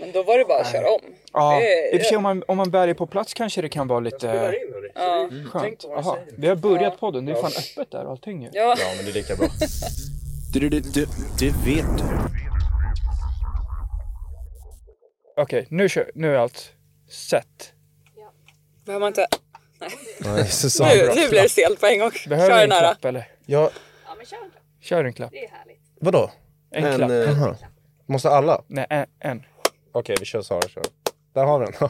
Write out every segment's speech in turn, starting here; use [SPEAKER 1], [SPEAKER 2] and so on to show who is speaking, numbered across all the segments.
[SPEAKER 1] Men då var det bara att köra om.
[SPEAKER 2] Ja,
[SPEAKER 1] Det-
[SPEAKER 2] i och för sig om man, om man bär det på plats kanske det kan vara lite
[SPEAKER 3] Spelar in hörni.
[SPEAKER 1] Ja.
[SPEAKER 2] skönt. Jaha, vi har börjat podden, det är fan öppet där och allting ju.
[SPEAKER 1] Ja,
[SPEAKER 3] Ja, men det är lika bra.
[SPEAKER 4] Du, du, du, du vet du.
[SPEAKER 2] Okej, nu kör nu är allt sett.
[SPEAKER 1] behöver man inte...
[SPEAKER 5] Nej, Susanne.
[SPEAKER 1] Nu, nu blir det stelt på en gång.
[SPEAKER 2] Behöver
[SPEAKER 1] Kör
[SPEAKER 2] en
[SPEAKER 1] den här.
[SPEAKER 2] klapp eller?
[SPEAKER 5] Ja,
[SPEAKER 2] Kör en klapp.
[SPEAKER 5] vadå?
[SPEAKER 2] En
[SPEAKER 5] Men,
[SPEAKER 2] klapp.
[SPEAKER 5] eh, Måste alla?
[SPEAKER 2] Nej, en. en.
[SPEAKER 5] Okej, vi kör Sara. Kör. Där har vi den.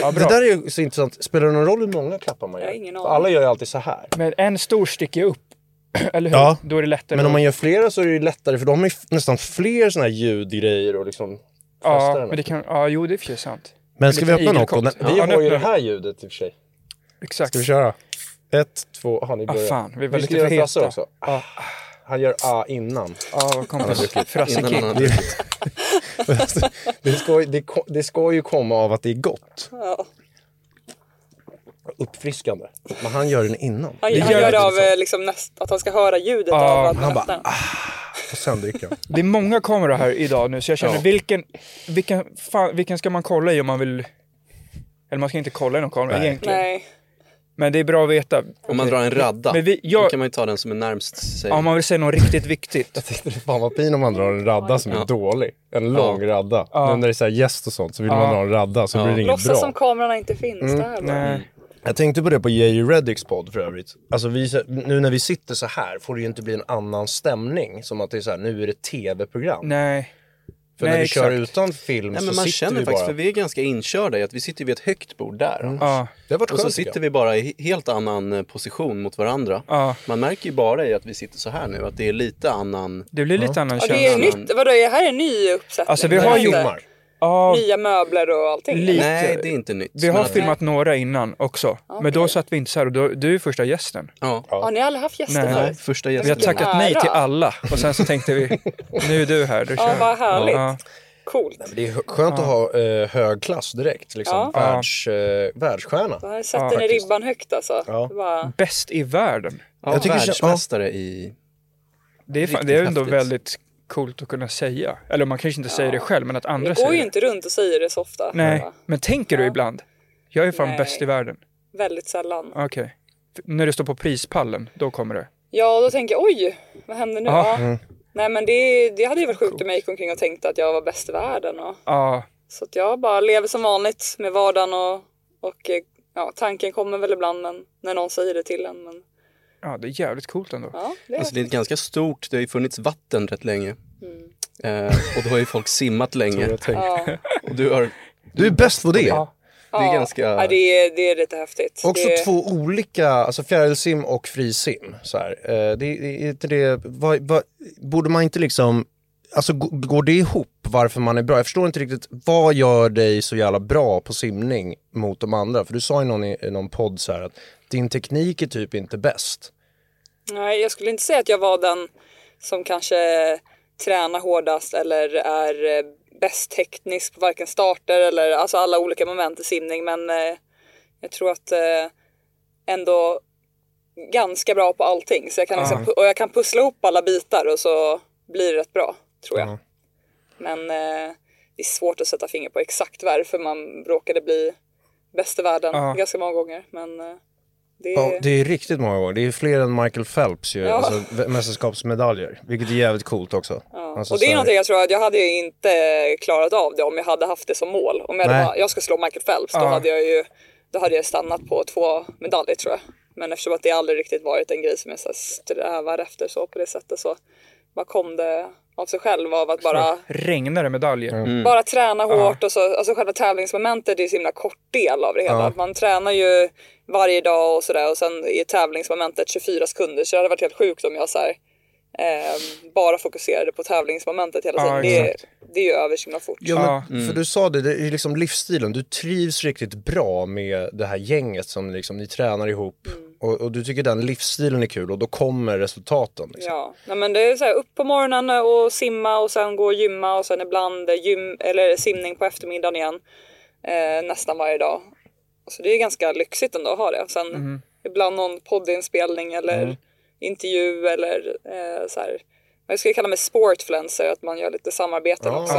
[SPEAKER 2] Ja,
[SPEAKER 5] Det
[SPEAKER 2] bra.
[SPEAKER 5] där är ju så intressant. Spelar det någon roll hur många klappar man
[SPEAKER 1] Jag har
[SPEAKER 5] gör?
[SPEAKER 1] ingen
[SPEAKER 5] För
[SPEAKER 1] aning.
[SPEAKER 5] alla gör ju alltid så här.
[SPEAKER 2] Men en stor sticker ju upp. Eller hur?
[SPEAKER 5] Ja,
[SPEAKER 2] Då är det lättare.
[SPEAKER 5] Men om
[SPEAKER 2] att-
[SPEAKER 5] man gör flera så är det ju lättare för de har ju f- nästan fler såna här ljudgrejer och liksom fästa
[SPEAKER 2] Ja,
[SPEAKER 5] den
[SPEAKER 2] men det
[SPEAKER 5] här.
[SPEAKER 2] kan... Ja, jo, det är för sig sant.
[SPEAKER 5] Men ska vi
[SPEAKER 2] lite
[SPEAKER 5] öppna något? då?
[SPEAKER 2] igelkott.
[SPEAKER 5] Nej, Vi
[SPEAKER 2] Ja, nu
[SPEAKER 5] har ju det
[SPEAKER 2] öppnar vi.
[SPEAKER 5] här ljudet i och för sig.
[SPEAKER 2] Exakt.
[SPEAKER 5] Ska vi köra? Ett, två, aha, ni
[SPEAKER 2] Ah,
[SPEAKER 5] börjar.
[SPEAKER 2] fan, vi var
[SPEAKER 5] ska
[SPEAKER 2] lite
[SPEAKER 5] göra
[SPEAKER 2] för
[SPEAKER 5] Frasse
[SPEAKER 2] heta.
[SPEAKER 5] också. Ah.
[SPEAKER 2] Ja,
[SPEAKER 5] Han gör A innan.
[SPEAKER 2] ja vad kompis. Ah, Frasse
[SPEAKER 5] Innan han
[SPEAKER 2] King.
[SPEAKER 5] har druckit. det, ska, ju- det, ko- det ska ju komma av att det är gott.
[SPEAKER 1] Ja.
[SPEAKER 5] Uppfriskande. Men han gör den innan.
[SPEAKER 1] Han,
[SPEAKER 5] Det
[SPEAKER 1] han gör det av
[SPEAKER 5] intressant.
[SPEAKER 1] eh, liksom näst, att han ska höra ljudet
[SPEAKER 2] Ja, "Ah,
[SPEAKER 1] av att
[SPEAKER 5] han bara,
[SPEAKER 1] nästan.
[SPEAKER 5] Och sen dricker han.
[SPEAKER 2] Det är många kameror här idag nu, så jag känner
[SPEAKER 5] Ja.
[SPEAKER 2] vilken, vilken, fan, vilken ska man kolla i om man vill... Eller man ska inte kolla i någon kamera
[SPEAKER 4] Nej.
[SPEAKER 2] egentligen.
[SPEAKER 1] Nej.
[SPEAKER 2] Men det är bra att veta.
[SPEAKER 6] Om man drar en radda,
[SPEAKER 2] Men vi-
[SPEAKER 6] då
[SPEAKER 2] jag-
[SPEAKER 6] kan man ju ta den som är närmst sig.
[SPEAKER 2] Ja, om man vill säga något riktigt viktigt.
[SPEAKER 5] Tänkte det fan vad pin om man drar en radda som är
[SPEAKER 6] Ja.
[SPEAKER 5] dålig. En lång radda. Nu när det är så här gäst och sånt så vill man
[SPEAKER 2] Ja.
[SPEAKER 5] dra en radda så
[SPEAKER 6] Ja.
[SPEAKER 5] blir det inget
[SPEAKER 1] Låtsas
[SPEAKER 5] bra.
[SPEAKER 1] som kamerorna inte finns där bara.
[SPEAKER 2] Mm, Nej.
[SPEAKER 5] Jag tänkte på det på J.J. Reddicks podd för övrigt. Alltså vi, nu när vi sitter så här får det ju inte bli en annan stämning. Som att det är så här, nu är det tv-program.
[SPEAKER 2] Nej.
[SPEAKER 5] för
[SPEAKER 2] nej,
[SPEAKER 5] när vi kör
[SPEAKER 2] exakt.
[SPEAKER 5] utan film
[SPEAKER 6] Nej,
[SPEAKER 5] så
[SPEAKER 6] men man
[SPEAKER 5] sitter
[SPEAKER 6] känner
[SPEAKER 5] vi
[SPEAKER 6] faktiskt,
[SPEAKER 5] bara...
[SPEAKER 6] för vi är ganska inkörda i att vi sitter vid ett högt bord där.
[SPEAKER 2] Ja.
[SPEAKER 5] Det har varit
[SPEAKER 6] Och så
[SPEAKER 5] skönt tycker
[SPEAKER 6] sitter
[SPEAKER 5] jag.
[SPEAKER 6] vi bara i helt annan eh, position mot varandra.
[SPEAKER 2] Ja.
[SPEAKER 6] Man märker ju bara i att vi sitter så här nu att det är lite annan...
[SPEAKER 2] Det blir lite annan
[SPEAKER 1] Ja, det är
[SPEAKER 2] känsla.
[SPEAKER 1] ju nytt. Vadå, det här är en ny uppsättning?
[SPEAKER 2] Alltså, vi
[SPEAKER 1] Det
[SPEAKER 2] har
[SPEAKER 1] är inte
[SPEAKER 5] Filmar.
[SPEAKER 2] Ja,
[SPEAKER 1] Nya möbler och allting.
[SPEAKER 2] Lite.
[SPEAKER 6] Nej, det är inte nytt.
[SPEAKER 2] vi har
[SPEAKER 6] Men att-
[SPEAKER 2] filmat några innan också. Men då satt vi inte så här och då, du är första gästen.
[SPEAKER 6] Ja.
[SPEAKER 1] Har ni aldrig haft gäster
[SPEAKER 2] Nej.
[SPEAKER 6] Nej,
[SPEAKER 1] förut?
[SPEAKER 6] första
[SPEAKER 2] Vi har
[SPEAKER 6] gästen.
[SPEAKER 2] tackat
[SPEAKER 1] Ära.
[SPEAKER 2] nej till alla och sen så tänkte vi, nu är du här, du
[SPEAKER 1] Ja, vad härligt.
[SPEAKER 2] Ja.
[SPEAKER 1] Coolt.
[SPEAKER 5] Det är hö- skönt att ha eh, hög klass direkt. Liksom.
[SPEAKER 1] Ja.
[SPEAKER 5] Världs, eh, världsstjärna.
[SPEAKER 1] Då här sätter ni ribban högt alltså.
[SPEAKER 5] Ja.
[SPEAKER 1] Det Bara,
[SPEAKER 2] Bäst i världen.
[SPEAKER 6] Ja,
[SPEAKER 5] Jag tycker-
[SPEAKER 6] världsmästare i...
[SPEAKER 2] Det är, fan,
[SPEAKER 6] Riktigt
[SPEAKER 2] det är ändå
[SPEAKER 6] häftigt.
[SPEAKER 2] väldigt coolt att kunna säga. Eller man kanske inte säger det själv, men att andra
[SPEAKER 1] det
[SPEAKER 2] säger
[SPEAKER 1] går
[SPEAKER 2] det.
[SPEAKER 1] ju inte runt och säger det så ofta.
[SPEAKER 2] Nej,
[SPEAKER 1] Bara,
[SPEAKER 2] men tänker du ibland? Jag är fan
[SPEAKER 1] Nej.
[SPEAKER 2] bäst i världen.
[SPEAKER 1] Väldigt sällan.
[SPEAKER 2] Okej. F- När det står på prispallen, då kommer det.
[SPEAKER 1] Ja, då tänker jag oj, vad händer nu?
[SPEAKER 2] Ja.
[SPEAKER 1] Ja. Nej, men det, det hade ju varit sjukt om jag gick omkring och tänkte att jag var bäst i världen. Och,
[SPEAKER 2] Ja,
[SPEAKER 1] så att jag bara lever som vanligt med vardagen och, och eh, ja, tanken kommer väl ibland men, när någon säger det till en. Men
[SPEAKER 2] ja det är jävligt coolt ändå.
[SPEAKER 1] ja, det är
[SPEAKER 6] Alltså det är ett ganska stort, det har ju funnits vatten rätt länge. Eh, och då har ju folk simmat länge.
[SPEAKER 5] Mm. Jag tänker-
[SPEAKER 1] ja,
[SPEAKER 6] Och du har,
[SPEAKER 5] Du är bäst på det.
[SPEAKER 6] det är ganska...
[SPEAKER 1] ja, det, är, det är lite häftigt.
[SPEAKER 5] Också
[SPEAKER 1] det,
[SPEAKER 5] två olika, alltså fjärilsim och frisim. Så här. Eh, det, det, är inte det, vad, vad, borde man inte liksom, alltså g- går det ihop varför man är bra? Jag förstår inte riktigt, vad gör dig så jävla bra på simning mot de andra? För du sa i någon, i någon podd så här att din teknik är typ inte bäst.
[SPEAKER 1] Nej, jag skulle inte säga att jag var den som kanske tränar hårdast eller är eh, bäst teknisk på varken starter eller alltså alla olika moment i simning. Men eh, jag tror att eh, ändå ganska bra på allting. Så jag kan liksom, pu- och jag kan pussla ihop alla bitar och så blir det rätt bra, tror jag. Men eh, det är svårt att sätta finger på exakt varför man råkade bli bäst i världen
[SPEAKER 2] Ja.
[SPEAKER 1] ganska många gånger. Men eh, det,
[SPEAKER 5] Ja, det är riktigt många gånger, det är fler än Michael Phelps ju,
[SPEAKER 1] Ja.
[SPEAKER 5] alltså v- mästerskapsmedaljer. Vilket är jävligt coolt också.
[SPEAKER 1] Ja.
[SPEAKER 5] Alltså,
[SPEAKER 1] och det
[SPEAKER 5] så
[SPEAKER 1] är
[SPEAKER 5] här-
[SPEAKER 1] någonting jag tror att jag hade ju inte klarat av det om jag hade haft det som mål. Om jag, hade
[SPEAKER 5] Nej.
[SPEAKER 1] bara, jag ska slå Michael Phelps, då
[SPEAKER 2] Ja.
[SPEAKER 1] hade jag ju då hade jag stannat på två medaljer tror jag. Men eftersom att det aldrig riktigt varit en grej som jag så här strävar efter så på det sättet så bara kom det av sig själv av att bara,
[SPEAKER 2] Regnar det medaljer?
[SPEAKER 1] bara träna hårt och så, alltså själva tävlingsmomentet är ju så himla kort del av det hela. Att Man tränar ju varje dag och sådär och sen är tävlingsmomentet 24 sekunder så det hade varit helt sjukt om jag så här eh, bara fokuserade på tävlingsmomentet hela tiden.
[SPEAKER 2] Ja,
[SPEAKER 1] det,
[SPEAKER 2] exakt.
[SPEAKER 1] det är ju över så himla fort.
[SPEAKER 7] Ja, men, för du sa det, det är liksom livsstilen. Du trivs riktigt bra med det här gänget som liksom, ni tränar ihop
[SPEAKER 1] Mm.
[SPEAKER 7] och, och du tycker den livsstilen är kul och då kommer resultaten. Liksom.
[SPEAKER 1] Ja, Nej, men det är så här, upp på morgonen och simma och sen gå och gymma och sen ibland gym, eller simning på eftermiddagen igen. Eh, nästan varje dag. Så det är ganska lyxigt ändå att ha det. Sen ibland någon poddinspelning eller intervju eller eh, så här. Jag skulle kalla mig sportfluencer, att man gör lite samarbeten också.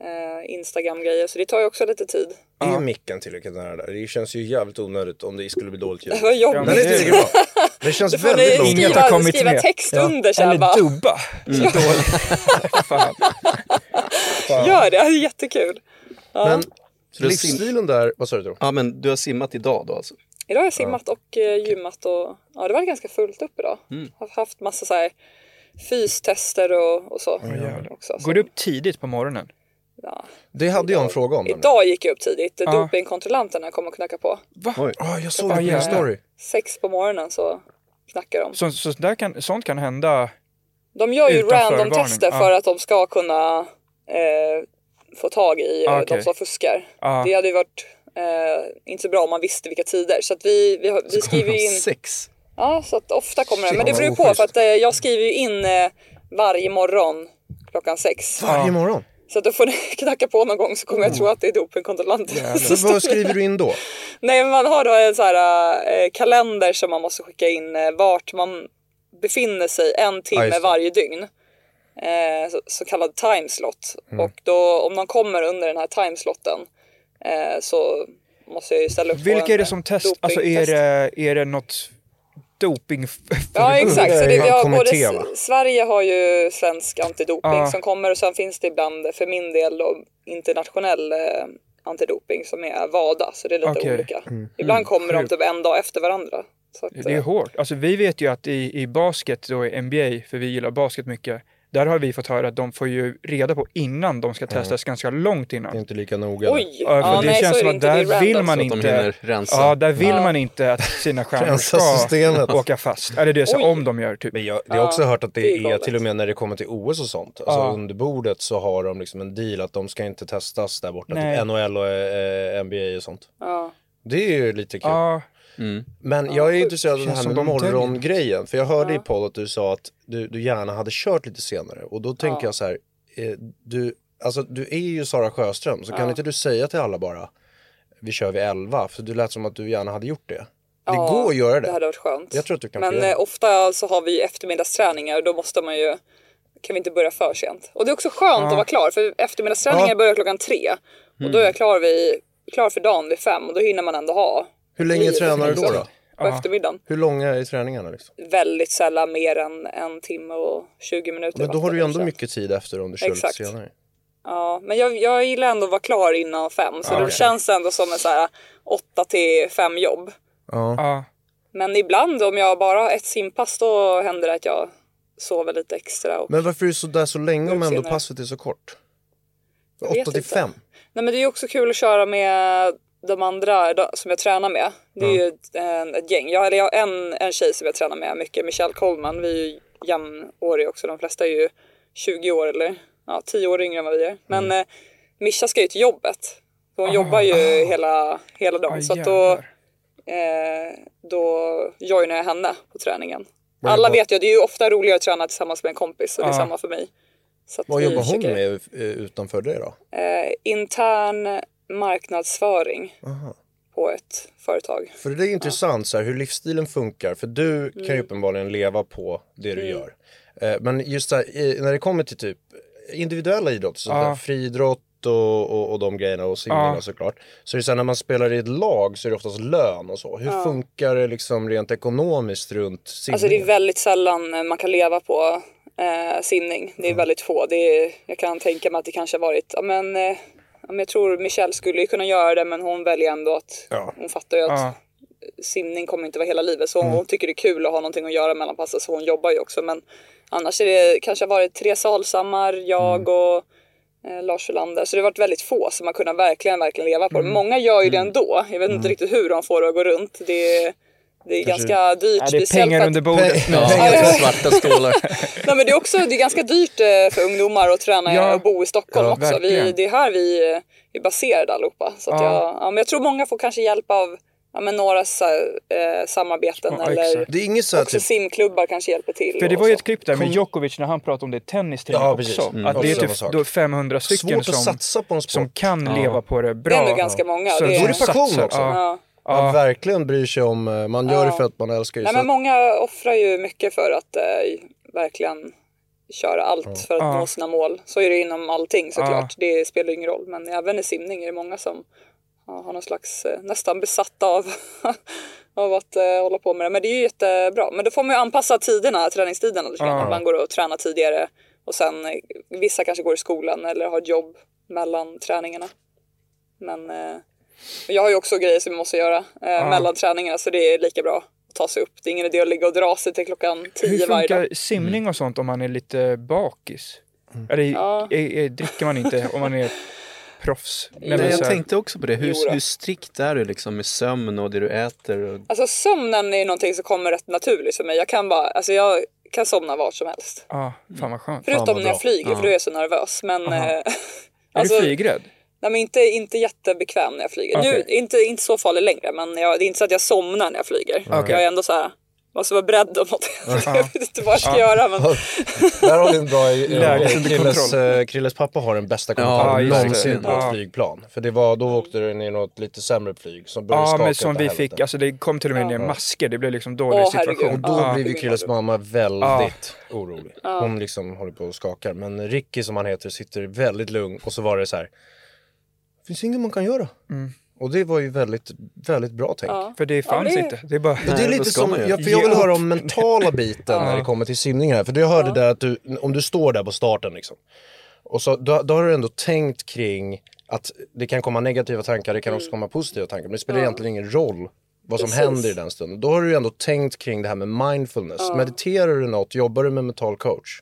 [SPEAKER 1] Eh, Instagram-grejer, så det tar ju också lite tid.
[SPEAKER 7] Är micken tillräckligt nära där? Det känns ju jävligt onödigt om det skulle bli dåligt ljud.
[SPEAKER 1] Det var jobbigt.
[SPEAKER 2] Ja,
[SPEAKER 7] Den är inte tillräckligt bra. Det känns
[SPEAKER 1] Då får ni
[SPEAKER 7] väldigt långt
[SPEAKER 2] Inget
[SPEAKER 7] ner.
[SPEAKER 2] har
[SPEAKER 1] skriva,
[SPEAKER 2] kommit
[SPEAKER 1] skriva
[SPEAKER 2] med.
[SPEAKER 1] text under Mm. så här bara.
[SPEAKER 2] Eller dubba. Så dåligt. Fan.
[SPEAKER 1] Gör det, det är jättekul.
[SPEAKER 7] Men
[SPEAKER 6] det är
[SPEAKER 7] livsstilen där, vad sa du? Tro?
[SPEAKER 6] Ja, men du har simmat idag då alltså?
[SPEAKER 1] Idag har jag simmat och eh, gymmat och ja, det var ganska fullt upp idag. Har haft massa så här fystester och, och så. också, så.
[SPEAKER 2] Går du upp tidigt på morgonen?
[SPEAKER 1] Ja.
[SPEAKER 7] Det hade jag en fråga om. nämligen.
[SPEAKER 1] Idag gick jag upp tidigt. Dopingkontrollanterna kom och knackade på.
[SPEAKER 2] Va?
[SPEAKER 6] Oj.
[SPEAKER 7] Ja, jag såg
[SPEAKER 2] Ah,
[SPEAKER 7] det på din
[SPEAKER 2] jävlar.
[SPEAKER 7] story.
[SPEAKER 1] Sex på morgonen så knackar de.
[SPEAKER 2] Så, så där kan, sånt kan hända.
[SPEAKER 1] De gör ju
[SPEAKER 2] Utan
[SPEAKER 1] random
[SPEAKER 2] förvarning,
[SPEAKER 1] tester
[SPEAKER 2] ja.
[SPEAKER 1] för att de ska kunna eh, få tag i
[SPEAKER 2] Ah,
[SPEAKER 1] ah,
[SPEAKER 2] okej. Ah.
[SPEAKER 1] de som fuskar.
[SPEAKER 2] Ja.
[SPEAKER 1] Det hade ju varit eh, inte så bra om man visste vilka tider. Så att vi, vi, har- vi skriver ju in...
[SPEAKER 6] Sex.
[SPEAKER 1] Ja, så att ofta kommer det.
[SPEAKER 7] Shit,
[SPEAKER 1] Men det
[SPEAKER 7] vad
[SPEAKER 1] beror ju på
[SPEAKER 7] oschysst.
[SPEAKER 1] för att eh, jag skriver ju in eh, varje morgon klockan sex.
[SPEAKER 7] Varje morgon.
[SPEAKER 1] Så att då får ni knacka på någon gång så kommer jag tro
[SPEAKER 2] Mm.
[SPEAKER 1] att det är dopingkontrollanter. Så står
[SPEAKER 7] Vad
[SPEAKER 1] det-
[SPEAKER 7] skriver du in då?
[SPEAKER 1] Nej, men man har då en så här, eh, kalender som man måste skicka in eh, vart man befinner sig en
[SPEAKER 7] Ja,
[SPEAKER 1] timme
[SPEAKER 7] just det.
[SPEAKER 1] varje dygn. Eh, så, så kallad timeslot.
[SPEAKER 2] Mm.
[SPEAKER 1] Och då om någon kommer under den här timeslotten eh, så måste jag ju ställa upp på
[SPEAKER 2] Vilka är det
[SPEAKER 1] en
[SPEAKER 2] som test? Alltså är
[SPEAKER 1] dopingtest.
[SPEAKER 2] det, är det något doping...
[SPEAKER 1] Ja exakt, så det, vi har både,
[SPEAKER 7] Kommitté, va?
[SPEAKER 1] S- Sverige har ju svensk antidoping
[SPEAKER 2] Ja.
[SPEAKER 1] som kommer och sen finns det ibland för min del då, internationell eh, antidoping som är WADA så det är lite
[SPEAKER 2] Okej. Mm.
[SPEAKER 1] olika. Ibland kommer de
[SPEAKER 2] Sjukt.
[SPEAKER 1] typ en dag efter varandra. Så att,
[SPEAKER 2] Det är
[SPEAKER 1] eh,
[SPEAKER 2] hårt. Alltså vi vet ju att i, i basket, då i NBA, för vi gillar basket mycket, där har vi fått höra att de får ju reda på innan de
[SPEAKER 7] Mm.
[SPEAKER 2] ska testas ganska långt
[SPEAKER 7] Det är
[SPEAKER 2] innan.
[SPEAKER 7] inte lika noga. där.
[SPEAKER 1] Oj!
[SPEAKER 2] Ja, för det
[SPEAKER 1] nej, så
[SPEAKER 2] känns
[SPEAKER 1] är
[SPEAKER 2] som att
[SPEAKER 1] inte, det är
[SPEAKER 2] där vill
[SPEAKER 1] random.
[SPEAKER 2] man
[SPEAKER 6] Så att de
[SPEAKER 2] inte...
[SPEAKER 6] hinner rensa.
[SPEAKER 2] Ja, där vill man inte att sina stjärnor
[SPEAKER 7] Rensa systemet.
[SPEAKER 2] ska åka fast. Eller det, så
[SPEAKER 1] Oj.
[SPEAKER 2] om de gör typ.
[SPEAKER 7] Men jag, jag har också hört att det,
[SPEAKER 1] det är
[SPEAKER 7] är,
[SPEAKER 1] galet.
[SPEAKER 7] till och med när det kommer till OS och sånt, alltså
[SPEAKER 2] Ja.
[SPEAKER 7] under bordet så har de liksom en deal att de ska inte testas där borta,
[SPEAKER 2] Nej.
[SPEAKER 7] typ NHL och eh, NBA och sånt.
[SPEAKER 1] Ja.
[SPEAKER 7] Det är ju lite kul.
[SPEAKER 2] Ja,
[SPEAKER 7] Men jag är intresserad av den
[SPEAKER 2] Känns
[SPEAKER 7] här
[SPEAKER 2] som
[SPEAKER 7] med
[SPEAKER 2] de täljer.
[SPEAKER 7] morgongrejen, för jag hörde i podd att du sa att du, du gärna hade kört lite senare och då tänker jag så här, eh, du, alltså, du är ju Sara Sjöström, så kan inte du säga till alla bara, vi kör vid 11, för du lät som att du gärna hade gjort det. Det
[SPEAKER 1] Ja,
[SPEAKER 7] går att göra det.
[SPEAKER 1] Det hade varit skönt.
[SPEAKER 7] Jag tror att du kan få
[SPEAKER 1] Men
[SPEAKER 7] göra det.
[SPEAKER 1] eh, ofta så har vi ju eftermiddagsträningar och då måste man ju kan vi inte börja för sent. Och det är också skönt att vara klar för eftermiddagsträningar
[SPEAKER 7] Ja.
[SPEAKER 1] börjar klockan tre och då är
[SPEAKER 2] Mm.
[SPEAKER 1] jag klar, vid, klar för dagen vid fem och då hinner man ändå ha
[SPEAKER 7] Hur länge
[SPEAKER 1] livet
[SPEAKER 7] tränar du då?
[SPEAKER 1] liksom
[SPEAKER 7] då?
[SPEAKER 1] På eftermiddagen.
[SPEAKER 7] Hur långa är träningarna? Liksom?
[SPEAKER 1] Väldigt sällan mer än en timme och 20 minuter.
[SPEAKER 7] Men då har du ju
[SPEAKER 1] ofta,
[SPEAKER 7] ändå
[SPEAKER 1] kanske.
[SPEAKER 7] mycket tid efter om du kör lite
[SPEAKER 1] Exakt.
[SPEAKER 7] senare.
[SPEAKER 1] Ja, men jag, jag gillar ändå att vara klar innan fem så då känns det ändå som en så här åtta till fem jobb.
[SPEAKER 2] ja.
[SPEAKER 1] Men ibland om jag bara har ett simpass då händer det att jag sover lite extra. Och...
[SPEAKER 7] Men varför är du så där så länge om ändå
[SPEAKER 1] senare.
[SPEAKER 7] passet är så kort?
[SPEAKER 1] vet
[SPEAKER 7] 8 till
[SPEAKER 1] inte.
[SPEAKER 7] 5?
[SPEAKER 1] Nej, men det är ju också kul att köra med de andra de- som jag tränar med. Det är ju ett, en, ett gäng. Jag, eller jag har en, en tjej som jag tränar med mycket, Michelle Coleman. Vi är ju jämnåriga också. De flesta är ju 20 år eller ja, 10 år yngre än vad vi är. Men
[SPEAKER 7] Mm.
[SPEAKER 1] eh, Mischa ska ju till jobbet. Hon
[SPEAKER 7] Ah.
[SPEAKER 1] jobbar ju hela, hela dagen.
[SPEAKER 2] Aj,
[SPEAKER 1] så att då,
[SPEAKER 2] jävlar.
[SPEAKER 1] eh, då joinar jag henne på träningen.
[SPEAKER 7] Vad
[SPEAKER 1] Alla
[SPEAKER 7] jobbar- Ah.
[SPEAKER 1] vet ju, det är ju ofta roligare att träna tillsammans med en kompis och det är samma för mig. Så att
[SPEAKER 7] Vad
[SPEAKER 1] vi
[SPEAKER 7] jobbar hon
[SPEAKER 1] försöker-
[SPEAKER 7] med eh, utanför det då?
[SPEAKER 1] eh, intern marknadsföring på ett företag.
[SPEAKER 7] För det är intressant så här, hur livsstilen funkar, för du kan ju
[SPEAKER 2] Mm.
[SPEAKER 7] uppenbarligen leva på det du gör. Eh, Men just så här, i- när det kommer till typ individuella idrotter, så där, friidrott och, och, och de grejerna och simning och såklart. Så är det så här, när man spelar i ett lag så är det oftast lön och så. Hur funkar det liksom rent ekonomiskt runt simningen?
[SPEAKER 1] Alltså det är väldigt sällan eh, man kan leva på eh, simning. Det är väldigt få. Det är, jag kan tänka mig att det kanske har varit, ja men, eh, ja, men jag tror Michelle skulle ju kunna göra det men hon väljer ändå att, hon fattar ju att
[SPEAKER 2] Ja.
[SPEAKER 1] simning kommer inte vara hela livet så hon,
[SPEAKER 2] Mm.
[SPEAKER 1] hon tycker det är kul att ha någonting att göra mellan passen så hon jobbar ju också men annars är det kanske har varit Therese Alshammar, jag
[SPEAKER 2] Mm.
[SPEAKER 1] och eh, Lars Olander. Så det har varit väldigt få som har
[SPEAKER 2] Mm.
[SPEAKER 1] kunnat verkligen, verkligen leva på det. Många gör ju det ändå. Jag vet inte riktigt hur de får det att gå runt. Det är, Det är ganska dyrt.
[SPEAKER 2] Ja, det är
[SPEAKER 1] speciellt för
[SPEAKER 2] pengar
[SPEAKER 1] att-
[SPEAKER 2] under bordet.
[SPEAKER 7] Ja.
[SPEAKER 6] Ja, svarta stålar.
[SPEAKER 1] Nej, men det, är också, det är ganska dyrt eh, för ungdomar att träna
[SPEAKER 2] Ja.
[SPEAKER 1] och bo i Stockholm
[SPEAKER 2] Ja,
[SPEAKER 1] också. Vi,
[SPEAKER 2] verkligen.
[SPEAKER 1] det är här vi eh, är baserade allihopa. Så att
[SPEAKER 2] Ja.
[SPEAKER 1] Jag, ja, men jag tror många får kanske hjälp av ja, men några sa- eh, samarbeten
[SPEAKER 2] Ja,
[SPEAKER 1] eller
[SPEAKER 2] exakt.
[SPEAKER 7] Det är inget så här
[SPEAKER 1] också
[SPEAKER 7] typ,
[SPEAKER 1] simklubbar kanske hjälper till.
[SPEAKER 2] För det
[SPEAKER 1] och
[SPEAKER 2] var ju
[SPEAKER 1] så.
[SPEAKER 2] ett klipp där med Djokovic när han pratade om det i tennis till
[SPEAKER 7] Ja,
[SPEAKER 2] ja,
[SPEAKER 7] precis.
[SPEAKER 2] också.
[SPEAKER 7] Mm.
[SPEAKER 2] Att det är
[SPEAKER 7] Också
[SPEAKER 2] typ
[SPEAKER 7] samma sak.
[SPEAKER 2] då 500 stycken
[SPEAKER 7] svårt att
[SPEAKER 2] som,
[SPEAKER 7] satsa på en sport.
[SPEAKER 2] som kan leva på det bra.
[SPEAKER 1] Det är ändå ganska många.
[SPEAKER 2] Så
[SPEAKER 1] Det är-
[SPEAKER 2] de
[SPEAKER 1] Då är det
[SPEAKER 7] passion
[SPEAKER 2] satsar.
[SPEAKER 7] också.
[SPEAKER 2] Ja.
[SPEAKER 1] ja.
[SPEAKER 7] man
[SPEAKER 2] Ja.
[SPEAKER 7] verkligen bryr sig om, eh, man gör det för att man älskar det.
[SPEAKER 1] Nej,
[SPEAKER 7] Så
[SPEAKER 1] men många offrar ju mycket för att eh, verkligen köra allt för att
[SPEAKER 2] Ja.
[SPEAKER 1] nå sina mål. Så är det inom allting såklart.
[SPEAKER 2] Ja.
[SPEAKER 1] Det spelar ingen roll. Men även i simning är det många som ja, har någon slags eh, nästan besatt av, av att eh, hålla på med det. Men det är ju jättebra. Men då får man ju anpassa tiderna, träningstiderna lite grann.
[SPEAKER 2] Ja.
[SPEAKER 1] Att Man går och tränar tidigare och sen eh, vissa kanske går i skolan eller har ett jobb mellan träningarna. Men eh, jag har ju också grejer som jag måste göra eh, mellan träningarna så det är lika bra att ta sig upp. Det är ingen idé att ligga och dra sig till klockan
[SPEAKER 2] Hur
[SPEAKER 1] tio varje dag.
[SPEAKER 2] funkar simning och sånt om man är lite bakis?
[SPEAKER 7] Mm.
[SPEAKER 2] Eller
[SPEAKER 1] Ja.
[SPEAKER 2] är, är, dricker man inte om man är proffs? Nej, men
[SPEAKER 6] Nej,
[SPEAKER 2] så
[SPEAKER 6] jag
[SPEAKER 2] här-
[SPEAKER 6] tänkte också på det.
[SPEAKER 1] Jo
[SPEAKER 6] Hur,
[SPEAKER 1] då.
[SPEAKER 6] hur strikt är du liksom med sömn och det du äter? Och...
[SPEAKER 1] Alltså sömnen är någonting som kommer rätt naturligt för mig. Jag kan bara, alltså jag kan somna vart som helst.
[SPEAKER 2] Ja, fan vad skönt.
[SPEAKER 1] Förutom
[SPEAKER 7] vad
[SPEAKER 1] när
[SPEAKER 7] bra.
[SPEAKER 1] jag flyger för då är jag så nervös. Men, eh,
[SPEAKER 2] är
[SPEAKER 1] alltså,
[SPEAKER 2] du flygrädd?
[SPEAKER 1] nej, men inte, inte jättebekväm när jag flyger.
[SPEAKER 2] Okej.
[SPEAKER 1] Nu, inte, inte så farlig längre men jag, det är inte så att jag somnar när jag flyger. Jag är ändå så här, måste vara beredd om något. jag vet inte vad jag ska göra men
[SPEAKER 7] Där har vi en bra...
[SPEAKER 2] Läget
[SPEAKER 7] Eh,
[SPEAKER 2] under
[SPEAKER 7] Krilles,
[SPEAKER 2] kontroll.
[SPEAKER 7] eh, Krilles pappa har den bästa
[SPEAKER 6] Ja,
[SPEAKER 7] kommentaren
[SPEAKER 2] just det.
[SPEAKER 7] någonsin på ett
[SPEAKER 2] Ja.
[SPEAKER 7] flygplan. För det var, då åkte den i något lite sämre flyg som började
[SPEAKER 2] Ja,
[SPEAKER 7] skaka
[SPEAKER 2] men som
[SPEAKER 7] åt
[SPEAKER 2] vi
[SPEAKER 7] helvete.
[SPEAKER 2] fick, alltså det kom till och med ner masker. Det blev liksom dålig
[SPEAKER 1] Åh, herregud.
[SPEAKER 2] situation.
[SPEAKER 7] Och då
[SPEAKER 1] Ja.
[SPEAKER 7] blev ju Krilles mamma väldigt orolig. Hon liksom håller på och skakar. Men Ricky som han heter sitter väldigt lugn och så var det så här. Finns inget man kan göra.
[SPEAKER 2] Mm.
[SPEAKER 7] Och det var ju väldigt, väldigt bra tänk.
[SPEAKER 2] För det fanns
[SPEAKER 1] det-
[SPEAKER 2] inte. Det är bara...
[SPEAKER 7] Men det är
[SPEAKER 6] Nej,
[SPEAKER 7] lite
[SPEAKER 6] då ska
[SPEAKER 7] som,
[SPEAKER 6] man ju.
[SPEAKER 7] jag, för jag vill
[SPEAKER 2] Ge upp.
[SPEAKER 7] höra om mentala biten när det kommer till simning här. För jag hörde där att du, om du står där på starten liksom. Och så, då, då har du ändå tänkt kring att det kan komma negativa tankar, det kan
[SPEAKER 6] Mm.
[SPEAKER 7] också komma positiva tankar. Men det spelar egentligen ingen roll vad som
[SPEAKER 1] Precis.
[SPEAKER 7] händer i den stunden. Då har du ju ändå tänkt kring det här med mindfulness. Mediterar du något? Jobbar du med mental coach?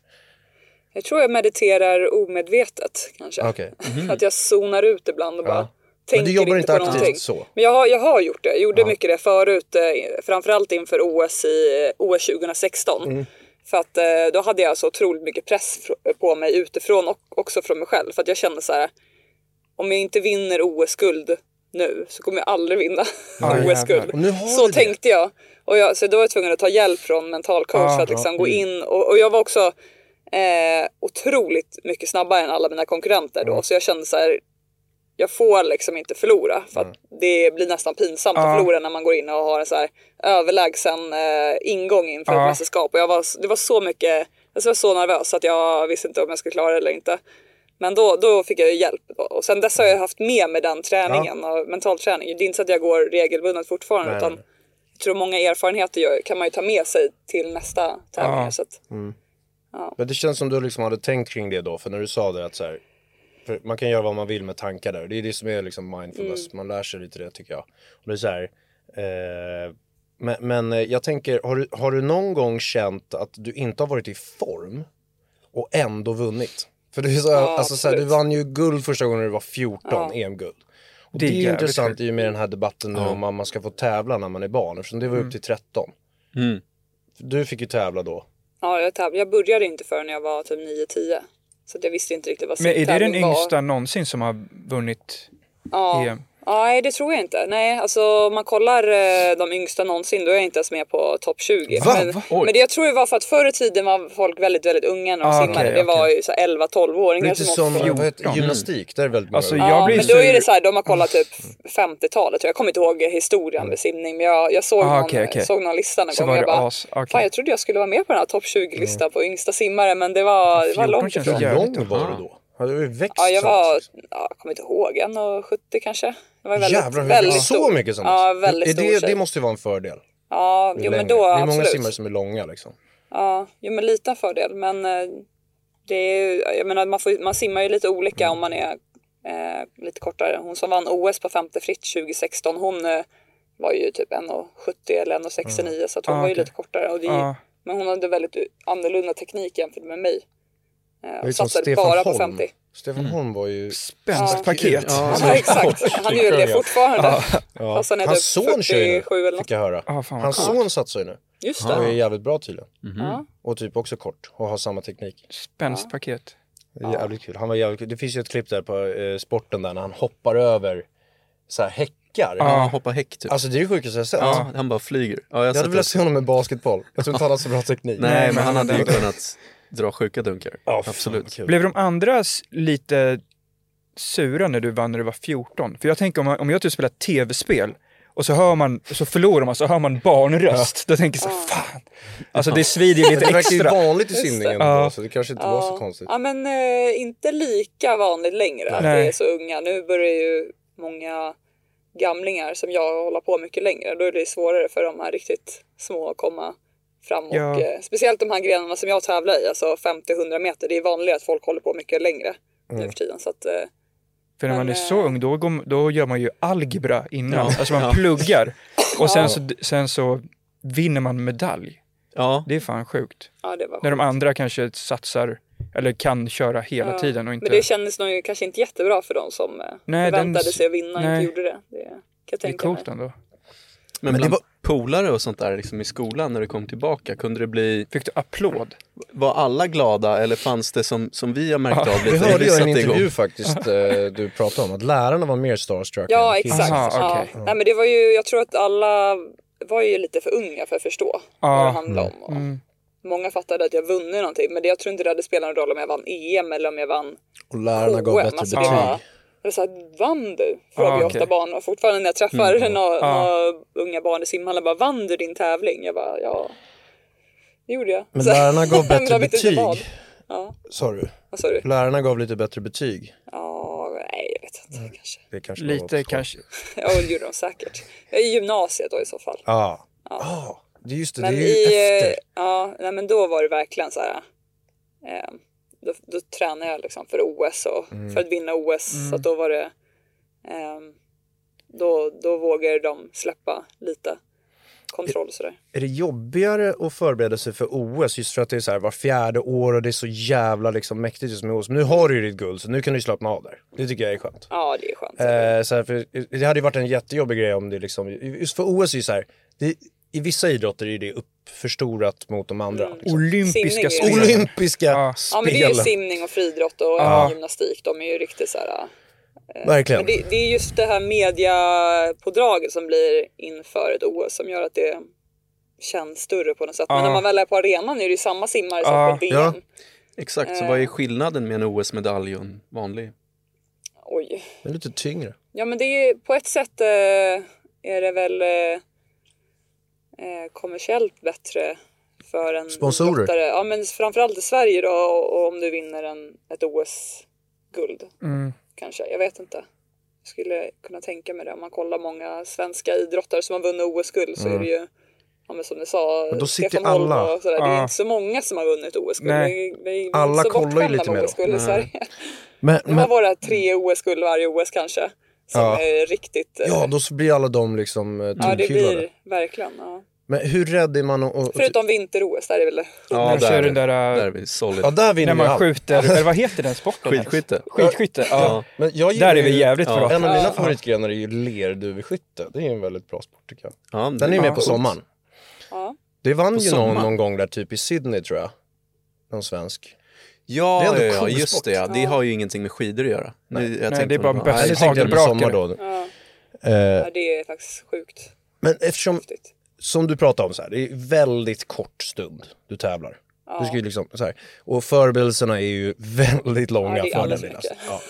[SPEAKER 1] Jag tror jag mediterar omedvetet kanske.
[SPEAKER 7] Okej. Mhm.
[SPEAKER 1] Att jag zonar ut ibland och bara tänker
[SPEAKER 7] Men du jobbar inte
[SPEAKER 1] på
[SPEAKER 7] aktivt
[SPEAKER 1] någonting.
[SPEAKER 7] så?
[SPEAKER 1] Men jag har, jag har gjort det. Jag gjorde mycket det förut, eh, framförallt inför OS i eh, OS 2016.
[SPEAKER 7] Mm.
[SPEAKER 1] För att eh, då hade jag så otroligt mycket press fr- på mig utifrån och också från mig själv. För att jag kände så här, om jag inte vinner OS-guld nu så kommer jag aldrig vinna
[SPEAKER 2] jävlar.
[SPEAKER 1] OS-guld.
[SPEAKER 7] Och nu har
[SPEAKER 1] Så
[SPEAKER 7] du det.
[SPEAKER 1] tänkte jag. Och jag. Så då var jag tvungen att ta hjälp från mental coach för att liksom gå
[SPEAKER 7] Mm.
[SPEAKER 1] in. Och, och jag var också eh, otroligt mycket snabbare än alla mina konkurrenter
[SPEAKER 7] Mm.
[SPEAKER 1] då. Så jag kände så här, jag får liksom inte förlora. För att
[SPEAKER 2] Mm.
[SPEAKER 1] det blir nästan pinsamt att förlora när man går in och har en så här överlägsen eh, ingång inför ett mästerskap. Och jag var, det var så mycket, alltså jag var så nervös att jag visste inte om jag skulle klara det eller inte. Men då, då fick jag ju hjälp. Då. Och sen dess har jag haft med mig den träningen och mental träning. Det är inte så att jag går regelbundet fortfarande utan jag tror många erfarenheter gör, kan man ju ta med sig till nästa tävling. Så att,
[SPEAKER 7] Men det känns som du liksom hade tänkt kring det då, för när du sa det att så här, för man kan göra vad man vill med tankar där. Det är det som är liksom mindfulness,
[SPEAKER 6] Mm.
[SPEAKER 7] man lär sig lite det tycker jag. Och det är så här, eh, men, men eh, jag tänker, har du, har du någon gång känt att du inte har varit i form och ändå vunnit? För det är så, här, alltså, så här, du
[SPEAKER 1] absolut.
[SPEAKER 7] vann ju guld första gången när du var 14, EM-guld. Och det
[SPEAKER 2] Det
[SPEAKER 7] är
[SPEAKER 2] är
[SPEAKER 7] ju
[SPEAKER 2] jävligt
[SPEAKER 7] intressant
[SPEAKER 2] sjukt.
[SPEAKER 7] i och med den här debatten nu om man- man ska få tävla när man är barn, eftersom det var upp till 13.
[SPEAKER 6] Mm.
[SPEAKER 7] Du fick ju tävla då.
[SPEAKER 1] ja, jag, täv- jag började inte förrän jag var typ 9-10. Så att jag visste inte riktigt vad
[SPEAKER 2] Men är det den
[SPEAKER 1] simtävling var.
[SPEAKER 2] yngsta någonsin som har vunnit E
[SPEAKER 1] Ja.
[SPEAKER 2] EM?
[SPEAKER 1] Nej, det tror jag inte. Nej, alltså om man kollar eh, de yngsta någonsin, då är jag inte ens med på topp 20.
[SPEAKER 7] Va?
[SPEAKER 1] Men,
[SPEAKER 7] Va?
[SPEAKER 6] Oj.
[SPEAKER 1] men det jag tror det var för att förr i tiden var folk väldigt, väldigt unga när de
[SPEAKER 2] Ah,
[SPEAKER 1] simmade.
[SPEAKER 2] okej,
[SPEAKER 1] det var ju så 11-12-åringar
[SPEAKER 7] Lite som
[SPEAKER 1] ofta-
[SPEAKER 7] vad heter, gymnastik, där är väldigt många
[SPEAKER 2] Alltså,
[SPEAKER 7] unga.
[SPEAKER 2] jag
[SPEAKER 1] Ja,
[SPEAKER 2] blir
[SPEAKER 1] men då är det
[SPEAKER 2] sur.
[SPEAKER 1] så här, de har kollat typ 50-talet. Jag kommer inte ihåg historien med simning, men jag, jag såg,
[SPEAKER 2] Ah,
[SPEAKER 1] någon,
[SPEAKER 2] okej, okej.
[SPEAKER 1] såg någon lista någon
[SPEAKER 2] Så
[SPEAKER 1] gång.
[SPEAKER 2] var
[SPEAKER 1] jag
[SPEAKER 2] det
[SPEAKER 1] bara,
[SPEAKER 2] as, okej.
[SPEAKER 1] fan jag trodde jag skulle vara med på den här topp 20-listan på yngsta simmare, men det var, det var
[SPEAKER 2] 14
[SPEAKER 1] långt
[SPEAKER 2] känns
[SPEAKER 1] ifrån.
[SPEAKER 2] jävligt
[SPEAKER 7] Hur
[SPEAKER 2] Jävligt,
[SPEAKER 7] lång var du då? Hade du växt
[SPEAKER 1] Ja, jag
[SPEAKER 7] sen
[SPEAKER 1] var,
[SPEAKER 7] dess?
[SPEAKER 1] ja, jag kommer inte ihåg, 1,70 kanske. Det var väldigt,
[SPEAKER 7] Jävlar, hur
[SPEAKER 1] väldigt
[SPEAKER 7] så
[SPEAKER 1] stor.
[SPEAKER 7] mycket som
[SPEAKER 1] Ja,
[SPEAKER 7] dess?
[SPEAKER 1] väldigt
[SPEAKER 7] är
[SPEAKER 1] stor
[SPEAKER 7] det,
[SPEAKER 1] tjej.
[SPEAKER 7] det måste ju vara en fördel.
[SPEAKER 1] Ja,
[SPEAKER 7] ju
[SPEAKER 1] jo, men
[SPEAKER 7] längre.
[SPEAKER 1] då
[SPEAKER 7] det är
[SPEAKER 1] absolut.
[SPEAKER 7] många simmare som är långa liksom.
[SPEAKER 1] Ja, jo, men liten fördel. Men eh, det är ju, jag menar, man, får, man simmar ju lite olika
[SPEAKER 7] Mm.
[SPEAKER 1] om man är eh, lite kortare. Hon som vann OS på 50 fritt 2016, hon eh, var ju typ 1,70 eller 1,69
[SPEAKER 7] Mm.
[SPEAKER 1] så att hon
[SPEAKER 2] Ah,
[SPEAKER 1] var ju
[SPEAKER 2] okej.
[SPEAKER 1] lite kortare. Och det, är ju-
[SPEAKER 7] Ah.
[SPEAKER 2] Ja.
[SPEAKER 1] Men hon hade väldigt annorlunda teknik jämfört med mig. Eh,
[SPEAKER 7] är
[SPEAKER 1] och
[SPEAKER 7] som
[SPEAKER 1] satsade
[SPEAKER 7] Stefan
[SPEAKER 1] bara på
[SPEAKER 7] Holm.
[SPEAKER 1] 50.
[SPEAKER 7] Stefan
[SPEAKER 2] Mm.
[SPEAKER 7] Holm var ju...
[SPEAKER 2] Spänst paket.
[SPEAKER 7] Ja.
[SPEAKER 1] Ja, exakt. Han är ju det fortfarande.
[SPEAKER 7] Ja.
[SPEAKER 1] Fast han är
[SPEAKER 7] Hans
[SPEAKER 1] typ
[SPEAKER 7] son kör ju
[SPEAKER 1] 47 eller
[SPEAKER 7] nu,
[SPEAKER 1] något.
[SPEAKER 7] fick jag höra.
[SPEAKER 2] Ja, fan vad Mm-hmm.
[SPEAKER 7] Hans
[SPEAKER 2] coolt.
[SPEAKER 7] son satsar ju nu.
[SPEAKER 1] Just
[SPEAKER 7] Han är
[SPEAKER 1] det.
[SPEAKER 7] jävligt bra tydligen.
[SPEAKER 1] Ja.
[SPEAKER 7] Och typ också kort och har samma teknik.
[SPEAKER 2] Spänst paket.
[SPEAKER 7] Det är jävligt kul. Han var jävligt kul. Det finns ju ett klipp där på eh, sporten där när han hoppar över så här häckar.
[SPEAKER 6] Ja, hoppa häck typ.
[SPEAKER 7] Alltså det är det sjukaste jag har sett.
[SPEAKER 6] ja, han bara flyger. Ja, jag har
[SPEAKER 7] Jag hade
[SPEAKER 6] sett
[SPEAKER 7] velat
[SPEAKER 6] det.
[SPEAKER 7] se honom med basketboll. Jag tror inte han har så bra teknik.
[SPEAKER 6] Nej, men han hade ju
[SPEAKER 2] hade-
[SPEAKER 6] kunnat dra sjuka dunkar.
[SPEAKER 7] Ja, fan,
[SPEAKER 6] Absolut.
[SPEAKER 7] kul.
[SPEAKER 2] Blev de andra s- lite sura när du vann när du var 14? För jag tänker om, man- om jag typ spelar tv-spel och så, hör man, så förlorar man, så hör man barnröst. Då tänker jag så här, fan. Alltså det svider ju
[SPEAKER 7] Men det
[SPEAKER 2] lite
[SPEAKER 7] verkar ju
[SPEAKER 2] extra.
[SPEAKER 7] vanligt i simningen
[SPEAKER 2] Ja.
[SPEAKER 7] då, så det kanske inte var så konstigt.
[SPEAKER 1] Ja men eh, inte lika vanligt längre att det
[SPEAKER 2] Nej.
[SPEAKER 1] är så unga. Nu börjar ju många gamlingar som jag hålla på mycket längre. Då är det svårare för de här riktigt små att komma fram. Och,
[SPEAKER 2] Ja.
[SPEAKER 1] eh, speciellt de här grenarna som jag tävlar i, alltså 50-100 meter. Det är vanligare att folk håller på mycket längre
[SPEAKER 2] Mm.
[SPEAKER 1] nu för tiden. Så att, eh,
[SPEAKER 2] För när man är
[SPEAKER 1] Men,
[SPEAKER 2] så ung då, går, då gör man ju algebra innan.
[SPEAKER 6] Ja.
[SPEAKER 2] Alltså man
[SPEAKER 6] Ja.
[SPEAKER 2] pluggar. Och sen så, sen så vinner man medalj.
[SPEAKER 6] Ja,
[SPEAKER 2] Det är fan sjukt.
[SPEAKER 1] ja, det var
[SPEAKER 2] När de andra kanske satsar eller kan köra hela tiden och inte...
[SPEAKER 1] Men det kändes nog ju kanske inte jättebra för de som eh,
[SPEAKER 2] Nej, den-
[SPEAKER 1] förväntade sig att vinna och
[SPEAKER 2] nej.
[SPEAKER 1] inte gjorde det. Det kan jag
[SPEAKER 2] det är
[SPEAKER 1] tänka mig.
[SPEAKER 2] coolt ändå.
[SPEAKER 6] men,
[SPEAKER 7] Men det
[SPEAKER 6] bland polare och sånt där liksom i skolan när du kom tillbaka, kunde det bli,
[SPEAKER 2] Fick du applåd?
[SPEAKER 6] var alla glada eller fanns det som, som vi har märkt av lite?
[SPEAKER 7] Det hörde jag i en
[SPEAKER 6] satte igång.
[SPEAKER 7] intervju faktiskt eh, du pratade om, att lärarna var mer starstruck.
[SPEAKER 1] Ja,
[SPEAKER 7] än killarna.
[SPEAKER 1] exakt.
[SPEAKER 2] Aha,
[SPEAKER 1] ja.
[SPEAKER 2] okej.
[SPEAKER 1] Nej, men det var ju, jag tror att alla var ju lite för unga för att förstå vad
[SPEAKER 2] Ah,
[SPEAKER 1] det handlade om.
[SPEAKER 2] mm,
[SPEAKER 1] Och Många fattade att jag vunnit någonting, men det, jag tror inte det hade spelat någon roll om jag vann EM eller om jag vann
[SPEAKER 7] Och lärarna gav
[SPEAKER 1] KM.
[SPEAKER 7] bättre
[SPEAKER 1] Alltså,
[SPEAKER 7] betyg.
[SPEAKER 1] det var, jag sa, vann du? Frågar jag
[SPEAKER 2] Ah, okej. Mm. Ah.
[SPEAKER 1] ofta barn. Och fortfarande när jag träffar några, några unga barn i simhallen, bara vann du din tävling? Jag bara, ja, det gjorde jag.
[SPEAKER 7] Men
[SPEAKER 1] Så-
[SPEAKER 7] lärarna gav
[SPEAKER 1] Men
[SPEAKER 7] bättre
[SPEAKER 1] jag vet inte
[SPEAKER 7] betyg.
[SPEAKER 1] vad.
[SPEAKER 7] Sa du?
[SPEAKER 1] Vad sa du?
[SPEAKER 7] Lärarna gav lite bättre betyg.
[SPEAKER 1] Ja, nej, jag vet
[SPEAKER 7] Mm.
[SPEAKER 1] inte kanske.
[SPEAKER 7] Det kanske var
[SPEAKER 2] Lite
[SPEAKER 7] på skoj.
[SPEAKER 2] kanske.
[SPEAKER 1] Ja, det gjorde de säkert. I gymnasiet då i så fall.
[SPEAKER 7] Ja. Ja. Det är just det,
[SPEAKER 1] Men
[SPEAKER 7] det är ju
[SPEAKER 1] i, eh,
[SPEAKER 7] efter.
[SPEAKER 1] ja, nej, men då var det verkligen så här. Eh, då, då tränade jag liksom för OS och
[SPEAKER 7] Mm.
[SPEAKER 1] för att vinna OS. Så att då var det. ehm, då, då vågade de släppa lite kontroll och sådär.
[SPEAKER 7] Är det jobbigare att förbereda sig för OS just för att det är så här var fjärde år och det är så jävla liksom mäktigt just med OS. Men nu har du ju ditt guld så nu kan du ju slappna av där. Det tycker jag är skönt.
[SPEAKER 1] Ja, det är skönt.
[SPEAKER 7] Eh, så här, för det hade ju varit en jättejobbig grej om det liksom, just för OS är ju så här, det, i vissa idrotter är det uppförstorat mot de andra. Liksom.
[SPEAKER 2] Olympiska
[SPEAKER 1] Simning är ju-
[SPEAKER 2] spel.
[SPEAKER 7] Olympiska
[SPEAKER 2] Ja.
[SPEAKER 1] Mm. Ja, men det är ju
[SPEAKER 7] spel.
[SPEAKER 1] simning och friidrott och gymnastik. De är ju riktigt så här.
[SPEAKER 7] Verkligen.
[SPEAKER 1] Men det, det är just det här mediapådraget som blir inför ett OS som gör att det känns större på något sätt. Men när man väl är på arenan är det ju samma simmare som på Eh. VM.
[SPEAKER 7] ja.
[SPEAKER 6] Exakt, så vad är skillnaden med en OS-medalj och en vanlig?
[SPEAKER 1] Oj.
[SPEAKER 7] Det är lite tyngre.
[SPEAKER 1] Ja men det är på ett sätt eh, är det väl eh, eh, kommersiellt bättre för en
[SPEAKER 7] Sponsorer.
[SPEAKER 1] idrottare. Ja men framförallt i Sverige då och, och om du vinner en, ett OS-guld
[SPEAKER 2] Mm.
[SPEAKER 1] kanske. Jag vet inte. Jag skulle kunna tänka mig det. Om man kollar många svenska idrottare som har vunnit OS-guld så är det ju Ja, men som du sa,
[SPEAKER 7] Mm. Men då sitter
[SPEAKER 1] Stefan
[SPEAKER 7] alla-
[SPEAKER 1] Holm och sådär. Det
[SPEAKER 2] Ja.
[SPEAKER 1] är inte så många som har vunnit OS-guld.
[SPEAKER 2] Nej.
[SPEAKER 1] Vi, vi, vi är
[SPEAKER 7] Alla
[SPEAKER 1] inte så
[SPEAKER 7] kollar ju
[SPEAKER 1] bortskämda
[SPEAKER 7] lite
[SPEAKER 1] med
[SPEAKER 7] mer då.
[SPEAKER 1] OS-guld i Sverige.
[SPEAKER 7] Men,
[SPEAKER 1] Det var
[SPEAKER 7] men
[SPEAKER 1] våra tre OS-guld varje OS kanske. Som
[SPEAKER 7] Ja.
[SPEAKER 1] är riktigt... eh,
[SPEAKER 7] ja, då så blir alla de liksom eh,
[SPEAKER 1] ja, det
[SPEAKER 7] tillkullade.
[SPEAKER 1] blir verkligen. Ja.
[SPEAKER 7] Men hur rädd är man att... att-
[SPEAKER 1] Förutom vinter-OS, där är väl det.
[SPEAKER 6] Ja,
[SPEAKER 2] När du kör
[SPEAKER 6] där,
[SPEAKER 2] den
[SPEAKER 6] där
[SPEAKER 2] där, äh,
[SPEAKER 6] är vi solid.
[SPEAKER 7] Ja, där
[SPEAKER 2] när
[SPEAKER 7] vinner
[SPEAKER 2] man
[SPEAKER 7] allt.
[SPEAKER 2] skjuter, eller vad heter den sporten? ens?
[SPEAKER 6] Skidskytte.
[SPEAKER 2] Skidskytte, ja.
[SPEAKER 7] Men jag
[SPEAKER 2] Där
[SPEAKER 7] gillar
[SPEAKER 2] är vi
[SPEAKER 7] ju-
[SPEAKER 2] jävligt
[SPEAKER 6] Ja.
[SPEAKER 2] bra.
[SPEAKER 7] En av mina favoritgrenar är ju lerduveskytte. Det är ju en väldigt bra sport tycker jag.
[SPEAKER 6] Ja, det
[SPEAKER 7] Den är ju med
[SPEAKER 6] coolt.
[SPEAKER 7] på sommaren.
[SPEAKER 1] Ja.
[SPEAKER 7] Det vann ju någon,
[SPEAKER 6] sommaren?
[SPEAKER 7] någon gång där typ i Sydney tror jag. Någon svensk.
[SPEAKER 6] Ja,
[SPEAKER 7] Det är ändå
[SPEAKER 6] ja, ja,
[SPEAKER 7] cool
[SPEAKER 6] just
[SPEAKER 7] sport.
[SPEAKER 6] det. Ja. Det har ju ingenting med skidor att göra. Nej, nu, jag
[SPEAKER 2] Nej,
[SPEAKER 6] tänkte
[SPEAKER 2] det är
[SPEAKER 6] på
[SPEAKER 2] bara bäst-
[SPEAKER 7] Eller
[SPEAKER 2] Nej,
[SPEAKER 7] tänkte jag på sommar
[SPEAKER 2] hagelbrakare.
[SPEAKER 7] då.
[SPEAKER 1] Ja.
[SPEAKER 7] Eh,
[SPEAKER 1] Ja, det är faktiskt sjukt
[SPEAKER 7] men eftersom,
[SPEAKER 1] häftigt.
[SPEAKER 7] som du pratade om så här, det är väldigt kort stund du tävlar. Du ska ju liksom, så här, och förberedelserna är ju väldigt långa
[SPEAKER 1] Ja, det är
[SPEAKER 7] för den
[SPEAKER 1] alldeles
[SPEAKER 7] lilla.
[SPEAKER 1] mycket.
[SPEAKER 7] Ja.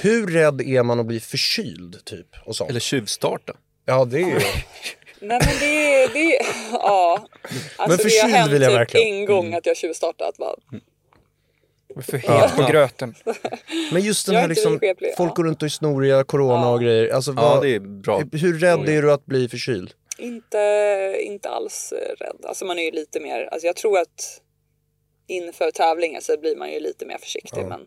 [SPEAKER 7] Hur rädd är man att bli förkyld typ? Och sånt?
[SPEAKER 6] Eller tjuvstarta.
[SPEAKER 7] Ja, det är ju...
[SPEAKER 1] Nej men det, det ja. Alltså, det har
[SPEAKER 7] förkyld
[SPEAKER 1] hänt
[SPEAKER 7] vill jag
[SPEAKER 1] typ
[SPEAKER 7] verkligen. Mm.
[SPEAKER 1] en gång att jag tjuvstartat. Bara,
[SPEAKER 2] För helt på gröten.
[SPEAKER 7] Men just den
[SPEAKER 1] Jag är
[SPEAKER 7] här
[SPEAKER 1] inte
[SPEAKER 7] liksom,
[SPEAKER 1] vidskeplig,
[SPEAKER 7] folk
[SPEAKER 1] ja.
[SPEAKER 7] går runt och är snoriga, corona och grejer. Alltså,
[SPEAKER 6] Ja,
[SPEAKER 7] vad,
[SPEAKER 6] det är bra.
[SPEAKER 7] Hur rädd är du att bli förkyld?
[SPEAKER 1] Inte, inte alls eh, rädd. Alltså man är ju lite mer, alltså jag tror att inför tävlingar så blir man ju lite mer försiktig. Men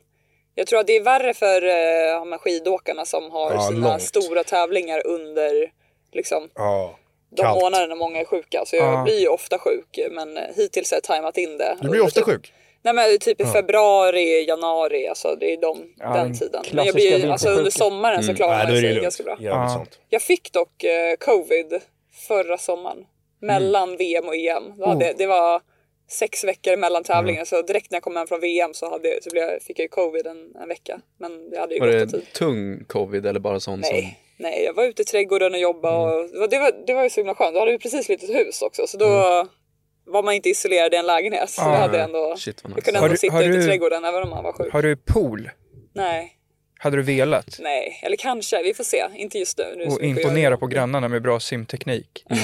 [SPEAKER 1] jag tror att det är värre för eh, de här skidåkarna som har
[SPEAKER 7] Ja,
[SPEAKER 1] sina
[SPEAKER 7] långt.
[SPEAKER 1] stora tävlingar under liksom,
[SPEAKER 7] Ja.
[SPEAKER 1] de
[SPEAKER 7] Kallt.
[SPEAKER 1] månaderna många är sjuka. Så jag blir ju ofta sjuk men eh, hittills har jag tajmat in det.
[SPEAKER 7] Du blir ofta
[SPEAKER 1] Typ-
[SPEAKER 7] sjuk.
[SPEAKER 1] Nej men typ i februari, januari, alltså det är de,
[SPEAKER 2] Ja,
[SPEAKER 1] den
[SPEAKER 2] den
[SPEAKER 1] tiden. Men
[SPEAKER 2] klassiska
[SPEAKER 1] jag blir, alltså under
[SPEAKER 2] vintersjukan.
[SPEAKER 1] sommaren så klarar
[SPEAKER 7] Mm.
[SPEAKER 1] man
[SPEAKER 7] Nej, då är
[SPEAKER 1] sig
[SPEAKER 7] det
[SPEAKER 1] ganska bra.
[SPEAKER 7] lugnt. Gör
[SPEAKER 2] Ja.
[SPEAKER 7] ja. sånt.
[SPEAKER 1] Jag fick dock eh, covid förra sommaren mellan VM och EM. Då hade, Det var sex veckor mellan tävlingar så direkt när jag kom hem från VM så, hade, så blev jag, fick jag ju covid en, en vecka. Men det hade ju
[SPEAKER 6] Var
[SPEAKER 1] gått en
[SPEAKER 6] det
[SPEAKER 1] tid.
[SPEAKER 6] tung covid eller bara sån som...
[SPEAKER 1] Alltså, typ.
[SPEAKER 7] Liksom.
[SPEAKER 1] Nej, nej, jag var ute i trädgården och jobbade och det var, det var, det var ju så himla skönt. Då hade vi precis litet hus också så då var man inte isolerad i en lägenhet. Så jag hade ändå,
[SPEAKER 6] Shit vad
[SPEAKER 1] jag
[SPEAKER 6] nice.
[SPEAKER 1] kunde
[SPEAKER 2] Har
[SPEAKER 1] ändå
[SPEAKER 2] du-
[SPEAKER 1] sitta
[SPEAKER 2] har
[SPEAKER 1] ute i
[SPEAKER 2] du-
[SPEAKER 1] trädgården även om man var sjuk.
[SPEAKER 2] Har du pool?
[SPEAKER 1] Nej,
[SPEAKER 2] Hade du velat?
[SPEAKER 1] nej, eller kanske, vi får se. Inte just nu. nu är det så
[SPEAKER 2] Och
[SPEAKER 1] mycket att göra.
[SPEAKER 2] imponera på grannarna med bra simteknik? Det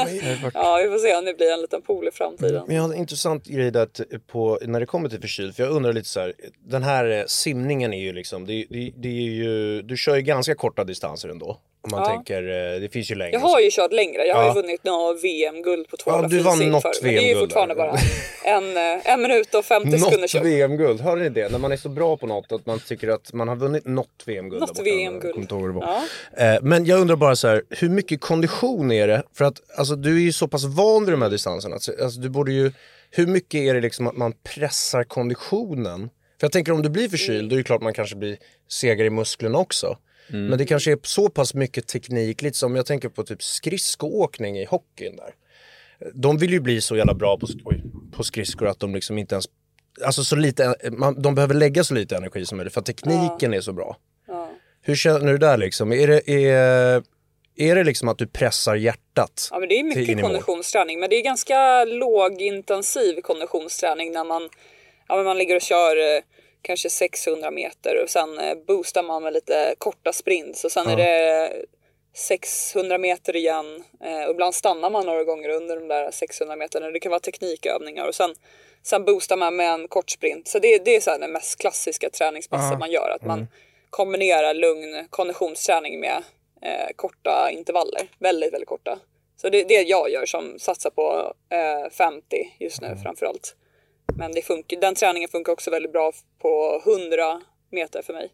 [SPEAKER 2] hade varit-
[SPEAKER 1] Ja, vi får se om det blir en liten pool i framtiden.
[SPEAKER 7] Men jag har en intressant grej där att på, när det kommer till förkyld, för jag undrar lite så här, den här eh, simningen är ju liksom, det, det, det är ju, du kör ju ganska korta distanser ändå. Om man
[SPEAKER 1] Ja.
[SPEAKER 7] tänker, eh, det finns ju längre.
[SPEAKER 1] Jag har ju kört längre. Jag har
[SPEAKER 7] Ja.
[SPEAKER 1] ju vunnit några VM-guld på 200
[SPEAKER 7] Ja, du vann
[SPEAKER 1] frisim
[SPEAKER 7] något
[SPEAKER 1] förr, men Det är ju
[SPEAKER 7] VM-guld
[SPEAKER 1] fortfarande
[SPEAKER 7] där.
[SPEAKER 1] bara en, eh, en minut och 50 sekunder
[SPEAKER 7] Något
[SPEAKER 1] kört.
[SPEAKER 7] VM-guld, hörde ni det? När man är så bra på något att man tycker att man har vunnit något VM-guld.
[SPEAKER 1] Något
[SPEAKER 7] där borta.
[SPEAKER 1] VM-guld.
[SPEAKER 7] Jag kommer inte ihåg vad det var.
[SPEAKER 1] Ja.
[SPEAKER 7] Eh, Men jag undrar bara så här, hur mycket kondition är det? För att alltså, du är ju så pass van vid de här distanserna. Alltså, alltså, du borde ju, hur mycket är det liksom att man pressar konditionen? För jag tänker om du blir
[SPEAKER 1] Mm.
[SPEAKER 7] förkyld, då är det klart man kanske blir segare i musklerna också. Men det kanske är så pass mycket teknik, lite som jag tänker på typ skridskoåkning i hockeyn där. De vill ju bli så jävla bra på, oj, på skridskor att de liksom inte ens, alltså så lite, man, de behöver lägga så lite energi som möjligt för att tekniken är så bra. Hur känner du där liksom? Är det, är, är det liksom att du pressar hjärtat?
[SPEAKER 1] Ja, men det är
[SPEAKER 7] till in i
[SPEAKER 1] mycket
[SPEAKER 7] mål?
[SPEAKER 1] konditionsträning, men det är ganska lågintensiv konditionsträning när man, ja, men man ligger och kör eh, kanske 600 meter och sen eh, boostar man med lite korta sprints och sen är det 600 meter igen eh, och ibland stannar man några gånger under de där 600 meterna. Det kan vara teknikövningar och sen, sen boostar man med en kort sprint. Så det, det är så här den mest klassiska träningspasset man gör, att man kombinerar lugn konditionsträning med eh, korta intervaller, väldigt, väldigt korta. Så det är det jag gör som satsar på eh, 50 just nu framförallt. Men det funkar, den träningen funkar också väldigt bra på 100 meter för mig.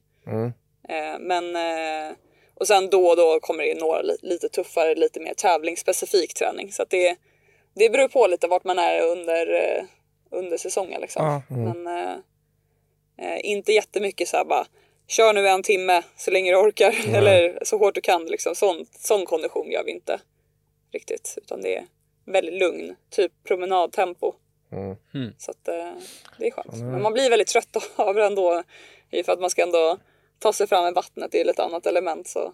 [SPEAKER 1] Eh, men, eh, och sen då och då kommer det in några li- lite tuffare, lite mer tävlingsspecifik träning. Så att det, det beror på lite vart man är under, eh, under säsongen. Liksom.
[SPEAKER 2] Ja.
[SPEAKER 1] Men eh, eh, inte jättemycket så här bara kör nu en timme så länge du orkar eller så hårt du kan. Liksom. Sån, sån kondition gör vi inte riktigt utan det är väldigt lugn, typ promenadtempo. Så att, eh, det är skönt. Men man blir väldigt trött av det ändå i för att man ska ändå ta sig fram med vattnet, det är lite annat element. Så,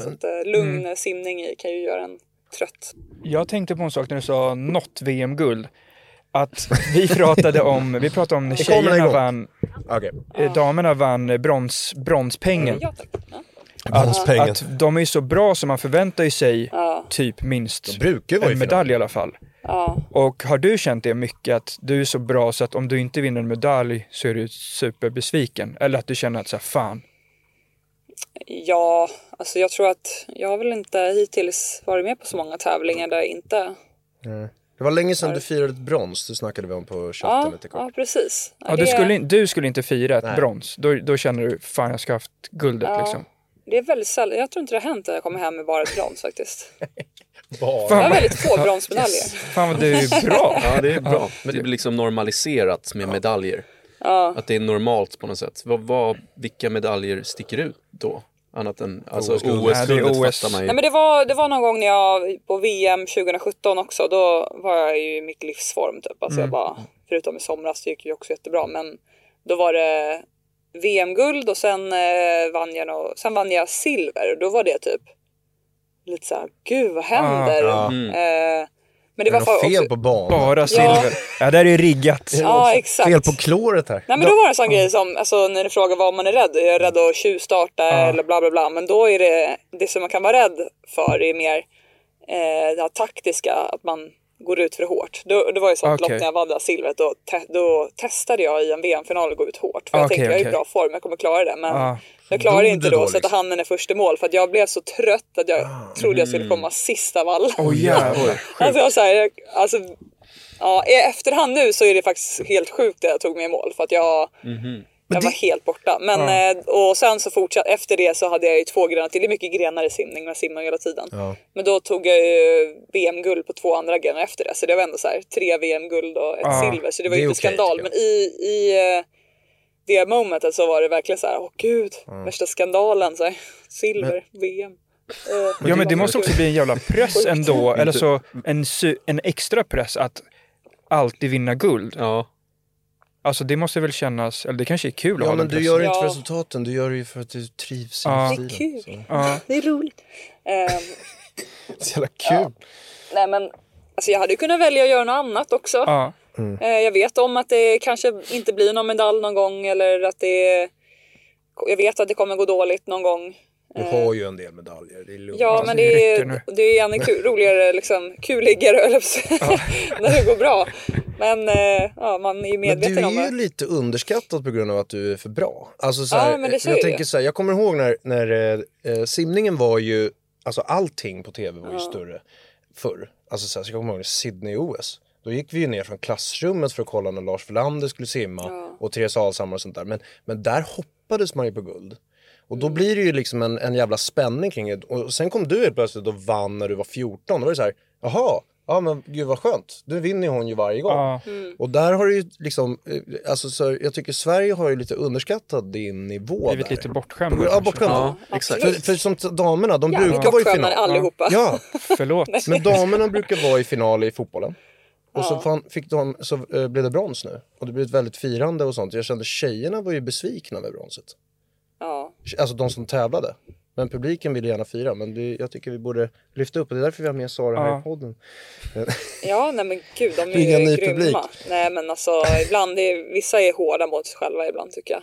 [SPEAKER 1] så att, eh, lugn
[SPEAKER 2] Mm.
[SPEAKER 1] simning i kan ju göra en trött.
[SPEAKER 2] Jag tänkte på en sak när du sa något VM-guld. Att vi pratade om, vi pratade om när
[SPEAKER 7] Det kommer
[SPEAKER 2] tjejerna
[SPEAKER 7] igång.
[SPEAKER 2] vann,
[SPEAKER 7] Okej.
[SPEAKER 2] eh, damerna vann eh, brons, bronspengen.
[SPEAKER 1] Ja, tack. Ja.
[SPEAKER 7] Bronspengen.
[SPEAKER 2] Att de är ju så bra så man förväntar ju sig typ minst
[SPEAKER 7] brukar vara i
[SPEAKER 2] en medalj i alla fall.
[SPEAKER 1] Ja.
[SPEAKER 2] Och har du känt det mycket att du är så bra så att om du inte vinner en medalj så är du superbesviken? Eller att du känner att så här, fan,
[SPEAKER 1] Ja, alltså jag tror att jag har väl inte hittills varit med på så många tävlingar där jag inte...
[SPEAKER 7] Det var länge sedan du firade ett brons, det snackade vi om på chatten
[SPEAKER 1] Ja,
[SPEAKER 7] lite kort.
[SPEAKER 1] ja precis.
[SPEAKER 2] ja, du,
[SPEAKER 1] det,
[SPEAKER 2] skulle, in- du skulle inte fira ett brons. Då, då känner du, fan jag ska ha haft guldet liksom.
[SPEAKER 1] det är väldigt sällan. Jag tror inte det har hänt att jag kommer hem med bara ett brons faktiskt.
[SPEAKER 7] Bara.
[SPEAKER 1] Jag har
[SPEAKER 2] Fan,
[SPEAKER 1] väldigt få bronsmedaljer.
[SPEAKER 2] fan vad du är bra.
[SPEAKER 6] Ja, det är bra. Men det blir liksom normaliserat med medaljer. Att det är normalt på något sätt. Vad, vad, vilka medaljer sticker ut då? Annat än alltså,
[SPEAKER 7] OS-guldet.
[SPEAKER 6] OS-guldet
[SPEAKER 2] Nej, det är OS.
[SPEAKER 6] fattar man ju.
[SPEAKER 1] Nej, men det, var, det var någon gång när jag på VM 2017 också. Då var jag ju i mitt livsform typ. Alltså jag
[SPEAKER 7] Mm.
[SPEAKER 1] bara, förutom i somras, det gick ju också jättebra. Men då var det VM-guld och sen, eh, vann jag nå- sen vann jag silver. Och då var det typ lite så här, gud vad händer? Eh, men det
[SPEAKER 7] Ah, Mm. Är det
[SPEAKER 1] var för,
[SPEAKER 7] något fel
[SPEAKER 1] också,
[SPEAKER 7] på banan?
[SPEAKER 2] Bara silver. Ja, det där är ju riggat.
[SPEAKER 1] Ja, exakt.
[SPEAKER 7] Fel på kloret här.
[SPEAKER 1] Nej men då var det en sån grej som, alltså när du frågar vad man är rädd, är jag rädd att tjuvstarta eller bla bla bla. Men då är det, det som man kan vara rädd för är mer eh, det här taktiska, att man går ut för hårt. Då, det var ju sånt
[SPEAKER 2] Okej.
[SPEAKER 1] lopp när jag vann det här silvret, då, te- då testade jag i en VM-final att gå ut hårt. För jag
[SPEAKER 2] Ah, Okej,
[SPEAKER 1] tänkte jag är i
[SPEAKER 2] okej. Ah.
[SPEAKER 1] bra form, jag kommer klara det. Men
[SPEAKER 2] Ja.
[SPEAKER 1] jag klarade
[SPEAKER 7] Dog
[SPEAKER 1] inte
[SPEAKER 7] du
[SPEAKER 1] då
[SPEAKER 7] då,
[SPEAKER 1] att sätta
[SPEAKER 7] liksom?
[SPEAKER 1] handen i första mål för att jag blev så trött att jag trodde jag skulle komma sist av alla.
[SPEAKER 2] Ah. Mm. Åh jävlar.
[SPEAKER 1] Alltså jag säger, alltså, Mhm. ja, i efterhand nu så är det faktiskt helt sjukt det jag tog mig i mål för att jag Jag
[SPEAKER 7] det-
[SPEAKER 1] var helt borta. Men, eh, och sen så fortsatt, efter det så hade jag ju två grenar till. Det är mycket grenar i simning och jag simmar hela tiden. Men då tog jag ju VM-guld på två andra grenar efter det. Så det var ändå så här, tre VM-guld och ett
[SPEAKER 2] Ja,
[SPEAKER 1] silver. Så det var
[SPEAKER 7] det
[SPEAKER 1] ju
[SPEAKER 7] är
[SPEAKER 1] inte
[SPEAKER 7] okej,
[SPEAKER 1] skandal.
[SPEAKER 7] tycker jag.
[SPEAKER 1] Men i, i eh, det momentet så var det verkligen så här, åh gud, värsta skandalen. Så här, silver, VM. Eh,
[SPEAKER 2] Ja men det
[SPEAKER 1] var
[SPEAKER 2] måste också
[SPEAKER 1] kul.
[SPEAKER 2] bli en jävla press ändå, eller så en, sy- en extra press att alltid vinna guld.
[SPEAKER 6] Ja.
[SPEAKER 2] Alltså det måste väl kännas, eller det kanske är kul att
[SPEAKER 7] Ja
[SPEAKER 2] ha
[SPEAKER 7] men
[SPEAKER 2] den
[SPEAKER 7] du
[SPEAKER 2] pressen.
[SPEAKER 7] gör det inte för
[SPEAKER 1] Ja.
[SPEAKER 7] resultaten, du gör det ju för att du trivs i
[SPEAKER 2] Ja.
[SPEAKER 7] livsstilen.
[SPEAKER 1] Det är kul.
[SPEAKER 2] Ja.
[SPEAKER 1] Det är roligt. Eh,
[SPEAKER 7] Så jävla kul.
[SPEAKER 1] Nej men alltså jag hade ju kunnat välja att göra något annat också.
[SPEAKER 2] Ja.
[SPEAKER 1] Eh, Jag vet om att det kanske inte blir någon medalj någon gång eller att det Jag vet att det kommer gå dåligt någon gång.
[SPEAKER 7] Du har ju en del medaljer, det är lugnt.
[SPEAKER 1] Ja,
[SPEAKER 2] Alltså,
[SPEAKER 1] men
[SPEAKER 2] det
[SPEAKER 1] det
[SPEAKER 2] räcker nu.
[SPEAKER 1] är, det är ännu kul, roligare, liksom, kuligare höll jag på att säga, när det går bra. Men eh, ja, man är ju
[SPEAKER 7] Men du
[SPEAKER 1] medveten om
[SPEAKER 7] är
[SPEAKER 1] det.
[SPEAKER 7] ju lite underskattad på grund av att du är för bra. Alltså så
[SPEAKER 1] Ja,
[SPEAKER 7] här,
[SPEAKER 1] men det
[SPEAKER 7] eh,
[SPEAKER 1] säger
[SPEAKER 7] jag
[SPEAKER 1] jag.
[SPEAKER 7] tänker så här, jag kommer ihåg när, när eh, eh, simningen var ju, alltså allting på tv var ju större förr. Alltså så, här, så jag kommer ihåg Sydney-OS. Då gick vi ju ner från klassrummet för att kolla när Lars Welander skulle simma och Therese Alshammar och sånt där. Men, men där hoppades man ju på guld. Och
[SPEAKER 1] Mm.
[SPEAKER 7] då blir det ju liksom en, en jävla spänning kring det. Och sen kom du helt plötsligt och vann när du var 14. Då var det så här, jaha, ja men gud vad skönt. Nu vinner ju hon ju varje gång.
[SPEAKER 2] Ja.
[SPEAKER 7] Och där har du ju liksom, eh, alltså så jag tycker Sverige har ju lite underskattat din nivå
[SPEAKER 2] Blivit
[SPEAKER 7] där.
[SPEAKER 2] lite bortskämd.
[SPEAKER 7] Ja, bortskämd.
[SPEAKER 6] Ja, exakt.
[SPEAKER 7] För, för som t- damerna, de
[SPEAKER 1] Jävligt
[SPEAKER 7] brukar vara i
[SPEAKER 1] bortskämda
[SPEAKER 7] final.
[SPEAKER 1] allihopa.
[SPEAKER 7] Ja,
[SPEAKER 2] Förlåt.
[SPEAKER 7] men damerna brukar vara i final i fotbollen. Och så, fan, fick de, så eh, blev det brons nu. Och det blev ett väldigt firande och sånt. Jag kände tjejerna var ju besvikna över bronset.
[SPEAKER 1] Ja.
[SPEAKER 7] Alltså de som tävlade. Men publiken ville gärna fira. Men det, jag tycker vi borde lyfta upp. Och det är därför vi har med Sara här
[SPEAKER 2] Ja.
[SPEAKER 7] i podden.
[SPEAKER 1] ja, nej men gud, de är
[SPEAKER 7] Bygga ny
[SPEAKER 1] ju grymma.
[SPEAKER 7] publik.
[SPEAKER 1] Nej men alltså, ibland är, vissa är hårda mot sig själva ibland tycker jag.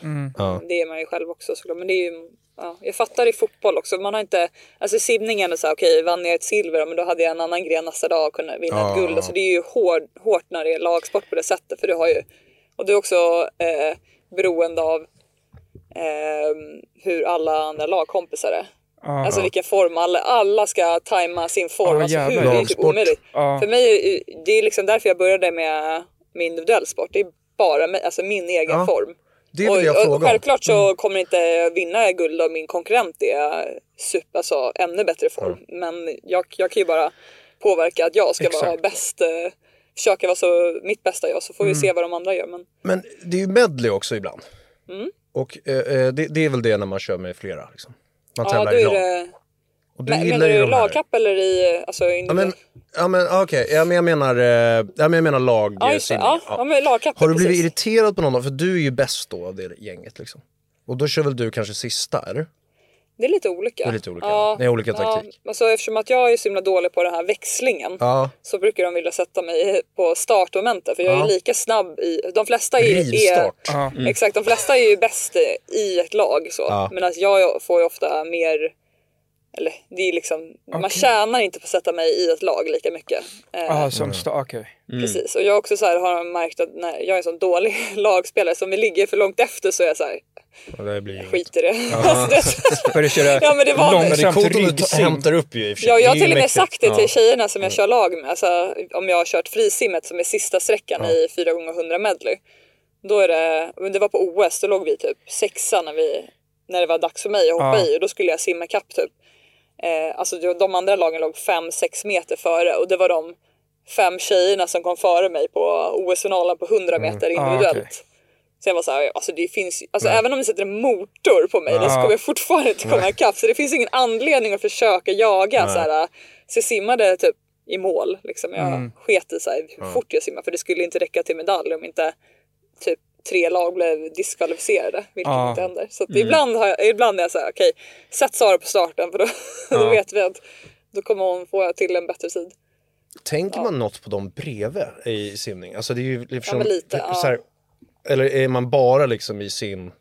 [SPEAKER 1] Det är man ju själv också såklart. Men det är ju, ja, jag fattar i fotboll också. Man har inte, alltså i simningen är så här, okej vann jag ett silver men då hade jag en annan gren nästa dag och kunde vinna ett guld. Alltså det är ju hård, hårt när det är lagsport på det sättet. För du har ju, och du är också eh, beroende av ehm, hur alla andra lagkompisar är. Alltså vilken form, alla, alla ska tajma sin form.
[SPEAKER 2] Ja,
[SPEAKER 1] alltså hur,
[SPEAKER 2] jävlar.
[SPEAKER 1] det är typ
[SPEAKER 7] Lagsport.
[SPEAKER 1] omöjligt.
[SPEAKER 2] Ja.
[SPEAKER 1] För mig, är- det är liksom därför jag började med, med individuell sport. Det är bara mig, alltså min egen
[SPEAKER 7] Ja.
[SPEAKER 1] form.
[SPEAKER 7] Det vill jag fråga om. Mm.
[SPEAKER 1] Självklart så kommer inte vinna guld av min konkurrent är super, alltså, ännu bättre form. Men jag, jag kan ju bara påverka att jag ska vara
[SPEAKER 2] Exakt.
[SPEAKER 1] bäst. Eh, försöka vara så, mitt bästa jag så får vi
[SPEAKER 2] Mm.
[SPEAKER 1] se vad de andra gör. Men
[SPEAKER 7] Men det är ju medley också ibland.
[SPEAKER 1] Mm.
[SPEAKER 7] Och eh, eh, det, det är väl det när man kör med flera. Liksom. Man
[SPEAKER 1] ja,
[SPEAKER 7] tävlar
[SPEAKER 1] då
[SPEAKER 7] i
[SPEAKER 1] är
[SPEAKER 7] rad.
[SPEAKER 1] det,
[SPEAKER 7] Och du
[SPEAKER 1] men,
[SPEAKER 7] gillar
[SPEAKER 1] menar
[SPEAKER 7] ju
[SPEAKER 1] du
[SPEAKER 7] de här.
[SPEAKER 1] lagkapp eller i, alltså,
[SPEAKER 7] Ja men,
[SPEAKER 1] individuell?
[SPEAKER 7] ja, men okej, ja, men jag menar, eh, ja, men jag menar lag.
[SPEAKER 1] Ja,
[SPEAKER 7] eh,
[SPEAKER 1] just det.
[SPEAKER 7] simning.
[SPEAKER 1] Ja,
[SPEAKER 7] Ja.
[SPEAKER 1] ja, men lagkapp.
[SPEAKER 7] Har du blivit
[SPEAKER 1] precis.
[SPEAKER 7] irriterad på någon då? För du är ju bäst då av det gänget liksom. Och då kör väl du kanske sista, eller?
[SPEAKER 1] Det är lite olika.
[SPEAKER 7] Det är lite olika. Det är olika taktik.
[SPEAKER 1] Ja, alltså, eftersom att jag är så himla dålig på den här växlingen
[SPEAKER 7] Ja.
[SPEAKER 1] så brukar de vilja sätta mig på startmomentet för jag är lika snabb i... De flesta är... är
[SPEAKER 7] Rivstart. Mm.
[SPEAKER 2] Ja.
[SPEAKER 1] Exakt, de flesta är ju bäst eh, i ett lag så.
[SPEAKER 7] Ja.
[SPEAKER 1] Medan jag får ju ofta mer... Eller det är liksom... Man tjänar inte på att sätta mig i ett lag lika mycket. Eh,
[SPEAKER 2] Ah, som sta- okej.
[SPEAKER 7] Mm.
[SPEAKER 1] Precis, och jag också så här har märkt att när jag är en sån dålig lagspelare, så om vi ligger för långt efter så är jag så här,
[SPEAKER 7] Ja, det blir ju...
[SPEAKER 1] skit i det. Alltså, det är så-
[SPEAKER 2] Börjar köra
[SPEAKER 1] Ja, men det var-
[SPEAKER 7] Men det är
[SPEAKER 2] långsamt
[SPEAKER 7] coolt om du ta-
[SPEAKER 2] ryggsim.
[SPEAKER 7] hämtar upp ju i och för sig.
[SPEAKER 1] Ja,
[SPEAKER 7] Det
[SPEAKER 1] jag
[SPEAKER 7] är
[SPEAKER 1] har
[SPEAKER 7] ju
[SPEAKER 1] till och med
[SPEAKER 7] mäktigt. Mm.
[SPEAKER 1] sagt det till tjejerna som jag kör lag med. Alltså, om jag har kört frisimmet som är sista sträckan i 4x100 medley. Då är det, men det var på OS, då låg vi typ sexa när, vi, när det var dags för mig att hoppa
[SPEAKER 2] Ja.
[SPEAKER 1] i och då skulle jag simma kapp typ. Eh, alltså det- de andra lagen låg 5-6 meter före och det var de fem tjejerna som kom före mig på OS-finalen på 100 meter
[SPEAKER 2] Ah,
[SPEAKER 1] individuellt.
[SPEAKER 2] okej.
[SPEAKER 1] Så jag var så här, alltså det finns ju- alltså även om ni sätter en motor på mig
[SPEAKER 2] Ah.
[SPEAKER 1] då så kommer jag fortfarande inte komma ikapp. Så det finns ingen anledning att försöka jaga så här. Så jag simmade typ i mål liksom. Jag
[SPEAKER 2] Mm.
[SPEAKER 1] sket i så här, hur fort jag simmade för det skulle inte räcka till medalj om inte typ tre lag blev diskvalificerade, vilket
[SPEAKER 2] Ja.
[SPEAKER 1] inte händer. Så att
[SPEAKER 7] Mm.
[SPEAKER 1] ibland, har jag, ibland är jag så här, okej, sätt Sara på starten för då, då vet vi att då kommer hon få till en bättre tid.
[SPEAKER 7] Tänker man något på dem bredvid i simning? Alltså det är ju liksom...
[SPEAKER 1] men lite,
[SPEAKER 7] så
[SPEAKER 1] ja.
[SPEAKER 7] här, Eller är man bara liksom i sin...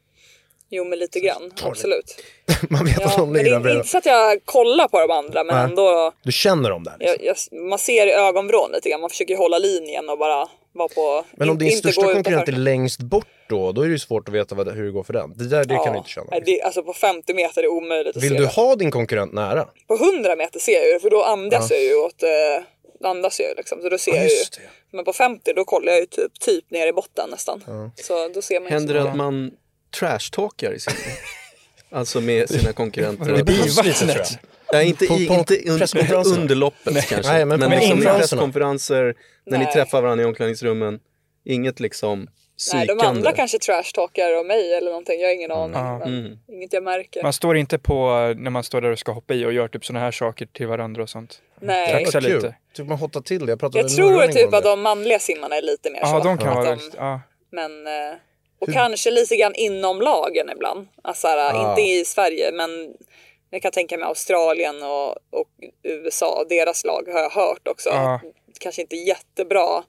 [SPEAKER 1] Jo, men lite grann, absolut.
[SPEAKER 7] Man vet att
[SPEAKER 1] Ja,
[SPEAKER 7] de
[SPEAKER 1] men det
[SPEAKER 7] ligger där
[SPEAKER 1] är
[SPEAKER 7] bredvid.
[SPEAKER 1] inte så att jag kollar på de andra, men
[SPEAKER 7] Nej.
[SPEAKER 1] ändå
[SPEAKER 7] Du känner dem där liksom.
[SPEAKER 1] jag, jag, man ser i ögonvrån lite grann. Man försöker ju hålla linjen och bara vara på...
[SPEAKER 7] Men om
[SPEAKER 1] inte-
[SPEAKER 7] din
[SPEAKER 1] inte
[SPEAKER 7] största
[SPEAKER 1] gå
[SPEAKER 7] konkurrent är
[SPEAKER 1] utanför.
[SPEAKER 7] längst bort då, då är det ju svårt att veta vad, hur det går för den. Det där det kan du inte känna.
[SPEAKER 1] nej, det, alltså på 50 meter är det omöjligt att
[SPEAKER 7] Vill
[SPEAKER 1] se.
[SPEAKER 7] du
[SPEAKER 1] det.
[SPEAKER 7] ha din konkurrent nära?
[SPEAKER 1] På 100 meter ser jag ju det, för då andas jag ju åt... Eh, då andas jag ju liksom, så då ser jag ju.
[SPEAKER 7] just det.
[SPEAKER 1] Men på 50 då kollar jag ju typ, typ ner i botten nästan. Så då ser man ju
[SPEAKER 6] Händer
[SPEAKER 1] så.
[SPEAKER 6] det att man trashtalkar i sin... alltså med sina konkurrenter.
[SPEAKER 2] Det
[SPEAKER 6] Och-
[SPEAKER 2] blir
[SPEAKER 5] behövs lite,
[SPEAKER 2] vattnet.
[SPEAKER 5] tror jag.
[SPEAKER 6] Nej, inte,
[SPEAKER 5] På-
[SPEAKER 6] i,
[SPEAKER 5] på
[SPEAKER 6] inte un-
[SPEAKER 5] presskonferenserna.
[SPEAKER 6] under loppet kanske.
[SPEAKER 5] Nej, men på
[SPEAKER 6] liksom
[SPEAKER 5] konferenserna.
[SPEAKER 6] presskonferenser, när ni
[SPEAKER 1] Nej.
[SPEAKER 6] träffar varandra i omklädningsrummen. Inget liksom psykande.
[SPEAKER 1] Nej, de andra kanske trashtalkar om mig eller någonting. Jag har ingen aning. Men
[SPEAKER 6] Mm.
[SPEAKER 1] Inget jag märker.
[SPEAKER 2] Man står inte på eh, när man står där och ska hoppa i och gör typ såna här saker till varandra och sånt.
[SPEAKER 1] Nej.
[SPEAKER 2] Tack. Fixa
[SPEAKER 5] Vad kul.
[SPEAKER 2] lite.
[SPEAKER 5] Typ man hottar till det. Jag pratade
[SPEAKER 1] Jag
[SPEAKER 5] med
[SPEAKER 1] tror
[SPEAKER 5] Norran
[SPEAKER 1] typ
[SPEAKER 5] igår om
[SPEAKER 1] att
[SPEAKER 5] det.
[SPEAKER 1] de manliga simmarna är lite mer så.
[SPEAKER 2] Ja, de kan
[SPEAKER 1] Att
[SPEAKER 2] vara
[SPEAKER 1] de-
[SPEAKER 2] väldigt, ja.
[SPEAKER 1] Men, eh, och kanske lite grann inom lagen ibland. Alltså, såhär,
[SPEAKER 2] Ah.
[SPEAKER 1] Inte i Sverige, men jag kan tänka mig Australien och, och USA. Deras lag har jag hört också.
[SPEAKER 2] Ja.
[SPEAKER 1] Kanske inte jättebra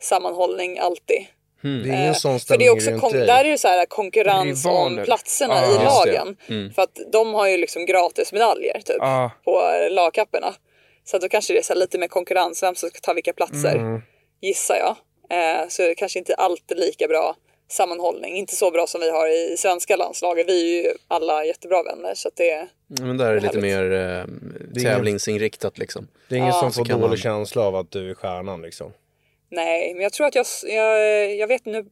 [SPEAKER 1] sammanhållning alltid.
[SPEAKER 5] Det är ingen sån
[SPEAKER 1] Eh, För det är
[SPEAKER 5] stämning
[SPEAKER 1] också
[SPEAKER 5] runt
[SPEAKER 1] kon-
[SPEAKER 5] dig.
[SPEAKER 1] där är det så här eh, konkurrens
[SPEAKER 2] Rivaler.
[SPEAKER 1] om platserna
[SPEAKER 2] Ah,
[SPEAKER 1] i
[SPEAKER 2] just
[SPEAKER 6] det.
[SPEAKER 1] lagen. För att de har ju liksom gratis medaljer typ
[SPEAKER 2] Ah.
[SPEAKER 1] på eh, lagkapperna. Så att då kanske det är så här lite mer konkurrens vem som ska ta vilka platser.
[SPEAKER 5] Mm.
[SPEAKER 1] Gissar jag. Eh, så det är kanske inte alltid lika bra sammanhållning. Inte så bra som vi har i svenska landslaget. Vi är ju alla jättebra vänner så att det
[SPEAKER 6] Ja, Men där är det lite
[SPEAKER 1] Härligt.
[SPEAKER 6] mer eh, tävlingsinriktat liksom.
[SPEAKER 5] Det är ingen som får
[SPEAKER 6] kan
[SPEAKER 5] dålig
[SPEAKER 6] man-
[SPEAKER 5] känsla av att du är stjärnan liksom.
[SPEAKER 1] Nej, men jag tror att jag, jag, jag vet nu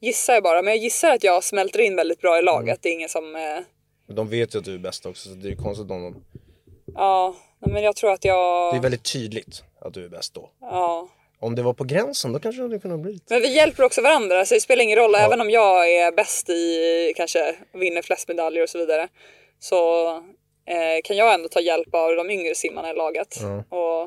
[SPEAKER 1] gissar jag bara, men jag gissar att jag smälter in väldigt bra i laget.
[SPEAKER 5] Mm.
[SPEAKER 1] Det är ingen som eh,
[SPEAKER 5] Men de vet ju att du är bäst också så det är ju konstigt om de...
[SPEAKER 1] Ja, nej, men jag tror att jag...
[SPEAKER 5] Det är väldigt tydligt att du är bäst då.
[SPEAKER 1] ja.
[SPEAKER 5] Om det var på gränsen då kanske det hade kunnat bli lite...
[SPEAKER 1] Men vi hjälper också varandra, så det spelar ingen roll. Även om jag är bäst i kanske vinner flest medaljer och så vidare så eh, kan jag ändå ta hjälp av de yngre simmarna i laget. Och,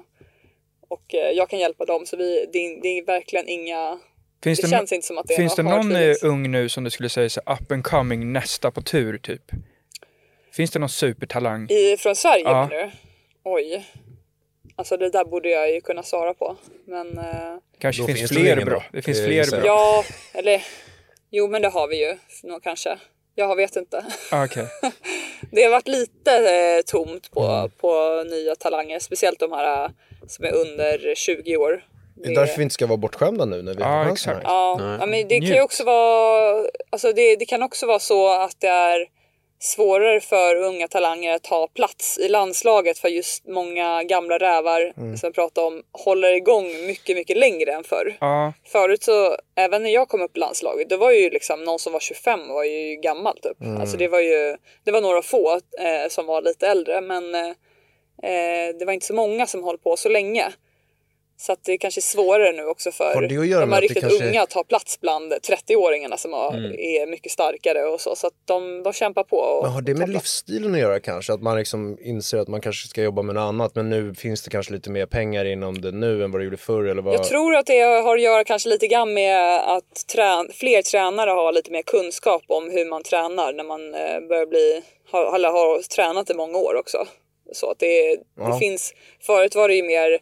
[SPEAKER 1] och eh, jag kan hjälpa dem, så vi, det, är, det är verkligen inga...
[SPEAKER 2] Finns
[SPEAKER 1] Det
[SPEAKER 2] det,
[SPEAKER 1] känns inte som att det är
[SPEAKER 2] finns det
[SPEAKER 1] några hard
[SPEAKER 2] någon eh,
[SPEAKER 1] feelings.
[SPEAKER 2] ung nu som du skulle säga så här, up and coming nästa på tur typ? Finns det någon supertalang?
[SPEAKER 1] I, från Sverige
[SPEAKER 2] Ja.
[SPEAKER 1] nu? Oj. Alltså det där borde jag ju kunna svara på. Men... Eh,
[SPEAKER 2] Kanske
[SPEAKER 5] Då
[SPEAKER 2] finns
[SPEAKER 5] finns det
[SPEAKER 2] fler
[SPEAKER 5] ingen
[SPEAKER 2] bra.
[SPEAKER 5] bra.
[SPEAKER 2] Det finns
[SPEAKER 5] Eh,
[SPEAKER 2] fler
[SPEAKER 5] gissar
[SPEAKER 2] bra.
[SPEAKER 5] jag.
[SPEAKER 2] Ja.
[SPEAKER 1] Ja, eller jo, men det har vi ju nog kanske. Jag vet inte.
[SPEAKER 2] Ah, Okej.
[SPEAKER 1] Det har varit lite eh, tomt på,
[SPEAKER 5] Mm.
[SPEAKER 1] på nya talanger, speciellt de här eh, som är under 20 år.
[SPEAKER 5] Det är därför vi inte ska vara bortskämda nu när vi
[SPEAKER 2] Ja,
[SPEAKER 5] har
[SPEAKER 2] exakt.
[SPEAKER 5] chansen här.
[SPEAKER 1] Ja, ja, men det kan ju
[SPEAKER 2] njut.
[SPEAKER 1] också vara, alltså det, det kan också vara så att det är svårare för unga talanger att ta plats i landslaget för just många gamla rävar
[SPEAKER 5] Mm.
[SPEAKER 1] som jag pratade om håller igång mycket, mycket längre än förr.
[SPEAKER 2] Ja,
[SPEAKER 1] Förut så, även när jag kom upp i landslaget, det var ju liksom någon som var 25 var ju gammal typ.
[SPEAKER 5] Mm.
[SPEAKER 1] Alltså det var ju, det var några få eh, som var lite äldre men eh, eh, det var inte så många som höll på så länge. Så att det är kanske är svårare nu också för
[SPEAKER 5] Har det att göra
[SPEAKER 1] de
[SPEAKER 5] med
[SPEAKER 1] här
[SPEAKER 5] att det
[SPEAKER 1] riktigt
[SPEAKER 5] kanske- Mm.
[SPEAKER 1] unga att ta plats bland 30-åringarna som har, är mycket starkare och så. Så att de, de kämpar på. Och
[SPEAKER 5] Men har det
[SPEAKER 1] tar
[SPEAKER 5] med
[SPEAKER 1] plats.
[SPEAKER 5] livsstilen att göra kanske? Att man liksom inser att man kanske ska jobba med något annat men nu finns det kanske lite mer pengar inom det nu än vad det gjorde förr eller vad?
[SPEAKER 1] Jag tror att det har att göra kanske lite grann med att trän- fler tränare har lite mer kunskap om hur man tränar när man eh, börjar bli, har, eller har tränat i många år också. Så att det, det finns, förut var det ju mer,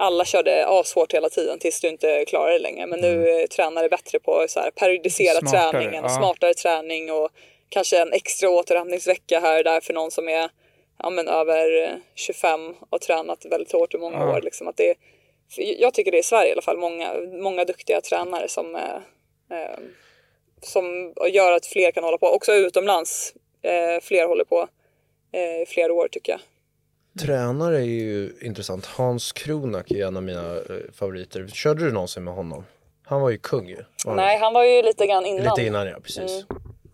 [SPEAKER 1] alla körde ashårt hela tiden tills du inte klarar det längre. Men nu är tränare bättre på så här periodisera
[SPEAKER 2] Smartare,
[SPEAKER 1] träningen,
[SPEAKER 2] ja.
[SPEAKER 1] smartare träning och kanske en extra återhämtningsvecka här och där för någon som är ja, men över eh, 25 och tränat väldigt hårt i många år. Liksom att det, för jag tycker det är i Sverige i alla fall, många, många duktiga tränare som, eh, eh, som gör att fler kan hålla på. Också utomlands, eh, fler håller på eh, i flera år tycker jag.
[SPEAKER 5] Tränare är ju intressant. Hans Kronak är en av mina eh, favoriter. Körde du någonsin med honom? Han var ju kung ju. var han
[SPEAKER 1] Nej, han var ju lite grann
[SPEAKER 5] inte?
[SPEAKER 1] innan.
[SPEAKER 5] Lite innan ja, precis.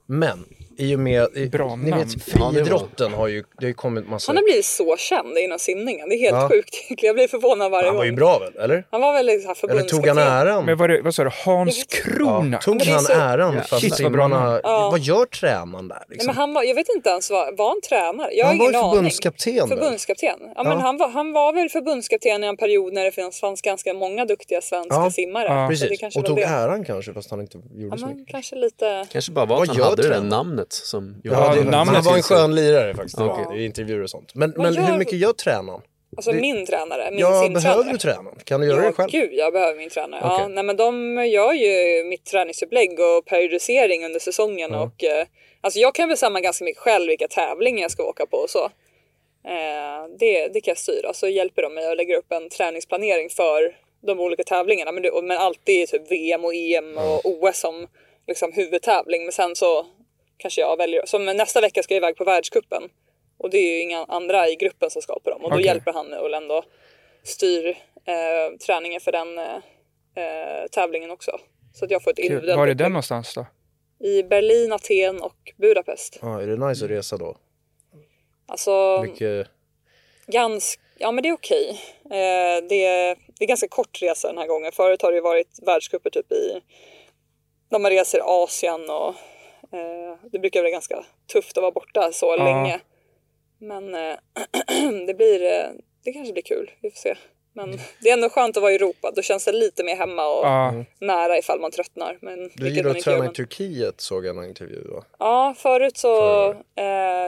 [SPEAKER 5] Men i och med, i,
[SPEAKER 2] Bra
[SPEAKER 5] ni
[SPEAKER 2] namn.
[SPEAKER 5] vet friidrotten har ju, det har ju kommit massa.
[SPEAKER 1] Han har blivit så känd inom simningen, det är helt
[SPEAKER 5] Typ. Ja.
[SPEAKER 1] sjukt egentligen. Jag blir förvånad varje
[SPEAKER 5] han
[SPEAKER 1] gång.
[SPEAKER 5] var ju bra väl, eller?
[SPEAKER 1] Han var väl liksom
[SPEAKER 5] Eller tog han äran?
[SPEAKER 2] men var det, vad sa du, Hans
[SPEAKER 1] Jag vet-
[SPEAKER 2] Krona?
[SPEAKER 5] Ja, tog
[SPEAKER 1] det är
[SPEAKER 5] han
[SPEAKER 1] så-
[SPEAKER 5] äran för att
[SPEAKER 2] Shit, vad bra
[SPEAKER 5] simmarna,
[SPEAKER 2] namn.
[SPEAKER 5] vad gör tränaren där
[SPEAKER 1] Nej,
[SPEAKER 5] liksom?
[SPEAKER 1] men han var, jag vet inte ens, vad, var han tränare? Jag har
[SPEAKER 5] Han var
[SPEAKER 1] ingen
[SPEAKER 5] ju
[SPEAKER 1] aning.
[SPEAKER 5] förbundskapten väl?
[SPEAKER 1] Förbundskapten? Ja, men han var, han var väl förbundskapten i en period när det fanns, fanns ganska många duktiga svenska
[SPEAKER 5] Ja.
[SPEAKER 1] simmare.
[SPEAKER 2] Ja.
[SPEAKER 1] Så det
[SPEAKER 5] Precis,
[SPEAKER 1] kanske
[SPEAKER 5] och
[SPEAKER 1] var
[SPEAKER 5] tog
[SPEAKER 1] det.
[SPEAKER 5] äran kanske fast han inte gjorde
[SPEAKER 1] Ja,
[SPEAKER 5] så
[SPEAKER 1] men
[SPEAKER 5] mycket.
[SPEAKER 1] kanske lite...
[SPEAKER 6] Kanske bara var
[SPEAKER 5] Vad
[SPEAKER 6] att han
[SPEAKER 5] gör
[SPEAKER 6] hade det där
[SPEAKER 5] tränaren?
[SPEAKER 6] namnet som
[SPEAKER 2] Ja,
[SPEAKER 5] Ja, det,
[SPEAKER 2] namnet
[SPEAKER 5] men han var en
[SPEAKER 2] finns
[SPEAKER 5] skön lirare faktiskt
[SPEAKER 6] Okej.
[SPEAKER 5] i intervjuer och sånt. Men, men
[SPEAKER 1] gör-
[SPEAKER 5] hur mycket gör tränaren?
[SPEAKER 1] Alltså min tränare, min
[SPEAKER 5] Ja,
[SPEAKER 1] simtränare.
[SPEAKER 5] behöver du tränaren? Kan du göra det
[SPEAKER 1] Ja,
[SPEAKER 5] själv?
[SPEAKER 1] gud, jag behöver min tränare. Ja,
[SPEAKER 5] Okej.
[SPEAKER 1] nej, men de gör ju mitt träningsupplägg och periodisering under säsongen. Och, eh, alltså jag kan bestämma ganska mycket själv vilka tävlingar jag ska åka på och så. Eh, det, det kan jag styra. Så hjälper de mig att lägga upp en träningsplanering för de olika tävlingarna. Men, det, och- men alltid typ VM och EM och OS som liksom huvudtävling. Men sen så kanske jag väljer. Som nästa vecka ska jag iväg på världskuppen. Och det är ju inga andra i gruppen som skapar dem. Och då
[SPEAKER 2] Okej.
[SPEAKER 1] hjälper han mig att ändå styr eh, träningen för den eh, eh, tävlingen också. Så att jag får ett
[SPEAKER 2] Kul.
[SPEAKER 1] individuellt
[SPEAKER 2] Var är
[SPEAKER 1] upplägg.
[SPEAKER 2] den någonstans då?
[SPEAKER 1] i Berlin, Aten och Budapest.
[SPEAKER 5] Ja, är det nice att resa då?
[SPEAKER 1] Alltså,
[SPEAKER 5] Mycket...
[SPEAKER 1] ganska, ja men det är okej. Eh, det, är, det är ganska kort resa den här gången. Förut har det ju varit världscuper typ i, när man reser i Asien och eh, det brukar vara ganska tufft att vara borta så länge. Men eh, det blir, eh, det kanske blir kul, vi får se. Men det är ändå skönt att vara i Europa, då känns det lite mer hemma och
[SPEAKER 2] Mm. Ja,
[SPEAKER 1] nära ifall man tröttnar. Men
[SPEAKER 5] Du
[SPEAKER 1] vilket
[SPEAKER 5] gillar
[SPEAKER 1] man
[SPEAKER 5] att
[SPEAKER 1] inte gör.
[SPEAKER 5] träna i
[SPEAKER 1] Men...
[SPEAKER 5] Turkiet såg jag i en intervju va?
[SPEAKER 1] Ja, förut så... Eh,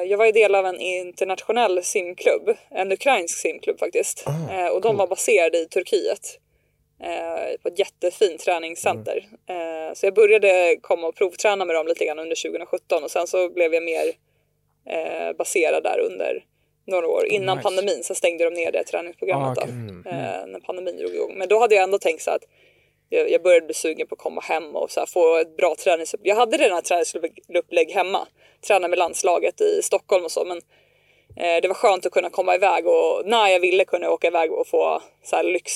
[SPEAKER 1] jag var ju del av en internationell simklubb. En ukrainsk simklubb faktiskt.
[SPEAKER 5] Ah,
[SPEAKER 1] eh, och de var baserade i Turkiet. Eh, på ett jättefint träningscenter. Eh, så jag började komma och provträna med dem lite grann under 2017 och sen så blev jag mer eh, baserad där under några år innan
[SPEAKER 2] nice.
[SPEAKER 1] pandemin. Sen stängde de ner det träningsprogrammet
[SPEAKER 2] Ah, okej.
[SPEAKER 1] då,
[SPEAKER 5] Mm.
[SPEAKER 1] eh, när pandemin drog igång. Men då hade jag ändå tänkt så att jag, jag började bli sugen på att komma hem och så här få ett bra träningsupplägg. Jag hade redan ett träningsupplägg hemma, tränade med landslaget i Stockholm och så, men eh, det var skönt att kunna komma iväg och när jag ville kunna åka iväg och få så här lyx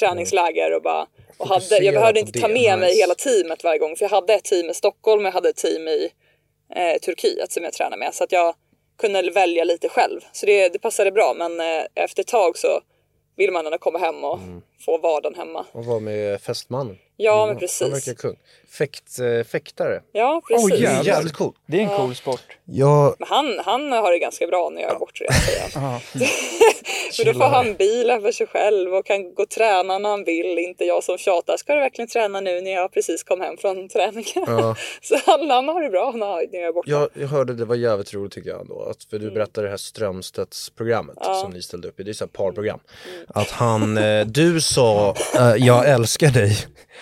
[SPEAKER 1] träningsläger och bara och hade,
[SPEAKER 5] Fokusera
[SPEAKER 1] jag behövde
[SPEAKER 5] på
[SPEAKER 1] inte ta
[SPEAKER 5] det,
[SPEAKER 1] med mig
[SPEAKER 5] nice.
[SPEAKER 1] hela teamet varje gång för jag hade ett team i Stockholm och jag hade ett team i eh, Turkiet som jag tränade med så att jag kunde välja lite själv. Så det, det passade bra men eh, efter ett tag så vill man ändå komma hem och
[SPEAKER 5] Mm.
[SPEAKER 1] få vardagen hemma.
[SPEAKER 5] Och var med fästmannen.
[SPEAKER 1] Ja, men
[SPEAKER 5] Han
[SPEAKER 1] precis.
[SPEAKER 5] Mm, verkar kung. Fäkt, eh, fäktare.
[SPEAKER 1] Ja, precis.
[SPEAKER 2] Oj,
[SPEAKER 5] Det är
[SPEAKER 2] Jävlar.
[SPEAKER 5] jävligt cool.
[SPEAKER 2] det är en cool sport.
[SPEAKER 5] Ja,
[SPEAKER 1] Men han, han har det ganska bra när jag är bortrest. säger han.
[SPEAKER 2] Ja.
[SPEAKER 5] Mm.
[SPEAKER 1] För då får han bilen för sig själv och kan gå och träna när han vill. Inte jag som tjatar. Ska du verkligen träna nu när jag precis kom hem från träningen?
[SPEAKER 5] Ja.
[SPEAKER 1] Så han, han har det bra när jag när jag är borta.
[SPEAKER 5] jag, jag hörde det var jävligt roligt tycker jag ändå. Att,
[SPEAKER 1] Mm.
[SPEAKER 5] för du berättade det här Strömstedts-programmet som ni ställde upp i. Det är så här parprogram.
[SPEAKER 1] Mm.
[SPEAKER 5] Att han, eh, du sa eh, jag älskar dig.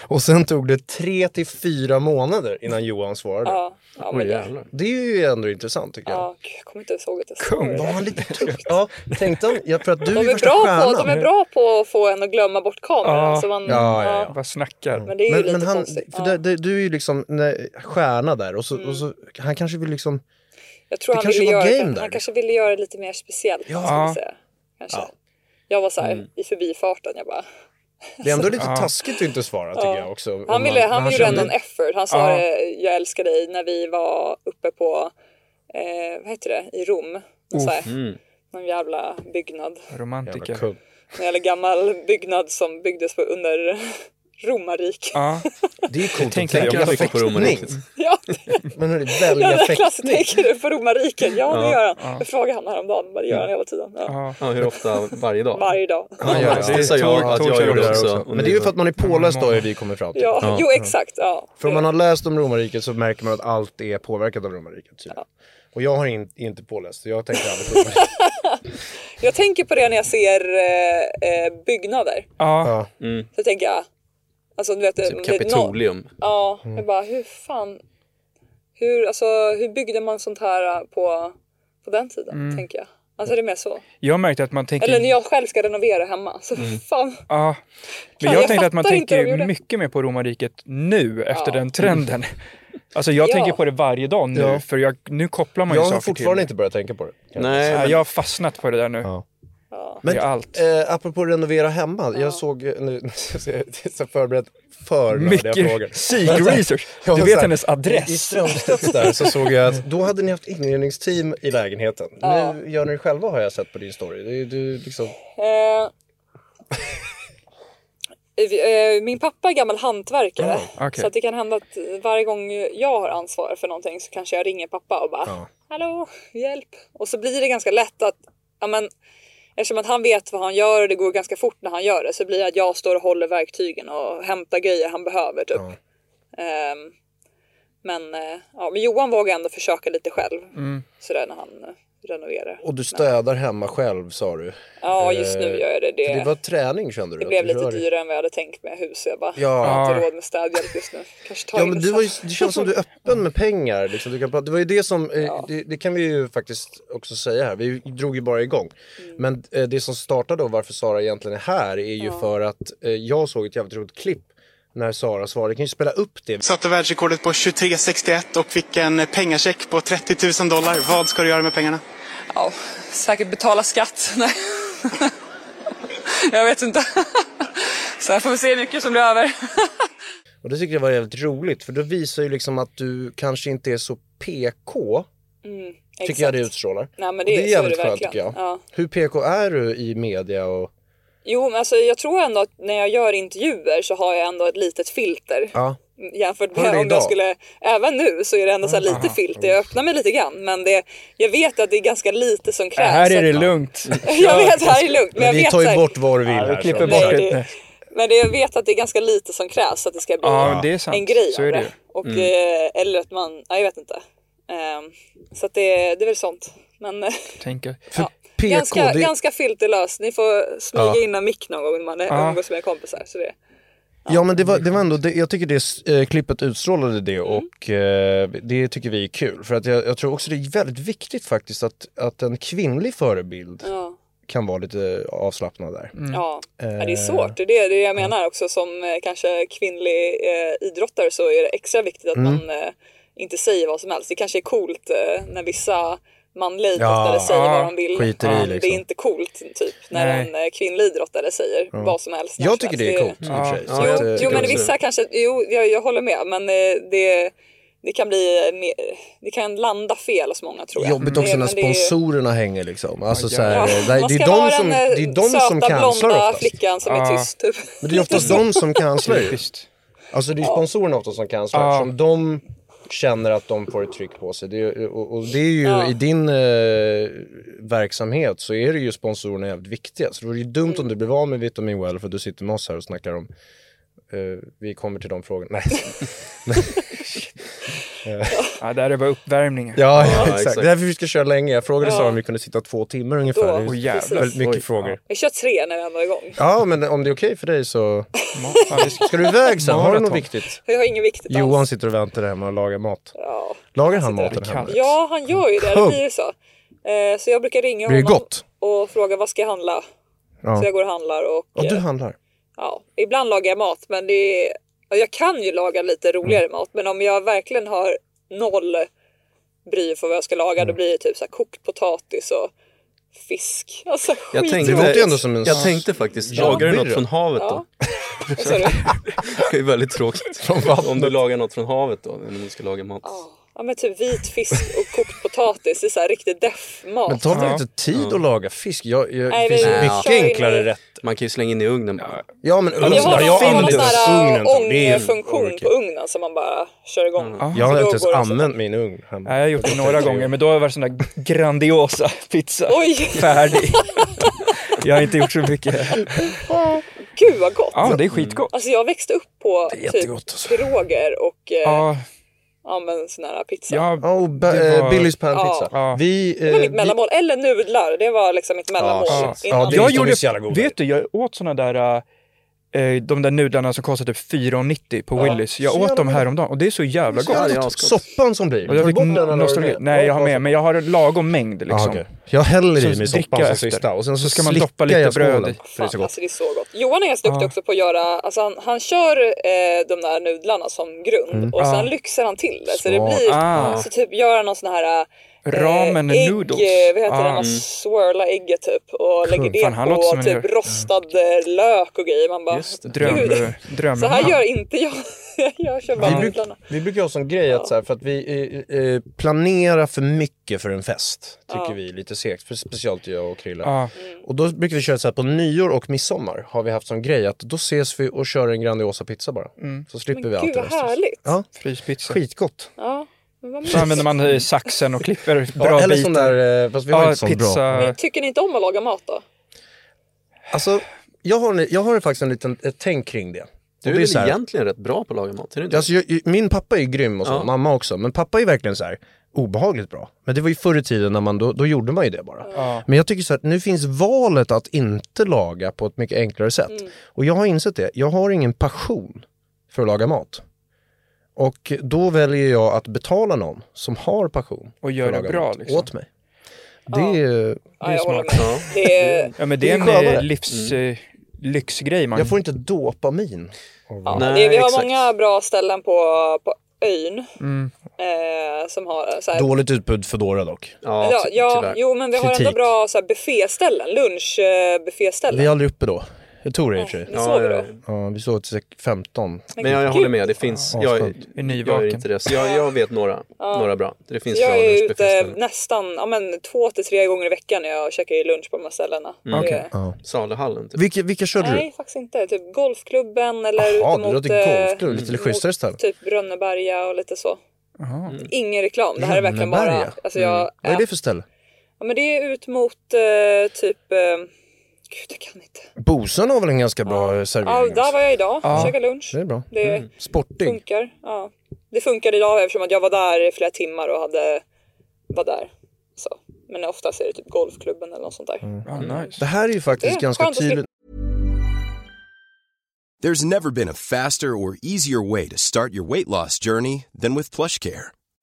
[SPEAKER 5] Och sen tog det tre till fyra månader innan Johan svarade.
[SPEAKER 1] Ja, ja, men det,
[SPEAKER 5] Det är ju ändå intressant tycker jag.
[SPEAKER 1] ja, gud, jag kommer inte ens ihåg att jag sa det.
[SPEAKER 5] Var han lite tukt? Ja, tänkte han, jag tror att du
[SPEAKER 1] De
[SPEAKER 5] är
[SPEAKER 1] är,
[SPEAKER 5] värsta
[SPEAKER 1] bra på,
[SPEAKER 5] stjärnan.
[SPEAKER 1] de är bra på att få en att glömma bort kameran.
[SPEAKER 2] Ja.
[SPEAKER 1] Så man,
[SPEAKER 5] Ja, ja, ja.
[SPEAKER 2] Vad snackar.
[SPEAKER 1] Men det är ju
[SPEAKER 5] Men,
[SPEAKER 1] lite
[SPEAKER 5] men han,
[SPEAKER 1] konstigt.
[SPEAKER 5] för
[SPEAKER 1] ja. Mm.
[SPEAKER 5] det, det, du är ju liksom nej, stjärna där och så, och så han kanske vill liksom,
[SPEAKER 1] Jag tror
[SPEAKER 5] Det
[SPEAKER 1] han
[SPEAKER 5] kanske
[SPEAKER 1] ville,
[SPEAKER 5] var
[SPEAKER 1] göra det,
[SPEAKER 5] game där,
[SPEAKER 1] han
[SPEAKER 5] liksom.
[SPEAKER 1] kanske ville göra det lite mer speciellt. Ja. Ska vi säga. Kanske. Jag var så här
[SPEAKER 5] Mm.
[SPEAKER 1] i förbifarten. Jag bara,
[SPEAKER 5] det är ändå lite taskigt att inte svara tycker jag också. om
[SPEAKER 1] han
[SPEAKER 5] man-
[SPEAKER 1] ville, han
[SPEAKER 5] man
[SPEAKER 1] gjorde ändå
[SPEAKER 5] känner-
[SPEAKER 1] en effort. Han sa
[SPEAKER 2] Ja.
[SPEAKER 1] det, jag älskar dig när vi var uppe på, eh, vad heter det, i Rom. Någon Så här, Någon jävla byggnad.
[SPEAKER 5] Jävla
[SPEAKER 2] Romantiker.
[SPEAKER 5] kung.
[SPEAKER 1] En jävla gammal byggnad som byggdes på under romarriket.
[SPEAKER 2] Ja.
[SPEAKER 5] Det är coolt att
[SPEAKER 2] tänker jag
[SPEAKER 5] tänka
[SPEAKER 2] också
[SPEAKER 6] mycket på romarriket.
[SPEAKER 1] Ja, det
[SPEAKER 5] Men hörru,
[SPEAKER 1] är
[SPEAKER 5] välja
[SPEAKER 1] en klassiker.
[SPEAKER 5] fäktning.
[SPEAKER 1] Tänker du på romarriket? Ja, det gör han. Jag frågade han häromdagen, men det gör han hela tiden. Ja.
[SPEAKER 6] Ja, hur ofta? Varje dag?
[SPEAKER 1] Varje dag.
[SPEAKER 6] Ja,
[SPEAKER 5] gör
[SPEAKER 6] det sa jag
[SPEAKER 2] Tog-
[SPEAKER 6] att
[SPEAKER 2] tog
[SPEAKER 6] jag
[SPEAKER 2] jag
[SPEAKER 6] gjorde
[SPEAKER 2] det
[SPEAKER 6] också.
[SPEAKER 5] Men det är ju för att man är påläst då, är vi kommer fram till.
[SPEAKER 1] Ja, jo exakt. Ja.
[SPEAKER 5] För om man har läst om romarriket så märker man att allt är påverkat av romarriket. Typ. Och jag har in, inte påläst, så jag tänker aldrig på romarriket.
[SPEAKER 1] Jag tänker på det när jag ser eh, eh, byggnader.
[SPEAKER 2] Ja.
[SPEAKER 5] Ja.
[SPEAKER 1] Så tänker jag, alltså du vet...
[SPEAKER 6] Typ
[SPEAKER 1] det är nå-
[SPEAKER 6] Kapitolium.
[SPEAKER 1] Ja, jag bara hur fan... Hur, alltså, hur byggde man sånt här på, på den tiden, tänker jag. Alltså det är mer så.
[SPEAKER 2] Jag märkte att man tänker...
[SPEAKER 1] Eller när jag själv ska renovera hemma. Så fan.
[SPEAKER 2] Ja. Men
[SPEAKER 1] Fan,
[SPEAKER 2] jag,
[SPEAKER 1] jag
[SPEAKER 2] tänkte att man
[SPEAKER 1] fattar inte hur de
[SPEAKER 2] tänker
[SPEAKER 1] gjorde.
[SPEAKER 2] mycket mer på romarriket nu efter den trenden. Alltså jag
[SPEAKER 1] Ja.
[SPEAKER 2] tänker på det varje dag nu,
[SPEAKER 5] Ja.
[SPEAKER 2] för jag, nu kopplar man ju
[SPEAKER 5] Jag
[SPEAKER 2] saker
[SPEAKER 5] har fortfarande
[SPEAKER 2] till
[SPEAKER 5] inte börjat tänka på det.
[SPEAKER 6] Nej,
[SPEAKER 2] det.
[SPEAKER 6] men-
[SPEAKER 2] Nej, Jag har fastnat på det där nu.
[SPEAKER 5] Ja.
[SPEAKER 2] Det är allt.
[SPEAKER 5] Eh, apropå renovera hemma, jag såg eh, nu, det är så förberett för nördiga frågor.
[SPEAKER 2] Mycket psyk research.
[SPEAKER 5] Ja,
[SPEAKER 2] Du
[SPEAKER 5] så
[SPEAKER 2] vet
[SPEAKER 5] här,
[SPEAKER 2] hennes
[SPEAKER 5] I, i
[SPEAKER 2] adress.
[SPEAKER 5] Strömstedt där så såg jag att då hade ni haft inredningsteam i lägenheten. Nu gör ni det själva har jag sett på din story. Det är du liksom...
[SPEAKER 1] Eh, vi- eh, min pappa är gammal hantverkare.
[SPEAKER 5] Oh,
[SPEAKER 2] okej.
[SPEAKER 1] Så att det kan hända att varje gång jag har ansvar för någonting så kanske jag ringer pappa och bara Hallå, hjälp! Och så blir det ganska lätt att, ja men eftersom att han vet vad han gör och det går ganska fort när han gör det så blir det att jag står och håller verktygen och hämtar grejer han behöver typ. Ehm, men, eh, ja, men Johan vågar ändå försöka lite själv sådär när han eh, renoverar.
[SPEAKER 5] Mm. Och du städar hemma själv sa du.
[SPEAKER 1] Ja, just nu
[SPEAKER 5] Eh,
[SPEAKER 1] gör jag det.
[SPEAKER 5] För det var träning kände du?
[SPEAKER 1] Det
[SPEAKER 5] att
[SPEAKER 1] blev
[SPEAKER 5] du
[SPEAKER 1] lite
[SPEAKER 5] rör dig.
[SPEAKER 1] dyrare än vad jag hade tänkt med hus. så Jag bara,
[SPEAKER 5] Ja.
[SPEAKER 1] jag har inte råd med städhjälp just nu. Kanske tar
[SPEAKER 5] Ja
[SPEAKER 1] in
[SPEAKER 5] men
[SPEAKER 1] det
[SPEAKER 5] du
[SPEAKER 1] sen.
[SPEAKER 5] var ju, det känns som du är öppen med pengar. Liksom. Du kan prata, det var ju det som, eh, det, det kan vi ju faktiskt också säga här, vi drog ju bara igång.
[SPEAKER 1] Mm.
[SPEAKER 5] Men eh, det som startade och varför Sara egentligen är här är ju för att eh, jag såg ett jävligt roligt klipp när Sara svarade, kan ju spela upp det.
[SPEAKER 8] Satte världsrekordet på 23,61 och fick en pengacheck på 30 000 dollar. Vad ska du göra med pengarna?
[SPEAKER 1] Ja, säkert betala skatt. Nej. jag vet inte. Sen får vi se hur mycket som blir över.
[SPEAKER 5] Och Och det tycker jag var jävligt roligt för då visar ju liksom att du kanske inte är så PK, tycker jag det utstrålar.
[SPEAKER 1] Mm, Nej, men
[SPEAKER 5] Och
[SPEAKER 1] det-
[SPEAKER 5] det är
[SPEAKER 1] så är
[SPEAKER 5] jävligt
[SPEAKER 1] det
[SPEAKER 5] skönt
[SPEAKER 1] verkligen.
[SPEAKER 5] tycker jag.
[SPEAKER 1] Ja.
[SPEAKER 5] Hur PK är du i media och
[SPEAKER 1] Jo, men alltså, jag tror ändå att när jag gör intervjuer så har jag ändå ett litet filter.
[SPEAKER 5] ja.
[SPEAKER 1] Jämfört
[SPEAKER 5] Har du
[SPEAKER 1] med
[SPEAKER 5] det
[SPEAKER 1] om
[SPEAKER 5] idag? Mm.
[SPEAKER 1] jag skulle, även nu så är det ändå så här lite filter. Jag öppnar mig lite grann men det, jag vet att det är ganska lite
[SPEAKER 5] Äh,
[SPEAKER 1] som krävs.
[SPEAKER 2] här
[SPEAKER 1] Så
[SPEAKER 2] är
[SPEAKER 1] att-
[SPEAKER 2] det lugnt.
[SPEAKER 1] Jag vet, här är lugnt. Men, jag
[SPEAKER 5] vi
[SPEAKER 1] vet
[SPEAKER 5] tar
[SPEAKER 1] så här-
[SPEAKER 5] ju bort vad du vill
[SPEAKER 2] Ja,
[SPEAKER 5] här.
[SPEAKER 2] vi
[SPEAKER 5] så.
[SPEAKER 2] klipper
[SPEAKER 1] Nej,
[SPEAKER 2] bort
[SPEAKER 1] det-
[SPEAKER 2] det. nu.
[SPEAKER 1] Men det, jag vet att det är ganska lite som krävs så att det ska bli
[SPEAKER 2] Ja, det är sant.
[SPEAKER 1] en grej
[SPEAKER 2] Så
[SPEAKER 1] av
[SPEAKER 2] är det Mm.
[SPEAKER 1] det. Och, eh, eller att man, ja, jag vet inte. Ehm, så att det, det är väl sånt. Men eh,
[SPEAKER 2] Tänker.
[SPEAKER 5] För PK,
[SPEAKER 1] ganska,
[SPEAKER 5] det,
[SPEAKER 1] ganska filterlöst. Ni får smyga in en mick någon gång när man
[SPEAKER 2] Ja.
[SPEAKER 1] umgås med kompisar. Så det,
[SPEAKER 5] Ja men det var, det var ändå, det, jag tycker det eh, klippet utstrålade det
[SPEAKER 1] Mm.
[SPEAKER 5] och eh, det tycker vi är kul. För att jag, jag tror också det är väldigt viktigt faktiskt att, att en kvinnlig förebild
[SPEAKER 1] ja.
[SPEAKER 5] kan vara lite avslappnad där.
[SPEAKER 1] Ja. ja,
[SPEAKER 5] Eh,
[SPEAKER 1] det är svårt. Det är det- det är det jag menar också. Som eh, kanske kvinnlig eh, idrottare så är det extra viktigt
[SPEAKER 5] Mm.
[SPEAKER 1] att man eh, inte säger vad som helst. Det kanske är coolt eh, när vissa manliga idrottare säger
[SPEAKER 2] ja,
[SPEAKER 1] vad de vill.
[SPEAKER 5] skiter i
[SPEAKER 1] men Det
[SPEAKER 5] liksom.
[SPEAKER 1] är inte coolt typ när
[SPEAKER 2] Nej.
[SPEAKER 1] en eh, kvinnlig idrottare säger vad som helst. när
[SPEAKER 5] Jag
[SPEAKER 1] som
[SPEAKER 5] tycker
[SPEAKER 1] helst.
[SPEAKER 5] det är coolt i och för sig.
[SPEAKER 6] Ja,
[SPEAKER 5] Så
[SPEAKER 6] jag
[SPEAKER 5] att,
[SPEAKER 6] tycker
[SPEAKER 5] eh,
[SPEAKER 1] Jo, men
[SPEAKER 6] också det.
[SPEAKER 1] vissa kanske, jo, jag, jag håller med, men eh, det, det kan bli, eh, mer- det kan landa fel hos många tror jag.
[SPEAKER 5] Jobbigt också
[SPEAKER 1] Det-
[SPEAKER 5] när
[SPEAKER 1] Mm. men det är ju-
[SPEAKER 5] sponsorerna hänger liksom. Alltså, så
[SPEAKER 1] Ja,
[SPEAKER 5] här, eh,
[SPEAKER 1] man
[SPEAKER 5] det, är
[SPEAKER 1] ska vara
[SPEAKER 5] de som,
[SPEAKER 1] den, eh,
[SPEAKER 5] det är de som
[SPEAKER 1] söta, blonda
[SPEAKER 5] cancelar oftast.
[SPEAKER 1] flickan som är
[SPEAKER 2] Ja.
[SPEAKER 1] tyst typ.
[SPEAKER 5] Men det är oftast de som cancelar ju.
[SPEAKER 2] Typiskt.
[SPEAKER 5] Alltså det är sponsorerna ofta som cancelar.
[SPEAKER 2] Ja.
[SPEAKER 5] Som de känner att de får ett tryck på sig. Det är, och, och det är ju i din eh, verksamhet så är det ju sponsorerna jävligt viktiga. Så det vore ju dumt
[SPEAKER 1] Mm.
[SPEAKER 5] om du blev av med Vitamin Well för att du sitter med oss här och snackar om eh, vi kommer till de frågorna. Nej.
[SPEAKER 2] Ja, där är bara uppvärmningar.
[SPEAKER 5] ja, ja, exakt.
[SPEAKER 6] exakt.
[SPEAKER 5] Det är därför vi ska köra länge. Jag frågade Sara om vi kunde sitta två timmar ungefär.
[SPEAKER 1] Då.
[SPEAKER 5] Det är
[SPEAKER 2] Åh
[SPEAKER 5] ju
[SPEAKER 2] jävlar.
[SPEAKER 5] väldigt mycket
[SPEAKER 6] Oj.
[SPEAKER 5] frågor.
[SPEAKER 1] Vi kör tre när vi ändå är igång.
[SPEAKER 5] Ja. men om det är okej för dig så...
[SPEAKER 2] Ma- ja, det ska-
[SPEAKER 5] Ska du iväg sen? Har du något
[SPEAKER 2] Maraton.
[SPEAKER 5] viktigt?
[SPEAKER 1] Vi har inget viktigt alls.
[SPEAKER 5] Johan sitter och väntar hemma och lagar mat.
[SPEAKER 1] Ja.
[SPEAKER 5] Lagar han
[SPEAKER 1] sitter
[SPEAKER 5] maten
[SPEAKER 2] där.
[SPEAKER 5] hemma?
[SPEAKER 1] ja, han gör ju det. Det blir ju så. Eh, Så jag brukar ringa
[SPEAKER 5] Blir det
[SPEAKER 1] honom
[SPEAKER 5] gott?
[SPEAKER 1] och fråga vad ska jag handla?
[SPEAKER 5] Ja.
[SPEAKER 1] Så jag går och handlar och
[SPEAKER 5] Ja, du
[SPEAKER 1] eh,
[SPEAKER 5] handlar.
[SPEAKER 1] ja, ibland lagar jag mat men det är, ja, jag kan ju laga lite
[SPEAKER 5] Mm.
[SPEAKER 1] roligare mat men om jag verkligen har noll bry för vad jag ska laga
[SPEAKER 5] Mm.
[SPEAKER 1] då blir det typ så här kokt potatis och fisk. Alltså
[SPEAKER 6] Jag
[SPEAKER 1] skittråkigt.
[SPEAKER 6] tänkte,
[SPEAKER 5] Det låter ju ändå som en-
[SPEAKER 6] jag tänkte faktiskt,
[SPEAKER 5] Ja,
[SPEAKER 6] lagar du något
[SPEAKER 5] byrå.
[SPEAKER 6] från havet
[SPEAKER 1] Ja.
[SPEAKER 6] då?
[SPEAKER 1] Vad sa du?
[SPEAKER 6] Det är väldigt tråkigt. Om du lagar något från havet då, när du ska laga mat.
[SPEAKER 1] Ja men typ vit fisk och kokt potatis, det är så här riktig deff-mat.
[SPEAKER 5] Men tar det
[SPEAKER 2] Ja.
[SPEAKER 5] inte tid att laga fisk? Jag, jag,
[SPEAKER 1] Nej,
[SPEAKER 5] det finns
[SPEAKER 1] vi-
[SPEAKER 5] ju
[SPEAKER 1] vi
[SPEAKER 5] mycket
[SPEAKER 1] kör in
[SPEAKER 5] enklare
[SPEAKER 1] i-
[SPEAKER 5] rätt.
[SPEAKER 6] Man kan ju slänga in i ugnen bara.
[SPEAKER 5] Ja men ugn,
[SPEAKER 1] Jag har
[SPEAKER 5] jag
[SPEAKER 1] någon, någon sån här äh,
[SPEAKER 5] ugnen. typ. Det är ju
[SPEAKER 1] ångfunktion på
[SPEAKER 5] overkill.
[SPEAKER 1] ugnen som man bara kör igång.
[SPEAKER 5] Jag har
[SPEAKER 1] Så då
[SPEAKER 5] inte ens
[SPEAKER 1] går det så-
[SPEAKER 5] använt min ugn hemma.
[SPEAKER 2] Nej, jag har gjort det några gånger, men då har det varit sån där grandiosa pizza.
[SPEAKER 1] Oj,
[SPEAKER 2] Färdig. Jag har inte gjort så mycket.
[SPEAKER 1] gud vad gott!
[SPEAKER 2] Ja, det är skitgott.
[SPEAKER 1] Alltså jag växte upp på typ
[SPEAKER 5] jättegott, alltså.
[SPEAKER 1] piroger och eh, ja.
[SPEAKER 2] Ja,
[SPEAKER 1] men sån här pizza.
[SPEAKER 2] ja,
[SPEAKER 5] Ja, och ba-
[SPEAKER 2] Det var-
[SPEAKER 5] eh, Billys panpizza.
[SPEAKER 2] Ja.
[SPEAKER 5] Vi...
[SPEAKER 1] Det var
[SPEAKER 5] Eh,
[SPEAKER 1] mitt
[SPEAKER 5] vi
[SPEAKER 1] mellanmål. Eller nudlar, det var liksom mitt mellanmål.
[SPEAKER 6] Ja,
[SPEAKER 5] shit.
[SPEAKER 1] innan.
[SPEAKER 5] Ja, det-
[SPEAKER 2] jag
[SPEAKER 5] de är så jävla
[SPEAKER 2] gjorde,
[SPEAKER 5] goda.
[SPEAKER 2] vet du, jag åt såna där, eh, de där nudlarna som kostar typ 4,90 på Willys. Jag
[SPEAKER 5] Så
[SPEAKER 2] åt
[SPEAKER 5] jävla
[SPEAKER 2] dem
[SPEAKER 5] goda.
[SPEAKER 2] häromdagen och det är så jävla
[SPEAKER 5] Ja,
[SPEAKER 2] gott.
[SPEAKER 5] det är asgott. soppan som blir.
[SPEAKER 2] Och jag
[SPEAKER 5] Tar du
[SPEAKER 2] fick
[SPEAKER 5] bort den eller har du
[SPEAKER 2] nostalgi.
[SPEAKER 5] med?
[SPEAKER 2] Nej, jag har med, men jag har en lagom mängd
[SPEAKER 5] Ah,
[SPEAKER 2] liksom.
[SPEAKER 5] okej. Jag häller i
[SPEAKER 2] Så
[SPEAKER 5] mig
[SPEAKER 2] dricka
[SPEAKER 5] soppan som
[SPEAKER 2] efter.
[SPEAKER 5] sista och sen så,
[SPEAKER 2] Så ska man
[SPEAKER 5] slickar
[SPEAKER 2] doppa lite
[SPEAKER 5] jag
[SPEAKER 2] bröd
[SPEAKER 5] skålen,
[SPEAKER 2] i.
[SPEAKER 5] För det är
[SPEAKER 1] Fan,
[SPEAKER 5] så gott.
[SPEAKER 1] alltså det är så gott. Johan är ganska duktig också på att göra, alltså han, han kör eh, de där nudlarna som grund och sen lyxar han till det. Så det
[SPEAKER 5] Smart.
[SPEAKER 1] blir,
[SPEAKER 2] Ah.
[SPEAKER 1] så typ gör han någon sån här
[SPEAKER 2] Ramen
[SPEAKER 1] ägg,
[SPEAKER 2] noodles.
[SPEAKER 1] eh, vad heter det,
[SPEAKER 2] Ah.
[SPEAKER 1] man swirlar ägget typ och lägger det
[SPEAKER 2] Fan, han låter som
[SPEAKER 1] på
[SPEAKER 2] en
[SPEAKER 1] typ
[SPEAKER 2] gör.
[SPEAKER 1] rostad eh, lök och grejer. Man bara,
[SPEAKER 6] Just det.
[SPEAKER 2] Dröm,
[SPEAKER 1] gud.
[SPEAKER 2] dröm.
[SPEAKER 1] Så här gör inte jag. jag kör bara
[SPEAKER 5] Vi, bruk,
[SPEAKER 1] nudlarna.
[SPEAKER 5] vi brukar ha som grej att, så här, för att vi eh, eh, planerar för mycket för en fest, tycker vi är lite segt. För speciellt jag och Krilla.
[SPEAKER 2] Ja.
[SPEAKER 5] Och då brukar vi köra så här på nyår och midsommar har vi haft som grej att då ses vi och kör en Grandiosa pizza bara. Så slipper vi allt
[SPEAKER 1] Mm. Gud
[SPEAKER 5] det
[SPEAKER 1] vad
[SPEAKER 5] resten.
[SPEAKER 1] härligt.
[SPEAKER 5] Ja.
[SPEAKER 2] Fryspizza.
[SPEAKER 5] Skitgott.
[SPEAKER 1] Ja, men vad
[SPEAKER 2] Så
[SPEAKER 1] mysigt.
[SPEAKER 2] använder man eh, saxen och klipper bra
[SPEAKER 5] Ja, eller
[SPEAKER 2] bitar.
[SPEAKER 5] sån där, eh, fast vi har
[SPEAKER 2] ja,
[SPEAKER 5] inte sån
[SPEAKER 2] pizza.
[SPEAKER 5] bra.
[SPEAKER 1] Men tycker ni inte om att laga mat då?
[SPEAKER 5] Alltså, jag har, en- jag har faktiskt en liten ett tänk kring det. Och
[SPEAKER 6] Du är
[SPEAKER 5] det
[SPEAKER 6] väl
[SPEAKER 5] så här-
[SPEAKER 6] egentligen rätt bra på att laga mat? Är du inte?
[SPEAKER 5] Alltså, jag, min pappa är ju grym och så,
[SPEAKER 6] Ja.
[SPEAKER 5] mamma också. Men pappa är verkligen så här obehagligt bra. Men det var ju förr i tiden när man, då, då gjorde man ju det bara. Men jag tycker så här, nu finns valet att inte laga på ett mycket enklare sätt.
[SPEAKER 1] Mm.
[SPEAKER 5] Och jag har insett det, jag har ingen passion för att laga mat. Och då väljer jag att betala någon som har passion
[SPEAKER 2] Och
[SPEAKER 5] för
[SPEAKER 2] gör
[SPEAKER 5] att
[SPEAKER 2] det
[SPEAKER 5] laga
[SPEAKER 2] bra,
[SPEAKER 5] mat
[SPEAKER 2] liksom.
[SPEAKER 5] åt mig. Det är,
[SPEAKER 1] Ja, jag håller med.
[SPEAKER 6] Ja.
[SPEAKER 1] Det är,
[SPEAKER 2] Ja, men det
[SPEAKER 5] Det är
[SPEAKER 2] är en
[SPEAKER 5] skönare.
[SPEAKER 2] eh, livs, eh, lyxgrej man
[SPEAKER 5] jag får inte dopamin.
[SPEAKER 1] Ja,
[SPEAKER 6] Nej,
[SPEAKER 1] det, vi har
[SPEAKER 6] exakt.
[SPEAKER 1] många bra ställen på, på ön
[SPEAKER 7] Mm.
[SPEAKER 1] eh, som har så här,
[SPEAKER 5] Dåligt utbud Foodora dock.
[SPEAKER 6] Ja,
[SPEAKER 1] ja,
[SPEAKER 6] ty-
[SPEAKER 1] ja,
[SPEAKER 6] tyvärr.
[SPEAKER 1] jo men vi har
[SPEAKER 5] Kritik.
[SPEAKER 1] ändå bra så här, bufféställen, lunchbufféställen.
[SPEAKER 5] Vi är aldrig uppe då.
[SPEAKER 7] Jag tog det i och för sig.
[SPEAKER 1] Ni såg det
[SPEAKER 6] ja,
[SPEAKER 1] då?
[SPEAKER 6] ja.
[SPEAKER 7] Ja, vi såg till 15.
[SPEAKER 6] Men jag, jag håller med, det finns,
[SPEAKER 7] Ja,
[SPEAKER 6] jag,
[SPEAKER 7] skönt.
[SPEAKER 2] Är
[SPEAKER 6] jag är
[SPEAKER 2] nyvaken.
[SPEAKER 6] inte det. Så jag, jag vet några, några bra. Det finns bra
[SPEAKER 1] Jag är ute
[SPEAKER 6] lunchbufféställen.
[SPEAKER 1] nästan ja, men, två till tre gånger i veckan när jag käkar lunch på de här ställena. Det-
[SPEAKER 2] Okej.
[SPEAKER 6] Saluhallen typ.
[SPEAKER 7] Vilka, vilka körde
[SPEAKER 1] Nej, faktiskt inte. Typ golfklubben eller
[SPEAKER 7] Jaha,
[SPEAKER 1] ute
[SPEAKER 7] det
[SPEAKER 1] mot...
[SPEAKER 7] låter
[SPEAKER 1] eh,
[SPEAKER 7] golfklubb, lite
[SPEAKER 1] mot
[SPEAKER 7] schysstare ställe.
[SPEAKER 1] Typ Rönneberga och lite så.
[SPEAKER 2] Jaha.
[SPEAKER 1] Ingen reklam. Det här är verkligen bara...
[SPEAKER 7] Rönneberga?
[SPEAKER 1] Alltså jag
[SPEAKER 7] du? Vad är
[SPEAKER 1] ä-
[SPEAKER 7] det för ställe?
[SPEAKER 1] ja, men det är ut mot eh, typ... Eh, gud, jag kan inte.
[SPEAKER 7] Bosön har väl en ganska bra eh,
[SPEAKER 1] Ja,
[SPEAKER 7] servering?
[SPEAKER 1] där
[SPEAKER 7] också?
[SPEAKER 1] var jag idag.
[SPEAKER 2] Ja.
[SPEAKER 1] Käkade lunch.
[SPEAKER 7] Det är bra. Mm.
[SPEAKER 1] Det
[SPEAKER 7] Sportig.
[SPEAKER 1] funkar. Ja. Det funkar idag eftersom att jag var där i flera timmar och hade... Var där. Så. Men oftast är det typ golfklubben eller något sånt där.
[SPEAKER 2] Ja, ah, nice.
[SPEAKER 7] Mm. Det här är ju faktiskt
[SPEAKER 1] Det är
[SPEAKER 7] ganska
[SPEAKER 1] skönt att slippa.
[SPEAKER 7] tydligt.
[SPEAKER 9] There's never been a faster or easier way to start your weight loss journey than with PlushCare.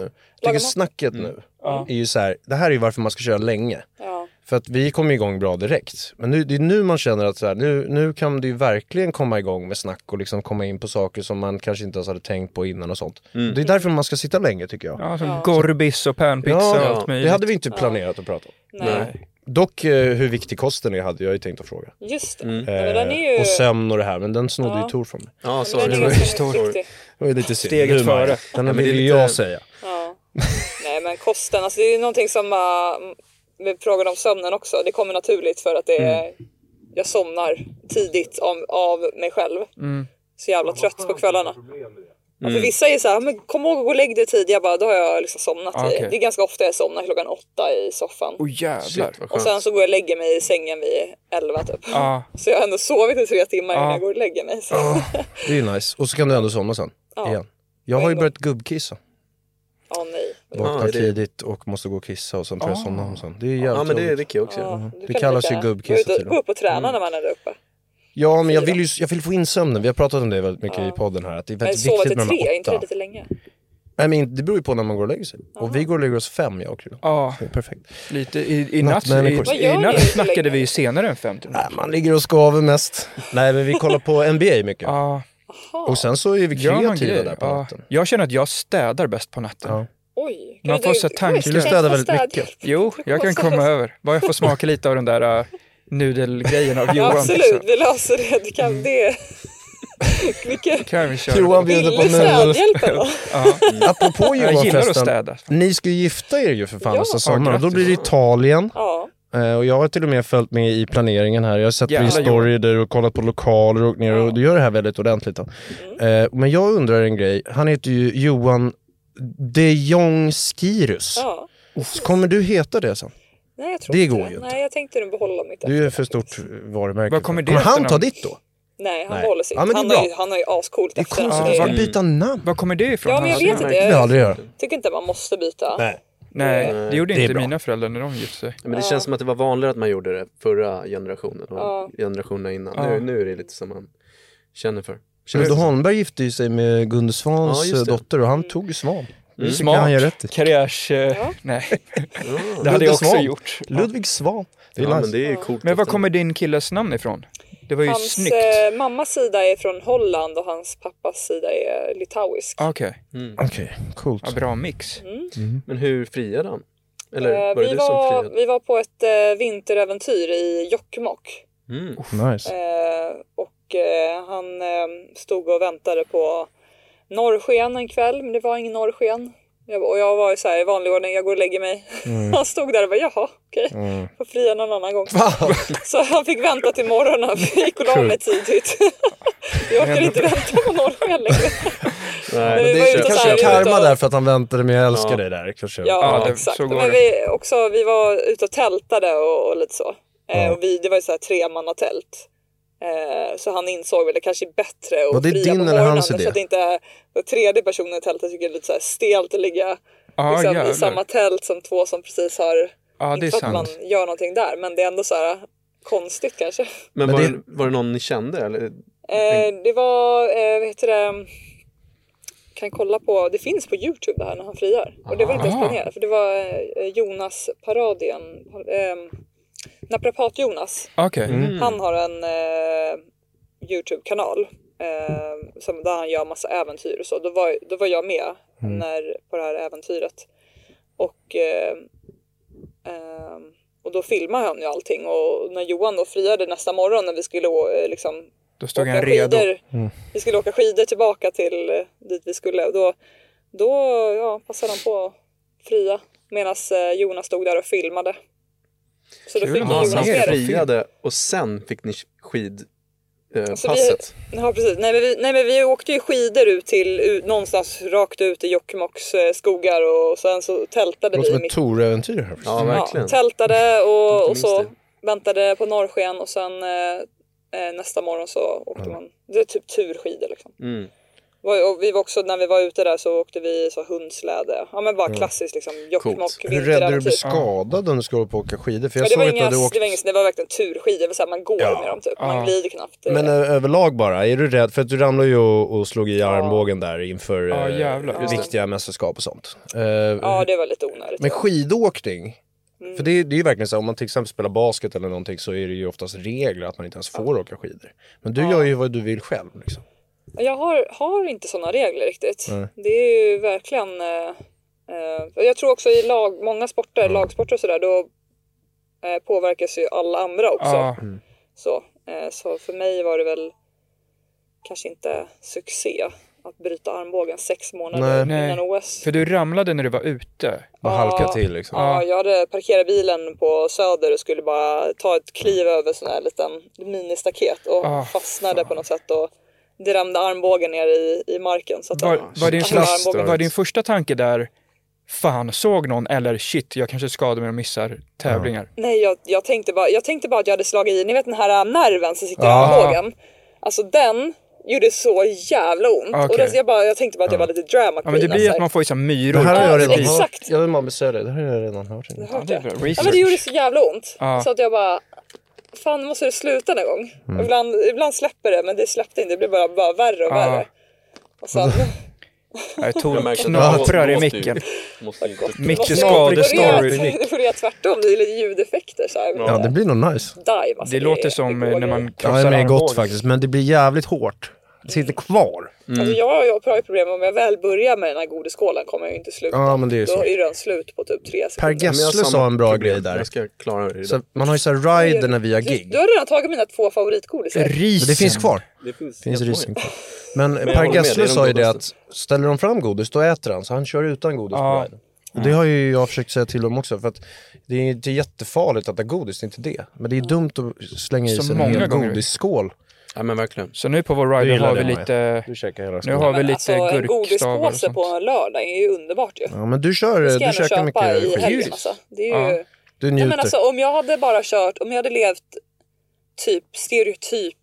[SPEAKER 7] Jag tycker
[SPEAKER 1] mat.
[SPEAKER 7] snacket nu är ju så här, det här är ju varför man ska köra länge.
[SPEAKER 1] Ja.
[SPEAKER 7] För att vi kom igång bra direkt. Men nu, det är nu man känner att så här, nu, nu kan du ju verkligen komma igång med snack och liksom komma in på saker som man kanske inte ens hade tänkt på innan och sånt. Det är därför man ska sitta länge tycker jag.
[SPEAKER 2] Ja, som Gorbis och panpizza och allt möjligt.
[SPEAKER 7] det hade vi inte planerat att prata om.
[SPEAKER 1] Nej.
[SPEAKER 7] Dock eh, hur viktig kosten är hade jag ju tänkt att fråga.
[SPEAKER 1] Just det. Ja, men den är ju...
[SPEAKER 7] Eh, Och sömn och det här, men den snodde
[SPEAKER 1] Ja.
[SPEAKER 7] ju Tor från mig.
[SPEAKER 6] Ja,
[SPEAKER 1] den är
[SPEAKER 6] sorry.
[SPEAKER 1] ganska försiktig.
[SPEAKER 7] Det var ju lite synd.
[SPEAKER 2] Steget
[SPEAKER 7] Nu, Maja.
[SPEAKER 2] före.
[SPEAKER 7] Den
[SPEAKER 6] Ja, men det är
[SPEAKER 7] ville ju
[SPEAKER 6] lite-
[SPEAKER 7] jag säga.
[SPEAKER 1] Ja. Nej men kosten, alltså det är ju någonting som äh, med frågan om sömnen också. Det kommer naturligt för att det är, jag somnar tidigt av, av mig själv. Så jävla trött på kvällarna. Ja, för vissa är så här, men kom ihåg att gå och lägg dig tidigt. Jag bara, då har jag liksom somnat. i-
[SPEAKER 2] Okej.
[SPEAKER 1] Det är ganska ofta jag somnar klockan åtta i soffan.
[SPEAKER 2] Åh jävlar.
[SPEAKER 6] Shit,
[SPEAKER 1] och
[SPEAKER 6] vad skönt.
[SPEAKER 1] sen så går jag och lägger mig i sängen vid elva typ.
[SPEAKER 2] Ja.
[SPEAKER 1] Så jag har ändå sovit i tre timmar innan jag går och lägger mig. Så.
[SPEAKER 7] Det är ju nice. Och så kan du ändå somna sen. Igen. Jag har ju börjat gubbkissa.
[SPEAKER 1] Åh nej.
[SPEAKER 7] Vaknar
[SPEAKER 6] är det-
[SPEAKER 7] tidigt och måste gå och kissa och sen tar jag somna om sen. Det är ju jävligt
[SPEAKER 6] Ja, men det är
[SPEAKER 7] jobbigt.
[SPEAKER 6] Ricky också.
[SPEAKER 1] Ja, du
[SPEAKER 7] Det
[SPEAKER 1] kan
[SPEAKER 7] kallas
[SPEAKER 1] lika-
[SPEAKER 7] ju gubbkissa
[SPEAKER 1] Gå ut och-
[SPEAKER 7] tydligen.
[SPEAKER 1] Gå upp och träna när man är där uppe.
[SPEAKER 7] Ja, men jag vill ju jag vill få in sömnen. Vi har pratat om det väldigt mycket i podden här. Att det är
[SPEAKER 1] Men
[SPEAKER 7] väldigt
[SPEAKER 1] sova
[SPEAKER 7] viktigt
[SPEAKER 1] till
[SPEAKER 7] med de
[SPEAKER 1] tre, är
[SPEAKER 7] här
[SPEAKER 1] inte det
[SPEAKER 7] åtta.
[SPEAKER 1] lite länge?
[SPEAKER 7] Nej, men det beror ju på när man går och lägger sig. Och vi går och lägger oss fem, jag och Krille.
[SPEAKER 2] Ja,
[SPEAKER 7] Det är Perfekt.
[SPEAKER 2] ah. lite. I, i natt, i,
[SPEAKER 7] Nattmänniskor.
[SPEAKER 1] Vad gör
[SPEAKER 2] i
[SPEAKER 1] ni
[SPEAKER 2] natt
[SPEAKER 1] så
[SPEAKER 2] snackade
[SPEAKER 1] länge?
[SPEAKER 2] vi ju senare än 50.
[SPEAKER 7] Nej, man ligger och skaver mest. Nej, men vi kollar på NBA mycket.
[SPEAKER 2] Ja,
[SPEAKER 7] Och sen så är vi
[SPEAKER 2] Ah. gör man
[SPEAKER 7] kreativa
[SPEAKER 2] grejer. Ah.
[SPEAKER 7] där på
[SPEAKER 2] Ja.
[SPEAKER 7] natten.
[SPEAKER 2] Jag känner att jag städar bbäst på natten.
[SPEAKER 7] Ja.
[SPEAKER 1] Oj.
[SPEAKER 2] Man får så tanke-
[SPEAKER 7] Du städar väldigt mycket.
[SPEAKER 2] Jo, jag kan komma över. Bara jag får smaka lite av den där äh, nudelgrejen av Johan. liksom.
[SPEAKER 1] Absolut,
[SPEAKER 2] så
[SPEAKER 1] vi löser det. Du
[SPEAKER 7] Mm.
[SPEAKER 1] kan det. Vilken
[SPEAKER 2] Kan vi köra.
[SPEAKER 7] Johan bjuder på
[SPEAKER 1] billig
[SPEAKER 7] nudel.
[SPEAKER 1] städhjälp ändå.
[SPEAKER 2] Jag
[SPEAKER 7] Apropå
[SPEAKER 2] gillar att
[SPEAKER 7] Johan-festen.
[SPEAKER 2] städa.
[SPEAKER 7] Ni ska ju gifta er ju för fan
[SPEAKER 1] Ja.
[SPEAKER 7] nästa sommar. Och då
[SPEAKER 2] grattis.
[SPEAKER 7] blir det Italien.
[SPEAKER 1] Ja.
[SPEAKER 7] Eh, Och jag har till och med följt med i planeringen här. Jag har sett
[SPEAKER 2] Jävlar,
[SPEAKER 7] din story där och kollat på lokaler och ner och du gör det här väldigt ordentligt. Då. Eh, Men jag undrar en grej. Han heter ju Johan De Jong Skirus.
[SPEAKER 1] ja.
[SPEAKER 7] Kommer du heta det sen?
[SPEAKER 1] Nej, jag tror
[SPEAKER 7] Det
[SPEAKER 1] inte
[SPEAKER 7] går ju inte.
[SPEAKER 1] Nej, jag tänkte nog behålla mitt
[SPEAKER 7] Du är ju för stort varumärke.
[SPEAKER 2] Vad kommer det Mm.
[SPEAKER 7] han
[SPEAKER 2] efternamn?
[SPEAKER 7] ta ditt då?
[SPEAKER 1] Nej, han
[SPEAKER 7] Nej.
[SPEAKER 1] behåller sitt.
[SPEAKER 7] Ja, men det är
[SPEAKER 1] han, har
[SPEAKER 7] bra.
[SPEAKER 1] ju, han har ju ascoolt
[SPEAKER 7] Det är
[SPEAKER 1] efternamn.
[SPEAKER 7] konstigt
[SPEAKER 1] Det
[SPEAKER 7] att
[SPEAKER 1] är-
[SPEAKER 7] man byta namn.
[SPEAKER 2] Var kommer det ifrån? Alltså,
[SPEAKER 1] Ja, men jag
[SPEAKER 2] Hans-
[SPEAKER 1] vet inte.
[SPEAKER 6] Det
[SPEAKER 7] Det vill jag aldrig göra.
[SPEAKER 1] tycker inte man måste byta.
[SPEAKER 7] Nej.
[SPEAKER 2] Nej, det gjorde
[SPEAKER 7] Det är
[SPEAKER 2] inte
[SPEAKER 7] bra. Mm.
[SPEAKER 2] mina föräldrar när de gifte sig.
[SPEAKER 6] Men det känns som att det var vanligare att man gjorde det förra generationen och generationerna innan. Nu, nu är det lite som man känner för.
[SPEAKER 7] Ludde Holmberg gifte ju sig med Gunde
[SPEAKER 6] Ja,
[SPEAKER 7] Svans
[SPEAKER 6] just det.
[SPEAKER 7] dotter och han tog ju Svan. Mm. Han gör rätt i.
[SPEAKER 2] Smart karriärs... eh, Nej, det hade
[SPEAKER 7] Ludde
[SPEAKER 2] jag också
[SPEAKER 7] Svan.
[SPEAKER 2] gjort.
[SPEAKER 7] Ludvig Svan. Det är
[SPEAKER 6] Ja, men
[SPEAKER 7] nice.
[SPEAKER 6] det är ju coolt.
[SPEAKER 2] Men var
[SPEAKER 6] att-
[SPEAKER 2] kommer din killes namn ifrån? Det var ju
[SPEAKER 1] Hans
[SPEAKER 2] snyggt.
[SPEAKER 1] eh, mammas sida är från Holland och hans pappas sida är litauisk.
[SPEAKER 2] Ah, Okej,
[SPEAKER 7] Mm.
[SPEAKER 2] Mm.
[SPEAKER 7] Okej, coolt.
[SPEAKER 2] ja, bra mix.
[SPEAKER 6] Men hur friade han? Eller
[SPEAKER 1] Eh,
[SPEAKER 6] var det
[SPEAKER 1] vi,
[SPEAKER 6] du som
[SPEAKER 1] var,
[SPEAKER 6] friade?
[SPEAKER 1] vi var på ett eh, vinteräventyr i Jokkmokk.
[SPEAKER 6] Mm.
[SPEAKER 7] Nice.
[SPEAKER 1] Eh, och eh, han eh, stod och väntade på norrsken en kväll, men det var ingen norrsken. Jag, och jag var ju så här i vanlig ordning, jag går och lägger mig.
[SPEAKER 7] Mm.
[SPEAKER 1] Han stod där och bara, jaha, okej, får fria någon annan gång. Så han fick vänta till morgonen, för jag gick och la mig tidigt. Jag orkar inte vänta på norrsken längre.
[SPEAKER 6] Nej,
[SPEAKER 1] Vi
[SPEAKER 6] men
[SPEAKER 1] var
[SPEAKER 6] det
[SPEAKER 1] ute och
[SPEAKER 7] Kanske
[SPEAKER 1] så här,
[SPEAKER 7] är
[SPEAKER 1] vi
[SPEAKER 7] karma
[SPEAKER 1] var-
[SPEAKER 7] där för att han väntade med jag älskar dig där. Kanske.
[SPEAKER 1] Ja,
[SPEAKER 2] Ja, det-
[SPEAKER 1] exakt.
[SPEAKER 2] så går
[SPEAKER 1] Men
[SPEAKER 2] det.
[SPEAKER 1] vi, också, vi var ute och tältade och, och lite så. Eh, och vi, det var ju så här tremannatält. Eh, så han insåg väl det kanske är bättre att
[SPEAKER 7] Var det
[SPEAKER 1] fria
[SPEAKER 7] din
[SPEAKER 1] på
[SPEAKER 7] eller
[SPEAKER 1] morgonen,
[SPEAKER 7] hans idé?
[SPEAKER 1] Så att inte den tredje personen i tältet tycker det är lite så här stelt att ligga
[SPEAKER 2] Ja,
[SPEAKER 1] liksom,
[SPEAKER 2] Ah, jävlar.
[SPEAKER 1] i samma tält som två som precis har...
[SPEAKER 2] Ja, det
[SPEAKER 1] inte
[SPEAKER 2] är
[SPEAKER 1] för att man
[SPEAKER 2] sant.
[SPEAKER 1] gör någonting där, men det är ändå så här konstigt kanske.
[SPEAKER 6] Men
[SPEAKER 7] Men
[SPEAKER 6] var
[SPEAKER 7] det-
[SPEAKER 6] det, var det någon ni kände? Eller?
[SPEAKER 1] Eh, det var, eh, vad heter det, kan kolla på, det finns på Youtube det här när han friar. Och det var inte ens
[SPEAKER 2] Aha.
[SPEAKER 1] planerat för det var eh, Jonas parodien, eh, Naprapat-Jonas.
[SPEAKER 2] Okej.
[SPEAKER 7] Mm.
[SPEAKER 1] Han har en eh, Youtube-kanal eh, som, där han gör massa äventyr och så. Då var, då var jag med när, på det här äventyret. Och, eh, eh, och då filmade han ju allting och när Johan då friade nästa morgon när vi skulle å- eh, liksom,
[SPEAKER 2] Då stod
[SPEAKER 1] åka
[SPEAKER 2] han redo.
[SPEAKER 1] skidor.
[SPEAKER 7] Mm.
[SPEAKER 1] Vi skulle åka skidor tillbaka till eh, dit vi skulle. Då, då ja, passade han på att fria medan Jonas stod där och filmade. Så då
[SPEAKER 2] Kul
[SPEAKER 1] fick
[SPEAKER 2] att
[SPEAKER 1] ju
[SPEAKER 2] ha
[SPEAKER 1] Jonas
[SPEAKER 6] Så han
[SPEAKER 2] honom med
[SPEAKER 1] med
[SPEAKER 2] det.
[SPEAKER 6] friade och sen fick ni skidpasset? Eh,
[SPEAKER 1] Så
[SPEAKER 6] passet.
[SPEAKER 1] Vi, ja, precis. Nej men, vi, nej, men vi åkte ju skidor ut till ut, någonstans rakt ut i Jokkmokks eh, skogar och sen så tältade
[SPEAKER 7] Det låter
[SPEAKER 1] vi
[SPEAKER 7] som ett
[SPEAKER 1] mitt
[SPEAKER 7] Tor-äventyr här.
[SPEAKER 6] Ja, verkligen.
[SPEAKER 1] Ja, tältade och, och så
[SPEAKER 6] Inte minst
[SPEAKER 1] väntade på norrsken och sen eh, eh, nästa morgon så åkte man, det är typ turskidor liksom.
[SPEAKER 6] Mm.
[SPEAKER 1] Var- Och vi var också, när vi var ute där så åkte vi så hundsläde. Ja men bara klassiskt liksom Jokkmokk,
[SPEAKER 7] Hur rädd är du att
[SPEAKER 1] vinteräventyr.
[SPEAKER 7] bli skadad om du ska hålla på och åka skidor? För
[SPEAKER 1] Ja,
[SPEAKER 7] jag
[SPEAKER 1] det, var
[SPEAKER 7] såg att du
[SPEAKER 1] inga,
[SPEAKER 7] hade
[SPEAKER 1] det,
[SPEAKER 7] åkt
[SPEAKER 1] var inga, det var verkligen turskidor, det var så här, man går
[SPEAKER 7] Ja.
[SPEAKER 1] med dem typ. Man
[SPEAKER 2] Ja.
[SPEAKER 1] glider knappt. eh,
[SPEAKER 7] Men eh, överlag bara, är du rädd? För att du ramlade ju och, och slog i armbågen där inför
[SPEAKER 2] Ja,
[SPEAKER 7] eh,
[SPEAKER 2] jävlar.
[SPEAKER 1] Just det.
[SPEAKER 7] viktiga mästerskap och sånt. Eh,
[SPEAKER 1] ja Mm. det var lite onödigt.
[SPEAKER 7] Men eh, skidåkning, för det, är- det är ju verkligen så här, om man till exempel spelar basket eller någonting så är det ju oftast regler att man inte ens får åka skidor. Men du gör ju vad du vill själv liksom.
[SPEAKER 1] Jag har, har inte sådana regler riktigt. Det är ju verkligen... Eh, eh, och jag tror också i lag, många sporter,
[SPEAKER 2] Mm.
[SPEAKER 1] lagsporter och sådär, då eh, påverkas ju alla andra också.
[SPEAKER 2] Ja,
[SPEAKER 1] Så, eh, så för mig var det väl kanske inte succé att bryta armbågen sex månader
[SPEAKER 2] Nej.
[SPEAKER 1] innan OS.
[SPEAKER 2] för du ramlade när du var ute.
[SPEAKER 7] Bara halka till liksom.
[SPEAKER 1] Ja, jag hade parkerat bilen på Söder och skulle bara ta ett kliv över sån här liten ministaket och
[SPEAKER 2] Ah,
[SPEAKER 1] fastnade på något sätt och det ramlade armbågen ner i, i marken. Så att
[SPEAKER 2] Var,
[SPEAKER 1] den-
[SPEAKER 2] var,
[SPEAKER 1] den
[SPEAKER 2] din första,
[SPEAKER 1] armbågen-
[SPEAKER 2] var din första tanke där, fan såg någon eller shit, jag kanske skadar mig och missar tävlingar?
[SPEAKER 1] Nej, jag, jag, tänkte bara, jag tänkte bara att jag hade slagit i, ni vet den här äh, nerven som sitter i
[SPEAKER 7] Ah.
[SPEAKER 1] armbågen. Alltså den gjorde så jävla ont. Och
[SPEAKER 2] Ah, Okej.
[SPEAKER 1] då, så jag, bara, jag tänkte bara att jag var lite drama
[SPEAKER 2] Ja men det
[SPEAKER 1] queen,
[SPEAKER 2] blir
[SPEAKER 1] alltså.
[SPEAKER 2] att man får ju så här myror.
[SPEAKER 7] Det här har jag redan
[SPEAKER 2] Ja,
[SPEAKER 7] hört.
[SPEAKER 1] Exakt.
[SPEAKER 7] Jag vill bara besöka dig, det här har jag redan hört.
[SPEAKER 1] Jag
[SPEAKER 2] Ja,
[SPEAKER 1] hört
[SPEAKER 2] det är
[SPEAKER 1] det.
[SPEAKER 2] bra.
[SPEAKER 1] Ja, men det gjorde
[SPEAKER 2] Research.
[SPEAKER 1] så jävla ont.
[SPEAKER 2] Ja.
[SPEAKER 1] Så att jag bara, fan nu måste det sluta någon gång.
[SPEAKER 2] Mm.
[SPEAKER 1] Och Ibland, ibland släpper det, men det släppte inte. Det blev bara, bara värre och
[SPEAKER 2] Ja.
[SPEAKER 1] värre. Och sen,
[SPEAKER 2] Nej,
[SPEAKER 6] Jag
[SPEAKER 2] Tor
[SPEAKER 6] märkte att det
[SPEAKER 2] knaprar i
[SPEAKER 6] låter ju-
[SPEAKER 2] micken.
[SPEAKER 6] Måste inte...
[SPEAKER 2] Micke
[SPEAKER 1] det
[SPEAKER 2] skadestory.
[SPEAKER 1] började- det började tvärtom, det är lite ljudeffekter så här.
[SPEAKER 7] Ja, det blir nog nice.
[SPEAKER 1] Dive, alltså,
[SPEAKER 2] Det låter
[SPEAKER 1] är-
[SPEAKER 2] som eh,
[SPEAKER 1] det går
[SPEAKER 2] när
[SPEAKER 1] ju.
[SPEAKER 2] man
[SPEAKER 7] Ja, det
[SPEAKER 2] krossar
[SPEAKER 7] är gott
[SPEAKER 2] armbågen.
[SPEAKER 7] faktiskt, men det blir jävligt hårt. Det sitter kvar.
[SPEAKER 1] Alltså jag, jag har ju problem om jag väl börjar med den här godisskålen kommer jag ju inte sluta.
[SPEAKER 7] Ja, men det är ju
[SPEAKER 1] Då
[SPEAKER 7] så.
[SPEAKER 1] är den slut på typ tre
[SPEAKER 7] Per
[SPEAKER 1] sekunder.
[SPEAKER 6] Men jag har
[SPEAKER 7] Gessle
[SPEAKER 6] samma
[SPEAKER 7] sa en bra
[SPEAKER 6] problem.
[SPEAKER 7] grej där.
[SPEAKER 6] Jag ska klara det.
[SPEAKER 7] Så man har ju så här rider när vi har
[SPEAKER 1] Du,
[SPEAKER 7] gig.
[SPEAKER 1] du har redan tagit mina två favoritgodisar.
[SPEAKER 7] Men
[SPEAKER 2] Risen.
[SPEAKER 7] det finns kvar.
[SPEAKER 6] det finns,
[SPEAKER 7] finns
[SPEAKER 6] jättemånga.
[SPEAKER 7] risen kvar. Men,
[SPEAKER 6] jag
[SPEAKER 7] Per
[SPEAKER 6] håller med, det
[SPEAKER 7] Gessle
[SPEAKER 6] är de
[SPEAKER 7] sa ju det att
[SPEAKER 6] godaste.
[SPEAKER 7] ställer de fram godis då äter han, så han kör utan godis på
[SPEAKER 2] Ja.
[SPEAKER 7] riden. Och det har ju jag försökt säga till dem också för att det är inte jättefarligt att äta godis, det är inte det. Men det är dumt att slänga i
[SPEAKER 2] Så
[SPEAKER 7] sig en
[SPEAKER 2] många
[SPEAKER 7] hel
[SPEAKER 2] gånger.
[SPEAKER 7] godisskål.
[SPEAKER 6] Ja men verkligen.
[SPEAKER 2] Så nu på vår rider
[SPEAKER 7] gillar
[SPEAKER 2] har vi
[SPEAKER 7] det,
[SPEAKER 2] lite,
[SPEAKER 7] Du käkar hela
[SPEAKER 2] nu
[SPEAKER 7] skålen.
[SPEAKER 2] har vi
[SPEAKER 1] Men
[SPEAKER 2] lite
[SPEAKER 1] alltså en
[SPEAKER 2] gurkstavar och
[SPEAKER 1] godispåse
[SPEAKER 2] sånt.
[SPEAKER 1] på en lördag är ju underbart ju.
[SPEAKER 7] Ja men du kör,
[SPEAKER 1] Ska
[SPEAKER 7] du
[SPEAKER 1] jag nog
[SPEAKER 7] käkar
[SPEAKER 1] köpa i
[SPEAKER 7] mycket
[SPEAKER 1] helgen
[SPEAKER 7] skit.
[SPEAKER 1] alltså. Det är ju...
[SPEAKER 2] Ja.
[SPEAKER 7] Du
[SPEAKER 1] Nej, men
[SPEAKER 7] njuter.
[SPEAKER 1] alltså om jag hade bara kört, om jag hade levt typ stereotyp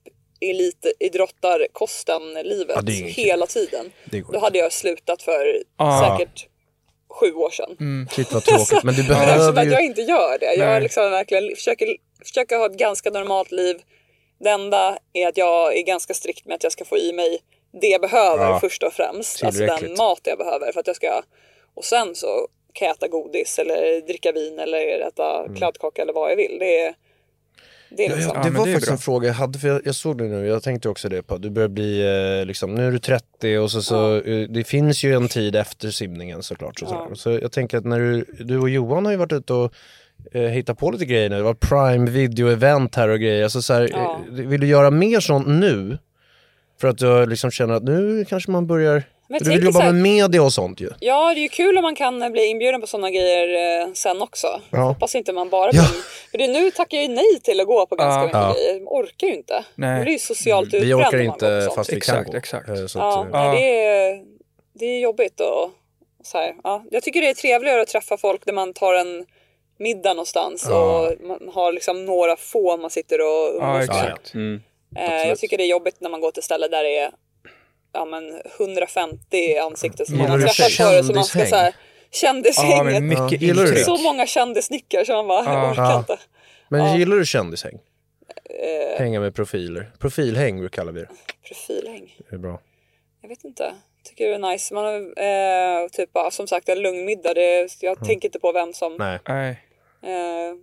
[SPEAKER 1] elitidrottarkosten-livet
[SPEAKER 7] Ja, det är inget kul.
[SPEAKER 1] hela tiden.
[SPEAKER 7] Det går
[SPEAKER 1] Då hade jag slutat för
[SPEAKER 2] Ja.
[SPEAKER 1] säkert sju år sedan.
[SPEAKER 7] Shit vad tråkigt, men du
[SPEAKER 1] Men eftersom
[SPEAKER 7] behöver
[SPEAKER 1] att Alltså, jag
[SPEAKER 7] ju...
[SPEAKER 1] inte gör det. Jag
[SPEAKER 2] Nej.
[SPEAKER 1] liksom verkligen försöker, försöker ha ett ganska normalt liv. Det enda är att jag är ganska strikt med att jag ska få i mig det jag behöver
[SPEAKER 7] Ja.
[SPEAKER 1] först och främst. Alltså den
[SPEAKER 7] Tillräckligt.
[SPEAKER 1] mat jag behöver för att jag ska... Och sen så kan jag äta godis eller dricka vin eller äta kladdkaka eller vad jag vill. Det är, det är
[SPEAKER 7] Mm. Ja,
[SPEAKER 1] liksom...
[SPEAKER 7] ja,
[SPEAKER 2] Ja,
[SPEAKER 7] det
[SPEAKER 2] men
[SPEAKER 7] var
[SPEAKER 2] det är
[SPEAKER 7] faktiskt
[SPEAKER 2] bra.
[SPEAKER 7] en fråga jag hade, för jag, jag såg det nu, jag tänkte också det på, du börjar bli, eh, liksom, nu är du 30 och så, så eh, det finns ju en tid efter simningen såklart. Så, sådär. så jag tänker att när du, du och Johan har ju varit ute och eh, hittat på lite grejer nu, det var prime video-event här och grejer, alltså, såhär,
[SPEAKER 1] Ja.
[SPEAKER 7] eh, vill du göra mer sånt nu? För att jag liksom känner att nu kanske man börjar
[SPEAKER 1] Men
[SPEAKER 7] Du
[SPEAKER 1] tänk så
[SPEAKER 7] vill jobba
[SPEAKER 1] här-
[SPEAKER 7] med media och sånt ju.
[SPEAKER 1] Ja, det är ju kul om man kan eh, bli inbjuden på sådana grejer eh, sen också.
[SPEAKER 7] Ja.
[SPEAKER 1] Hoppas inte man bara blir... För det, nu tackar jag ju nej till att gå på ganska
[SPEAKER 2] Ja.
[SPEAKER 1] mycket
[SPEAKER 7] Ja.
[SPEAKER 1] grejer. Man orkar ju inte.
[SPEAKER 2] Nej.
[SPEAKER 1] Man blir ju socialt utbränd.
[SPEAKER 7] Vi
[SPEAKER 1] om
[SPEAKER 7] orkar
[SPEAKER 1] man går på
[SPEAKER 7] inte
[SPEAKER 1] sånt.
[SPEAKER 7] fast vi
[SPEAKER 2] Exakt,
[SPEAKER 7] kan gå.
[SPEAKER 2] exakt.
[SPEAKER 7] Eh, Så
[SPEAKER 1] Ja,
[SPEAKER 7] att, eh,
[SPEAKER 2] Ja.
[SPEAKER 1] Nej, det, är, det är jobbigt och så här. Ja. Jag tycker det är trevligare att träffa folk där man tar en middag någonstans och man har liksom några få man sitter och
[SPEAKER 2] Ja,
[SPEAKER 1] umgås med.
[SPEAKER 2] exakt.
[SPEAKER 6] Mm.
[SPEAKER 1] Eh, jag tycker det är jobbigt när man går till ställen där det är ja, men 150 ansikten som man har
[SPEAKER 7] Gillar du
[SPEAKER 1] träffat förut. Så man ska
[SPEAKER 7] kändishäng?
[SPEAKER 1] så här,
[SPEAKER 2] Ja,
[SPEAKER 1] kändishänget.
[SPEAKER 2] men mycket
[SPEAKER 7] Ja, gillar du
[SPEAKER 2] intryck.
[SPEAKER 7] det?
[SPEAKER 1] så många kändisnickar som man bara, jag orkar
[SPEAKER 7] Ja.
[SPEAKER 1] inte.
[SPEAKER 7] Men gillar du kändishäng?
[SPEAKER 1] Eh.
[SPEAKER 7] Hänga med profiler. Profilhäng kallar vi det.
[SPEAKER 1] Profilhäng.
[SPEAKER 7] Det är bra.
[SPEAKER 1] Jag vet inte. Tycker det är nice. Man har, eh, typ, ja, som sagt, en lugn middag. Det, jag tänker inte på vem som...
[SPEAKER 7] Mm. Nej.
[SPEAKER 2] Nej.
[SPEAKER 1] Eh,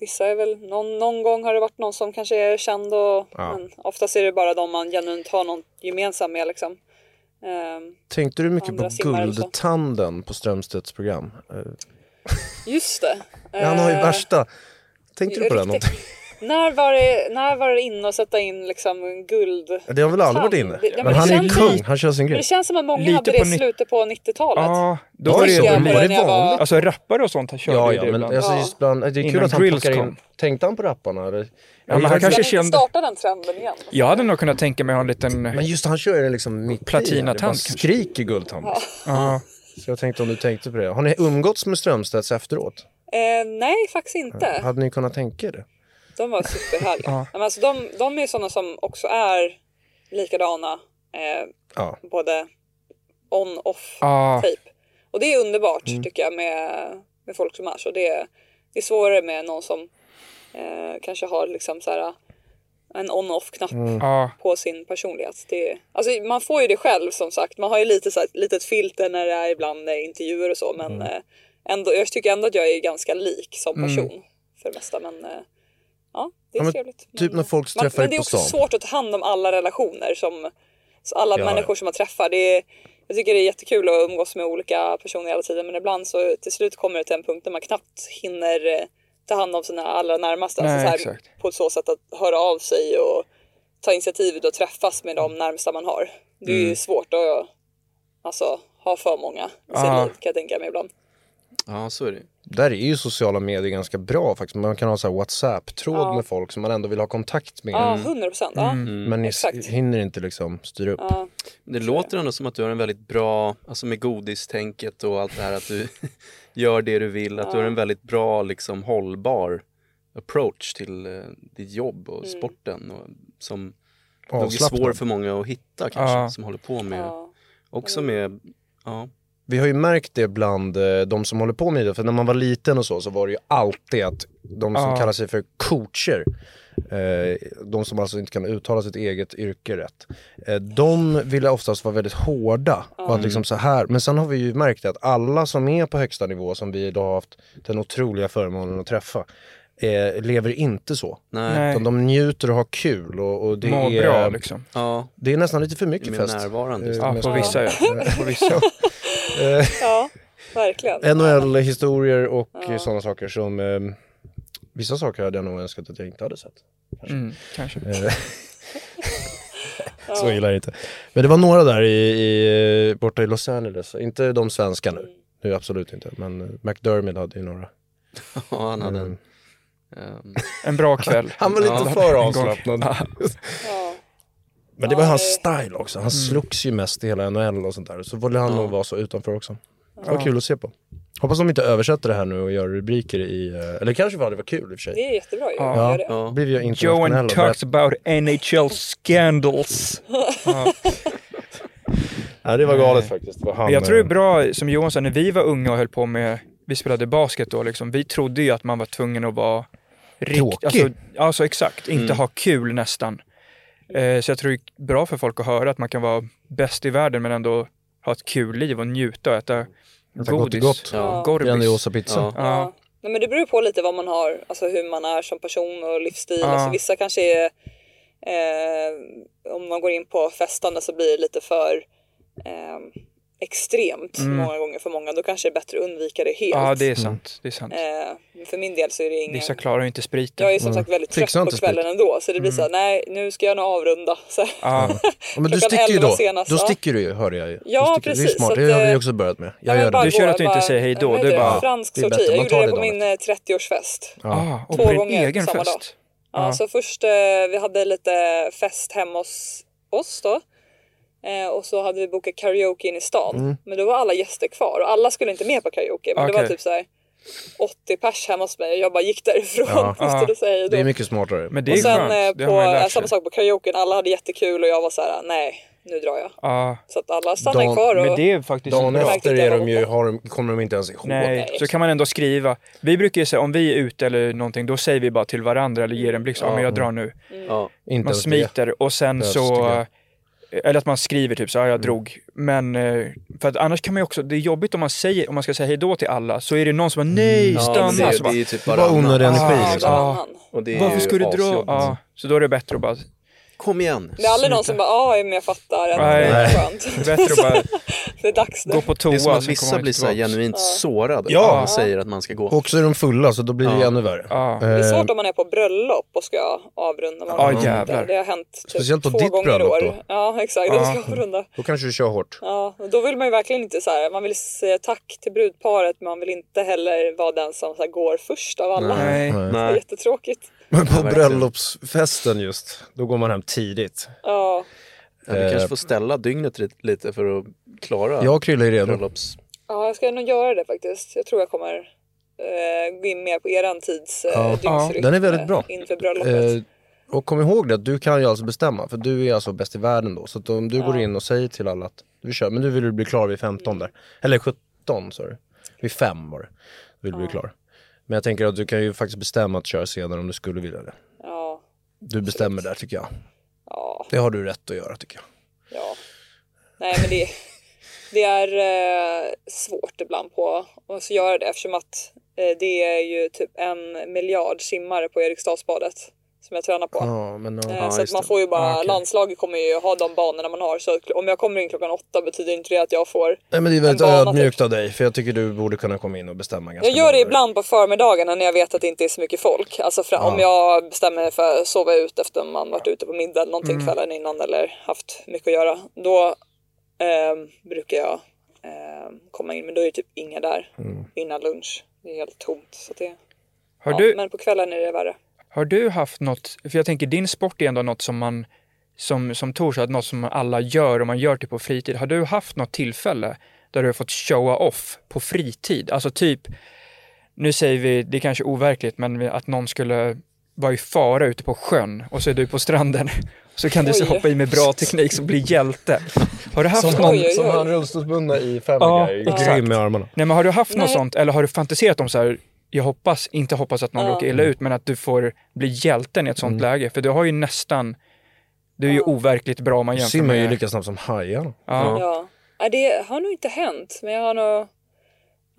[SPEAKER 1] vissa är väl... Någon, någon gång har det varit någon som kanske är känd och... Men oftast är det bara de man genuint har någon gemensam med liksom. Eh,
[SPEAKER 7] Tänkte du mycket
[SPEAKER 1] Andra
[SPEAKER 7] på
[SPEAKER 1] simmar eller så.
[SPEAKER 7] Guldtanden på Strömstedts program? Eh,
[SPEAKER 1] just det.
[SPEAKER 7] Han har ju
[SPEAKER 1] Eh,
[SPEAKER 7] värsta... Tänkte du på det
[SPEAKER 1] riktigt.
[SPEAKER 7] någonting?
[SPEAKER 1] När var det, när var det inne att sätta in liksom guld...
[SPEAKER 7] Det har väl aldrig varit inne?
[SPEAKER 1] Tand. Det- ja, men
[SPEAKER 7] Men
[SPEAKER 1] det
[SPEAKER 7] han är ju
[SPEAKER 1] känns
[SPEAKER 7] kung,
[SPEAKER 1] lite-
[SPEAKER 7] han kör sin
[SPEAKER 1] Men det
[SPEAKER 7] grej.
[SPEAKER 1] känns som att många
[SPEAKER 2] Lite
[SPEAKER 1] hade
[SPEAKER 2] på
[SPEAKER 1] det i
[SPEAKER 2] ni-
[SPEAKER 1] slutet på 90-talet.
[SPEAKER 2] Ja, då
[SPEAKER 7] Ja,
[SPEAKER 2] var
[SPEAKER 7] så
[SPEAKER 2] det...
[SPEAKER 7] var
[SPEAKER 1] när
[SPEAKER 7] det
[SPEAKER 1] jag var-
[SPEAKER 7] vanligt?
[SPEAKER 2] Alltså rappare och sånt körde
[SPEAKER 7] Ja,
[SPEAKER 2] ju
[SPEAKER 7] ja,
[SPEAKER 2] det
[SPEAKER 7] men
[SPEAKER 2] ibland.
[SPEAKER 7] alltså
[SPEAKER 1] Ja.
[SPEAKER 7] just bland, det är kul
[SPEAKER 2] Innan
[SPEAKER 7] att han
[SPEAKER 2] Grills
[SPEAKER 7] plockar in,
[SPEAKER 2] kom.
[SPEAKER 7] tänkte han på rapparna eller?
[SPEAKER 2] men
[SPEAKER 7] Jag-
[SPEAKER 2] han kanske-
[SPEAKER 1] Ska
[SPEAKER 2] kände-
[SPEAKER 1] inte starta den trenden igen?
[SPEAKER 2] Jag hade nog kunnat tänka mig att ha en liten...
[SPEAKER 7] Men just han kör ju liksom mitt i,
[SPEAKER 2] Platinatant
[SPEAKER 7] det bara
[SPEAKER 2] kanske.
[SPEAKER 7] skriker guldtand.
[SPEAKER 2] Ja.
[SPEAKER 7] Så jag tänkte om du tänkte på det. Har ni umgåtts med Strömstedts efteråt?
[SPEAKER 1] Eh, nej, faktiskt inte.
[SPEAKER 7] Hade ni kunnat tänka er det?
[SPEAKER 1] De var superhärliga.
[SPEAKER 2] Ja.
[SPEAKER 1] Nej, men alltså, de, de är ju sådana som också är likadana, eh,
[SPEAKER 7] Ja.
[SPEAKER 1] både on-off
[SPEAKER 2] Ja. Mm.
[SPEAKER 1] typ. Och det är underbart tycker jag med, med folk som är så. Det är, det är svårare med någon som eh, kanske har liksom så här, en on-off-knapp
[SPEAKER 2] Ja.
[SPEAKER 1] på sin personlighet. Det, alltså man får ju det själv som sagt. Man har ju lite så här, ett litet filter när det är ibland eh, intervjuer och så. Men
[SPEAKER 7] Mm.
[SPEAKER 1] eh, ändå, jag tycker ändå att jag är ganska lik som person för det mesta. Men eh, ja, det är
[SPEAKER 7] Ja, men
[SPEAKER 1] trevligt.
[SPEAKER 7] typ när folk
[SPEAKER 1] man,
[SPEAKER 7] träffar
[SPEAKER 1] men
[SPEAKER 7] dig
[SPEAKER 1] det är
[SPEAKER 7] på
[SPEAKER 1] också
[SPEAKER 7] stan.
[SPEAKER 1] svårt att ta hand om alla relationer som så alla
[SPEAKER 7] Ja,
[SPEAKER 1] människor
[SPEAKER 7] ja.
[SPEAKER 1] som man träffar. Det är, jag tycker det är jättekul att umgås med olika personer hela tiden men ibland så till slut kommer det till en punkt där man knappt hinner eh, ta hand om sina allra närmaste.
[SPEAKER 2] Nej,
[SPEAKER 1] alltså så här,
[SPEAKER 2] exakt.
[SPEAKER 1] på så sätt att höra av sig och ta initiativet och träffas med de närmsta man har. Det är ju
[SPEAKER 2] Mm.
[SPEAKER 1] svårt att alltså, ha för många i sitt
[SPEAKER 2] Ja.
[SPEAKER 1] liv kan jag tänka mig ibland.
[SPEAKER 6] Ja, så är det.
[SPEAKER 7] Där är ju sociala medier ganska bra faktiskt. Man kan ha så här WhatsApp-tråd med folk som man ändå vill ha kontakt
[SPEAKER 2] Mm.
[SPEAKER 7] med.
[SPEAKER 1] Ja, 100 procent. Ja.
[SPEAKER 7] Men ni
[SPEAKER 1] Exakt.
[SPEAKER 7] hinner inte liksom styra upp.
[SPEAKER 6] Det låter ändå som att du har en väldigt bra, alltså med godistänket och allt det här att du gör det du vill, att du har en väldigt bra liksom hållbar approach till eh, ditt jobb och
[SPEAKER 2] Mm.
[SPEAKER 6] sporten och som nog är
[SPEAKER 7] Avslappnad.
[SPEAKER 6] svår för många att hitta kanske
[SPEAKER 2] Ja.
[SPEAKER 6] som håller på med,
[SPEAKER 1] Ja.
[SPEAKER 6] också med, ja,
[SPEAKER 7] Vi har ju märkt det bland eh, de som håller på med idrott, för när man var liten och så, så var det ju alltid att de som
[SPEAKER 2] Ja.
[SPEAKER 7] kallar sig för coacher, eh, de som alltså inte kan uttala sitt eget yrke rätt, eh, de ville oftast vara väldigt hårda. Och att liksom så här. Men sen har vi ju märkt det att alla som är på högsta nivå, som vi idag har haft den otroliga förmånen att träffa, eh, lever inte så.
[SPEAKER 6] nej,
[SPEAKER 2] Nej.
[SPEAKER 7] Utan de njuter och har kul och, och det,
[SPEAKER 2] Må
[SPEAKER 7] är, eh,
[SPEAKER 2] bra liksom.
[SPEAKER 6] ja,
[SPEAKER 7] det är nästan lite för
[SPEAKER 6] det är
[SPEAKER 7] mycket
[SPEAKER 6] mer
[SPEAKER 7] fest.
[SPEAKER 6] närvarande.
[SPEAKER 7] Eh,
[SPEAKER 6] just nu.
[SPEAKER 2] Ja, på vissa ja. På vissa.
[SPEAKER 1] ja, verkligen.
[SPEAKER 7] NHL-historier och sådana saker som eh, Vissa saker hade jag nog önskat att jag inte hade sett.
[SPEAKER 2] Mm, kanske.
[SPEAKER 7] Så gillar jag inte. Men det var några där i, i, borta i Los Angeles. Inte de svenska nu. Nu absolut inte. Men eh, McDermid hade ju några.
[SPEAKER 6] Ja, han hade en, ehm,
[SPEAKER 2] En bra kväll.
[SPEAKER 7] Han var lite
[SPEAKER 6] Ja.
[SPEAKER 7] för
[SPEAKER 2] gång.
[SPEAKER 7] avslappnad.
[SPEAKER 1] Ja.
[SPEAKER 7] Men det var
[SPEAKER 1] Ja,
[SPEAKER 7] hans
[SPEAKER 1] det-
[SPEAKER 7] style också. Han slogs ju mest i hela NHL och sånt där. Så ville han nog vara så utanför också. Det var kul att se på. Hoppas de inte översätter det här nu och gör rubriker i... eh, Eller kanske var det var kul i och för sig.
[SPEAKER 1] Det är jättebra ju.
[SPEAKER 2] Ja.
[SPEAKER 1] Ja.
[SPEAKER 7] Ja, blev jag internationell
[SPEAKER 2] Johan
[SPEAKER 7] och började-
[SPEAKER 2] talks about NHL scandals.
[SPEAKER 7] Ja, det var galet faktiskt. Det var han,
[SPEAKER 2] Men jag tror det är
[SPEAKER 7] eh,
[SPEAKER 2] bra, som Johan sa, när vi var unga och höll på med, vi spelade basket då liksom, vi trodde ju att man var tvungen att vara rikt,
[SPEAKER 7] Tråkig.
[SPEAKER 2] alltså, alltså exakt, inte
[SPEAKER 7] Mm.
[SPEAKER 2] ha kul nästan. Eh, så jag tror det är bra för folk att höra att man kan vara bäst i världen men ändå ha ett kul liv och njuta och äta
[SPEAKER 7] gott och
[SPEAKER 2] godis.
[SPEAKER 7] gott.
[SPEAKER 2] Ja. Gorbis.
[SPEAKER 7] Grandiosa pizza.
[SPEAKER 6] ja,
[SPEAKER 2] Ja.
[SPEAKER 1] Nej, men det beror på lite vad man har, alltså hur man är som person och livsstil.
[SPEAKER 2] Ja.
[SPEAKER 1] Alltså, vissa kanske är, eh, om man går in på festande så blir det lite för eh, extremt många gånger för många, då kanske det är bättre att undvika det helt.
[SPEAKER 2] Ja, det är sant. Det är sant.
[SPEAKER 7] Mm.
[SPEAKER 1] eh, för min del så är det ingen...
[SPEAKER 2] Vissa klarar ju inte spriten.
[SPEAKER 1] Jag är som sagt väldigt
[SPEAKER 7] Fixa
[SPEAKER 1] trött
[SPEAKER 7] inte
[SPEAKER 1] på
[SPEAKER 7] sprit.
[SPEAKER 1] kvällen ändå så det blir så här, nej nu ska jag nog avrunda. Så här.
[SPEAKER 2] Ja,
[SPEAKER 7] Ja, men du
[SPEAKER 1] Klockan
[SPEAKER 7] sticker ju
[SPEAKER 1] elva
[SPEAKER 7] då.
[SPEAKER 1] senast,
[SPEAKER 7] då
[SPEAKER 1] ja.
[SPEAKER 7] sticker du ju, hörde jag ju. Då
[SPEAKER 1] Ja,
[SPEAKER 7] sticker du. Det är
[SPEAKER 1] precis,
[SPEAKER 7] ju smart,
[SPEAKER 1] så
[SPEAKER 7] det
[SPEAKER 1] att,
[SPEAKER 7] har vi
[SPEAKER 1] eh,
[SPEAKER 7] också börjat med.
[SPEAKER 1] Nej,
[SPEAKER 7] Jag
[SPEAKER 1] men
[SPEAKER 7] gör det.
[SPEAKER 1] bara
[SPEAKER 2] Du kör
[SPEAKER 1] gå,
[SPEAKER 2] att du inte
[SPEAKER 1] bara-
[SPEAKER 2] säger hej då,
[SPEAKER 1] vad
[SPEAKER 2] det är
[SPEAKER 1] heter
[SPEAKER 2] bara-
[SPEAKER 1] Fransk
[SPEAKER 7] Det är bättre,
[SPEAKER 1] sorti, jag
[SPEAKER 7] man tar
[SPEAKER 1] gjorde det
[SPEAKER 7] det
[SPEAKER 1] på
[SPEAKER 7] dagen
[SPEAKER 1] min eh, 30-årsfest. Ja.
[SPEAKER 2] ah, och
[SPEAKER 1] Två
[SPEAKER 2] på din
[SPEAKER 1] gånger
[SPEAKER 2] egen
[SPEAKER 1] samma dag.
[SPEAKER 2] fest.
[SPEAKER 1] så först, eh, vi hade lite fest hemma hos oss då. Eh, och så hade vi bokat karaoke in i stan. Men då var alla gäster kvar och alla skulle inte med på karaoke. Men det var
[SPEAKER 2] Mm. Okej.
[SPEAKER 1] typ så här 80 pers hemma hos mig och jag bara gick därifrån.
[SPEAKER 7] Ja.
[SPEAKER 1] och stod och sa hej
[SPEAKER 7] Det är
[SPEAKER 1] då.
[SPEAKER 7] mycket smartare.
[SPEAKER 2] Men det är
[SPEAKER 1] Och sen
[SPEAKER 2] skönt,
[SPEAKER 1] eh,
[SPEAKER 2] det har man ju
[SPEAKER 1] på,
[SPEAKER 2] lärt sig.
[SPEAKER 1] samma sak på karaoken, alla hade jättekul och jag var så här: nej nu drar jag.
[SPEAKER 2] Ja,
[SPEAKER 1] Så att alla stannade
[SPEAKER 7] Dan-
[SPEAKER 1] kvar och...
[SPEAKER 2] men det är faktiskt
[SPEAKER 7] Dagen
[SPEAKER 2] bra.
[SPEAKER 7] efter
[SPEAKER 1] Märkte
[SPEAKER 7] är
[SPEAKER 1] jag
[SPEAKER 7] de ju, har de, kommer de inte ens ihåg.
[SPEAKER 2] Nej, så kan man ändå skriva. Vi brukar ju säga, om vi är ute eller någonting, då säger vi bara till varandra eller ger en blixt, ja men jag drar nu.
[SPEAKER 6] Ja.
[SPEAKER 7] Inte
[SPEAKER 2] Man
[SPEAKER 7] ens det.
[SPEAKER 2] smiter och sen
[SPEAKER 7] Behövs,
[SPEAKER 2] så,
[SPEAKER 7] tycker
[SPEAKER 2] eller att man skriver typ så här, jag
[SPEAKER 6] Mm.
[SPEAKER 2] drog. Men, eh, för att annars kan man ju också, det är jobbigt om man säger, om man ska säga hej då till alla, så är det någon som bara, nej,
[SPEAKER 6] Mm. Ja, men
[SPEAKER 2] stanna.
[SPEAKER 6] det,
[SPEAKER 2] så bara,
[SPEAKER 6] det är ju typ
[SPEAKER 7] Bara onödig
[SPEAKER 6] varannan.
[SPEAKER 7] energi
[SPEAKER 1] Ja,
[SPEAKER 7] liksom.
[SPEAKER 1] varannan.
[SPEAKER 6] Och det är
[SPEAKER 2] varför
[SPEAKER 6] ju
[SPEAKER 2] ska du dra?
[SPEAKER 6] asjobbigt.
[SPEAKER 2] Ja, så då är det bättre att bara,
[SPEAKER 6] Kom igen.
[SPEAKER 1] Det är aldrig någon som bara ja men jag fattar att
[SPEAKER 2] Nej.
[SPEAKER 1] det är skönt.
[SPEAKER 2] det är bättre att bara
[SPEAKER 1] Det är dags
[SPEAKER 2] gå
[SPEAKER 1] nu.
[SPEAKER 2] på toa.
[SPEAKER 6] Det är som att
[SPEAKER 2] sen kommer
[SPEAKER 6] vissa
[SPEAKER 2] man
[SPEAKER 6] blir
[SPEAKER 2] inte
[SPEAKER 6] så här
[SPEAKER 2] tillbaks.
[SPEAKER 6] genuint sårade.
[SPEAKER 7] Ja.
[SPEAKER 6] Ja. Man säger att man ska gå.
[SPEAKER 7] Och så är de fulla så då blir det ju ännu värre.
[SPEAKER 2] Ja.
[SPEAKER 1] Det är
[SPEAKER 7] Eh,
[SPEAKER 1] svårt om man är på bröllop och ska avrunda. Man
[SPEAKER 2] Ja,
[SPEAKER 1] vet inte.
[SPEAKER 2] jävlar.
[SPEAKER 1] Det har hänt typ
[SPEAKER 7] Speciellt på
[SPEAKER 1] två
[SPEAKER 7] ditt
[SPEAKER 1] gånger i
[SPEAKER 7] bröllop
[SPEAKER 1] år.
[SPEAKER 7] då. Ah.
[SPEAKER 1] Ja exakt, ja. jag ska avrunda.
[SPEAKER 7] Då kanske du kör hårt.
[SPEAKER 1] Ja, och då vill man ju verkligen inte så här, man vill säga tack till brudparet men man vill inte heller vara den som så här, går först av alla.
[SPEAKER 2] Nej.
[SPEAKER 1] Det är jättetråkigt.
[SPEAKER 7] Men på
[SPEAKER 6] verkligen.
[SPEAKER 7] bröllopsfesten just, då går man hem tidigt.
[SPEAKER 1] Ja,
[SPEAKER 6] Ja, vi kanske får ställa dygnet ri- lite för att klara
[SPEAKER 7] eh, Jag kryllar ju redan.
[SPEAKER 6] bröllops...
[SPEAKER 1] ja jag ska nog göra det faktiskt. Jag tror jag kommer eh, gå in mer på eran tids eh, dygnsrytm,
[SPEAKER 7] den är väldigt
[SPEAKER 1] eh,
[SPEAKER 7] bra.
[SPEAKER 1] Inför bröllopet.
[SPEAKER 7] Eh, och kom ihåg det, att du kan ju alltså bestämma, för du är alltså bäst i världen då. Så att om du går in och säger till alla att du kör, men nu vill du bli klar vid 15 där. Eller 17 sa du. Vid 5 var det. Du vill bli klar. Men jag tänker att du kan ju faktiskt bestämma att köra senare om du skulle vilja det.
[SPEAKER 1] Ja,
[SPEAKER 7] Du bestämmer där tycker jag.
[SPEAKER 1] ja.
[SPEAKER 7] Det har du rätt att göra tycker jag.
[SPEAKER 1] Ja. Nej men det, det är eh, svårt ibland på att så göra det eftersom att eh, det är ju typ en miljard simmare på Eriksdalsbadet som jag tränar på.
[SPEAKER 7] Ja, men ja.
[SPEAKER 1] Eh, så att man får ju bara, landslaget kommer ju ha de banorna man har så att om jag kommer in klockan åtta betyder inte det att jag får
[SPEAKER 7] Nej men det är väldigt
[SPEAKER 1] En bana,
[SPEAKER 7] ödmjukt av dig, för jag tycker du borde kunna komma in och bestämma ganska
[SPEAKER 1] Jag gör det
[SPEAKER 7] bra där.
[SPEAKER 1] ibland på förmiddagarna när jag vet att det inte är så mycket folk. Alltså fra- om jag bestämmer mig för att sova ut efter man varit ute på middag eller någonting
[SPEAKER 2] Mm.
[SPEAKER 1] kvällen innan eller haft mycket att göra. Då ehm, brukar jag ehm, komma in, men då är det typ inga där innan lunch. Det är helt tomt. Så det,
[SPEAKER 2] Mm. Har
[SPEAKER 1] ja,
[SPEAKER 2] du,
[SPEAKER 1] Men på kvällen är det värre.
[SPEAKER 2] Har du haft något, för jag tänker din sport är ändå något som man, som, som Tor sa, att något som alla gör och man gör det på fritid. Har du haft något tillfälle där du har fått showa off på fritid? Alltså typ, nu säger vi, det är kanske overkligt, men vi- att någon skulle vara i fara ute på sjön och så är du på stranden. Så kan du så
[SPEAKER 1] Oj.
[SPEAKER 2] hoppa i med bra teknik så blir hjälte. Har du haft någon,
[SPEAKER 1] Oj, oj, oj.
[SPEAKER 7] rullstolsbundna i Family
[SPEAKER 2] Ja,
[SPEAKER 7] Guy, grym i armarna.
[SPEAKER 2] nej men har du haft något
[SPEAKER 1] Nej.
[SPEAKER 2] sånt eller har du fantiserat om så här, jag hoppas, inte hoppas att någon råkar illa ut, men att du får bli hjälten i ett sånt läge. För du har ju nästan, du är ju overkligt bra om man jämför
[SPEAKER 7] Simmar ju
[SPEAKER 2] med...
[SPEAKER 7] lika snabbt som hajarna.
[SPEAKER 2] ja.
[SPEAKER 1] Ja. Nej, det har nog inte hänt, men jag har nog...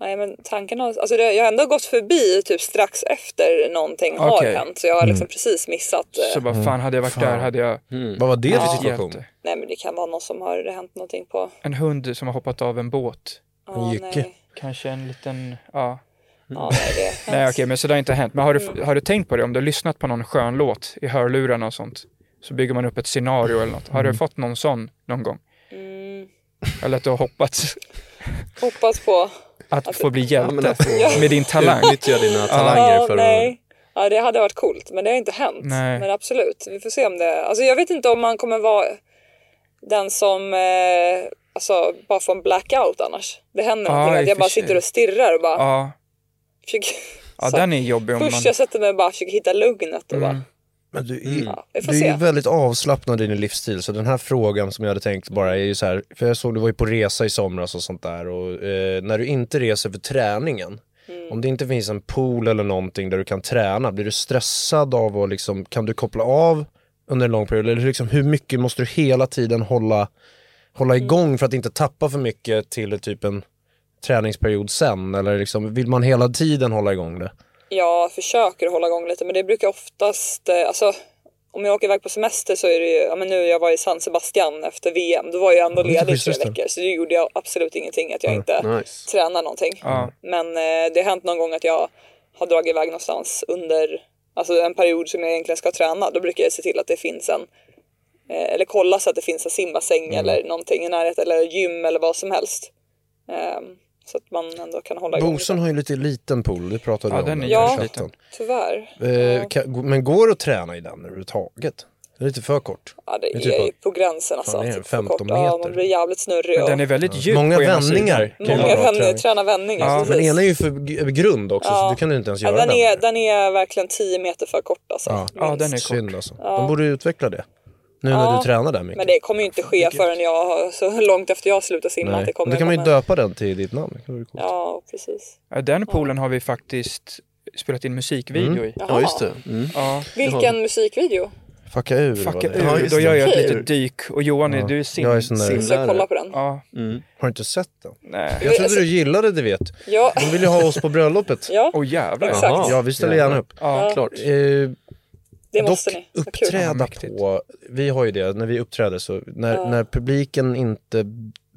[SPEAKER 1] Nej, men tanken har... Alltså det, jag har ändå gått förbi typ strax efter någonting har
[SPEAKER 2] Okej. Mm.
[SPEAKER 1] hänt. Så jag har liksom precis missat. eh,
[SPEAKER 2] Så bara, fan hade jag varit där hade jag
[SPEAKER 7] Vad var det för situation?
[SPEAKER 2] hjälte.
[SPEAKER 1] Nej, men det kan vara någon som har det hänt någonting på.
[SPEAKER 2] En hund som har hoppat av en båt.
[SPEAKER 1] Ja,
[SPEAKER 7] jycke.
[SPEAKER 2] Mm.
[SPEAKER 1] nej.
[SPEAKER 2] Kanske en liten, ja.
[SPEAKER 1] Ja, nej, det är
[SPEAKER 2] Nej okej, men så det har inte hänt. Men har du, har du tänkt på det? Om du har lyssnat på någon skön låt i hörlurarna och sånt, så bygger man upp ett scenario eller något. Har du fått någon sån någon gång? Eller att du har hoppats
[SPEAKER 1] Hoppas på.
[SPEAKER 2] att få bli hjälte
[SPEAKER 6] men att få-
[SPEAKER 2] med din talang?
[SPEAKER 6] Utnyttja dina talanger
[SPEAKER 1] Ja,
[SPEAKER 6] för att...
[SPEAKER 1] nej. Ja, det hade varit coolt, men det har inte hänt.
[SPEAKER 2] Nej.
[SPEAKER 1] Men absolut, vi får se om det... Alltså jag vet inte om man kommer vara den som eh, alltså, bara får en blackout annars. Det händer
[SPEAKER 2] Ja,
[SPEAKER 1] någonting,
[SPEAKER 2] i
[SPEAKER 1] att
[SPEAKER 2] och
[SPEAKER 1] jag
[SPEAKER 2] för
[SPEAKER 1] bara
[SPEAKER 2] sig.
[SPEAKER 1] sitter och stirrar och bara...
[SPEAKER 2] Ja,
[SPEAKER 1] Försöker-
[SPEAKER 2] ja
[SPEAKER 1] så-
[SPEAKER 2] den är jobbig om man...
[SPEAKER 1] Först jag sätter mig och bara försöker hitta lugnet och bara,
[SPEAKER 7] Men du är,
[SPEAKER 1] Ja, vi får
[SPEAKER 7] du är
[SPEAKER 1] se.
[SPEAKER 7] ju väldigt avslappnad i din livsstil, så den här frågan som jag hade tänkt bara är ju så här, för jag såg du var ju på resa i somras och sånt där och eh, när du inte reser för träningen,
[SPEAKER 1] Mm.
[SPEAKER 7] om det inte finns en pool eller någonting där du kan träna, blir du stressad av att liksom, kan du koppla av under en lång period eller liksom hur mycket måste du hela tiden hålla, hålla igång för att inte tappa för mycket till typ en träningsperiod sen eller liksom, vill man hela tiden hålla igång det?
[SPEAKER 1] jag försöker hålla igång lite men det brukar oftast, eh, alltså om jag åker iväg på semester så är det ju, ja men nu jag var i San Sebastian efter VM, då var jag ändå ledig i tre
[SPEAKER 7] precis det.
[SPEAKER 1] veckor så då gjorde jag absolut ingenting att jag inte
[SPEAKER 6] Nice.
[SPEAKER 1] tränar någonting.
[SPEAKER 2] Ja.
[SPEAKER 1] Men eh, det har hänt någon gång att jag har dragit iväg någonstans under alltså en period som jag egentligen ska träna. Då brukar jag se till att det finns en eh, eller kolla så att det finns en simbassäng
[SPEAKER 7] Mm.
[SPEAKER 1] eller någonting i närheten eller gym eller vad som helst. Ehm, så att man ändå kan hålla igång.
[SPEAKER 7] Bosan har ju lite liten pool, det pratade
[SPEAKER 2] Ja,
[SPEAKER 7] vi om
[SPEAKER 2] den är
[SPEAKER 7] i
[SPEAKER 1] ju
[SPEAKER 7] chatten.
[SPEAKER 2] liten.
[SPEAKER 1] Tyvärr.
[SPEAKER 7] Eh, kan, men går det att träna i den överhuvudtaget? Det är lite för kort.
[SPEAKER 1] Ja, det
[SPEAKER 7] Det är
[SPEAKER 1] är
[SPEAKER 7] typ
[SPEAKER 1] ju på gränsen alltså.
[SPEAKER 7] Fan, det är
[SPEAKER 1] Typ för
[SPEAKER 7] 15
[SPEAKER 1] kort. Ja,
[SPEAKER 7] meter.
[SPEAKER 1] man blir jävligt snurrig.
[SPEAKER 2] Men
[SPEAKER 1] Och
[SPEAKER 2] den är väldigt djup
[SPEAKER 7] Många
[SPEAKER 2] på ena
[SPEAKER 7] vändningar
[SPEAKER 2] sidan.
[SPEAKER 7] kan
[SPEAKER 1] många
[SPEAKER 7] ju vara bra
[SPEAKER 1] vänner
[SPEAKER 7] träning.
[SPEAKER 1] tränar vändningar.
[SPEAKER 2] Ja,
[SPEAKER 1] precis.
[SPEAKER 7] Men ena är ju för g- grund också, så
[SPEAKER 1] Ja.
[SPEAKER 7] du kan ju inte ens
[SPEAKER 1] ja,
[SPEAKER 7] göra
[SPEAKER 1] den, är,
[SPEAKER 7] vändningar.
[SPEAKER 1] den är verkligen 10 meter för kort alltså.
[SPEAKER 7] Ja.
[SPEAKER 2] Ja, den är kort.
[SPEAKER 7] Synd alltså. De borde ju utveckla det. Nu när
[SPEAKER 1] Ja,
[SPEAKER 7] du tränar där mycket.
[SPEAKER 1] Men det kommer ju inte ske förrän jag har, så långt efter jag slutar simma.
[SPEAKER 7] Nej.
[SPEAKER 1] Att det kommer
[SPEAKER 7] Då kan man ju
[SPEAKER 1] komma-
[SPEAKER 7] döpa den till ditt namn. Det kan vara coolt.
[SPEAKER 1] Ja, precis.
[SPEAKER 2] Ja, den poolen har vi faktiskt spelat in musikvideo i.
[SPEAKER 6] Ja, just det. Mm.
[SPEAKER 2] Ja.
[SPEAKER 1] Vilken musikvideo?
[SPEAKER 7] Fucka ur var
[SPEAKER 2] Fucka
[SPEAKER 7] det.
[SPEAKER 6] Ja,
[SPEAKER 2] ur,
[SPEAKER 6] just
[SPEAKER 2] då
[SPEAKER 6] det.
[SPEAKER 2] gör jag ett
[SPEAKER 1] Fucka
[SPEAKER 2] litet dyk. Och Johan, är du sim?
[SPEAKER 7] Jag är sån där-
[SPEAKER 1] Jag ska
[SPEAKER 6] Simlärare.
[SPEAKER 1] kolla på den.
[SPEAKER 2] Ja,
[SPEAKER 7] Har du inte sett den?
[SPEAKER 2] nej.
[SPEAKER 7] Jag
[SPEAKER 1] alltså-
[SPEAKER 7] trodde du gillade det vet.
[SPEAKER 1] Ja,
[SPEAKER 7] De vill ju ha oss på bröllopet.
[SPEAKER 1] ja
[SPEAKER 2] Åh jävlar.
[SPEAKER 1] Exakt.
[SPEAKER 6] Jaha.
[SPEAKER 7] Ja, vi ställer gärna upp.
[SPEAKER 2] Ja.
[SPEAKER 6] Klart.
[SPEAKER 7] Eh,
[SPEAKER 1] det
[SPEAKER 7] Dock
[SPEAKER 1] måste ni. Vad kul.
[SPEAKER 2] Ja,
[SPEAKER 7] uppträda
[SPEAKER 2] mäktigt.
[SPEAKER 7] på, vi har ju det när vi uppträder så, när, när publiken inte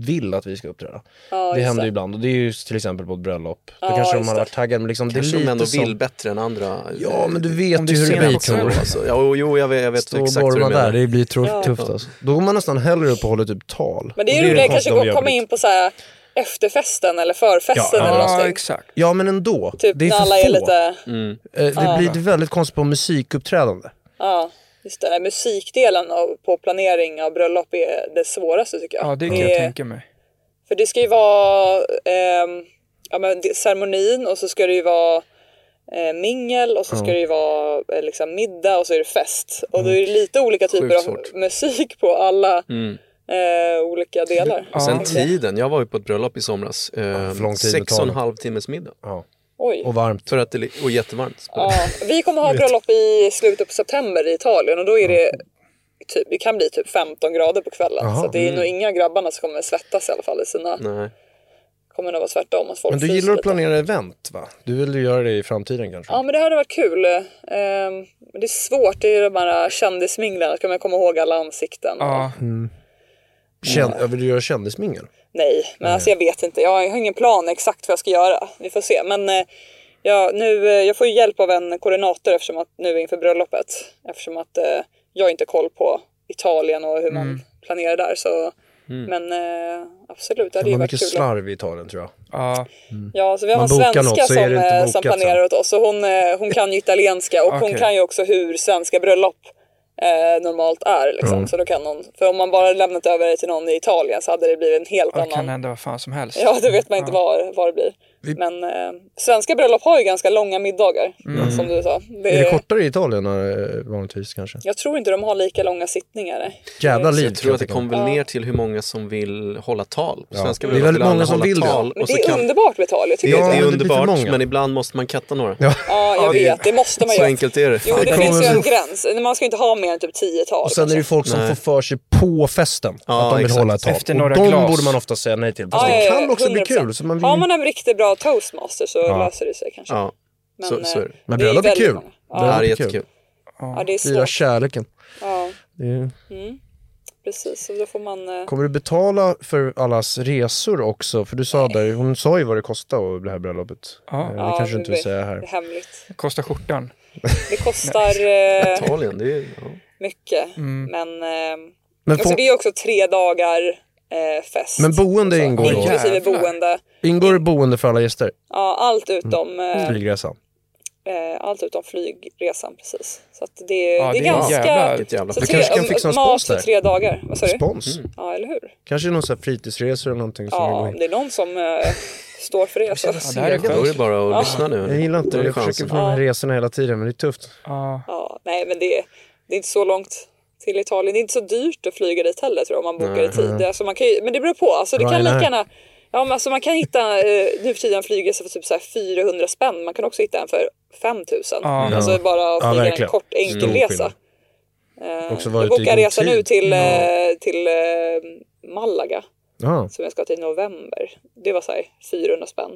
[SPEAKER 7] vill att vi ska uppträda.
[SPEAKER 1] Ja,
[SPEAKER 7] det
[SPEAKER 1] just
[SPEAKER 7] händer ju
[SPEAKER 1] det.
[SPEAKER 7] ibland och det är ju till exempel på ett bröllop. Då
[SPEAKER 1] Ja,
[SPEAKER 7] kanske de
[SPEAKER 1] just
[SPEAKER 7] har
[SPEAKER 1] det.
[SPEAKER 7] varit taggade men liksom det är
[SPEAKER 6] Kanske de
[SPEAKER 7] lite
[SPEAKER 6] ändå
[SPEAKER 7] som,
[SPEAKER 6] vill bättre än andra.
[SPEAKER 7] Ja men du vet
[SPEAKER 2] Om
[SPEAKER 7] ju
[SPEAKER 2] det
[SPEAKER 7] hur det
[SPEAKER 2] är
[SPEAKER 7] blir.
[SPEAKER 2] sent på
[SPEAKER 7] Karo.
[SPEAKER 2] kvällen.
[SPEAKER 6] Alltså, ja, jo, jo, jag vet, jag vet
[SPEAKER 7] Stå och
[SPEAKER 6] exakt hur du
[SPEAKER 7] gorma
[SPEAKER 6] menar.
[SPEAKER 7] där, det blir tro- tufft alltså. Då går man nästan hellre upp och håller typ tal.
[SPEAKER 1] Men det är
[SPEAKER 7] Och
[SPEAKER 1] ju roligare kanske
[SPEAKER 7] konstiga
[SPEAKER 1] att
[SPEAKER 7] vi
[SPEAKER 1] komma
[SPEAKER 7] gör.
[SPEAKER 1] in på så här efterfesten eller förfesten
[SPEAKER 7] Ja,
[SPEAKER 1] eller
[SPEAKER 2] Ja,
[SPEAKER 1] någonting.
[SPEAKER 2] exakt.
[SPEAKER 7] Ja men ändå,
[SPEAKER 1] Typ
[SPEAKER 7] det är
[SPEAKER 1] när
[SPEAKER 7] för
[SPEAKER 1] alla
[SPEAKER 7] få.
[SPEAKER 1] är lite...
[SPEAKER 7] Eh, Det blir väldigt konstigt på musikuppträdande.
[SPEAKER 1] Ja, just det. Den musikdelen av, på planering av bröllop är det svåraste tycker jag. Eh,
[SPEAKER 2] Ja, det kan jag tänka mig.
[SPEAKER 1] För det ska ju vara ehm, ja, men det, ceremonin och så ska det ju vara eh, mingel och så ska det ju vara eh, liksom, middag och så är det fest. Och
[SPEAKER 2] Mm.
[SPEAKER 1] då är det lite olika typer
[SPEAKER 6] Sjukt
[SPEAKER 1] av
[SPEAKER 6] svårt.
[SPEAKER 1] musik på alla eh, olika delar.
[SPEAKER 6] Och sen tiden, jag var ju på ett bröllop i somras. Eh,
[SPEAKER 7] för lång tid
[SPEAKER 6] sex och en
[SPEAKER 7] betalt.
[SPEAKER 6] halv timmes middag.
[SPEAKER 1] Oj.
[SPEAKER 7] Och varmt.
[SPEAKER 6] För att det li- och jättevarmt.
[SPEAKER 1] Ja, vi kommer ha bröllop i slutet på september i Italien och då är det typ, det kan bli typ 15 grader på kvällen.
[SPEAKER 7] Jaha. Mm.
[SPEAKER 1] så det är nog inga grabbarna som kommer svettas i alla fall i sina,
[SPEAKER 6] Nej.
[SPEAKER 1] kommer nog vara tvärtom att folk
[SPEAKER 7] Men du
[SPEAKER 1] fryser
[SPEAKER 7] gillar att
[SPEAKER 1] lite.
[SPEAKER 7] planera event va? Du vill ju göra det i framtiden kanske?
[SPEAKER 1] Ja men det hade varit kul. Ehm, men det är svårt, det är ju de här kändisminglarna, ska man komma ihåg alla ansikten?
[SPEAKER 2] Ja,
[SPEAKER 7] Kän- ja, vill du göra kändismingel?
[SPEAKER 1] Nej, men alltså jag vet inte, jag har jag har ingen plan exakt vad jag ska göra. Vi får se. Men eh, jag, nu, eh, jag får ju hjälp av en koordinator eftersom att nu inför bröllopet. Eftersom att eh, jag har inte koll på Italien och hur
[SPEAKER 7] Mm.
[SPEAKER 1] man planerar där. Så, Men eh, absolut, det hade
[SPEAKER 7] Det
[SPEAKER 1] ju
[SPEAKER 7] var
[SPEAKER 1] varit kul.
[SPEAKER 7] Mm. mycket slarv i Italien tror jag.
[SPEAKER 2] ja.
[SPEAKER 1] Ja, så vi har
[SPEAKER 7] Man
[SPEAKER 1] en
[SPEAKER 7] bokar
[SPEAKER 1] svenska
[SPEAKER 7] något så är det
[SPEAKER 1] som,
[SPEAKER 7] inte
[SPEAKER 1] eh, som
[SPEAKER 7] bokat sen.
[SPEAKER 1] planerar åt oss. Och hon, eh, hon kan ju italienska och hon
[SPEAKER 2] Okej.
[SPEAKER 1] kan ju också hur svenska bröllop eh, normalt är. Liksom. Så då kan hon, för om man bara lämnat över det till någon i Italien så hade det blivit en helt
[SPEAKER 2] Det
[SPEAKER 1] annan
[SPEAKER 2] kan hända vad fan som helst.
[SPEAKER 1] Ja, då vet man inte var, var det blir. Men eh, svenska bröllop har ju ganska långa middagar, som du sa. Det,
[SPEAKER 7] Är det kortare i Italien eh, vanligtvis kanske?
[SPEAKER 1] Jag tror inte de har lika långa sittningar. nej.
[SPEAKER 7] Jävla liv.
[SPEAKER 6] Jag tror att det
[SPEAKER 7] tänka mig.
[SPEAKER 6] kom väl ner till hur många som vill hålla tal. På
[SPEAKER 7] Ja.
[SPEAKER 6] svenska
[SPEAKER 7] Det är
[SPEAKER 6] bröllop
[SPEAKER 7] väldigt
[SPEAKER 6] vill alla
[SPEAKER 7] många som
[SPEAKER 6] hålla
[SPEAKER 7] vill det.
[SPEAKER 6] tal.
[SPEAKER 1] Men
[SPEAKER 6] Och
[SPEAKER 1] det
[SPEAKER 6] så
[SPEAKER 1] är
[SPEAKER 6] kan,
[SPEAKER 1] underbart med tal, jag
[SPEAKER 6] det,
[SPEAKER 1] tycker
[SPEAKER 7] Ja,
[SPEAKER 6] det
[SPEAKER 7] men
[SPEAKER 6] är
[SPEAKER 7] det blir för
[SPEAKER 6] underbart,
[SPEAKER 7] många.
[SPEAKER 6] men ibland måste man katta några.
[SPEAKER 1] Ja, jag vet. Det måste man
[SPEAKER 6] Så
[SPEAKER 1] göra.
[SPEAKER 6] enkelt är det.
[SPEAKER 1] Jo, det
[SPEAKER 7] Fan,
[SPEAKER 1] finns ju en
[SPEAKER 7] kommer-
[SPEAKER 1] gräns. Man ska inte ha mer än typ tio tal.
[SPEAKER 7] Och sen är det ju
[SPEAKER 1] kanske.
[SPEAKER 7] folk som
[SPEAKER 6] Nej.
[SPEAKER 7] får för sig på festen
[SPEAKER 6] Ja,
[SPEAKER 7] att de vill
[SPEAKER 6] exakt.
[SPEAKER 7] hålla ett tal.
[SPEAKER 2] Efter
[SPEAKER 7] och
[SPEAKER 2] några
[SPEAKER 7] de
[SPEAKER 2] glas.
[SPEAKER 7] borde man ofta säga nej till. Fast
[SPEAKER 1] Ja, ja,
[SPEAKER 7] alltså, det
[SPEAKER 1] ja,
[SPEAKER 7] kan också bli
[SPEAKER 1] 100%.
[SPEAKER 7] kul. Så man vill...
[SPEAKER 1] Har man en riktigt bra toastmaster så löser det sig kanske.
[SPEAKER 6] Ja, så-
[SPEAKER 1] eh,
[SPEAKER 6] så är det.
[SPEAKER 7] Men
[SPEAKER 1] ju
[SPEAKER 7] bröllop är
[SPEAKER 1] väldigt
[SPEAKER 7] kul.
[SPEAKER 1] många.
[SPEAKER 6] det
[SPEAKER 1] Ja,
[SPEAKER 6] här är
[SPEAKER 7] Ja, det är
[SPEAKER 6] jättekul.
[SPEAKER 1] ja, det är
[SPEAKER 7] Fira
[SPEAKER 1] svårt.
[SPEAKER 7] kärleken.
[SPEAKER 1] Ja,
[SPEAKER 7] Det är...
[SPEAKER 1] precis. Så då får man... eh,
[SPEAKER 7] Kommer du betala för allas resor också? För du sa där, hon sa ju vad det kostade att det här bröllopet.
[SPEAKER 2] Ja.
[SPEAKER 7] Eh, Det
[SPEAKER 1] ja,
[SPEAKER 7] kanske du inte vill
[SPEAKER 1] vet.
[SPEAKER 7] säga här.
[SPEAKER 1] Det är hemligt.
[SPEAKER 2] Kostar skjortan.
[SPEAKER 1] Det kostar... eh,
[SPEAKER 6] Italien, det är ja.
[SPEAKER 1] mycket. Men, eh,
[SPEAKER 7] Men,
[SPEAKER 1] alltså
[SPEAKER 7] får...
[SPEAKER 1] det är också tre dagar eh, fest.
[SPEAKER 7] Men boende
[SPEAKER 1] Så,
[SPEAKER 7] ingår då?
[SPEAKER 1] Inklusive
[SPEAKER 2] Jävlar.
[SPEAKER 1] boende.
[SPEAKER 7] Ingår boende för alla gäster?
[SPEAKER 1] Ja, allt utom,
[SPEAKER 7] Mm.
[SPEAKER 1] eh,
[SPEAKER 7] Flygresan?
[SPEAKER 1] eh, allt utom flygresan precis. Så att det, är-
[SPEAKER 2] Ja,
[SPEAKER 1] det är
[SPEAKER 2] det är en
[SPEAKER 1] ganska...
[SPEAKER 2] jävla-
[SPEAKER 6] vilket jävla
[SPEAKER 1] så
[SPEAKER 7] Du
[SPEAKER 1] tre-
[SPEAKER 7] kanske kan
[SPEAKER 1] om-
[SPEAKER 7] fixa en
[SPEAKER 1] Mat
[SPEAKER 7] spons
[SPEAKER 1] för
[SPEAKER 7] där?
[SPEAKER 1] tre dagar. Vad sa du?
[SPEAKER 7] Spons?
[SPEAKER 1] Ja, eller hur?
[SPEAKER 7] Kanske någon sån här fritidsresor eller någonting som
[SPEAKER 1] Ja,
[SPEAKER 7] vill
[SPEAKER 1] om
[SPEAKER 7] gå
[SPEAKER 1] det är någon som eh, står för det så.
[SPEAKER 2] Ja, det här är
[SPEAKER 6] Då är
[SPEAKER 2] skönt.
[SPEAKER 6] det bara att lyssna nu.
[SPEAKER 7] in. Jag gillar
[SPEAKER 6] Då
[SPEAKER 7] inte
[SPEAKER 6] är
[SPEAKER 7] det,
[SPEAKER 6] det
[SPEAKER 7] jag försöker
[SPEAKER 6] chansen.
[SPEAKER 7] få de här resorna hela tiden men det är tufft.
[SPEAKER 2] Ja.
[SPEAKER 1] Ja, nej, men det, det är inte så långt till Italien. Det är inte så dyrt att flyga dit heller tror jag om man bokar i tid. Alltså, man kan ju, men det beror på. Alltså, det kan
[SPEAKER 7] Ryanair.
[SPEAKER 1] lika gärna, ja, men alltså, man kan hitta eh, nu för tiden en flygresa för typ så här 400 spänn. Man kan också hitta en för 5000.
[SPEAKER 2] Ja.
[SPEAKER 1] Alltså bara att
[SPEAKER 7] Ja,
[SPEAKER 1] flyga en
[SPEAKER 7] verkligen.
[SPEAKER 1] kort
[SPEAKER 7] Stor
[SPEAKER 1] enkel
[SPEAKER 7] skillnad.
[SPEAKER 1] resa. Eh,
[SPEAKER 7] Också vara
[SPEAKER 1] Jag
[SPEAKER 7] ute i
[SPEAKER 1] bokar
[SPEAKER 7] god
[SPEAKER 1] resa
[SPEAKER 7] tid.
[SPEAKER 1] nu till, eh, till eh, Malaga
[SPEAKER 7] Ja,
[SPEAKER 1] som jag ska till i november. Det var så här 400 spänn.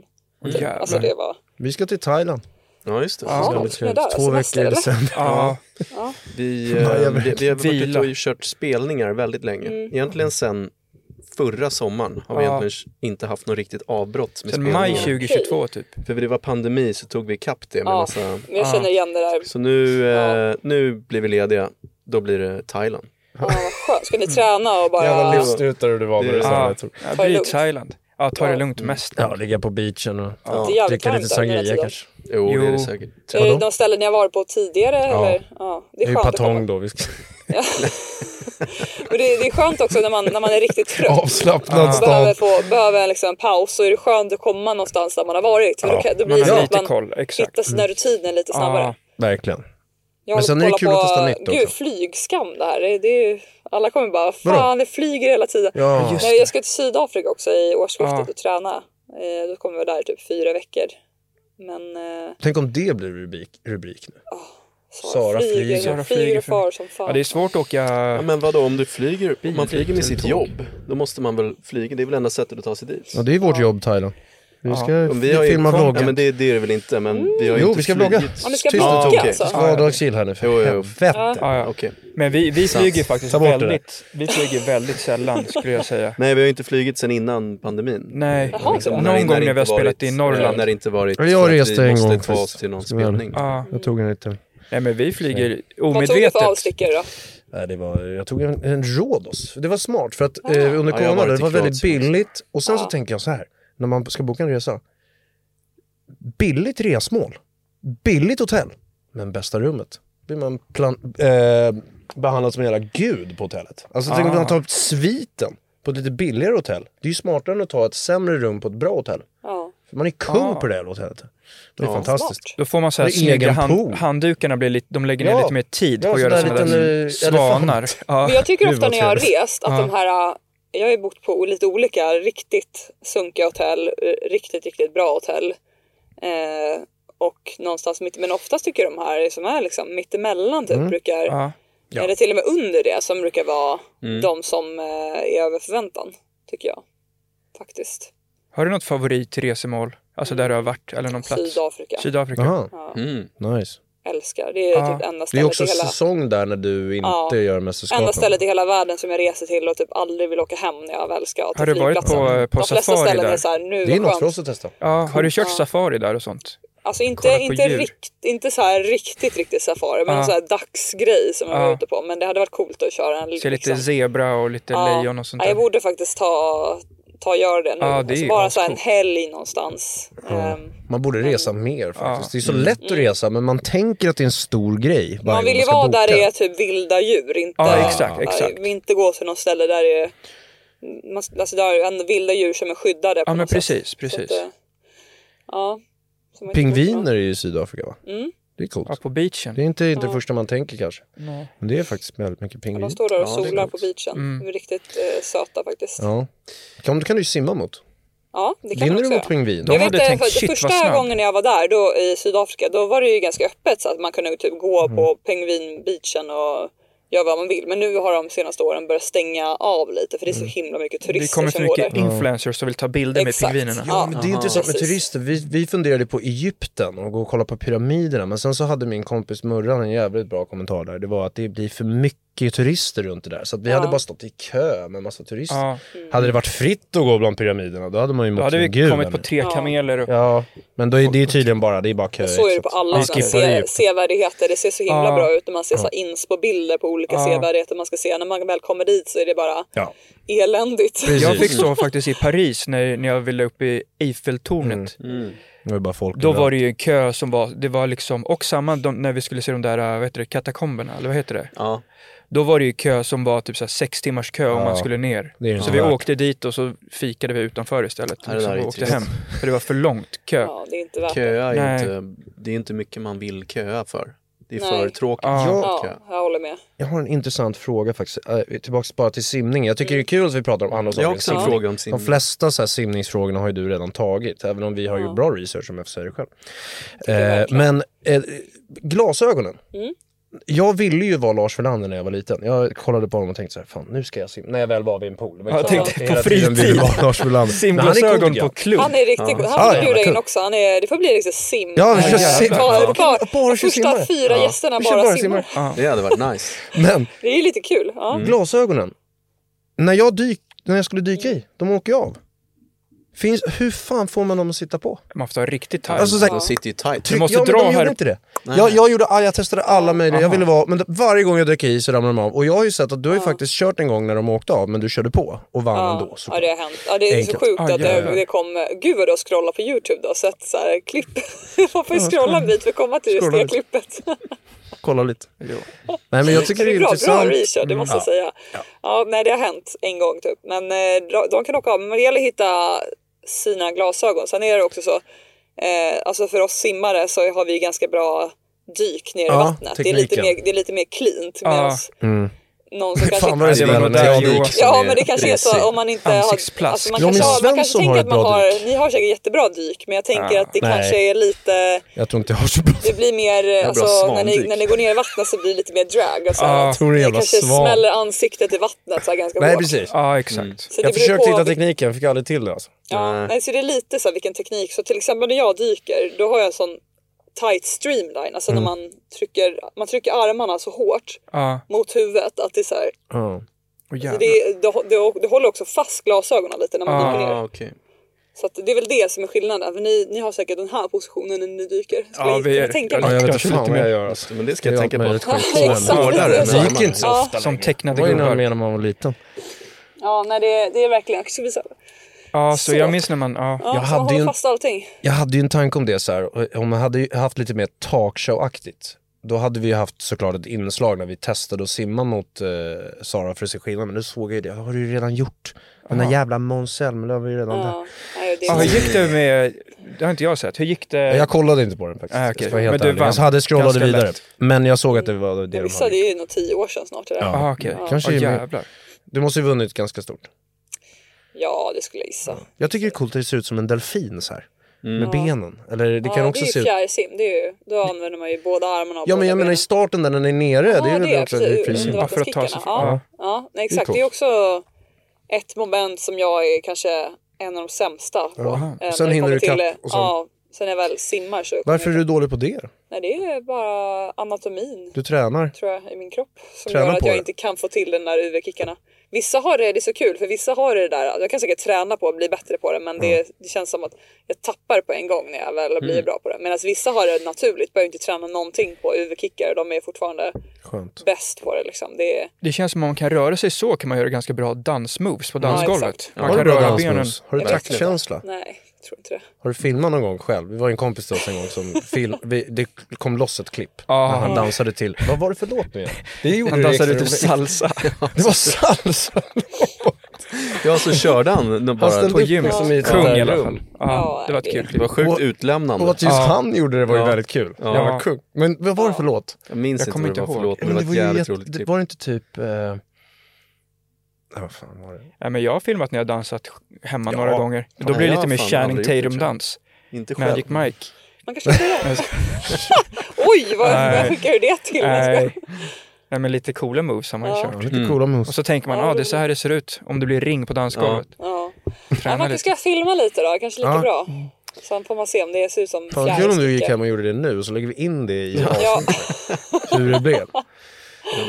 [SPEAKER 2] Åh, jävlar.
[SPEAKER 1] Alltså det var
[SPEAKER 7] vi ska till Thailand.
[SPEAKER 6] Ja, just det.
[SPEAKER 1] Ja,
[SPEAKER 6] Så-
[SPEAKER 1] det är där, alltså,
[SPEAKER 7] Två
[SPEAKER 1] semester,
[SPEAKER 7] veckor i
[SPEAKER 1] eller?
[SPEAKER 7] december.
[SPEAKER 2] Ja,
[SPEAKER 6] Vi,
[SPEAKER 7] Ja,
[SPEAKER 6] eh,
[SPEAKER 7] jag
[SPEAKER 6] vi,
[SPEAKER 7] vet.
[SPEAKER 6] vi har varit ute
[SPEAKER 2] Vila.
[SPEAKER 6] och kört spelningar väldigt länge.
[SPEAKER 1] Mm.
[SPEAKER 6] Egentligen sen förra sommaren har vi
[SPEAKER 2] Ja.
[SPEAKER 6] egentligen inte haft något riktigt avbrott med
[SPEAKER 2] sen maj
[SPEAKER 6] spelningar.
[SPEAKER 2] 2022 typ.
[SPEAKER 6] För det var pandemi så tog vi ikapp det med
[SPEAKER 1] Ja,
[SPEAKER 7] alltså.
[SPEAKER 6] massa...
[SPEAKER 1] men jag känner igen det där.
[SPEAKER 6] Så nu, eh, nu blir vi lediga. Då blir det Thailand.
[SPEAKER 1] Ja, vad skönt. Ska ni träna och
[SPEAKER 7] Jävla
[SPEAKER 1] bara...
[SPEAKER 7] livsnjutare du var när du sa
[SPEAKER 2] Ja,
[SPEAKER 7] det.
[SPEAKER 2] jag
[SPEAKER 1] Ta det
[SPEAKER 2] blir i
[SPEAKER 1] lugnt.
[SPEAKER 2] Thailand. Ja, ta det lugnt mest.
[SPEAKER 4] Ja, ligga på beachen och
[SPEAKER 1] Det är jävligt
[SPEAKER 4] dricka
[SPEAKER 1] varmt
[SPEAKER 4] lite
[SPEAKER 1] där hela
[SPEAKER 4] sangria
[SPEAKER 1] tiden.
[SPEAKER 4] kanske.
[SPEAKER 6] Jo,
[SPEAKER 2] Jo.
[SPEAKER 6] det är det säkert.
[SPEAKER 1] Är det de ställen ni har varit på tidigare?
[SPEAKER 4] Ja.
[SPEAKER 1] Eller? Ja, det
[SPEAKER 4] Det
[SPEAKER 1] är
[SPEAKER 4] är ju
[SPEAKER 1] skönt. att
[SPEAKER 4] patong
[SPEAKER 1] komma-
[SPEAKER 4] då. Vi ska...
[SPEAKER 1] Men det, är- det är skönt också när man, när man är riktigt trött.
[SPEAKER 7] Avslappnad
[SPEAKER 1] och behöver,
[SPEAKER 7] stad.
[SPEAKER 1] få, behöver liksom en paus så är det skönt att komma någonstans där man har varit. För då, kan- då blir
[SPEAKER 2] Man
[SPEAKER 1] det som
[SPEAKER 2] har
[SPEAKER 1] att
[SPEAKER 2] lite
[SPEAKER 1] man
[SPEAKER 2] koll, exakt.
[SPEAKER 1] hittar sina rutiner lite snabbare.
[SPEAKER 2] Ja,
[SPEAKER 4] Verkligen.
[SPEAKER 1] Jag
[SPEAKER 7] Mm. Men
[SPEAKER 1] håller
[SPEAKER 7] sen
[SPEAKER 1] på
[SPEAKER 7] är det
[SPEAKER 1] att
[SPEAKER 7] kul
[SPEAKER 1] kolla
[SPEAKER 7] att
[SPEAKER 1] på-
[SPEAKER 7] testa nytt också.
[SPEAKER 1] Gud, flygskam det här. Det är, det är, ju- alla kommer bara, fan det flyger hela tiden.
[SPEAKER 7] Ja. Just
[SPEAKER 1] Nej, jag ska till Sydafrika också i årsskiftet
[SPEAKER 2] Ja.
[SPEAKER 1] och träna. Eh, då kommer jag vara där i typ fyra veckor. Men eh,
[SPEAKER 7] Tänk om det blir rubrik, rubrik nu.
[SPEAKER 1] Sara,
[SPEAKER 7] Sara
[SPEAKER 1] flyger,
[SPEAKER 7] flyger.
[SPEAKER 2] Sara
[SPEAKER 1] flyger,
[SPEAKER 2] flyger.
[SPEAKER 1] och far som fan.
[SPEAKER 2] ja, det är svårt att åka...
[SPEAKER 6] Ja, men vadå, om du flyger, om man flyger med
[SPEAKER 2] eller
[SPEAKER 6] sitt
[SPEAKER 2] tåg?
[SPEAKER 6] jobb, då måste man väl flyga? Det är väl enda sättet att ta sig dit?
[SPEAKER 7] Ja, det är vårt jobb Thailand. Vi ska
[SPEAKER 6] Om vi har ju-
[SPEAKER 7] filma
[SPEAKER 6] Ja,
[SPEAKER 7] vloggen.
[SPEAKER 6] men det, det är det väl inte, men vi har ju
[SPEAKER 7] Jo,
[SPEAKER 6] inte
[SPEAKER 7] vi ska
[SPEAKER 6] flugit.
[SPEAKER 7] vlogga.
[SPEAKER 1] Ja, ni ska
[SPEAKER 7] Tyst och
[SPEAKER 1] blocka
[SPEAKER 6] okej.
[SPEAKER 1] alltså?
[SPEAKER 6] Ja,
[SPEAKER 7] Vardagsgill här nu för
[SPEAKER 6] Jo, jo, jo.
[SPEAKER 7] helvete.
[SPEAKER 2] Ja, ja.
[SPEAKER 6] Okej.
[SPEAKER 2] Men vi, vi flyger ju faktiskt
[SPEAKER 7] Ta bort det där.
[SPEAKER 2] väldigt, vi flyger väldigt sällan skulle jag säga.
[SPEAKER 6] Nej, vi har ju inte flugit sedan innan pandemin.
[SPEAKER 2] Nej,
[SPEAKER 1] Jaha,
[SPEAKER 6] Liksom,
[SPEAKER 1] så.
[SPEAKER 6] när det-
[SPEAKER 2] någon
[SPEAKER 6] när
[SPEAKER 2] gång
[SPEAKER 6] det
[SPEAKER 2] när vi har
[SPEAKER 6] inte varit-
[SPEAKER 2] spelat i Norrland.
[SPEAKER 6] När det inte varit
[SPEAKER 7] Jag
[SPEAKER 6] för att
[SPEAKER 7] reste en
[SPEAKER 6] vi måste
[SPEAKER 7] gång
[SPEAKER 6] ta oss
[SPEAKER 7] faktiskt.
[SPEAKER 6] till någon
[SPEAKER 7] Ska vi göra det?
[SPEAKER 6] spelning.
[SPEAKER 2] Ja,
[SPEAKER 7] Jag tog en liten...
[SPEAKER 2] nej men vi flyger
[SPEAKER 1] Vad tog du för
[SPEAKER 2] omedvetet.
[SPEAKER 1] avstickare då?
[SPEAKER 7] Nej, det var, jag tog en, en Rhodos. Det var smart för att eh, under
[SPEAKER 6] Ja, jag har
[SPEAKER 7] corona
[SPEAKER 6] varit
[SPEAKER 7] det
[SPEAKER 6] i
[SPEAKER 7] var väldigt
[SPEAKER 6] Kroatien också.
[SPEAKER 7] billigt. Och sen så tänker jag så här, när man ska boka en resa. Billigt resmål, billigt hotell, men bästa rummet. Blir man plan, eh, behandlad som en jävla gud på hotellet. Alltså tänk
[SPEAKER 6] Ah.
[SPEAKER 7] om man tar sviten på ett lite billigare hotell. Det är ju smartare än att ta ett sämre rum på ett bra hotell.
[SPEAKER 1] Ja.
[SPEAKER 7] För man är kung
[SPEAKER 6] Ah.
[SPEAKER 7] på det här hotellet. Det är fantastiskt.
[SPEAKER 2] Då får man så här
[SPEAKER 7] Med
[SPEAKER 2] snygga
[SPEAKER 7] egen
[SPEAKER 2] hand,
[SPEAKER 7] pool.
[SPEAKER 2] handdukarna, blir lite, de lägger ner
[SPEAKER 7] Ja.
[SPEAKER 2] lite mer tid
[SPEAKER 7] Ja,
[SPEAKER 2] på att
[SPEAKER 7] sån
[SPEAKER 2] göra
[SPEAKER 7] där
[SPEAKER 2] sådana
[SPEAKER 7] liten,
[SPEAKER 2] där
[SPEAKER 7] eh,
[SPEAKER 2] svanar.
[SPEAKER 7] elefant.
[SPEAKER 2] Ja.
[SPEAKER 1] Men jag tycker
[SPEAKER 7] Gud,
[SPEAKER 1] ofta
[SPEAKER 7] vad
[SPEAKER 1] när jag har
[SPEAKER 7] trevligt.
[SPEAKER 1] rest att de här, äh, jag har ju bott på lite olika riktigt sunkiga hotell, eh, riktigt, riktigt bra hotell. Eh, och någonstans mitt, men oftast tycker jag de här som är liksom mittemellan typ brukar,
[SPEAKER 2] Ja.
[SPEAKER 1] eller till och med under det som brukar vara de som eh, är över förväntan, tycker jag. Faktiskt.
[SPEAKER 2] Har du något favoritresemål? Alltså där du har varit eller någon plats?
[SPEAKER 1] Sydafrika.
[SPEAKER 2] Sydafrika.
[SPEAKER 7] Aha,
[SPEAKER 6] Mm.
[SPEAKER 7] nice.
[SPEAKER 1] Älskar. Det är typ enda
[SPEAKER 7] Det är
[SPEAKER 1] stället,
[SPEAKER 7] också
[SPEAKER 1] i hela,
[SPEAKER 7] säsong där när du inte
[SPEAKER 1] Ja.
[SPEAKER 7] gör
[SPEAKER 1] enda
[SPEAKER 7] mästerskapen.
[SPEAKER 1] stället i hela världen som jag reser till och typ aldrig vill åka hem när jag väl ska till
[SPEAKER 2] Har du varit
[SPEAKER 1] flygplatsen.
[SPEAKER 2] på- på
[SPEAKER 1] De flesta
[SPEAKER 2] safari
[SPEAKER 1] ställen är
[SPEAKER 2] där?
[SPEAKER 1] så här, nu
[SPEAKER 7] Det är
[SPEAKER 1] vad
[SPEAKER 7] något
[SPEAKER 1] skönt.
[SPEAKER 7] för oss att testa.
[SPEAKER 2] Ja, har du kört safari där och sånt?
[SPEAKER 1] Alltså inte,
[SPEAKER 2] Kolla på
[SPEAKER 1] inte,
[SPEAKER 2] djur.
[SPEAKER 1] rikt, inte så här riktigt, riktigt safari, men
[SPEAKER 2] Ja.
[SPEAKER 1] en så här dagsgrej som jag var
[SPEAKER 2] Ja.
[SPEAKER 1] ute på. Men det hade varit coolt att köra en liksom.
[SPEAKER 2] Se lite zebra och lite lejon och sånt
[SPEAKER 1] Ja,
[SPEAKER 2] där.
[SPEAKER 1] jag borde faktiskt ta, ta och göra det nu.
[SPEAKER 2] Ja, det är
[SPEAKER 1] alltså
[SPEAKER 2] ju
[SPEAKER 1] bara så här en
[SPEAKER 2] ascoolt.
[SPEAKER 1] helg någonstans. Ehm,
[SPEAKER 7] Man borde resa mer faktiskt. Det är så lätt att resa men man tänker att det är en stor grej. varje
[SPEAKER 1] man vill
[SPEAKER 7] gång
[SPEAKER 1] ju
[SPEAKER 7] ska
[SPEAKER 1] vara där
[SPEAKER 7] boka.
[SPEAKER 1] det är typ vilda djur, inte,
[SPEAKER 2] Ja, exakt, exakt.
[SPEAKER 1] Nej, inte gå till något ställe där det är man- Alltså där är en vilda djur som är skyddade på
[SPEAKER 2] Ja, men
[SPEAKER 1] något
[SPEAKER 2] precis,
[SPEAKER 1] sätt.
[SPEAKER 2] precis.
[SPEAKER 1] Så att, eh, ja. Så man inte
[SPEAKER 7] Pingviner är ju i Sydafrika va?
[SPEAKER 1] Mm.
[SPEAKER 7] Det är
[SPEAKER 2] Ja,
[SPEAKER 7] coolt.
[SPEAKER 2] på
[SPEAKER 7] Det är
[SPEAKER 2] beachen. Mm.
[SPEAKER 7] inte, inte det första man tänker kanske. Men det är faktiskt väldigt mycket
[SPEAKER 1] De
[SPEAKER 7] pingvin.
[SPEAKER 1] står där och
[SPEAKER 6] Ja, det är
[SPEAKER 1] solar
[SPEAKER 6] coolt.
[SPEAKER 1] på beachen. De är riktigt eh, söta faktiskt. Ja,
[SPEAKER 7] Ja. Kan, kan du ju simma mot.
[SPEAKER 1] det kan man
[SPEAKER 7] Vinner du
[SPEAKER 1] också
[SPEAKER 7] mot
[SPEAKER 1] göra.
[SPEAKER 7] pingvin?
[SPEAKER 2] De
[SPEAKER 1] Jag vet
[SPEAKER 2] hade
[SPEAKER 1] inte,
[SPEAKER 2] tänkt,
[SPEAKER 1] för att
[SPEAKER 2] "Shit, vad
[SPEAKER 1] första
[SPEAKER 2] snabb."
[SPEAKER 1] gången jag var där då, i Sydafrika då var det ju ganska öppet så att man kunde typ gå på pingvinbeachen och göra vad man vill. Men nu har de senaste åren börjat stänga av lite för det är så himla mycket
[SPEAKER 2] Det
[SPEAKER 1] turister
[SPEAKER 2] kommer för
[SPEAKER 1] som går där.
[SPEAKER 2] mycket influencers som vill ta bilder med
[SPEAKER 1] Exakt.
[SPEAKER 2] pingvinerna.
[SPEAKER 7] Ja, men det är intressant med
[SPEAKER 1] precis.
[SPEAKER 7] turister. Vi, vi funderade på Egypten och gå och kolla på pyramiderna. Men sen så hade min kompis Murran en jävligt bra kommentar där. Det var att det blir för mycket turister runt det där. Så att vi hade bara stått i kö med en massa turister.
[SPEAKER 2] Ja,
[SPEAKER 1] Mm.
[SPEAKER 7] Hade det varit fritt att gå bland pyramiderna då hade man ju mått
[SPEAKER 2] då hade
[SPEAKER 7] som
[SPEAKER 2] vi
[SPEAKER 7] en gud
[SPEAKER 2] kommit
[SPEAKER 7] där
[SPEAKER 2] på
[SPEAKER 7] nu.
[SPEAKER 2] tre kameler och
[SPEAKER 7] Ja, men då är det är tydligen bara, det är bara köer.
[SPEAKER 1] Så är det på
[SPEAKER 7] så att-
[SPEAKER 1] alla
[SPEAKER 7] Vi
[SPEAKER 1] såna
[SPEAKER 7] skippar det ju.
[SPEAKER 1] se, sevärdheter. Det ser så himla
[SPEAKER 2] Ja.
[SPEAKER 1] bra ut när man ser så här inspo-bilder på olika sevärdheter man ska se. När man väl kommer dit så är det bara
[SPEAKER 7] Ja.
[SPEAKER 1] eländigt.
[SPEAKER 2] Jag fick så faktiskt i Paris när, när jag ville upp i Eiffeltornet.
[SPEAKER 7] Det var bara folk
[SPEAKER 2] Då var det ju en kö som var, det var liksom, och samma de, när vi skulle se de där, äh, vad heter det, katakomberna, eller vad heter det?
[SPEAKER 6] Ja.
[SPEAKER 2] Då var det ju kö som var typ så här sex timmars kö om man skulle ner.
[SPEAKER 7] det är
[SPEAKER 2] Så
[SPEAKER 7] inte
[SPEAKER 2] vi
[SPEAKER 7] värt.
[SPEAKER 2] åkte dit och så fikade vi utanför istället.
[SPEAKER 6] Ja, det
[SPEAKER 2] liksom,
[SPEAKER 6] där är
[SPEAKER 2] och åkte
[SPEAKER 6] trist.
[SPEAKER 2] hem. För det var för långt kö.
[SPEAKER 1] Ja, det är inte värt det.
[SPEAKER 6] Köa är
[SPEAKER 2] Nej.
[SPEAKER 6] ju inte, det är inte mycket man vill köa för. Det är
[SPEAKER 1] Nej.
[SPEAKER 6] för tråkigt.
[SPEAKER 2] Ja.
[SPEAKER 6] att
[SPEAKER 1] Ja,
[SPEAKER 6] köa.
[SPEAKER 1] jag håller med.
[SPEAKER 7] Jag har en intressant fråga faktiskt. Äh, tillbaka bara till simningen. Jag tycker
[SPEAKER 1] Mm.
[SPEAKER 7] det är kul att vi pratar om andra saker
[SPEAKER 6] Jag har
[SPEAKER 7] än
[SPEAKER 6] också en
[SPEAKER 7] simning.
[SPEAKER 6] fråga om
[SPEAKER 7] De
[SPEAKER 2] Mm.
[SPEAKER 6] simning.
[SPEAKER 7] flesta så här, simningsfrågorna har ju du redan tagit, även om vi har gjort
[SPEAKER 2] Mm.
[SPEAKER 7] bra research om jag får säga det själv. Eh, men eh, glasögonen. Jag ville ju vara Lars Frölander när jag var liten. Jag kollade på honom och tänkte så här, fan nu ska jag simma. När jag väl var vid en pool. Det var
[SPEAKER 2] Ja,
[SPEAKER 7] inte så
[SPEAKER 2] jag
[SPEAKER 7] att
[SPEAKER 2] tänkte
[SPEAKER 7] jag hela
[SPEAKER 2] på
[SPEAKER 7] tiden ville
[SPEAKER 2] fritid.
[SPEAKER 7] vara Lars Frölander. Men han är cool,
[SPEAKER 2] Simglasögon
[SPEAKER 7] tycker jag.
[SPEAKER 2] på klubb.
[SPEAKER 1] Han är riktigt god.
[SPEAKER 7] Ja,
[SPEAKER 1] Han får
[SPEAKER 7] jävla
[SPEAKER 1] bjuda in
[SPEAKER 7] kul.
[SPEAKER 1] också. Han är, det får bli liksom sim.
[SPEAKER 7] Ja, vi kör sim.
[SPEAKER 1] Bara,
[SPEAKER 7] Ja.
[SPEAKER 1] bara,
[SPEAKER 7] Bara kör
[SPEAKER 1] första
[SPEAKER 7] simmare.
[SPEAKER 1] fyra
[SPEAKER 7] Ja.
[SPEAKER 1] gästerna
[SPEAKER 7] Vi kör
[SPEAKER 1] bara,
[SPEAKER 7] bara
[SPEAKER 1] simmar.
[SPEAKER 7] simmare. Mm.
[SPEAKER 6] Det hade varit nice.
[SPEAKER 7] Men
[SPEAKER 1] Det är ju lite kul. Ja.
[SPEAKER 2] Mm.
[SPEAKER 7] glasögonen. När jag, dyk, när jag skulle dyka i, de åker ju av. Finns, hur fan får man dem att sitta på?
[SPEAKER 2] Man får ha riktigt tajt.
[SPEAKER 7] Alltså, så här,
[SPEAKER 6] De sitter ju tight.
[SPEAKER 2] Du måste
[SPEAKER 7] ja, men
[SPEAKER 2] dra
[SPEAKER 7] de gjorde
[SPEAKER 2] här.
[SPEAKER 7] inte det. Jag, jag, gjorde, ah, jag testade alla möjliga, jag ville vara, men det- varje gång jag dök i så ramlade de av. Och jag har ju sett att du har ju faktiskt kört en gång när de åkte av, men du körde på och vann ändå.
[SPEAKER 1] Ja, ja,
[SPEAKER 7] såklart.
[SPEAKER 1] det har hänt. Ja, det är
[SPEAKER 7] Enkelt.
[SPEAKER 1] så sjukt
[SPEAKER 2] Ah,
[SPEAKER 1] att det,
[SPEAKER 2] jävlar.
[SPEAKER 1] det kom... Gud vad du har scrollat på Youtube då, sett så här klipp. Man får ju scrolla en bit för att komma till just
[SPEAKER 7] Scrolla
[SPEAKER 1] det
[SPEAKER 7] lite.
[SPEAKER 1] klippet.
[SPEAKER 7] Kolla lite. Nej men jag
[SPEAKER 1] Det
[SPEAKER 7] tycker det är
[SPEAKER 1] är bra, bra
[SPEAKER 7] intressant. Mm.
[SPEAKER 1] research, det måste jag säga. Ja. nej, det har hänt en gång typ. Men eh, dra- de kan åka av. Men det gäller att hitta sina glasögon. Sen är det också så, eh, alltså för oss simmare så har vi ganska bra dyk ner i
[SPEAKER 7] Ja,
[SPEAKER 1] vattnet. Det är, lite
[SPEAKER 7] tekniken.
[SPEAKER 1] mer, det är lite mer cleant
[SPEAKER 2] Ja.
[SPEAKER 1] medan någon som kanske
[SPEAKER 7] Fan vad det
[SPEAKER 2] det var
[SPEAKER 7] spelar
[SPEAKER 2] nog
[SPEAKER 7] när
[SPEAKER 2] där
[SPEAKER 7] Alltså,
[SPEAKER 2] jag
[SPEAKER 7] jag gick.
[SPEAKER 2] också.
[SPEAKER 6] Liksom,
[SPEAKER 1] Ja men det kanske är så om man inte har...
[SPEAKER 2] Ansiktsplask.
[SPEAKER 1] Alltså man
[SPEAKER 7] Ja, men
[SPEAKER 1] kanske, har, man kanske
[SPEAKER 7] Svensson
[SPEAKER 1] tänker
[SPEAKER 7] har
[SPEAKER 1] att
[SPEAKER 7] ett
[SPEAKER 1] man
[SPEAKER 7] bra
[SPEAKER 1] har... Ni har säkert jättebra dyk men jag tänker att det
[SPEAKER 7] Nej.
[SPEAKER 1] kanske är lite...
[SPEAKER 7] Jag tror inte jag har så bra.
[SPEAKER 1] Det blir mer... Alltså, när, ni,
[SPEAKER 6] svandyk.
[SPEAKER 1] när ni går ner i vattnet så blir det lite mer drag. Och så här,
[SPEAKER 2] Ja,
[SPEAKER 7] jag Ah, tror det är
[SPEAKER 1] ni
[SPEAKER 7] jävla
[SPEAKER 1] kanske
[SPEAKER 7] svan.
[SPEAKER 1] smäller ansiktet i vattnet så här, ganska
[SPEAKER 7] Nej
[SPEAKER 1] hårt.
[SPEAKER 7] precis.
[SPEAKER 2] Ja, exakt.
[SPEAKER 1] Så det beror
[SPEAKER 7] Jag försökte
[SPEAKER 1] på
[SPEAKER 7] hitta
[SPEAKER 1] vil-
[SPEAKER 7] tekniken, fick aldrig till det alltså.
[SPEAKER 1] Ja, nej, så det är lite så här vilken teknik. Så till exempel när jag dyker, då har jag en sån tight streamline. Alltså
[SPEAKER 7] Mm.
[SPEAKER 1] när man trycker, man trycker armarna så hårt
[SPEAKER 2] Ja,
[SPEAKER 1] mot huvudet att det är så här,
[SPEAKER 7] Ja.
[SPEAKER 2] och
[SPEAKER 1] så
[SPEAKER 2] jävlar.
[SPEAKER 1] det, det, det, det håller också fast glasögonen lite när man
[SPEAKER 7] Ah.
[SPEAKER 1] dyker ner.
[SPEAKER 6] Ja, okej.
[SPEAKER 1] Så att det är väl det som är skillnaden. För ni, ni har säkert den här positionen när ni dyker. Skulle
[SPEAKER 2] Ja,
[SPEAKER 1] jag-
[SPEAKER 2] vi
[SPEAKER 1] kan
[SPEAKER 2] är-
[SPEAKER 1] jag tänka
[SPEAKER 2] ja,
[SPEAKER 1] mig.
[SPEAKER 7] Ja, jag vet
[SPEAKER 2] Kanske
[SPEAKER 7] inte fan
[SPEAKER 2] lite
[SPEAKER 7] vad jag
[SPEAKER 2] mer-
[SPEAKER 7] gör
[SPEAKER 6] Just
[SPEAKER 7] alltså.
[SPEAKER 6] det, Men det ska
[SPEAKER 7] Det
[SPEAKER 6] jag
[SPEAKER 7] är
[SPEAKER 6] tänka
[SPEAKER 7] allt
[SPEAKER 6] på.
[SPEAKER 7] möjligt skit.
[SPEAKER 1] Exakt.
[SPEAKER 6] Hårdare med
[SPEAKER 7] Det gick inte så
[SPEAKER 6] armarna.
[SPEAKER 7] ofta
[SPEAKER 2] Som
[SPEAKER 7] Det
[SPEAKER 2] tecknade
[SPEAKER 7] var ju när man
[SPEAKER 2] gubbar.
[SPEAKER 7] menade man var liten.
[SPEAKER 1] Ja, nej, det, det är verkligen aktivism.
[SPEAKER 2] Ja, så
[SPEAKER 1] Så.
[SPEAKER 2] jag minns när man... Ja.
[SPEAKER 1] Ja, så
[SPEAKER 7] Jag
[SPEAKER 1] man
[SPEAKER 7] hade
[SPEAKER 1] håller
[SPEAKER 7] ju en-
[SPEAKER 1] fast allting.
[SPEAKER 7] Jag hade ju en tanke om det så här, och om man hade ju haft lite mer talkshow-aktigt. Då hade vi ju haft såklart ett inslag när vi testade att simma mot eh, Sara för att se skillnaden. Men nu såg jag ju det, det har du ju redan gjort. Den där jävla Måns Zelmerlöw var ju redan där.
[SPEAKER 1] Ja, nej, det
[SPEAKER 2] Ja,
[SPEAKER 1] är
[SPEAKER 2] hur gick det med... Det har inte jag sett. Hur gick det?
[SPEAKER 7] Jag kollade inte på den faktiskt.
[SPEAKER 2] Ah,
[SPEAKER 7] Ah,
[SPEAKER 2] okej.
[SPEAKER 7] okay. helt
[SPEAKER 2] Men du
[SPEAKER 7] ärlig.
[SPEAKER 2] vann.
[SPEAKER 7] Jag hade scrollat
[SPEAKER 2] Ganska
[SPEAKER 7] vidare.
[SPEAKER 2] lätt.
[SPEAKER 7] Men jag såg att det var det de
[SPEAKER 1] jag
[SPEAKER 7] hade.
[SPEAKER 1] missade det är ju nog tio år sedan snart. Det där.
[SPEAKER 2] Aha, Ah, okej.
[SPEAKER 7] Kanske
[SPEAKER 2] Åh,
[SPEAKER 7] Jimmy.
[SPEAKER 2] jävlar.
[SPEAKER 7] Du måste ju vunnit ganska stort.
[SPEAKER 1] Ja, det skulle jag gissa.
[SPEAKER 7] Jag tycker det är coolt att det ser ut som en delfin så här. Med benen. Eller det
[SPEAKER 1] Ja,
[SPEAKER 7] kan också
[SPEAKER 1] det är
[SPEAKER 7] se
[SPEAKER 1] ju
[SPEAKER 7] ut...
[SPEAKER 1] fjärrsim. Det är ju, då använder man ju båda armarna och
[SPEAKER 7] Ja men
[SPEAKER 1] båda
[SPEAKER 7] jag menar i
[SPEAKER 1] benen.
[SPEAKER 7] starten där när den är nere, det är väl också
[SPEAKER 1] precis,
[SPEAKER 7] ett pris.
[SPEAKER 2] Bara för att ta sig-
[SPEAKER 1] undervattenskickarna. Ja,
[SPEAKER 2] ja.
[SPEAKER 1] ja nej,
[SPEAKER 7] Det är
[SPEAKER 1] exakt. Det är,
[SPEAKER 7] coolt.
[SPEAKER 1] också ett moment som jag är kanske en av de sämsta på.
[SPEAKER 7] Jaha.
[SPEAKER 1] Eh,
[SPEAKER 7] Och sen
[SPEAKER 1] när det
[SPEAKER 7] hinner
[SPEAKER 1] kommer
[SPEAKER 7] du
[SPEAKER 1] till,
[SPEAKER 7] kapp,
[SPEAKER 1] eh,
[SPEAKER 7] och sen-
[SPEAKER 1] Ja, sen när jag väl simmar så... kommer
[SPEAKER 7] Varför är
[SPEAKER 1] jag-
[SPEAKER 7] du dålig på det?
[SPEAKER 1] Nej, det är bara anatomin.
[SPEAKER 7] Du tränar.
[SPEAKER 1] tror jag, i min kropp som
[SPEAKER 7] Träna
[SPEAKER 1] gör att
[SPEAKER 7] på
[SPEAKER 1] jag
[SPEAKER 7] det.
[SPEAKER 1] inte kan få till den där UV-kickarna. Vissa har det, det är så kul, för vissa har det där, jag kan säkert träna på att bli bättre på det, men det, det känns som att jag tappar på en gång när jag väl blir
[SPEAKER 7] Mm.
[SPEAKER 1] bra på det. Medan vissa har det naturligt, behöver inte träna någonting på UV-kickar och de är fortfarande
[SPEAKER 7] Skönt.
[SPEAKER 1] bäst på det liksom. Det är,
[SPEAKER 2] Det känns som om man kan röra sig så kan man göra ganska bra dansmoves på dansgolvet.
[SPEAKER 1] exakt.
[SPEAKER 2] man
[SPEAKER 7] Har du
[SPEAKER 2] kan
[SPEAKER 7] bra
[SPEAKER 2] röra benen.
[SPEAKER 7] dansmoves? Har du
[SPEAKER 1] Verkligen.
[SPEAKER 7] taktkänsla?
[SPEAKER 1] nej, jag tror inte det.
[SPEAKER 7] Har du filmat någon gång själv? Vi var en kompis till oss en gång som film, vi, det kom loss ett klipp när
[SPEAKER 2] Ja.
[SPEAKER 7] han dansade till, vad var det för låt nu igen? Det gjorde
[SPEAKER 2] Han
[SPEAKER 7] det
[SPEAKER 2] dansade
[SPEAKER 7] extra
[SPEAKER 2] typ
[SPEAKER 7] roligt.
[SPEAKER 2] salsa.
[SPEAKER 7] Det var salsa!
[SPEAKER 6] Ja, så körde han den
[SPEAKER 7] Han
[SPEAKER 6] bara.
[SPEAKER 7] ställde
[SPEAKER 6] På
[SPEAKER 7] upp
[SPEAKER 2] gym.
[SPEAKER 7] som i ett
[SPEAKER 2] Kung
[SPEAKER 7] sånt
[SPEAKER 2] i
[SPEAKER 7] där
[SPEAKER 2] alla
[SPEAKER 7] rum.
[SPEAKER 2] fall. Ja, det var ett
[SPEAKER 1] det-
[SPEAKER 2] kul
[SPEAKER 6] Det var
[SPEAKER 2] klipp.
[SPEAKER 6] sjukt
[SPEAKER 7] Och
[SPEAKER 6] utlämnande.
[SPEAKER 7] att just han gjorde det var ju
[SPEAKER 6] Ja.
[SPEAKER 7] väldigt kul.
[SPEAKER 6] Ja.
[SPEAKER 7] Jävla kung. Men vad var det för låt?
[SPEAKER 6] Jag minns
[SPEAKER 2] Jag
[SPEAKER 6] inte
[SPEAKER 2] kommer
[SPEAKER 6] vad det var
[SPEAKER 2] inte
[SPEAKER 6] för
[SPEAKER 2] ihåg.
[SPEAKER 6] låt, men det var ett
[SPEAKER 7] ju
[SPEAKER 6] jävligt
[SPEAKER 7] jätte-
[SPEAKER 6] roligt
[SPEAKER 7] det,
[SPEAKER 6] klipp.
[SPEAKER 7] var det inte typ... Eh... Nej, vad fan var det?
[SPEAKER 2] Nej, men jag har filmat när jag dansat hemma
[SPEAKER 7] Ja.
[SPEAKER 2] några gånger. Då
[SPEAKER 6] Ja,
[SPEAKER 2] blir det
[SPEAKER 6] jag
[SPEAKER 2] lite
[SPEAKER 6] har
[SPEAKER 2] mer
[SPEAKER 6] fan
[SPEAKER 2] Channing
[SPEAKER 6] aldrig gjort det,
[SPEAKER 2] Tatum-dans.
[SPEAKER 6] Inte själv.
[SPEAKER 2] Magic Mike.
[SPEAKER 1] Man kanske ska göra det. Oj, vad
[SPEAKER 2] Nej.
[SPEAKER 1] vad skickar du det till?
[SPEAKER 2] Nej. Nej, men lite coola moves har man ju
[SPEAKER 7] Ja,
[SPEAKER 2] kört.
[SPEAKER 7] lite coola moves.
[SPEAKER 2] Och så tänker man, ja ah, det är så här det ser ut om det blir ring på dansgolvet.
[SPEAKER 1] Ja. Ja,
[SPEAKER 2] Träna
[SPEAKER 1] man kanske
[SPEAKER 2] lite.
[SPEAKER 1] ska filma lite då, kanske lika
[SPEAKER 7] Ja.
[SPEAKER 1] bra. Sen får man se om det ser ut som
[SPEAKER 7] Fan vad kul om du gick
[SPEAKER 1] fjärrstycke.
[SPEAKER 7] hem och gjorde det nu så lägger vi in det i avsnittet,
[SPEAKER 1] Ja,
[SPEAKER 7] hur det blev.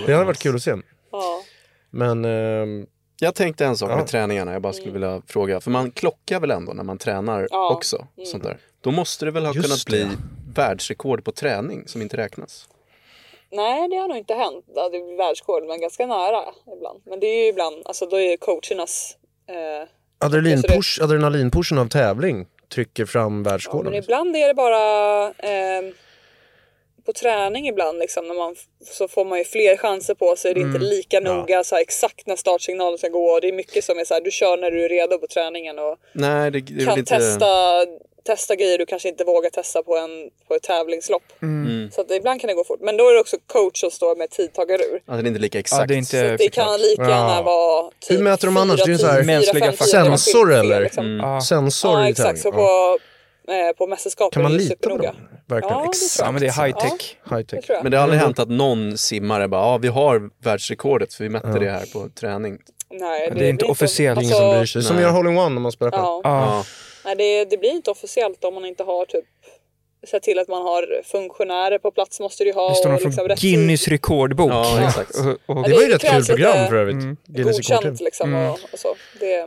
[SPEAKER 7] Det hade varit kul att se.
[SPEAKER 1] ja.
[SPEAKER 7] Men ehm,
[SPEAKER 6] Jag tänkte en sak
[SPEAKER 7] Ja.
[SPEAKER 6] med träningarna jag bara skulle vilja fråga. För man klockar väl ändå när man tränar
[SPEAKER 1] Ja. Mm.
[SPEAKER 6] också? Sånt där. Då måste det väl ha
[SPEAKER 7] Just
[SPEAKER 6] kunnat
[SPEAKER 7] det.
[SPEAKER 6] bli världsrekord på träning som inte räknas?
[SPEAKER 1] Nej, det har nog inte hänt. Ja, Det blir världsrekord, men ganska nära ibland. Men det är ju ibland, alltså då är ju coachernas... Eh, ja,
[SPEAKER 7] adrenalinpush, adrenalinpushen av tävling trycker fram världsrekorden.
[SPEAKER 1] men ibland är det bara... Eh, på träning ibland liksom, när man, f- så får man ju fler chanser på sig. Det är
[SPEAKER 6] Mm,
[SPEAKER 1] inte lika noga så här, exakt när startsignalen ska gå. Det är mycket som är så här, du kör när du är redo på träningen och
[SPEAKER 6] Nej, det, det
[SPEAKER 1] kan
[SPEAKER 6] är väl inte...
[SPEAKER 1] testa, testa grejer du kanske inte vågar testa på, en, på ett tävlingslopp.
[SPEAKER 6] Mm.
[SPEAKER 1] Så att ibland kan det gå fort. Men då är det också coach som står med tidtagarur.
[SPEAKER 6] Alltså, det är inte lika exakt.
[SPEAKER 2] Ja, det är inte
[SPEAKER 1] Så att det kan
[SPEAKER 2] Eh, förklart.
[SPEAKER 1] lika gärna
[SPEAKER 7] Ja.
[SPEAKER 1] vara typ
[SPEAKER 7] Hur mäter de annars? Det är ju så här
[SPEAKER 2] mänskliga
[SPEAKER 7] Sensor eller?
[SPEAKER 1] Mm.
[SPEAKER 2] Ja.
[SPEAKER 7] Sensor
[SPEAKER 1] liksom. Ja
[SPEAKER 7] i
[SPEAKER 1] exakt,
[SPEAKER 7] tävling.
[SPEAKER 1] så
[SPEAKER 7] Ja.
[SPEAKER 1] på, eh, på mästerskapen
[SPEAKER 7] Kan man
[SPEAKER 1] är det
[SPEAKER 7] lita på
[SPEAKER 1] supernoga.
[SPEAKER 7] dem?
[SPEAKER 5] verkligen
[SPEAKER 1] Ja, det
[SPEAKER 5] exakt
[SPEAKER 2] Ja men det är high
[SPEAKER 5] samma.
[SPEAKER 2] tech.
[SPEAKER 5] High
[SPEAKER 1] Det
[SPEAKER 5] tech.
[SPEAKER 1] tror jag.
[SPEAKER 6] Men det har aldrig hänt att någon simmare bara, ja ah, vi har världsrekordet för vi mätte det här på träning.
[SPEAKER 1] Nej,
[SPEAKER 2] Det är inte
[SPEAKER 1] blir
[SPEAKER 2] officiellt.
[SPEAKER 5] Ingen som bryr sig. Som
[SPEAKER 6] Nej.
[SPEAKER 5] gör hole-in-one när man spelar själv.
[SPEAKER 1] alltså, Ja.
[SPEAKER 2] Ja.
[SPEAKER 1] Nej, det, det blir inte officiellt om man inte har typ sett till att man har funktionärer på plats måste du ju ha.
[SPEAKER 2] Det står någon
[SPEAKER 1] och liksom
[SPEAKER 2] från
[SPEAKER 1] rätt
[SPEAKER 2] Guinness rekordbok.
[SPEAKER 6] Ja, exakt.
[SPEAKER 2] Och, och,
[SPEAKER 5] Det var ju
[SPEAKER 1] det
[SPEAKER 5] ett rätt kul
[SPEAKER 1] krävs lite
[SPEAKER 5] program för övrigt.
[SPEAKER 2] Mm.
[SPEAKER 5] Guinness
[SPEAKER 1] godkänt
[SPEAKER 5] rekordbok.
[SPEAKER 1] liksom och, och så. Det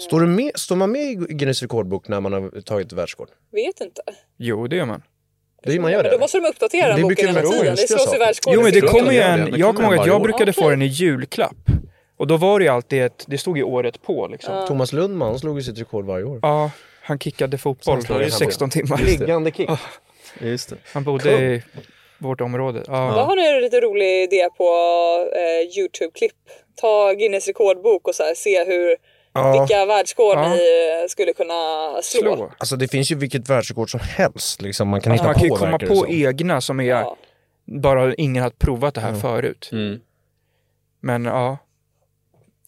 [SPEAKER 5] Står, du med, står man med i Guinness rekordbok när man har tagit ett världsrekord?
[SPEAKER 1] vet inte.
[SPEAKER 2] Jo det gör man.
[SPEAKER 5] Det är man gör
[SPEAKER 1] Men då
[SPEAKER 5] det.
[SPEAKER 1] måste de uppdatera den
[SPEAKER 5] Det
[SPEAKER 1] boken
[SPEAKER 5] brukar
[SPEAKER 1] hela
[SPEAKER 5] vara
[SPEAKER 1] tiden. Det
[SPEAKER 5] oönskade
[SPEAKER 1] slås i
[SPEAKER 5] saker.
[SPEAKER 1] världsrekord.
[SPEAKER 2] Jo men det
[SPEAKER 6] tror
[SPEAKER 2] kommer
[SPEAKER 6] de
[SPEAKER 2] ju
[SPEAKER 6] gör
[SPEAKER 2] en,
[SPEAKER 6] det. Det
[SPEAKER 2] jag
[SPEAKER 6] kommer
[SPEAKER 2] kommer ihåg att
[SPEAKER 6] varje
[SPEAKER 2] jag
[SPEAKER 6] år.
[SPEAKER 2] brukade få
[SPEAKER 1] Okej.
[SPEAKER 2] den i julklapp. Och då var det ju alltid ett, det stod ju året på liksom. Ja,
[SPEAKER 5] Thomas Lundman han slog ju sitt rekord varje år.
[SPEAKER 2] han kickade fotboll
[SPEAKER 6] står det
[SPEAKER 2] i
[SPEAKER 6] här
[SPEAKER 2] 16 timmar.
[SPEAKER 5] Liggande kick.
[SPEAKER 6] Just det.
[SPEAKER 2] Han bodde i vårt område. Ja.
[SPEAKER 1] Då har ni en lite rolig idé på eh, Youtube-klipp. Ta Guinness rekordbok och så här, se hur, vilka världsrekord
[SPEAKER 2] Ja.
[SPEAKER 1] ni eh, skulle kunna slå.
[SPEAKER 2] Slå.
[SPEAKER 5] Alltså det finns ju vilket världsrekord som helst liksom. Man kan hitta liksom.
[SPEAKER 2] Man
[SPEAKER 5] på
[SPEAKER 2] kan ju komma
[SPEAKER 5] verkar det
[SPEAKER 2] på
[SPEAKER 5] som.
[SPEAKER 2] egna som är,
[SPEAKER 1] Ja.
[SPEAKER 2] bara ingen har provat det här förut.
[SPEAKER 6] Mm.
[SPEAKER 2] Men ja,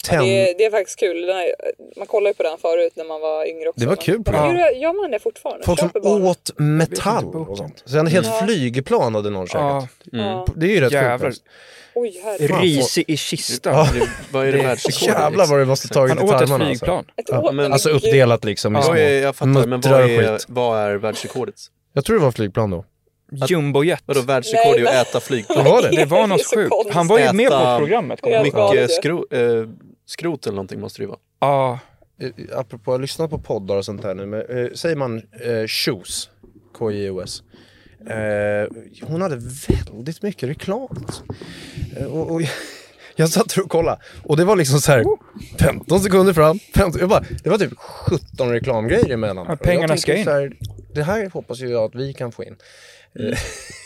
[SPEAKER 5] Ten...
[SPEAKER 1] Det, det är faktiskt kul. Den här, man kollade ju på den förut när man var yngre också.
[SPEAKER 5] Det var
[SPEAKER 1] men-
[SPEAKER 5] kul
[SPEAKER 1] Men
[SPEAKER 5] program.
[SPEAKER 1] Gör, gör man det fortfarande?
[SPEAKER 5] Folk som
[SPEAKER 1] Köper barn?
[SPEAKER 5] åt metall
[SPEAKER 2] boken.
[SPEAKER 5] och sånt. Sen helt flygplan hade någon
[SPEAKER 2] ja Mm.
[SPEAKER 5] käkat. Det är ju rätt
[SPEAKER 2] Jävlar.
[SPEAKER 5] sjukt. faktiskt.
[SPEAKER 1] Oj, herregud.
[SPEAKER 2] risig i kistan.
[SPEAKER 6] Vad är det världsrekordet?
[SPEAKER 5] Jävlar vad det måste tagit
[SPEAKER 2] Han
[SPEAKER 5] i
[SPEAKER 2] åt ett
[SPEAKER 5] tarmarna. Alltså.
[SPEAKER 2] flygplan.
[SPEAKER 1] Ett åt,
[SPEAKER 6] men-
[SPEAKER 5] alltså
[SPEAKER 1] herregud.
[SPEAKER 5] uppdelat liksom i små
[SPEAKER 6] Vad är, jag fattar, men vad
[SPEAKER 5] muttrar
[SPEAKER 6] är,
[SPEAKER 5] och skit.
[SPEAKER 6] vad är världsrekordet?
[SPEAKER 5] Jag tror det var flygplan då.
[SPEAKER 2] Jumbojet.
[SPEAKER 6] Vadå världsrekord är ju att äta
[SPEAKER 5] Vad
[SPEAKER 6] flygplan.
[SPEAKER 5] var det?
[SPEAKER 2] Det var något
[SPEAKER 1] Det är så
[SPEAKER 2] sjukt.
[SPEAKER 1] konstigt.
[SPEAKER 2] Han var ju med på
[SPEAKER 6] Äta-
[SPEAKER 2] programmet.
[SPEAKER 1] Ja.
[SPEAKER 2] kommer jag ihåg.
[SPEAKER 6] Mycket skro, eh, skrot eller någonting måste det ju vara.
[SPEAKER 2] Ja,
[SPEAKER 5] Eh, Apropå, jag lyssnar på poddar och sånt här nu, men eh, säger man eh, shoes, K-J-O-S. Eh, hon hade väldigt mycket reklam alltså. eh, och, och, Jag satt och kollade och det var liksom så här 15 sekunder fram, 15, jag bara, det var typ 17 reklamgrejer emellan.
[SPEAKER 2] Ja, pengarna
[SPEAKER 5] Och jag tänker
[SPEAKER 2] ska in.
[SPEAKER 5] så här, Det här hoppas ju jag att vi kan få in.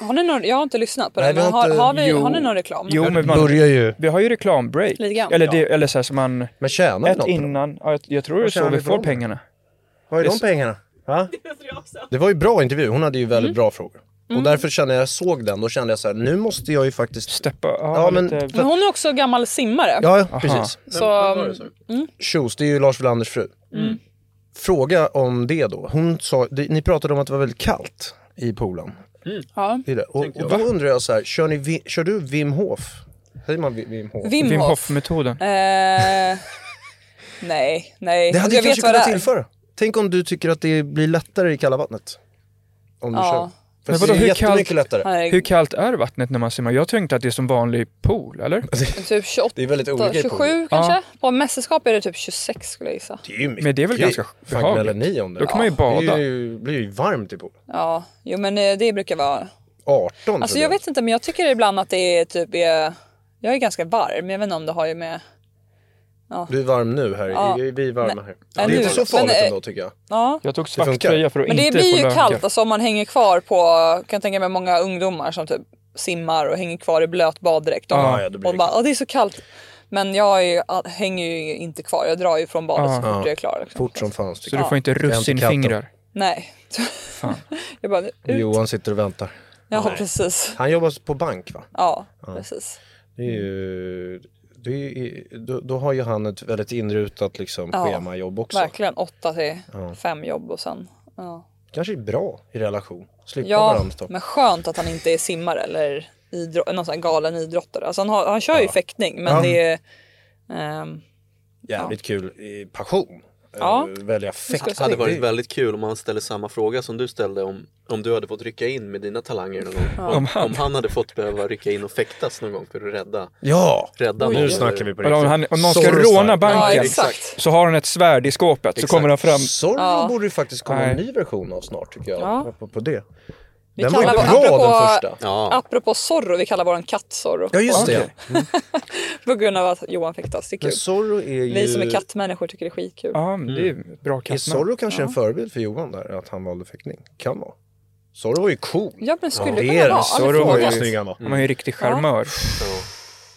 [SPEAKER 1] Har ni någon, jag har inte lyssnat på
[SPEAKER 5] Nej,
[SPEAKER 1] den,
[SPEAKER 5] vi
[SPEAKER 1] men
[SPEAKER 5] har
[SPEAKER 1] har,
[SPEAKER 5] inte-
[SPEAKER 1] har, vi,
[SPEAKER 2] Jo.
[SPEAKER 1] har ni någon reklam?
[SPEAKER 2] jo men man,
[SPEAKER 5] Börjar ju
[SPEAKER 2] vi har ju reklambreak.
[SPEAKER 1] Lite grann.
[SPEAKER 2] Eller, det, eller så här som man,
[SPEAKER 5] Men tjänar vi något
[SPEAKER 2] ett
[SPEAKER 5] på dem?
[SPEAKER 2] innan, ja, jag, jag tror det är
[SPEAKER 5] Vad
[SPEAKER 2] så
[SPEAKER 5] tjänar
[SPEAKER 2] vi
[SPEAKER 5] vi på
[SPEAKER 2] får
[SPEAKER 5] dem?
[SPEAKER 2] pengarna.
[SPEAKER 5] Var är de
[SPEAKER 2] Visst.
[SPEAKER 5] pengarna? Va? Det var ju bra intervju, hon hade ju väldigt
[SPEAKER 1] Mm.
[SPEAKER 5] bra frågor. Och därför kände jag, jag såg den, då kände jag så här, nu måste jag ju faktiskt...
[SPEAKER 2] Steppa, ja,
[SPEAKER 5] Ja, men-
[SPEAKER 2] lite,
[SPEAKER 1] Men hon är också gammal simmare.
[SPEAKER 5] Ja, ja precis.
[SPEAKER 1] så,
[SPEAKER 5] Shoes, det är ju Lars Wilanders fru.
[SPEAKER 1] Mm.
[SPEAKER 5] Fråga om det då. Hon sa, det, ni pratade om att det var väldigt kallt i poolen.
[SPEAKER 1] ja.
[SPEAKER 5] Det är det. Och, och då undrar jag så här, kör, ni, vi- kör du Wim Hof? Säger man Wim Wim Hof?
[SPEAKER 1] Wim,
[SPEAKER 2] Wim
[SPEAKER 1] Hof.
[SPEAKER 2] Hof-metoden.
[SPEAKER 1] Eh, nej, nej.
[SPEAKER 5] Det hade
[SPEAKER 1] jag
[SPEAKER 5] jag
[SPEAKER 1] vet
[SPEAKER 5] kanske
[SPEAKER 1] vad det
[SPEAKER 5] kunnat
[SPEAKER 1] är.
[SPEAKER 5] tillföra. Tänk om du tycker att det blir lättare i kalla vattnet. Om du
[SPEAKER 1] Ja.
[SPEAKER 5] kör. För
[SPEAKER 2] Men
[SPEAKER 5] det
[SPEAKER 2] vadå,
[SPEAKER 5] är
[SPEAKER 2] hur
[SPEAKER 5] jättemycket
[SPEAKER 2] kallt-
[SPEAKER 5] lättare.
[SPEAKER 1] Herregud.
[SPEAKER 2] Hur kallt är vattnet när man simmar? Jag tänkte att det är som vanlig pool, eller?
[SPEAKER 5] Alltså,
[SPEAKER 1] Typ 28,
[SPEAKER 5] Det är väldigt olika i
[SPEAKER 1] 27 kanske? På mästerskap är det typ 26 skulle jag gissa.
[SPEAKER 5] Det är ju mycket.
[SPEAKER 2] Men det är väl ganska
[SPEAKER 5] Fan
[SPEAKER 2] behagligt.
[SPEAKER 5] gnäller ni om det?
[SPEAKER 2] Då kan man ju
[SPEAKER 5] Det
[SPEAKER 2] bada.
[SPEAKER 5] är ju, blir ju varmt i poolen.
[SPEAKER 1] Ja, jo men eh, det brukar vara
[SPEAKER 5] 18
[SPEAKER 1] Alltså
[SPEAKER 5] trodde
[SPEAKER 1] jag vet inte men jag tycker ibland att det är typ är... Jag är ganska varm, jag vet inte om det har ju med...
[SPEAKER 5] Du är varm nu här.
[SPEAKER 1] Ja.
[SPEAKER 5] Vi- Vi är varma här. Det är
[SPEAKER 1] nu-
[SPEAKER 5] inte så farligt
[SPEAKER 1] men, eh,
[SPEAKER 5] ändå tycker jag.
[SPEAKER 1] Ja.
[SPEAKER 2] Jag tog
[SPEAKER 5] Det
[SPEAKER 2] svart
[SPEAKER 5] funkar.
[SPEAKER 2] tröja för att
[SPEAKER 1] Men det
[SPEAKER 2] inte
[SPEAKER 1] blir
[SPEAKER 2] få
[SPEAKER 1] ju
[SPEAKER 2] lönka.
[SPEAKER 1] kallt alltså om man hänger kvar på, kan jag tänka mig många ungdomar som typ simmar och hänger kvar i blöt baddräkt. Och,
[SPEAKER 5] Ja, ja, då blir
[SPEAKER 1] och
[SPEAKER 5] det
[SPEAKER 1] bara, "Åh, det är så kallt. Men jag är ju, hänger ju inte kvar, jag drar ju från badet så fort
[SPEAKER 5] Ja.
[SPEAKER 1] jag är klar. Liksom.
[SPEAKER 5] Fort som fan tycker
[SPEAKER 2] Så du får inte
[SPEAKER 5] inte
[SPEAKER 2] russinfingrar.
[SPEAKER 1] Nej. jag bara,
[SPEAKER 5] jag.
[SPEAKER 1] ut.
[SPEAKER 5] Johan sitter och väntar.
[SPEAKER 1] Ja precis.
[SPEAKER 5] Han jobbar på bank va?
[SPEAKER 1] Ja, precis.
[SPEAKER 5] Det är ju, det är, ju- då, då har ju han ett väldigt inrutat liksom,
[SPEAKER 1] Ja,
[SPEAKER 5] schemajobb också.
[SPEAKER 1] Verkligen 8 till 5 jobb och sen. Ja.
[SPEAKER 5] Kanske är bra i relation. Slippa
[SPEAKER 1] Ja,
[SPEAKER 5] varandra.
[SPEAKER 1] men skönt att han inte är simmare eller idro- någon sån här galen idrottare. Alltså han, har, han kör ju fäktning men det är... ehm,
[SPEAKER 5] Jävligt kul i passion.
[SPEAKER 1] Ja.
[SPEAKER 5] Eh, Välja
[SPEAKER 1] Det
[SPEAKER 5] fäkt.
[SPEAKER 1] ska
[SPEAKER 6] Det hade varit väldigt kul om han ställer samma fråga som du ställde om, om du hade fått rycka in med dina talanger någon gång. Om, om han hade fått behöva rycka in och fäktas någon gång för att rädda,
[SPEAKER 5] Ja!
[SPEAKER 6] rädda någon.
[SPEAKER 5] Nu snackar vi på
[SPEAKER 2] Eller om, han, om någon ska
[SPEAKER 5] Zorro
[SPEAKER 2] råna
[SPEAKER 5] style.
[SPEAKER 1] ja
[SPEAKER 2] banken
[SPEAKER 1] exakt.
[SPEAKER 2] så har han ett svärd i skåpet så kommer han fram.
[SPEAKER 5] Zorro borde ju faktiskt komma en
[SPEAKER 2] Nej.
[SPEAKER 5] ny version av snart tycker jag.
[SPEAKER 1] Ja.
[SPEAKER 5] Apropå på det.
[SPEAKER 1] Vi
[SPEAKER 5] Den var ju bra
[SPEAKER 1] kallar- apropå-
[SPEAKER 5] den första.
[SPEAKER 6] Ja,
[SPEAKER 1] Apropå Zorro, vi kallar våran katt Zorro.
[SPEAKER 5] Ja just det.
[SPEAKER 2] Okej.
[SPEAKER 1] På grund av att Johan fäktas, det är
[SPEAKER 5] Men
[SPEAKER 1] kul.
[SPEAKER 5] Zorro är ju...
[SPEAKER 1] Vi som är kattmänniskor tycker det är skitkul.
[SPEAKER 2] Ja, men det är
[SPEAKER 6] Mm.
[SPEAKER 2] ju ett bra
[SPEAKER 5] Är
[SPEAKER 2] kattnamn.
[SPEAKER 5] Zorro kanske en förebild för Johan där? Att han valde fäktning? Kan vara. Zorro var ju cool.
[SPEAKER 1] Ja men skulle
[SPEAKER 5] det
[SPEAKER 1] det kunna
[SPEAKER 5] är
[SPEAKER 1] vara.
[SPEAKER 5] det.
[SPEAKER 1] Aldrig
[SPEAKER 2] Zorro var
[SPEAKER 1] frågat.
[SPEAKER 2] ju-
[SPEAKER 5] snygg han var.
[SPEAKER 2] Han är ju riktig charmör.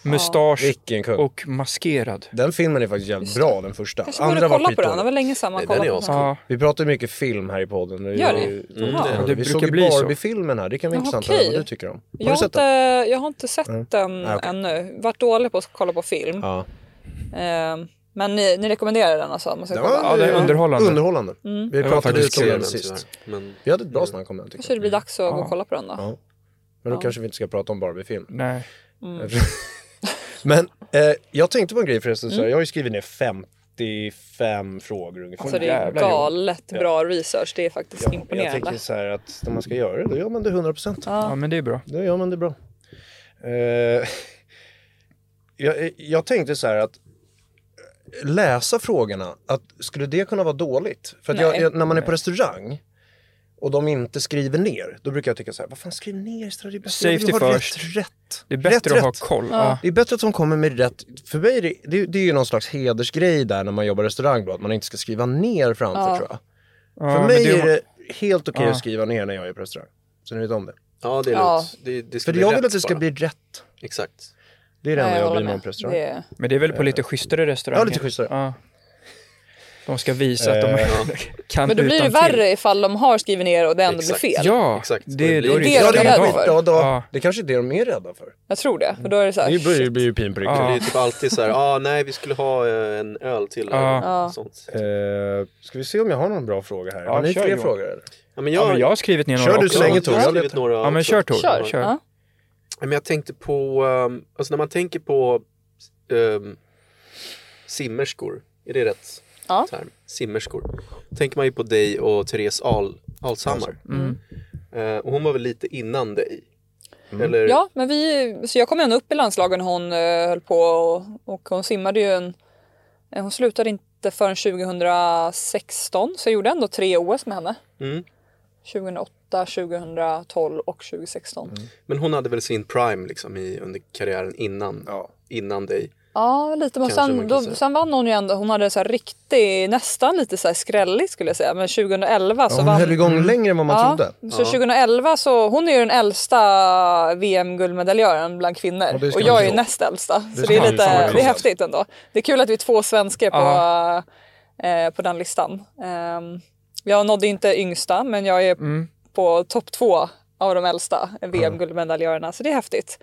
[SPEAKER 2] Mustasch
[SPEAKER 5] Vilken kung.
[SPEAKER 2] och maskerad.
[SPEAKER 5] Den filmen är faktiskt jävligt bra, den första.
[SPEAKER 1] Kanske borde kolla på den, det var länge sedan man
[SPEAKER 6] Nej, den
[SPEAKER 1] kollade
[SPEAKER 6] är
[SPEAKER 1] på
[SPEAKER 6] ascool.
[SPEAKER 1] den.
[SPEAKER 2] Ja,
[SPEAKER 5] Vi pratar ju mycket film här i podden. Vi,
[SPEAKER 1] Gör ni?
[SPEAKER 5] vi-
[SPEAKER 1] Jaha.
[SPEAKER 5] Mm. vi-
[SPEAKER 2] Det
[SPEAKER 5] Vi
[SPEAKER 2] brukar
[SPEAKER 5] såg ju
[SPEAKER 2] bli så.
[SPEAKER 5] Barbie-filmen här, det kan vara
[SPEAKER 1] Jaha,
[SPEAKER 5] intressant att
[SPEAKER 1] okej.
[SPEAKER 5] höra vad du tycker om. Har
[SPEAKER 1] Jag
[SPEAKER 5] du
[SPEAKER 1] har,
[SPEAKER 5] sett
[SPEAKER 1] inte,
[SPEAKER 5] den?
[SPEAKER 1] jag har inte sett den
[SPEAKER 5] Nej, okej.
[SPEAKER 1] ännu. Varit dålig på att kolla på film.
[SPEAKER 5] Ja.
[SPEAKER 1] Ehm, Men ni, ni rekommenderar den alltså? om Man ska
[SPEAKER 5] Den
[SPEAKER 1] kolla.
[SPEAKER 5] var
[SPEAKER 2] Ja, det är underhållande.
[SPEAKER 5] underhållande. Vi
[SPEAKER 2] Det var
[SPEAKER 5] pratade
[SPEAKER 2] faktiskt
[SPEAKER 5] lite om den
[SPEAKER 2] trevligt,
[SPEAKER 5] sist.
[SPEAKER 6] Men
[SPEAKER 5] Vi hade ett bra snack om den tycker
[SPEAKER 1] Kanske
[SPEAKER 5] jag.
[SPEAKER 1] det blir dags att gå
[SPEAKER 2] Ja.
[SPEAKER 1] och kolla på den då.
[SPEAKER 5] Ja. Men då kanske vi inte ska prata om Barbie-film.
[SPEAKER 2] Nej.
[SPEAKER 5] Men eh, jag tänkte på en grej förresten,
[SPEAKER 2] Mm.
[SPEAKER 5] så här, jag har ju skrivit ner 55 frågor ungefär.
[SPEAKER 1] Alltså det är
[SPEAKER 2] jävlar, Johan.
[SPEAKER 1] galet bra research. Det är faktiskt
[SPEAKER 5] Ja, Jag
[SPEAKER 1] imponerande.
[SPEAKER 5] tänker så här att när man ska göra det, då gör man det 100%.
[SPEAKER 2] Ja, men det är bra.
[SPEAKER 5] Då gör man det bra. Eh, jag, jag tänkte så här att läsa frågorna, att skulle det kunna vara dåligt? För att jag,
[SPEAKER 1] Nej.
[SPEAKER 5] jag, när man är på restaurang och de inte skriver ner, då brukar jag tycka så här, vad fan skriv ner istället, det är bättre. Jag vill
[SPEAKER 2] Safety
[SPEAKER 5] ha
[SPEAKER 2] first.
[SPEAKER 5] Rätt, rätt.
[SPEAKER 2] Det är bättre
[SPEAKER 5] rätt,
[SPEAKER 2] att
[SPEAKER 5] rätt.
[SPEAKER 2] ha koll. Ja.
[SPEAKER 5] Det är bättre att de kommer med rätt, för mig är det, det, det är ju någon slags hedersgrej där när man jobbar i restaurang då, att man inte ska skriva ner framför tror jag.
[SPEAKER 2] Ja,
[SPEAKER 5] för
[SPEAKER 2] men
[SPEAKER 5] mig
[SPEAKER 2] det-
[SPEAKER 5] är det helt okej att skriva ner när jag är på restaurang. Så ni vet om det.
[SPEAKER 6] ja, det är
[SPEAKER 1] Ja.
[SPEAKER 6] lugnt. Det, det ska
[SPEAKER 5] För
[SPEAKER 6] bli
[SPEAKER 5] jag vill
[SPEAKER 6] rätt
[SPEAKER 5] att det ska
[SPEAKER 6] bara.
[SPEAKER 5] bli rätt.
[SPEAKER 6] Exakt.
[SPEAKER 5] Det är det enda
[SPEAKER 1] Nej,
[SPEAKER 5] jag
[SPEAKER 1] håller
[SPEAKER 5] bryr mig
[SPEAKER 1] med.
[SPEAKER 5] om på restaurang.
[SPEAKER 1] Det är-
[SPEAKER 2] Men det är väl på lite schysstare restauranger?
[SPEAKER 5] Eh. ja, lite schysstare.
[SPEAKER 2] Ja. De ska visa att
[SPEAKER 6] Eh.
[SPEAKER 2] de kan
[SPEAKER 1] Men då blir det
[SPEAKER 2] utantill.
[SPEAKER 1] värre ifall de har skrivit ner och det ändå
[SPEAKER 6] Exakt.
[SPEAKER 1] blir fel.
[SPEAKER 2] Ja,
[SPEAKER 6] Exakt.
[SPEAKER 2] det,
[SPEAKER 6] Det
[SPEAKER 2] det,
[SPEAKER 6] blir-
[SPEAKER 2] då är det
[SPEAKER 1] Det är de rädda
[SPEAKER 2] skandal.
[SPEAKER 1] för.
[SPEAKER 5] Ja, då,
[SPEAKER 2] Ja.
[SPEAKER 5] Det kanske är det de är rädda för.
[SPEAKER 1] Jag tror det. Och då är det så här,
[SPEAKER 5] Det blir,
[SPEAKER 1] shit.
[SPEAKER 5] blir ju pin på riktigt.
[SPEAKER 6] Det är ju typ alltid så här, ah, nej vi skulle ha eh, en öl till. eller något sånt.
[SPEAKER 5] Eh, ska vi se om jag har någon bra fråga här. har
[SPEAKER 2] Ja,
[SPEAKER 5] ni
[SPEAKER 2] kör,
[SPEAKER 5] fler
[SPEAKER 2] Johan.
[SPEAKER 5] frågor? Eller?
[SPEAKER 6] Ja, men
[SPEAKER 2] Ja, men jag har skrivit ner några
[SPEAKER 5] Kör du
[SPEAKER 2] också.
[SPEAKER 5] så länge, Tor.
[SPEAKER 6] Jag har
[SPEAKER 5] Jag
[SPEAKER 6] skrivit
[SPEAKER 5] letar.
[SPEAKER 6] några
[SPEAKER 2] Ja, men
[SPEAKER 6] också.
[SPEAKER 2] kör Tor.
[SPEAKER 1] Kör.
[SPEAKER 2] Kör.
[SPEAKER 1] Ja.
[SPEAKER 6] Ja, Men jag tänkte på, ehm, alltså när man tänker på ehm, simmerskor, är det rätt
[SPEAKER 1] Ja.
[SPEAKER 6] term? Simmerskor. tänker man ju på dig och Therese Al, Alshammar. Eh, och hon var väl lite innan dig? Eller?
[SPEAKER 1] Ja, men vi, så jag kom ju ändå upp i landslagen när hon eh, höll på och, och hon simmade ju en... eh, Hon slutade inte förrän 2016 så jag gjorde ändå tre OS med henne.
[SPEAKER 6] Mm.
[SPEAKER 1] 2008, 2012 och 2016.
[SPEAKER 6] Men hon hade väl sin prime liksom i, under karriären innan, innan dig.
[SPEAKER 1] Ja, lite. Men
[SPEAKER 6] Kanske
[SPEAKER 1] sen,
[SPEAKER 6] man kan
[SPEAKER 1] då,
[SPEAKER 6] säga.
[SPEAKER 1] sen vann hon ju ändå. Hon hade så här riktig, nästan lite så här skrällig skulle jag säga. Men 2011 så
[SPEAKER 5] Hon
[SPEAKER 1] vann...
[SPEAKER 5] höll igång längre än vad man
[SPEAKER 1] Ja,
[SPEAKER 5] trodde.
[SPEAKER 1] så 2011 så, hon är ju den äldsta VM-guldmedaljören bland kvinnor
[SPEAKER 5] Och
[SPEAKER 1] och,
[SPEAKER 5] det ska man
[SPEAKER 1] jag är ju
[SPEAKER 5] tro.
[SPEAKER 1] näst äldsta. Så
[SPEAKER 5] ska
[SPEAKER 1] det är
[SPEAKER 5] man
[SPEAKER 1] lite,
[SPEAKER 5] tro. Fan, vad
[SPEAKER 1] det är
[SPEAKER 5] coolt.
[SPEAKER 1] häftigt ändå. Det är kul att vi är två svenskar på, eh, på den listan. Ehm, jag nådde inte yngsta men jag är
[SPEAKER 5] Mm.
[SPEAKER 1] på topp två av de äldsta VM-guldmedaljörerna så det är häftigt.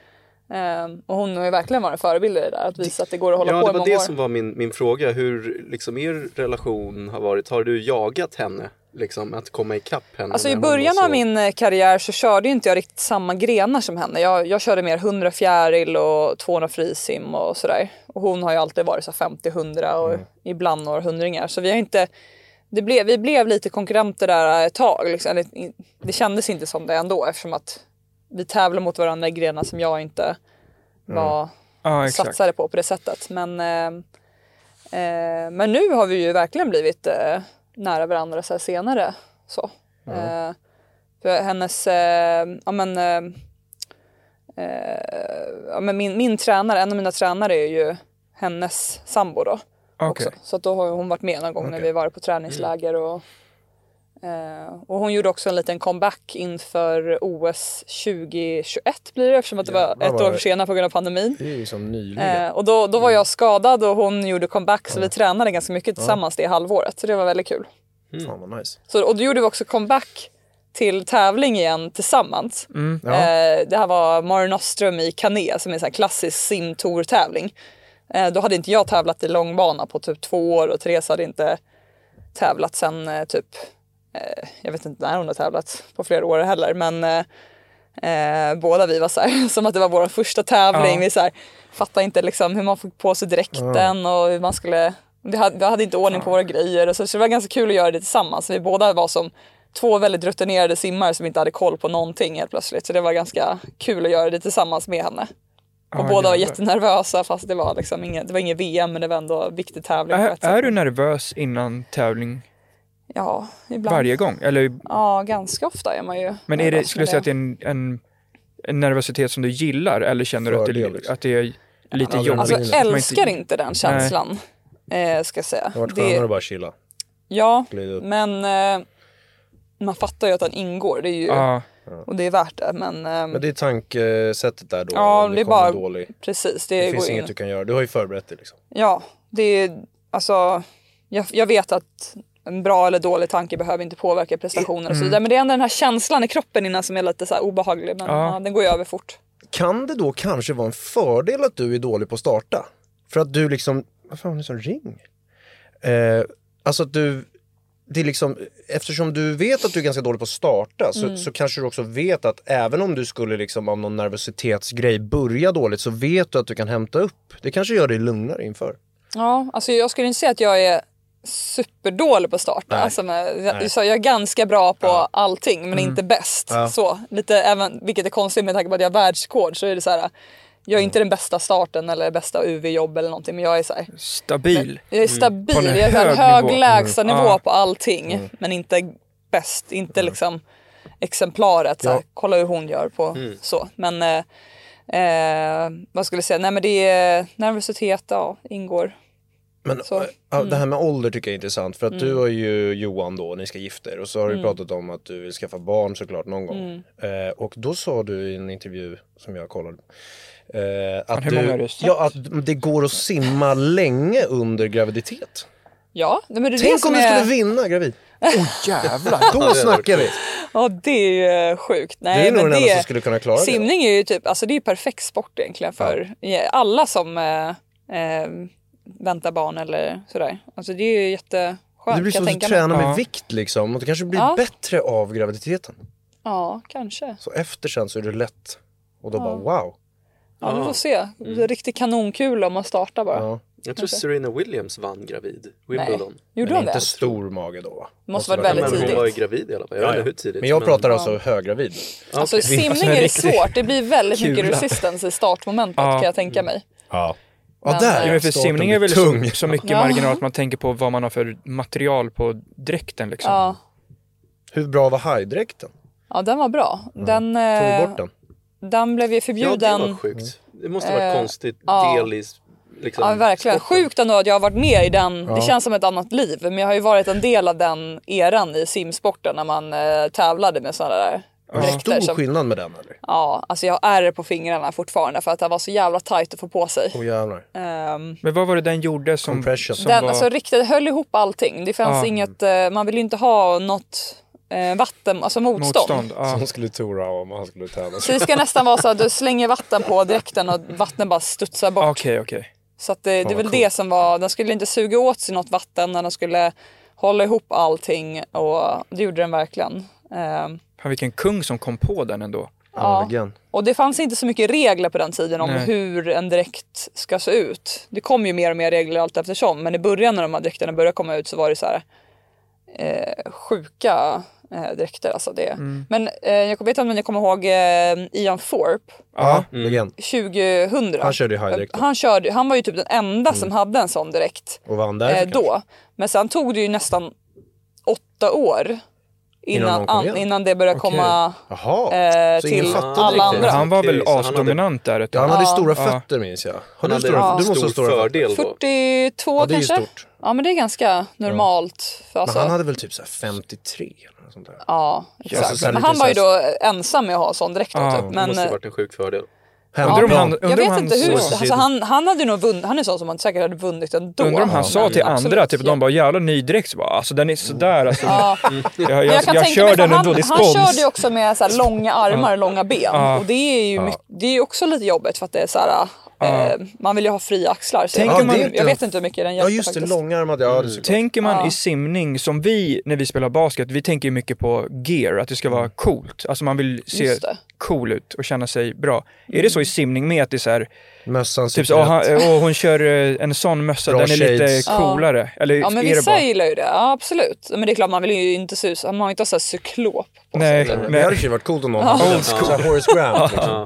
[SPEAKER 1] Ehm, och hon har ju verkligen varit en förebild i det där, att visa att det går att hålla
[SPEAKER 6] Ja,
[SPEAKER 1] på
[SPEAKER 6] det
[SPEAKER 1] i många
[SPEAKER 6] var det
[SPEAKER 1] år.
[SPEAKER 6] som var min, min fråga. Hur liksom er relation har varit? Har du jagat henne? Liksom att komma ikapp henne?
[SPEAKER 1] Alltså i
[SPEAKER 6] när hon var
[SPEAKER 1] början
[SPEAKER 6] så-
[SPEAKER 1] av min eh, karriär så körde ju inte jag riktigt samma grenar som henne. Jag, jag körde mer 100 fjäril och 200 frisim och sådär. Och hon har ju alltid varit så 50-100 och ibland några hundringar. Så vi har inte... Det blev, vi blev lite konkurrenter där ett tag. Liksom. Eller, i- Det kändes inte som det ändå eftersom att vi tävlar mot varandra i grenar som jag inte var
[SPEAKER 2] Ja, exakt.
[SPEAKER 1] satsade på på det sättet. Men, eh, eh, men nu har vi ju verkligen blivit eh, nära varandra så här senare. Så. Eh, för hennes, eh, ja men, eh, eh, ja men min, min tränare, en av mina tränare är ju hennes sambo då.
[SPEAKER 2] Okej.
[SPEAKER 1] Också. Så att då har ju hon varit med någon gång när vi varit på träningsläger och Eh, och hon gjorde också en liten comeback inför OS 2021 blir det eftersom att det var ett
[SPEAKER 5] vad
[SPEAKER 1] år
[SPEAKER 5] det-
[SPEAKER 1] försenat på grund av pandemin.
[SPEAKER 5] Det är ju som nyligen.
[SPEAKER 1] Eh, och då, då var jag skadad och hon gjorde comeback så vi tränade ganska mycket tillsammans det halvåret. Så det var väldigt kul.
[SPEAKER 5] Fan vad nice.
[SPEAKER 1] Så, och då gjorde vi också comeback till tävling igen tillsammans.
[SPEAKER 5] Ja.
[SPEAKER 1] Eh, det här var Mare Nostrum i Cané som är en sån här klassisk simtour-tävling. Eh, då hade inte jag tävlat i långbana på typ två år och Therese hade inte tävlat sen eh, typ, eh, jag vet inte när hon har tävlat på flera år heller men eh, Eh, båda vi var så här, som att det var vår första tävling. Vi så här, fattade inte liksom hur man fick på sig dräkten och hur man skulle... Vi hade, vi hade inte ordning på våra grejer. Och så, så det var ganska kul att göra det tillsammans. Vi båda var som två väldigt rutinerade simmare som inte hade koll på någonting helt plötsligt. Så det var ganska kul att göra det tillsammans med henne. Och
[SPEAKER 2] Ja,
[SPEAKER 1] båda var
[SPEAKER 2] jävlar.
[SPEAKER 1] jättenervösa fast det var liksom inget, det var inget VM men det var ändå en viktig tävling. på
[SPEAKER 2] Är,
[SPEAKER 1] ett sätt.
[SPEAKER 2] är du nervös innan tävling
[SPEAKER 1] Ja, ibland.
[SPEAKER 2] varje gång? Eller,
[SPEAKER 1] Ja, ganska ofta är man ju.
[SPEAKER 2] men är det,
[SPEAKER 1] nervös
[SPEAKER 2] skulle
[SPEAKER 1] med
[SPEAKER 2] du säga att det är en, en, en nervositet som du gillar eller känner du att
[SPEAKER 5] Fördel,
[SPEAKER 2] det,
[SPEAKER 5] liksom.
[SPEAKER 2] att det är lite
[SPEAKER 5] Ja,
[SPEAKER 2] jobbigt?
[SPEAKER 1] Alltså
[SPEAKER 2] att man
[SPEAKER 1] älskar inte den känslan. Eh, ska jag säga.
[SPEAKER 5] Det har varit
[SPEAKER 1] Det-
[SPEAKER 5] skönare att bara chilla.
[SPEAKER 1] Ja,
[SPEAKER 5] Glida upp.
[SPEAKER 1] men eh, man fattar ju att den ingår. Det är ju,
[SPEAKER 2] Ja,
[SPEAKER 1] Och det är värt det. Men, eh,
[SPEAKER 5] Men det är tankesättet där då.
[SPEAKER 1] Ja,
[SPEAKER 5] om
[SPEAKER 1] det är
[SPEAKER 5] kommer
[SPEAKER 1] bara-
[SPEAKER 5] dålig.
[SPEAKER 1] precis, det,
[SPEAKER 5] Det,
[SPEAKER 1] går
[SPEAKER 5] finns
[SPEAKER 1] in.
[SPEAKER 5] inget du kan göra. Du har ju förberett dig liksom.
[SPEAKER 1] Ja, det är alltså. Jag, jag vet att en bra eller dålig tanke behöver inte påverka prestationen
[SPEAKER 2] Mm.
[SPEAKER 1] och så vidare. Men det är ändå den här känslan i kroppen innan som är lite så här obehaglig. Men ja. den går ju över fort.
[SPEAKER 5] Kan det då kanske vara en fördel att du är dålig på att starta? För att du liksom vad fan är det som ring? Eh, alltså att du, det är liksom, eftersom du vet att du är ganska dålig på att starta
[SPEAKER 1] Mm.
[SPEAKER 5] så, så kanske du också vet att även om du skulle liksom av någon nervositetsgrej börja dåligt så vet du att du kan hämta upp. Det kanske gör dig lugnare inför.
[SPEAKER 1] Ja, alltså jag skulle inte säga att jag är superdålig på att starta. Alltså med, jag, så jag är ganska bra på allting men inte bäst. Så, lite, även, vilket är konstigt med tanke på att jag är världsrekord så är det så här. Jag är inte den bästa starten eller bästa UV-jobb eller någonting men jag är så här,
[SPEAKER 2] Stabil.
[SPEAKER 1] jag är
[SPEAKER 5] Mm.
[SPEAKER 1] stabil.
[SPEAKER 2] På en
[SPEAKER 1] Jag är så här,
[SPEAKER 2] hög
[SPEAKER 1] hög
[SPEAKER 2] nivå.
[SPEAKER 1] lägsta
[SPEAKER 2] Mm.
[SPEAKER 1] nivå
[SPEAKER 2] Ja.
[SPEAKER 1] på allting men inte bäst, inte
[SPEAKER 5] Mm.
[SPEAKER 1] liksom exemplaret. Så här, Kolla hur hon gör på
[SPEAKER 5] Mm.
[SPEAKER 1] så. Men eh, eh, vad skulle jag säga? Nej men det är nervositet, ja, ingår.
[SPEAKER 5] Men
[SPEAKER 1] Så.
[SPEAKER 5] äh, ja, det här
[SPEAKER 1] Mm.
[SPEAKER 5] med ålder tycker jag är intressant för att du har ju Johan då, ni ska gifta er och så har
[SPEAKER 1] Mm.
[SPEAKER 5] du pratat om att du vill skaffa barn såklart någon gång. Eh, och då sa du i en intervju som jag kollade eh, att,
[SPEAKER 2] hur många har
[SPEAKER 5] du,
[SPEAKER 2] du sett?
[SPEAKER 5] ja, att det går att simma länge under graviditet.
[SPEAKER 1] Ja, nej, men det är det
[SPEAKER 5] Tänk
[SPEAKER 1] som
[SPEAKER 5] om du
[SPEAKER 1] är...
[SPEAKER 5] skulle vinna gravid!
[SPEAKER 2] Jävlar.
[SPEAKER 5] Då snackar vi!
[SPEAKER 1] Ja det är ju eh, sjukt. Nej,
[SPEAKER 5] Det är nog
[SPEAKER 1] men
[SPEAKER 5] den enda
[SPEAKER 1] det...
[SPEAKER 5] som skulle kunna klara det.
[SPEAKER 1] Simning är ju typ, alltså det är ju perfekt sport egentligen för alla som eh, eh, väntar barn eller sådär. Alltså det är ju jätteskönt.
[SPEAKER 5] Det blir
[SPEAKER 1] kan
[SPEAKER 5] som
[SPEAKER 1] jag
[SPEAKER 5] att du
[SPEAKER 1] tänka mig.
[SPEAKER 5] tränar med
[SPEAKER 2] Ja.
[SPEAKER 5] vikt liksom och du kanske blir
[SPEAKER 1] Ja.
[SPEAKER 5] bättre av graviditeten.
[SPEAKER 1] Ja, kanske.
[SPEAKER 5] Så efter sen så är det lätt och då bara wow.
[SPEAKER 1] Ja, vi får se. Det är riktigt kanonkul om man startar bara.
[SPEAKER 5] Mm. Ja.
[SPEAKER 6] Jag tror Serena Williams vann gravid, Wimbledon.
[SPEAKER 1] Gjorde
[SPEAKER 5] Men
[SPEAKER 1] hon
[SPEAKER 5] inte
[SPEAKER 1] det?
[SPEAKER 5] stor mage då va?
[SPEAKER 1] Måste varit
[SPEAKER 5] vara-
[SPEAKER 1] väldigt
[SPEAKER 6] Men hon
[SPEAKER 1] tidigt.
[SPEAKER 6] var ju gravid i alla fall, jag vet inte hur tidigt.
[SPEAKER 5] Men jag pratar alltså höggravid.
[SPEAKER 1] Alltså simning är det svårt. Det blir väldigt mycket resistance i startmomentet kan jag tänka mig.
[SPEAKER 5] Ja. Ja,
[SPEAKER 1] Men,
[SPEAKER 5] där.
[SPEAKER 1] eh,
[SPEAKER 2] Ja, men för
[SPEAKER 5] Starten
[SPEAKER 2] simning
[SPEAKER 5] blir
[SPEAKER 2] är väl liksom-
[SPEAKER 5] tung.
[SPEAKER 2] så, så mycket marginal att man tänker på vad man har för material på dräkten liksom.
[SPEAKER 1] Ja.
[SPEAKER 5] Hur bra var hajdräkten?
[SPEAKER 1] ja, den var bra. Den,
[SPEAKER 5] Tog vi
[SPEAKER 1] eh,
[SPEAKER 5] bort den?
[SPEAKER 1] den blev ju
[SPEAKER 6] Ja, det
[SPEAKER 1] förbjuden.
[SPEAKER 6] var sjukt. Det måste ha varit konstigt,
[SPEAKER 1] Eh, ja.
[SPEAKER 6] del i liksom,
[SPEAKER 1] Ja, verkligen.
[SPEAKER 6] sporten.
[SPEAKER 1] Sjukt ändå att jag har varit med i den. Det känns som ett annat liv. Men jag har ju varit en del av den eran i simsporten när man eh, tävlade med sådana där dräkter.
[SPEAKER 5] Stor
[SPEAKER 1] Som,
[SPEAKER 5] skillnad med den eller?
[SPEAKER 1] ja, alltså jag har ärr på fingrarna fortfarande för att den var så jävla tajt att få på sig.
[SPEAKER 5] Åh jävlar.
[SPEAKER 1] Ehm,
[SPEAKER 2] Men vad var det den gjorde som,
[SPEAKER 5] Compression.
[SPEAKER 2] som
[SPEAKER 1] den
[SPEAKER 2] var...
[SPEAKER 1] alltså, riktigt höll ihop allting. Det fanns
[SPEAKER 2] Ja.
[SPEAKER 1] inget, eh, man ville ju inte ha något eh, vatten, alltså motstånd.
[SPEAKER 2] motstånd? Ja.
[SPEAKER 5] Som skulle Tora om han skulle tävla.
[SPEAKER 1] Så det ska nästan vara så att du slänger vatten på dräkten och vatten bara studsar bort.
[SPEAKER 2] Ah, Okej, okej.
[SPEAKER 1] Så att det, det är väl det som var, den skulle inte suga åt sig något vatten, den skulle hålla ihop allting och det gjorde den verkligen. Ehm,
[SPEAKER 2] Fan vilken kung som kom på den ändå.
[SPEAKER 5] Agen.
[SPEAKER 1] och det fanns inte så mycket regler på den tiden om
[SPEAKER 2] Nej.
[SPEAKER 1] hur en dräkt ska se ut. Det kom ju mer och mer regler allt eftersom, men i början när de här dräkterna började komma ut så var det så här eh, sjuka eh, dräkter. Alltså det. Men eh, jag vet inte om ni kommer ihåg eh, Ian Thorpe.
[SPEAKER 5] Ja, legend.
[SPEAKER 1] 2000.
[SPEAKER 5] Han körde Mm. ju hajdräkt då.
[SPEAKER 1] Han, körde, han var ju typ den enda som hade en sån direkt
[SPEAKER 5] Och vann därför
[SPEAKER 1] eh,
[SPEAKER 5] kanske.
[SPEAKER 1] då. Men sen tog det ju nästan åtta år
[SPEAKER 5] Innan
[SPEAKER 1] innan,
[SPEAKER 5] de kom
[SPEAKER 1] an-
[SPEAKER 5] igen.
[SPEAKER 1] innan det började komma.
[SPEAKER 5] Jaha,
[SPEAKER 1] Eh,
[SPEAKER 5] så ingen
[SPEAKER 1] till
[SPEAKER 5] fattade
[SPEAKER 1] alla
[SPEAKER 5] riktigt.
[SPEAKER 1] andra.
[SPEAKER 5] Han,
[SPEAKER 2] Han var väl
[SPEAKER 6] Okej, så han hade-
[SPEAKER 2] asdominant där ett
[SPEAKER 5] ja,
[SPEAKER 2] tag.
[SPEAKER 5] han hade stora
[SPEAKER 2] Ja.
[SPEAKER 5] fötter minns jag. Har
[SPEAKER 6] Han
[SPEAKER 5] du
[SPEAKER 6] hade
[SPEAKER 5] stora
[SPEAKER 6] en
[SPEAKER 5] fötter? Du måste
[SPEAKER 6] stor
[SPEAKER 5] ha stora fötter.
[SPEAKER 6] fördel då.
[SPEAKER 1] 42
[SPEAKER 5] Ja, det är ju
[SPEAKER 1] kanske?
[SPEAKER 5] stort.
[SPEAKER 1] Ja men det är ganska normalt. För
[SPEAKER 5] Men
[SPEAKER 1] alltså,
[SPEAKER 5] han hade väl typ så här 53 eller något sånt där.
[SPEAKER 1] ja, exakt.
[SPEAKER 5] så här
[SPEAKER 1] men
[SPEAKER 5] lite
[SPEAKER 1] han var ju
[SPEAKER 5] så
[SPEAKER 1] då ensam med att ha sån direkt.
[SPEAKER 2] Ja,
[SPEAKER 1] då typ.
[SPEAKER 2] det
[SPEAKER 6] Det
[SPEAKER 1] Men,
[SPEAKER 6] måste ha varit en sjuk fördel.
[SPEAKER 2] Undrar om
[SPEAKER 5] Ja.
[SPEAKER 2] han,
[SPEAKER 1] jag
[SPEAKER 2] undrar om
[SPEAKER 1] vet
[SPEAKER 2] han,
[SPEAKER 1] inte hur,
[SPEAKER 5] så-
[SPEAKER 1] alltså han, han hade ju nog vunnit, han är sån som man säkert hade vunnit ändå.
[SPEAKER 2] undrar om han sa till
[SPEAKER 1] Mm,
[SPEAKER 2] andra,
[SPEAKER 1] absolut.
[SPEAKER 2] typ de bara jävla ny dräkt, Så bara, alltså den är sådär alltså. Jag, jag,
[SPEAKER 1] Men
[SPEAKER 2] jag,
[SPEAKER 1] kan tänka mig,
[SPEAKER 2] kör
[SPEAKER 1] för
[SPEAKER 2] den
[SPEAKER 1] han,
[SPEAKER 2] ändå, det är
[SPEAKER 1] Han körde ju
[SPEAKER 2] spons.
[SPEAKER 1] också med så här långa armar och långa ben. Och det är ju mycket, det är ju också lite jobbigt för att det är så här, eh, man vill ju ha fria axlar. Så
[SPEAKER 2] Tänk
[SPEAKER 1] jag,
[SPEAKER 2] om man-
[SPEAKER 1] jag vet inte hur mycket den
[SPEAKER 5] Ja
[SPEAKER 1] hjälpte
[SPEAKER 5] just det,
[SPEAKER 1] faktiskt.
[SPEAKER 5] långärmad. Ja,
[SPEAKER 2] Mm.
[SPEAKER 5] det är såklart.
[SPEAKER 2] Tänker man i simning, som vi när vi spelar basket, vi tänker ju mycket på gear, att det ska vara coolt. Alltså man vill se
[SPEAKER 1] Mm. Just det. Mm.
[SPEAKER 2] cool ut och känna sig bra. Är det så i simning med att det är så här,
[SPEAKER 5] Mössan
[SPEAKER 2] typ
[SPEAKER 5] sitter
[SPEAKER 2] så, åh, han,
[SPEAKER 5] rätt.
[SPEAKER 2] åh, hon kör eh, en sån mössa,
[SPEAKER 5] Bra
[SPEAKER 2] den är
[SPEAKER 5] shades.
[SPEAKER 2] lite coolare. Eller
[SPEAKER 1] Ja men
[SPEAKER 2] är det
[SPEAKER 1] vissa
[SPEAKER 2] bara...
[SPEAKER 1] gillar ju det, ja, absolut. Men det är klart man vill ju inte se ut som- man har inte så här cyklop.
[SPEAKER 2] Nej,
[SPEAKER 5] Men Det hade
[SPEAKER 2] men,
[SPEAKER 5] ju varit coolt om någon hade en sån här Horace Grant. liksom.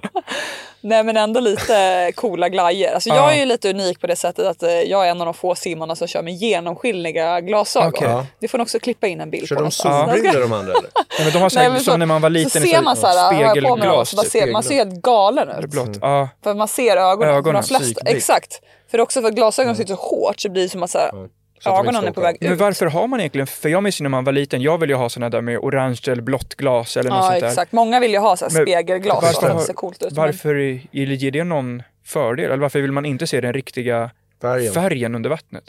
[SPEAKER 1] Nej men ändå lite coola glajjor. Alltså jag är ju lite unik på det sättet att eh, jag är en av de få simmarna som kör med genomskinliga glasögon.
[SPEAKER 2] Okej.
[SPEAKER 1] Det får ni också klippa in en bild
[SPEAKER 5] Kör
[SPEAKER 1] på.
[SPEAKER 5] de
[SPEAKER 1] någonstans.
[SPEAKER 5] solbrillor de andra eller?
[SPEAKER 2] nej, men de har så här,
[SPEAKER 1] Nej, men
[SPEAKER 2] som när man var liten,
[SPEAKER 1] så
[SPEAKER 2] i
[SPEAKER 1] ser man så här, har jag på mig dem,
[SPEAKER 2] spegelglas. typ.
[SPEAKER 1] så bara ser, man ser helt galen ut.
[SPEAKER 2] Blått. Ja,
[SPEAKER 1] För man ser ögonen.
[SPEAKER 2] Ögonen, Mm.
[SPEAKER 1] de flesta,
[SPEAKER 2] psykblick.
[SPEAKER 1] exakt. För också för att glasögonen sitter så hårt så blir det som att så här,
[SPEAKER 5] Så att de inte
[SPEAKER 1] ögonen
[SPEAKER 5] ska
[SPEAKER 1] är på
[SPEAKER 5] åka.
[SPEAKER 1] väg
[SPEAKER 2] Men
[SPEAKER 1] ut.
[SPEAKER 2] varför har man egentligen, för jag minns ju när man var liten, jag ville ju ha såna där med orange eller blått glas eller något
[SPEAKER 1] Ja
[SPEAKER 2] sånt där.
[SPEAKER 1] exakt. Många vill ju ha så här
[SPEAKER 2] Men
[SPEAKER 1] spegelglas
[SPEAKER 2] varför
[SPEAKER 1] för att
[SPEAKER 2] har-
[SPEAKER 1] det ser coolt ut. men-
[SPEAKER 2] Varför i- ger det någon fördel? Eller varför vill man inte se den riktiga
[SPEAKER 5] Färgen.
[SPEAKER 2] färgen under vattnet?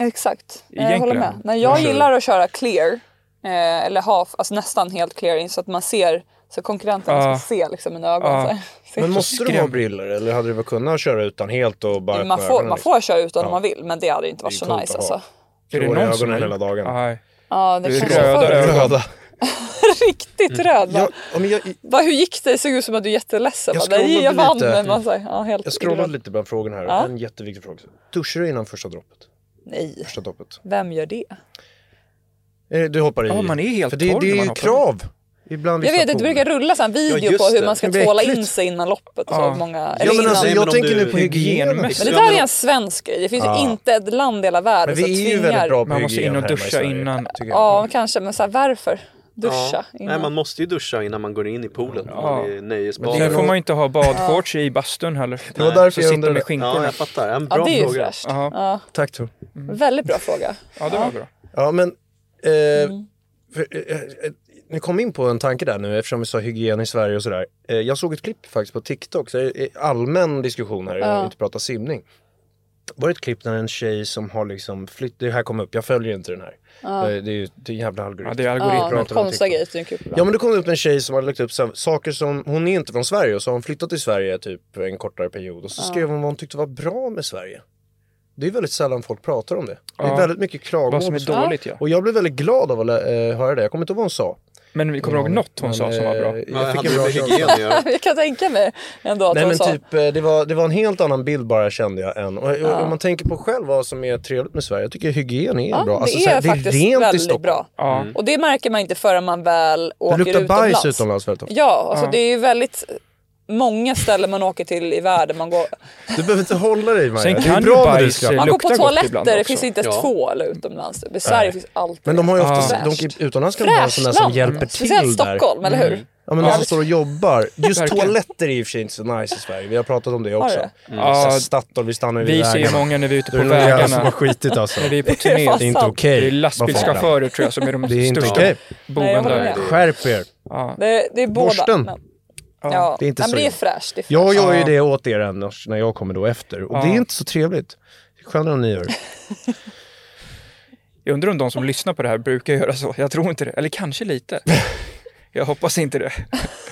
[SPEAKER 1] Exakt. Nej, Jag håller
[SPEAKER 2] Egentligen.
[SPEAKER 1] eh, med. Nej, jag gillar att köra clear. Eh, eller ha alltså nästan helt clear in så att man ser Så konkurrenterna
[SPEAKER 2] Ja.
[SPEAKER 1] ska se liksom, mina ögon.
[SPEAKER 2] Ja.
[SPEAKER 1] Så här.
[SPEAKER 7] Men måste du ha
[SPEAKER 2] skrämd.
[SPEAKER 7] briller eller hade du väl kunnat köra utan helt och bara
[SPEAKER 1] man,
[SPEAKER 7] öppna
[SPEAKER 1] får,
[SPEAKER 7] ögonen,
[SPEAKER 1] man
[SPEAKER 7] liksom?
[SPEAKER 1] får köra utan
[SPEAKER 7] Ja.
[SPEAKER 1] om man vill men det hade inte varit
[SPEAKER 7] Det är
[SPEAKER 1] så
[SPEAKER 7] coolt
[SPEAKER 1] nice
[SPEAKER 7] att ha.
[SPEAKER 1] alltså.
[SPEAKER 2] Är det
[SPEAKER 7] Klår i
[SPEAKER 2] någon som
[SPEAKER 7] ögonen
[SPEAKER 2] är-
[SPEAKER 7] hela dagen.
[SPEAKER 2] Nej.
[SPEAKER 1] Ja, det
[SPEAKER 2] Det är
[SPEAKER 1] kanske
[SPEAKER 2] röda
[SPEAKER 1] var förr.
[SPEAKER 2] ögon.
[SPEAKER 7] Röda. Mm.
[SPEAKER 1] Riktigt röda.
[SPEAKER 7] Jag, ja, men jag,
[SPEAKER 1] Va, hur gick det? Det såg ut som att du är jätteledsen.
[SPEAKER 7] Jag
[SPEAKER 1] Jag, Nej,
[SPEAKER 7] scrollade
[SPEAKER 1] jag vann.
[SPEAKER 7] lite.
[SPEAKER 1] Men man, så här, ja, helt
[SPEAKER 7] jag scrollade
[SPEAKER 1] irrelevant.
[SPEAKER 7] lite bland frågorna här.
[SPEAKER 1] Ja.
[SPEAKER 7] En jätteviktig fråga. Duschar du innan första droppet?
[SPEAKER 1] Nej,
[SPEAKER 7] Första droppet.
[SPEAKER 1] vem gör det?
[SPEAKER 7] Eh, Du hoppar i.
[SPEAKER 2] Ja, man är helt
[SPEAKER 7] För det,
[SPEAKER 2] torr
[SPEAKER 7] det
[SPEAKER 2] när
[SPEAKER 7] är
[SPEAKER 2] man
[SPEAKER 7] ju
[SPEAKER 2] hoppar i.
[SPEAKER 7] krav. Ibland
[SPEAKER 1] Jag
[SPEAKER 7] liksom
[SPEAKER 1] vet att du brukar rulla så här en video
[SPEAKER 6] just
[SPEAKER 1] på hur
[SPEAKER 6] det.
[SPEAKER 1] man ska
[SPEAKER 7] Det blir
[SPEAKER 1] tvåla
[SPEAKER 7] äckligt.
[SPEAKER 1] in sig innan loppet. Och så,
[SPEAKER 2] Ja.
[SPEAKER 1] många,
[SPEAKER 7] Ja
[SPEAKER 1] eller
[SPEAKER 7] men
[SPEAKER 1] innan,
[SPEAKER 7] alltså
[SPEAKER 6] Nej, men
[SPEAKER 7] jag
[SPEAKER 6] om
[SPEAKER 7] tänker
[SPEAKER 6] du-
[SPEAKER 7] nu på hygienen.
[SPEAKER 2] Hygienmässigt.
[SPEAKER 1] men det
[SPEAKER 7] liksom.
[SPEAKER 1] där är en svensk grej. Det finns
[SPEAKER 7] Ja.
[SPEAKER 1] ju inte ett land i hela
[SPEAKER 7] Men
[SPEAKER 1] världen som
[SPEAKER 7] vi är ju väldigt
[SPEAKER 1] tvingar.
[SPEAKER 7] bra på
[SPEAKER 2] Alltså, Man måste
[SPEAKER 7] hygien
[SPEAKER 2] in och
[SPEAKER 7] hemma i
[SPEAKER 2] duscha
[SPEAKER 7] Sverige,
[SPEAKER 2] innan.
[SPEAKER 7] tycker jag.
[SPEAKER 1] Ja, kanske. Men så här, varför duscha?
[SPEAKER 6] Ja.
[SPEAKER 1] innan?
[SPEAKER 6] Nej, man måste ju duscha innan man går in i poolen. Ja. Man är nöjesbad.
[SPEAKER 2] Sen får man ju inte ha badshorts i bastun heller.
[SPEAKER 7] Det var därför
[SPEAKER 2] så
[SPEAKER 7] jag
[SPEAKER 2] sitter
[SPEAKER 7] undrade.
[SPEAKER 2] med
[SPEAKER 6] Ja,
[SPEAKER 2] skinkorna.
[SPEAKER 6] jag fattar. En bra
[SPEAKER 1] ja, det är ju
[SPEAKER 6] fråga.
[SPEAKER 1] fräscht.
[SPEAKER 2] Ja.
[SPEAKER 1] Ja.
[SPEAKER 7] Tack Tor.
[SPEAKER 1] Väldigt bra fråga.
[SPEAKER 2] Ja, det var bra.
[SPEAKER 7] Ja men, eh,
[SPEAKER 2] Mm.
[SPEAKER 7] för, eh, eh, ni kom in på en tanke där nu eftersom vi sa hygien i Sverige och sådär. Eh, jag såg ett klipp faktiskt på TikTok, så det är allmän diskussion här, jag har inte pratat simning. Var det ett klipp när en tjej som har liksom flytt, det här kom upp, jag följer inte den här. Eh, Det är ju det är en jävla algoritm.
[SPEAKER 2] Ja, det är
[SPEAKER 1] Ja,
[SPEAKER 2] algoritmer.
[SPEAKER 7] bra
[SPEAKER 1] men
[SPEAKER 7] att de
[SPEAKER 1] konstiga
[SPEAKER 7] tycker.
[SPEAKER 1] grejer tycker jag är bra.
[SPEAKER 7] Ja men då kom det upp en tjej som hade lagt upp så här, saker som, hon är inte från Sverige och så har hon flyttat till Sverige typ en kortare period och så skrev hon vad hon tyckte var bra med Sverige. Det är väldigt sällan folk pratar om det. Det är
[SPEAKER 2] Ja.
[SPEAKER 7] väldigt mycket klagomål.
[SPEAKER 2] Vad som är
[SPEAKER 7] på Sverige.
[SPEAKER 2] dåligt ja.
[SPEAKER 7] Och jag blev väldigt glad av att eh, höra det. Jag kommer inte ihåg vad hon sa.
[SPEAKER 2] Men vi kommer ihåg något hon
[SPEAKER 7] Men,
[SPEAKER 2] sa som var
[SPEAKER 7] eh,
[SPEAKER 2] bra.
[SPEAKER 6] Ja,
[SPEAKER 7] Jag fick
[SPEAKER 6] hade
[SPEAKER 7] en
[SPEAKER 6] det
[SPEAKER 7] bra
[SPEAKER 6] med hygien
[SPEAKER 7] känsla.
[SPEAKER 6] att göra?
[SPEAKER 1] Jag kan tänka mig ändå att
[SPEAKER 7] Nej
[SPEAKER 1] hon
[SPEAKER 7] men
[SPEAKER 1] sa...
[SPEAKER 7] typ, eh, det var, det var en helt annan bild bara kände jag än. Och, och, Om man tänker på själv vad som är trevligt med Sverige. Jag tycker hygien är
[SPEAKER 1] Ja,
[SPEAKER 7] bra.
[SPEAKER 1] det
[SPEAKER 7] Alltså, så
[SPEAKER 1] är
[SPEAKER 7] här,
[SPEAKER 1] faktiskt väldigt bra.
[SPEAKER 2] Ja.
[SPEAKER 1] Och det märker man inte förrän man väl
[SPEAKER 7] Mm. Det
[SPEAKER 1] åker
[SPEAKER 7] luktar
[SPEAKER 1] utomlands.
[SPEAKER 7] bajs utomlands väldigt ofta.
[SPEAKER 1] Ja, alltså det är ju väldigt många ställen man åker till i världen. Man går,
[SPEAKER 7] Du behöver inte hålla dig Maja.
[SPEAKER 2] Sen
[SPEAKER 7] Det är
[SPEAKER 2] kan ju
[SPEAKER 7] bra när du
[SPEAKER 2] bajs,
[SPEAKER 7] ska.
[SPEAKER 2] eh,
[SPEAKER 1] man går på
[SPEAKER 2] luktar gott ibland
[SPEAKER 1] toaletter, det
[SPEAKER 2] också.
[SPEAKER 1] finns inte ens
[SPEAKER 6] Ja.
[SPEAKER 1] tvål utomlands. Typ. I Sverige finns allt
[SPEAKER 7] Men de har ju
[SPEAKER 2] Ja.
[SPEAKER 7] oftast,
[SPEAKER 1] Ah. Fräscht.
[SPEAKER 7] de, utomlands kan de ha en sån där som
[SPEAKER 1] Fräschland.
[SPEAKER 7] hjälper till
[SPEAKER 1] Speciellt
[SPEAKER 7] där. Mm.
[SPEAKER 1] Stockholm, eller hur?
[SPEAKER 7] Ja men de som står och jobbar. Just
[SPEAKER 2] Verkligen.
[SPEAKER 7] toaletter är i och för sig inte så nice i Sverige. Vi har pratat om det
[SPEAKER 1] Har
[SPEAKER 7] också.
[SPEAKER 1] du?
[SPEAKER 7] Mm. Så här,
[SPEAKER 2] Ja.
[SPEAKER 7] Statoil, vi stannar ju vid
[SPEAKER 2] Vi ser ju
[SPEAKER 7] vägarna.
[SPEAKER 2] många när vi är ute
[SPEAKER 7] Då
[SPEAKER 2] på
[SPEAKER 7] är det någon jävel som har
[SPEAKER 2] vägarna.
[SPEAKER 7] skitit alltså.
[SPEAKER 2] När vi är på
[SPEAKER 1] Det
[SPEAKER 2] turné.
[SPEAKER 1] är fan
[SPEAKER 7] Det är inte
[SPEAKER 1] sant.
[SPEAKER 7] okej.
[SPEAKER 2] Det är
[SPEAKER 7] Vad fan.
[SPEAKER 2] lastbilschaufförer tror jag som är
[SPEAKER 7] Det är
[SPEAKER 2] de
[SPEAKER 7] inte
[SPEAKER 2] största
[SPEAKER 7] okej.
[SPEAKER 1] Nej, jag
[SPEAKER 2] boven
[SPEAKER 1] håller
[SPEAKER 2] där.
[SPEAKER 1] med.
[SPEAKER 7] Skärp er.
[SPEAKER 1] Det, det är båda.
[SPEAKER 7] Borsten.
[SPEAKER 1] Men, ja.
[SPEAKER 7] det är inte
[SPEAKER 1] men
[SPEAKER 7] så
[SPEAKER 1] det är
[SPEAKER 7] illa.
[SPEAKER 1] fräscht. Det är fräscht.
[SPEAKER 7] Jag gör ju
[SPEAKER 2] Ja.
[SPEAKER 7] det åt er annars när jag kommer då efter. Och det är inte så trevligt. Det är Skönare om ni gör det.
[SPEAKER 2] Jag undrar om de som lyssnar på det här brukar göra så. Jag tror inte det. Eller kanske lite. Jag hoppas inte det.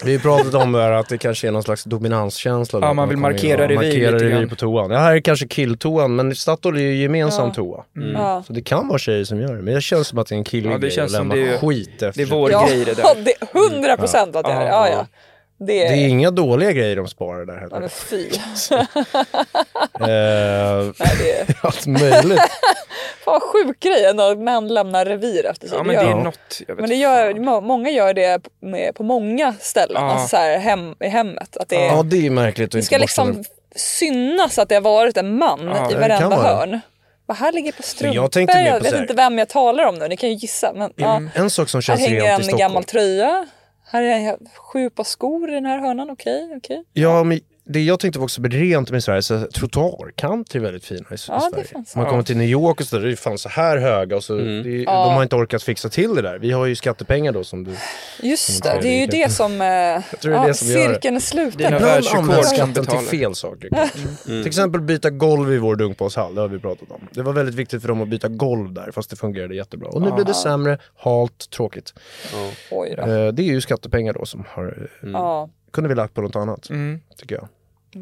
[SPEAKER 7] Vi har pratat om det här att det kanske är någon slags dominanskänsla. då.
[SPEAKER 2] Ja, man vill
[SPEAKER 7] kommer in
[SPEAKER 2] markera
[SPEAKER 7] och
[SPEAKER 2] revir
[SPEAKER 7] Markera
[SPEAKER 2] lite
[SPEAKER 7] revir
[SPEAKER 2] grann.
[SPEAKER 7] på toan. Det här är kanske killtoan, men Statoil är ju gemensam toa.
[SPEAKER 2] Mm.
[SPEAKER 1] Ja.
[SPEAKER 7] Så det kan vara tjejer som gör det, men det känns som att det är en killig
[SPEAKER 2] Ja, det
[SPEAKER 7] grej att
[SPEAKER 2] känns som
[SPEAKER 7] lämna
[SPEAKER 2] det är-
[SPEAKER 7] skit efter
[SPEAKER 2] Det är
[SPEAKER 7] sig.
[SPEAKER 2] vår
[SPEAKER 1] Ja,
[SPEAKER 2] grej det där.
[SPEAKER 1] det är 100 procent att det är det. Ja, ja. Det
[SPEAKER 7] Det är
[SPEAKER 1] är...
[SPEAKER 7] inga dåliga grejer de sparar där
[SPEAKER 1] Ja,
[SPEAKER 7] heller.
[SPEAKER 1] men fy.
[SPEAKER 7] Eh,
[SPEAKER 1] Nej, det är...
[SPEAKER 7] allt möjligt.
[SPEAKER 1] Fan vad sjuk grej ändå att män lämnar revir efter sig.
[SPEAKER 2] Ja,
[SPEAKER 1] Det
[SPEAKER 2] men det
[SPEAKER 1] gör
[SPEAKER 2] är
[SPEAKER 1] de.
[SPEAKER 2] något. Jag vet
[SPEAKER 1] Men det
[SPEAKER 2] inte
[SPEAKER 1] gör,
[SPEAKER 2] fan.
[SPEAKER 1] må- många gör det på- med, på många ställen,
[SPEAKER 2] Ja.
[SPEAKER 1] alltså så här hem, i hemmet. Att det, är-
[SPEAKER 7] Ja, det är märkligt att
[SPEAKER 1] det ska
[SPEAKER 7] inte borsta
[SPEAKER 1] liksom
[SPEAKER 7] den.
[SPEAKER 1] synas att det har varit en man i
[SPEAKER 7] det kan
[SPEAKER 1] varenda
[SPEAKER 7] vara.
[SPEAKER 1] hörn. Vad här ligger på strumpor?
[SPEAKER 7] jag tänkte mer på
[SPEAKER 1] vet
[SPEAKER 7] så här-
[SPEAKER 1] inte vem jag talar om nu, ni kan ju gissa. Men, ja.
[SPEAKER 7] En sak som
[SPEAKER 1] Här
[SPEAKER 7] känns
[SPEAKER 1] hänger
[SPEAKER 7] rent i
[SPEAKER 1] en
[SPEAKER 7] Stockholm.
[SPEAKER 1] gammal tröja. Här är sju par skor i den här hörnan, okej. okej.
[SPEAKER 7] Ja, men det jag tänkte var också rent med Sverige, så här, trottoarkanter är väldigt fina i, i
[SPEAKER 1] Ja, det
[SPEAKER 7] Sverige.
[SPEAKER 1] fanns.
[SPEAKER 7] Man kommer till New York och så där, det är fan så här höga och så, det, är- de har inte orkat fixa till det där. Vi har ju skattepengar då som du...
[SPEAKER 1] Just
[SPEAKER 7] Ja,
[SPEAKER 1] det, det är ju
[SPEAKER 7] det är
[SPEAKER 1] det som... eh,
[SPEAKER 7] tror det är
[SPEAKER 1] ja,
[SPEAKER 7] det som gör det.
[SPEAKER 1] cirkeln är sluten.
[SPEAKER 2] Dina
[SPEAKER 1] Ja,
[SPEAKER 7] Ibland används
[SPEAKER 2] som
[SPEAKER 7] skatten till
[SPEAKER 2] betalar.
[SPEAKER 7] fel saker. kanske. Till exempel byta golv i vår dunkbåshall, det har vi pratat om. Det var väldigt viktigt för dem att byta golv där, fast det fungerade jättebra. Och nu blev det sämre, halt, tråkigt.
[SPEAKER 1] Oj då.
[SPEAKER 7] Eh, det är ju skattepengar då som har,
[SPEAKER 1] Ja,
[SPEAKER 7] kunde vi lagt på något annat, tycker jag.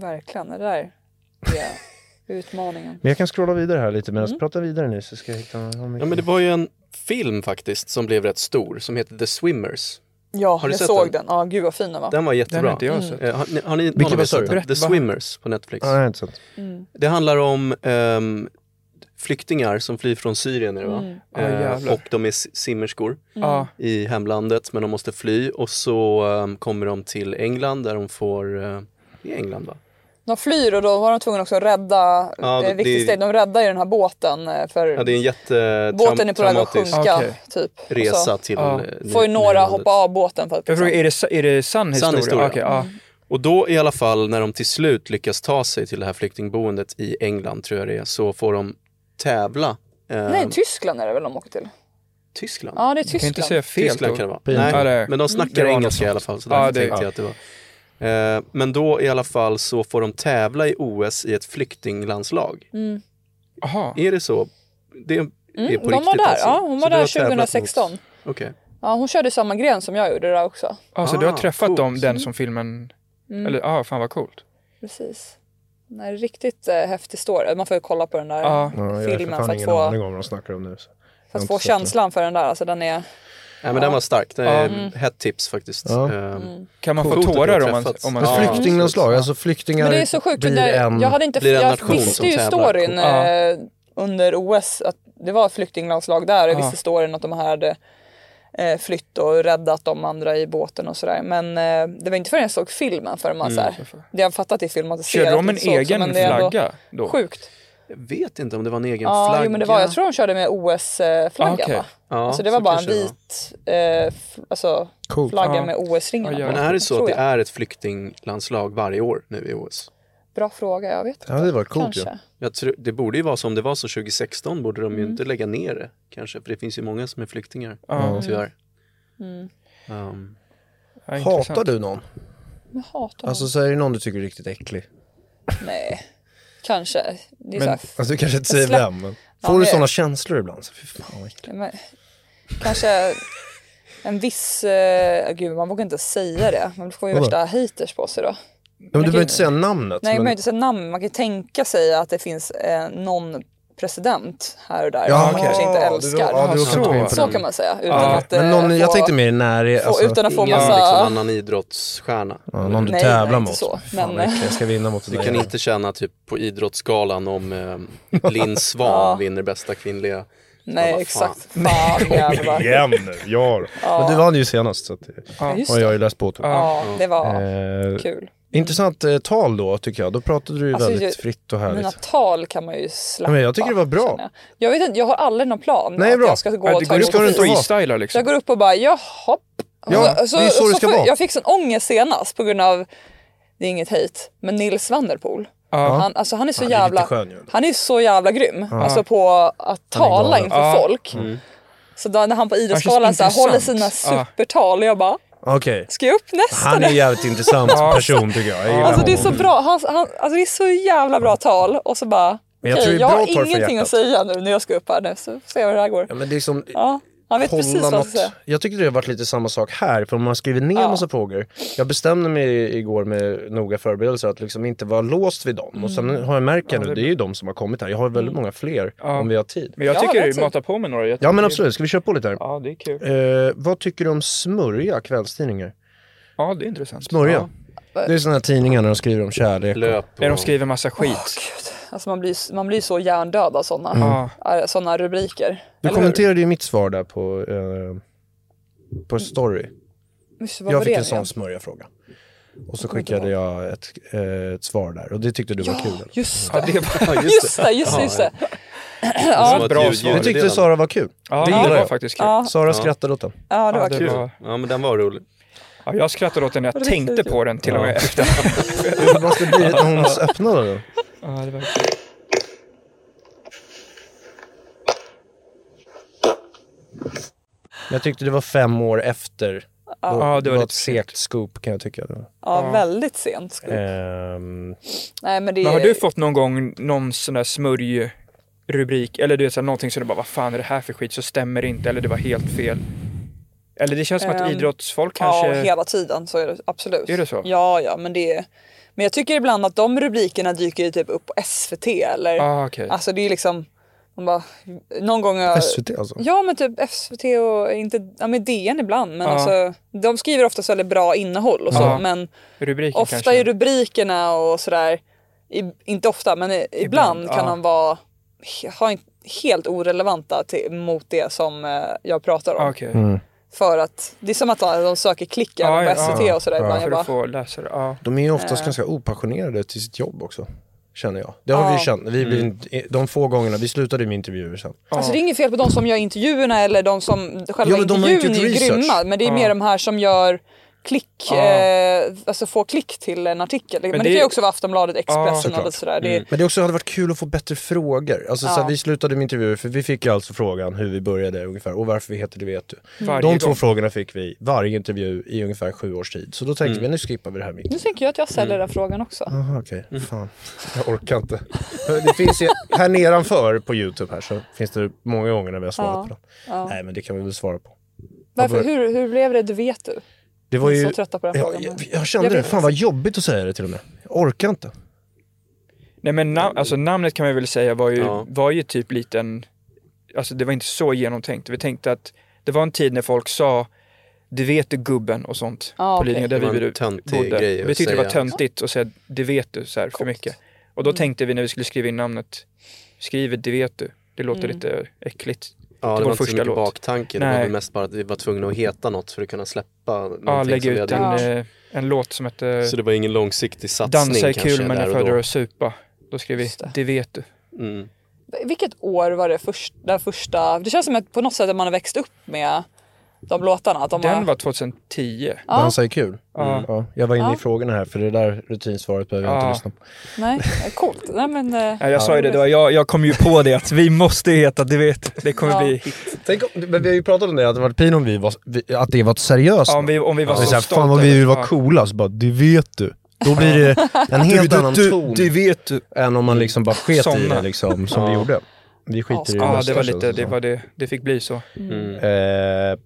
[SPEAKER 1] verkligen. Det där är utmaningen.
[SPEAKER 7] Men jag kan scrolla vidare här lite medan mm. pratar vidare nu så ska jag hitta...
[SPEAKER 6] Ja, men det var ju en film faktiskt som blev rätt stor som heter The Swimmers.
[SPEAKER 1] Ja,
[SPEAKER 6] Har du
[SPEAKER 1] jag
[SPEAKER 6] sett
[SPEAKER 1] såg
[SPEAKER 6] den?
[SPEAKER 1] den. Ja, Mm. gud vad fin den var.
[SPEAKER 6] Den var
[SPEAKER 2] Den har
[SPEAKER 6] jättebra.
[SPEAKER 2] inte jag sett.
[SPEAKER 6] Eh, Har ni, har ni någon
[SPEAKER 7] Vilken
[SPEAKER 6] av
[SPEAKER 7] var
[SPEAKER 6] er sett
[SPEAKER 7] det?
[SPEAKER 6] den? The
[SPEAKER 2] Berätta, va?
[SPEAKER 6] Swimmers på Netflix.
[SPEAKER 7] Nej, jag har inte sett.
[SPEAKER 6] Det handlar om ehm, flyktingar som flyr från Syrien är det, va?
[SPEAKER 1] Mm.
[SPEAKER 2] Ah,
[SPEAKER 6] Eh,
[SPEAKER 2] jävlar.
[SPEAKER 6] och de är si- simmerskor
[SPEAKER 2] Ja,
[SPEAKER 6] i hemlandet men de måste fly och så ehm, kommer de till England där de får, eh, i England va?
[SPEAKER 1] De flyr och då var de tvungna också att rädda,
[SPEAKER 6] Ja,
[SPEAKER 1] ja,
[SPEAKER 6] det-
[SPEAKER 1] viktigt steg, de räddar ju den här båten eh, för
[SPEAKER 6] Ja, det är en
[SPEAKER 1] båten är på väg att
[SPEAKER 6] jättetraumatisk
[SPEAKER 1] sjunka
[SPEAKER 2] Okej.
[SPEAKER 1] typ. Och
[SPEAKER 6] resa
[SPEAKER 1] så
[SPEAKER 6] till
[SPEAKER 2] Ja.
[SPEAKER 6] eh,
[SPEAKER 1] får ju
[SPEAKER 6] ny-
[SPEAKER 1] några
[SPEAKER 6] nylandet.
[SPEAKER 1] hoppa av båten för att liksom-
[SPEAKER 2] jag frågar, är det, är det sann historia?
[SPEAKER 6] historia.
[SPEAKER 2] Okej, ja.
[SPEAKER 1] Mm.
[SPEAKER 6] Och då i alla fall när de till slut lyckas ta sig till det här flyktingboendet i England tror jag det är, så får de tävla. Eh,
[SPEAKER 1] Nej, Tyskland är det väl de åker till?
[SPEAKER 6] Tyskland?
[SPEAKER 1] Ja, det är
[SPEAKER 2] Jag kan inte
[SPEAKER 1] Tyskland.
[SPEAKER 2] säga fel
[SPEAKER 6] Tyskland
[SPEAKER 2] då.
[SPEAKER 6] kan det vara.
[SPEAKER 7] Pinsamt.
[SPEAKER 2] Ja, det är-
[SPEAKER 6] Nej, men de snackar
[SPEAKER 2] Det var något
[SPEAKER 6] engelska
[SPEAKER 2] sånt.
[SPEAKER 6] i alla fall. Så
[SPEAKER 2] Ja,
[SPEAKER 6] därför
[SPEAKER 2] det-
[SPEAKER 6] tänkte jag att det var. Eh, men då i alla fall så får de tävla i OS i ett flyktinglandslag.
[SPEAKER 2] Jaha.
[SPEAKER 6] Är det så? Det är, är på
[SPEAKER 1] de
[SPEAKER 6] riktigt
[SPEAKER 1] Mm, var där,
[SPEAKER 6] alltså.
[SPEAKER 1] ja, hon
[SPEAKER 6] Så
[SPEAKER 1] var
[SPEAKER 6] du
[SPEAKER 1] där
[SPEAKER 6] har tävlat mot-
[SPEAKER 1] 2016.
[SPEAKER 6] Okej.
[SPEAKER 1] Ja, hon körde samma gren som jag gjorde där också.
[SPEAKER 2] Ja, så du har
[SPEAKER 6] Ah,
[SPEAKER 2] träffat
[SPEAKER 6] coolt.
[SPEAKER 2] dem, den som filmen...
[SPEAKER 1] Mm.
[SPEAKER 2] Eller, ja, ah, fan vad coolt.
[SPEAKER 1] Precis. Nej, riktigt eh, häftig story. Man får ju kolla på den där
[SPEAKER 2] Ja.
[SPEAKER 7] Ja, jag har för
[SPEAKER 1] filmen för
[SPEAKER 7] fan
[SPEAKER 1] att
[SPEAKER 7] ingen aning
[SPEAKER 1] få,
[SPEAKER 7] om vad de snackar om nu. så.
[SPEAKER 1] för
[SPEAKER 7] har
[SPEAKER 1] att
[SPEAKER 7] inte
[SPEAKER 1] få
[SPEAKER 7] sett den.
[SPEAKER 1] känslan för den där. Alltså den är...
[SPEAKER 6] Nej men den var stark, det är
[SPEAKER 2] Ja.
[SPEAKER 6] hett tips faktiskt.
[SPEAKER 7] Ja.
[SPEAKER 6] Ehm,
[SPEAKER 1] Mm.
[SPEAKER 2] Kan man
[SPEAKER 6] Coolt
[SPEAKER 2] få
[SPEAKER 6] att
[SPEAKER 2] tårar
[SPEAKER 6] vi
[SPEAKER 2] om
[SPEAKER 6] har
[SPEAKER 2] man...
[SPEAKER 6] träffats.
[SPEAKER 2] Om man
[SPEAKER 7] Ett
[SPEAKER 6] Ja.
[SPEAKER 7] flyktinglandslag, alltså flyktingar
[SPEAKER 1] Men det är så sjukt.
[SPEAKER 7] blir
[SPEAKER 1] det där,
[SPEAKER 7] en...
[SPEAKER 1] Jag, hade inte,
[SPEAKER 6] blir en
[SPEAKER 1] jag
[SPEAKER 6] nation
[SPEAKER 1] visste
[SPEAKER 6] som
[SPEAKER 1] ju
[SPEAKER 6] tävlar.
[SPEAKER 1] storyn
[SPEAKER 2] Ja.
[SPEAKER 1] eh, under OS att det var flyktinglandslag där. Jag visste storyn att de här hade eh, flytt och räddat de andra i båten och sådär. Men eh, det var inte förrän jag såg filmen förrän man såhär, det jag fattat i filmatiserat.
[SPEAKER 2] Mm, Körde de en
[SPEAKER 1] inte såg också,
[SPEAKER 2] egen
[SPEAKER 1] men det är ändå
[SPEAKER 2] flagga då?
[SPEAKER 1] Sjukt.
[SPEAKER 6] Jag vet inte om det var en egen
[SPEAKER 1] Ja,
[SPEAKER 6] flagga.
[SPEAKER 1] jo, men det var, jag tror de körde med OS-flaggan
[SPEAKER 2] Ah, okej.
[SPEAKER 1] va?
[SPEAKER 6] Ja,
[SPEAKER 1] alltså det var
[SPEAKER 6] så
[SPEAKER 1] bara en
[SPEAKER 6] kanske det
[SPEAKER 1] vit eh, f- alltså,
[SPEAKER 7] Coolt.
[SPEAKER 1] flagga
[SPEAKER 2] Ja.
[SPEAKER 1] med OS-ringarna
[SPEAKER 2] Ja,
[SPEAKER 1] på.
[SPEAKER 2] ja.
[SPEAKER 6] Men är det så
[SPEAKER 1] Tror
[SPEAKER 6] att det
[SPEAKER 1] jag.
[SPEAKER 6] är ett flyktinglandslag varje år nu i OS?
[SPEAKER 1] Bra fråga, jag vet inte.
[SPEAKER 7] Ja, det var coolt ju.
[SPEAKER 1] Kanske.
[SPEAKER 6] Jag tror, det borde ju vara så, om det var så 2016 borde de ju
[SPEAKER 1] Mm.
[SPEAKER 6] inte lägga ner det kanske, för det finns ju många som är flyktingar, Mm. tyvärr. Ehm,
[SPEAKER 2] Ja, intressant.
[SPEAKER 7] Hatar du någon?
[SPEAKER 1] Jag hatar
[SPEAKER 7] Alltså så är det någon du tycker är riktigt äcklig?
[SPEAKER 1] Nej, kanske. Det är
[SPEAKER 2] Men-
[SPEAKER 1] så här,
[SPEAKER 7] Alltså du kanske inte säger
[SPEAKER 1] Släpp-
[SPEAKER 7] vem, men...
[SPEAKER 1] Ja,
[SPEAKER 7] Får du
[SPEAKER 1] det-
[SPEAKER 7] sådana känslor ibland? Så, fy fan vad äckligt.
[SPEAKER 1] men, kanske en viss... Eh, gud, man vågar inte säga det. Man får ju
[SPEAKER 7] Vadå?
[SPEAKER 1] värsta haters på sig då.
[SPEAKER 7] Men du behöver inte säga namnet.
[SPEAKER 1] Nej, man kan ju
[SPEAKER 7] men...
[SPEAKER 1] inte säga namn. Man kan ju tänka sig att det finns eh, någon president här och där
[SPEAKER 7] Ja,
[SPEAKER 1] som man
[SPEAKER 7] okej.
[SPEAKER 1] kanske inte
[SPEAKER 7] Ja, du-
[SPEAKER 1] älskar.
[SPEAKER 7] ja,
[SPEAKER 2] du
[SPEAKER 1] så,
[SPEAKER 2] åker in på
[SPEAKER 1] så
[SPEAKER 7] den.
[SPEAKER 1] kan man säga. Utan
[SPEAKER 2] Ja,
[SPEAKER 1] att, eh,
[SPEAKER 7] Men någon, jag
[SPEAKER 1] få-
[SPEAKER 7] tänkte mer när det...
[SPEAKER 1] få,
[SPEAKER 7] Alltså,
[SPEAKER 1] utan att få
[SPEAKER 6] ingen
[SPEAKER 1] massa...
[SPEAKER 6] liksom annan idrottsstjärna.
[SPEAKER 7] ja, någon du
[SPEAKER 1] Nej, nej,
[SPEAKER 7] tävlar
[SPEAKER 1] inte
[SPEAKER 7] mot.
[SPEAKER 1] så,
[SPEAKER 7] Fy fan
[SPEAKER 1] men-
[SPEAKER 7] vad äckligt, jag ska vinna mot det
[SPEAKER 6] Du
[SPEAKER 7] där.
[SPEAKER 6] kan inte känna typ på idrottsgalan om eh, Linn Svan vinner bästa kvinnliga.
[SPEAKER 1] nej,
[SPEAKER 6] Ja, vad fan.
[SPEAKER 1] exakt. Fan jävlar.
[SPEAKER 7] Igen nu, ja. Men du vann ju senast så att,
[SPEAKER 1] Ja, just
[SPEAKER 7] har
[SPEAKER 1] det.
[SPEAKER 7] jag ju läst på typ.
[SPEAKER 1] Ja, det var
[SPEAKER 7] Eh,
[SPEAKER 1] kul.
[SPEAKER 7] intressant eh, tal då tycker jag. Då pratade du ju
[SPEAKER 1] Alltså,
[SPEAKER 7] väldigt
[SPEAKER 1] ju-
[SPEAKER 7] fritt och
[SPEAKER 1] Mina
[SPEAKER 7] härligt.
[SPEAKER 1] tal kan man ju släppa.
[SPEAKER 7] Ja, men jag tycker det var bra.
[SPEAKER 1] känner Jag. jag, vet inte, jag har aldrig någon plan.
[SPEAKER 7] Nej,
[SPEAKER 1] att
[SPEAKER 7] bra.
[SPEAKER 1] Jag ska gå
[SPEAKER 2] Ja,
[SPEAKER 1] och
[SPEAKER 2] det
[SPEAKER 1] ta
[SPEAKER 2] går
[SPEAKER 1] emot.
[SPEAKER 2] ut och
[SPEAKER 7] det inte vara.
[SPEAKER 2] freestyla
[SPEAKER 1] Så jag
[SPEAKER 2] liksom.
[SPEAKER 1] går upp och bara, jaha. Alltså,
[SPEAKER 7] Ja, det är så det ska
[SPEAKER 1] får-
[SPEAKER 7] vara.
[SPEAKER 1] Jag fick sån ångest senast på grund av, det är inget hate, men Nils Vanderpool. Han, alltså, han är så
[SPEAKER 7] Han är lite
[SPEAKER 1] jävla,
[SPEAKER 7] skön ju.
[SPEAKER 1] han är så jävla grym. Alltså på att tala
[SPEAKER 7] galen.
[SPEAKER 1] inför folk.
[SPEAKER 7] Mm.
[SPEAKER 1] Så då, när han
[SPEAKER 7] Alltså,
[SPEAKER 1] på
[SPEAKER 2] Han
[SPEAKER 1] idrottsgalan
[SPEAKER 2] känns
[SPEAKER 1] så här håller sina
[SPEAKER 2] intressant. Ja.
[SPEAKER 1] supertal och jag bara,
[SPEAKER 7] Okej.
[SPEAKER 1] ska jag upp nästa?
[SPEAKER 7] Han är en jävligt intressant
[SPEAKER 2] Ja.
[SPEAKER 7] person tycker jag. jag gillar
[SPEAKER 1] Alltså det är så
[SPEAKER 7] honom.
[SPEAKER 1] bra, han, han, alltså, det är så jävla bra tal och så bara,
[SPEAKER 7] Men jag
[SPEAKER 1] okej,
[SPEAKER 7] tror det är
[SPEAKER 1] jag
[SPEAKER 7] bra
[SPEAKER 1] har
[SPEAKER 7] tal för
[SPEAKER 1] ingenting
[SPEAKER 7] hjärtat.
[SPEAKER 1] att säga nu när jag ska upp här nu så får se hur det här går.
[SPEAKER 7] Ja, men det är som,
[SPEAKER 1] Ja, han vet
[SPEAKER 7] kolla
[SPEAKER 1] precis vad han ska säga.
[SPEAKER 7] något. Jag tycker det har varit lite samma sak här, för man har skrivit ner en massa frågor. Jag bestämde mig igår med noga förberedelser att liksom inte vara låst vid dem. Och
[SPEAKER 1] Mm.
[SPEAKER 7] sen har jag märkt nu, det är ju de som har kommit här. Jag har väldigt många fler om vi har tid.
[SPEAKER 2] Men jag
[SPEAKER 1] Ja,
[SPEAKER 2] tycker
[SPEAKER 1] det är typ-
[SPEAKER 2] du matar på med några. Jag
[SPEAKER 7] Ja
[SPEAKER 2] tycker-
[SPEAKER 7] men absolut, ska vi köra på lite här?
[SPEAKER 2] Ja, det är kul.
[SPEAKER 7] Eh, vad tycker du om smörja kvällstidningar?
[SPEAKER 2] Ja, det är intressant.
[SPEAKER 7] Smörja? Det är sådana här tidningar när de skriver om kärlek.
[SPEAKER 6] Löp och...
[SPEAKER 2] När de skriver massa skit.
[SPEAKER 1] Alltså man blir, man blir så hjärndöd av sådana såna rubriker.
[SPEAKER 7] Mm. Du
[SPEAKER 1] Eller hur?
[SPEAKER 7] kommenterade ju mitt svar där på, eh, på story.
[SPEAKER 1] Just, Mm. vad var
[SPEAKER 7] jag fick
[SPEAKER 1] det
[SPEAKER 7] en sån
[SPEAKER 1] igen?
[SPEAKER 7] smörja-fråga. Och så skickade jag ett, eh, ett svar där och det tyckte du var kul. Eller?
[SPEAKER 1] Just
[SPEAKER 2] Ja,
[SPEAKER 1] det,
[SPEAKER 2] det var,
[SPEAKER 6] Ja,
[SPEAKER 1] just det, just det. Just det.
[SPEAKER 6] Det var
[SPEAKER 2] Ja.
[SPEAKER 6] ett
[SPEAKER 2] Bra
[SPEAKER 6] ljud-
[SPEAKER 2] svar.
[SPEAKER 7] Jag tyckte
[SPEAKER 6] ljudmeddelande.
[SPEAKER 7] Sara var kul.
[SPEAKER 2] ja,
[SPEAKER 7] det
[SPEAKER 2] det,
[SPEAKER 7] gillar
[SPEAKER 2] var
[SPEAKER 7] jag.
[SPEAKER 2] faktiskt kul.
[SPEAKER 1] Ja,
[SPEAKER 7] Sara skrattade åt den.
[SPEAKER 1] ja, det var
[SPEAKER 2] det
[SPEAKER 1] kul.
[SPEAKER 2] var-
[SPEAKER 6] Ja men den var rolig.
[SPEAKER 2] Ja, jag skrattade åt den när jag tänkte på den till och med efter.
[SPEAKER 7] Det måste bli när hon öppnade den.
[SPEAKER 2] Ja, det var...
[SPEAKER 7] Jag tyckte det var fem år efter.
[SPEAKER 2] Ja, det var
[SPEAKER 7] ett
[SPEAKER 2] lite
[SPEAKER 7] segt scoop kan jag tycka.
[SPEAKER 1] Ja, väldigt sent. skulle-
[SPEAKER 7] Ehm,
[SPEAKER 1] Nej, men det
[SPEAKER 2] Men har du fått någon gång någon sån där smörjrubrik eller du vet såhär, någonting som du bara vad fan är det här för skit så stämmer det inte eller det var helt fel? Eller det känns som att
[SPEAKER 1] Ehm,
[SPEAKER 2] idrottsfolk
[SPEAKER 1] Ja,
[SPEAKER 2] kanske...
[SPEAKER 1] hela tiden så är det absolut.
[SPEAKER 2] Är det så?
[SPEAKER 1] Ja, ja, men det är... Men jag tycker ibland att de rubrikerna dyker ju typ upp på SVT eller...
[SPEAKER 2] Ah, okej.
[SPEAKER 1] Alltså det är liksom... Man bara, någon gång... har-
[SPEAKER 7] SVT alltså.
[SPEAKER 1] Ja men typ SVT och inte, ja, men DN ibland men alltså de skriver oftast väldigt bra innehåll och så
[SPEAKER 2] Ja.
[SPEAKER 1] men
[SPEAKER 2] Rubriken
[SPEAKER 1] ofta
[SPEAKER 2] kanske?
[SPEAKER 1] i rubrikerna och sådär, i, inte ofta men i, ibland,
[SPEAKER 2] Ibland,
[SPEAKER 1] kan
[SPEAKER 2] ja.
[SPEAKER 1] de vara ha en, helt orelevanta till, mot det som eh, jag pratar om.
[SPEAKER 2] Ah, Okej,
[SPEAKER 1] För att det är som att de söker klick även
[SPEAKER 2] Ja, ja,
[SPEAKER 1] på SVT
[SPEAKER 2] ja.
[SPEAKER 1] och sådär ibland. Jag
[SPEAKER 2] för
[SPEAKER 1] bara,
[SPEAKER 2] att få läsare. Ja.
[SPEAKER 7] De är ju oftast ganska opassionerade till sitt jobb också. Känner jag. Det har vi ju känt. Vi
[SPEAKER 2] Mm.
[SPEAKER 7] blir, inte- De få gångerna, vi slutade med intervjuer sen.
[SPEAKER 1] Alltså det är inget fel på de som gör intervjuerna eller de som själva
[SPEAKER 7] Ja, men de har
[SPEAKER 1] intervjun
[SPEAKER 7] inte
[SPEAKER 1] är ju
[SPEAKER 7] gjort research.
[SPEAKER 1] grymma. Men det är mer de här som gör klick, eh, alltså får klick till en artikel. Men, det,
[SPEAKER 2] det-
[SPEAKER 1] kan ju också vara Aftonbladet, Expressen och
[SPEAKER 7] såklart. Mm.
[SPEAKER 1] lite sådär. Det,
[SPEAKER 7] Men det också hade varit kul att få bättre frågor. Alltså, så här, vi slutade med intervjuer för vi fick ju alltså frågan hur vi började ungefär och varför vi heter det vet du.
[SPEAKER 2] Varje
[SPEAKER 7] De två
[SPEAKER 2] gång.
[SPEAKER 7] frågorna fick vi varje intervju i ungefär sju års tid. Så då tänkte
[SPEAKER 2] Mm.
[SPEAKER 7] vi nu skippar vi det här mitt.
[SPEAKER 1] Nu tänker jag att jag ställer
[SPEAKER 7] Mm.
[SPEAKER 1] den frågan också.
[SPEAKER 7] Jaha okej,
[SPEAKER 2] Mm.
[SPEAKER 7] fan. Jag orkar inte. Det finns ju, här nedanför på Youtube här så finns det många gånger när vi har svarat på den. Nej men det kan vi väl svara på.
[SPEAKER 1] Varför, hur, hur blev det? Du vet du.
[SPEAKER 7] Det var
[SPEAKER 1] Vi är
[SPEAKER 7] ju...
[SPEAKER 1] så trötta på den
[SPEAKER 7] ja,
[SPEAKER 1] frågan.
[SPEAKER 7] jag, jag kände
[SPEAKER 1] Jag
[SPEAKER 7] det.
[SPEAKER 1] vet.
[SPEAKER 7] Fan vad jobbigt att säga det till och med. Jag orkar inte.
[SPEAKER 2] Nej men nam- alltså, namnet kan man väl säga var ju,
[SPEAKER 6] Ja.
[SPEAKER 2] var ju typ liten, alltså det var inte så genomtänkt. Vi tänkte att det var en tid när folk sa du vet du gubben och sånt
[SPEAKER 1] Ja,
[SPEAKER 2] på
[SPEAKER 1] okej.
[SPEAKER 2] Lidingö där
[SPEAKER 6] Det var
[SPEAKER 2] vi
[SPEAKER 6] en töntig
[SPEAKER 2] bodde.
[SPEAKER 6] grej
[SPEAKER 2] Vi
[SPEAKER 6] att
[SPEAKER 2] tyckte det var
[SPEAKER 6] säga.
[SPEAKER 2] töntigt att säga du vet du så här för mycket. Och
[SPEAKER 1] Mm.
[SPEAKER 2] då tänkte vi när vi skulle skriva in namnet, skriv du vet du. Det låter
[SPEAKER 1] Mm.
[SPEAKER 2] lite äckligt.
[SPEAKER 6] Ja,
[SPEAKER 2] till
[SPEAKER 6] det
[SPEAKER 2] vår
[SPEAKER 6] var inte så
[SPEAKER 2] första
[SPEAKER 6] mycket
[SPEAKER 2] låt.
[SPEAKER 6] baktanke. Det var
[SPEAKER 2] Nej.
[SPEAKER 6] väl mest bara att vi var tvungna att heta något för att kunna släppa
[SPEAKER 2] Ja,
[SPEAKER 6] någonting
[SPEAKER 2] lägga
[SPEAKER 6] som vi
[SPEAKER 2] ut
[SPEAKER 6] hade
[SPEAKER 2] en,
[SPEAKER 6] gjort.
[SPEAKER 2] eh, en låt som hette
[SPEAKER 6] Så det var ingen långsiktig satsning
[SPEAKER 2] Dansa är
[SPEAKER 6] kanske
[SPEAKER 2] kul men
[SPEAKER 6] där
[SPEAKER 2] jag
[SPEAKER 6] och
[SPEAKER 2] föredrar
[SPEAKER 6] då.
[SPEAKER 2] att supa. Då skrev vi
[SPEAKER 1] Just det.
[SPEAKER 2] det vet du.
[SPEAKER 6] Mm.
[SPEAKER 1] Vilket år var det först, den första? Det känns som att på något sätt att man har växt upp med de låtarna. Att de
[SPEAKER 2] Den var 2010.
[SPEAKER 1] Ja.
[SPEAKER 7] Dansa är kul. Mm.
[SPEAKER 2] Ja.
[SPEAKER 7] Ja, jag var inne
[SPEAKER 1] Ja.
[SPEAKER 7] i frågorna här för det där rutinsvaret behöver jag
[SPEAKER 2] Ja.
[SPEAKER 7] inte lyssna på.
[SPEAKER 1] Nej, coolt. Nej, men, eh,
[SPEAKER 2] Ja, jag sa ju det, det var, jag, jag kom ju på det att vi måste heta det vet Det kommer
[SPEAKER 1] Ja.
[SPEAKER 2] bli
[SPEAKER 7] Tänk om, men vi har ju pratat om det, att det varit pin om vi var, vi, att det var seriöst.
[SPEAKER 2] ja, om, vi, om vi var
[SPEAKER 7] det är
[SPEAKER 2] så
[SPEAKER 7] så här,
[SPEAKER 2] stolta.
[SPEAKER 7] fan vad vi vill
[SPEAKER 2] Ja.
[SPEAKER 7] vara coola, så bara det vet du. Då blir det en helt annan ton
[SPEAKER 2] vet du.
[SPEAKER 7] än om man liksom bara sket i
[SPEAKER 2] Somna.
[SPEAKER 7] det liksom, som vi
[SPEAKER 6] Ja.
[SPEAKER 7] gjorde. Vi skiter i alltså. det
[SPEAKER 2] Ja,
[SPEAKER 7] mesta,
[SPEAKER 2] det var
[SPEAKER 7] känns
[SPEAKER 2] lite, det,
[SPEAKER 7] som.
[SPEAKER 2] var det, det fick bli så.
[SPEAKER 6] Mm.
[SPEAKER 7] Eh,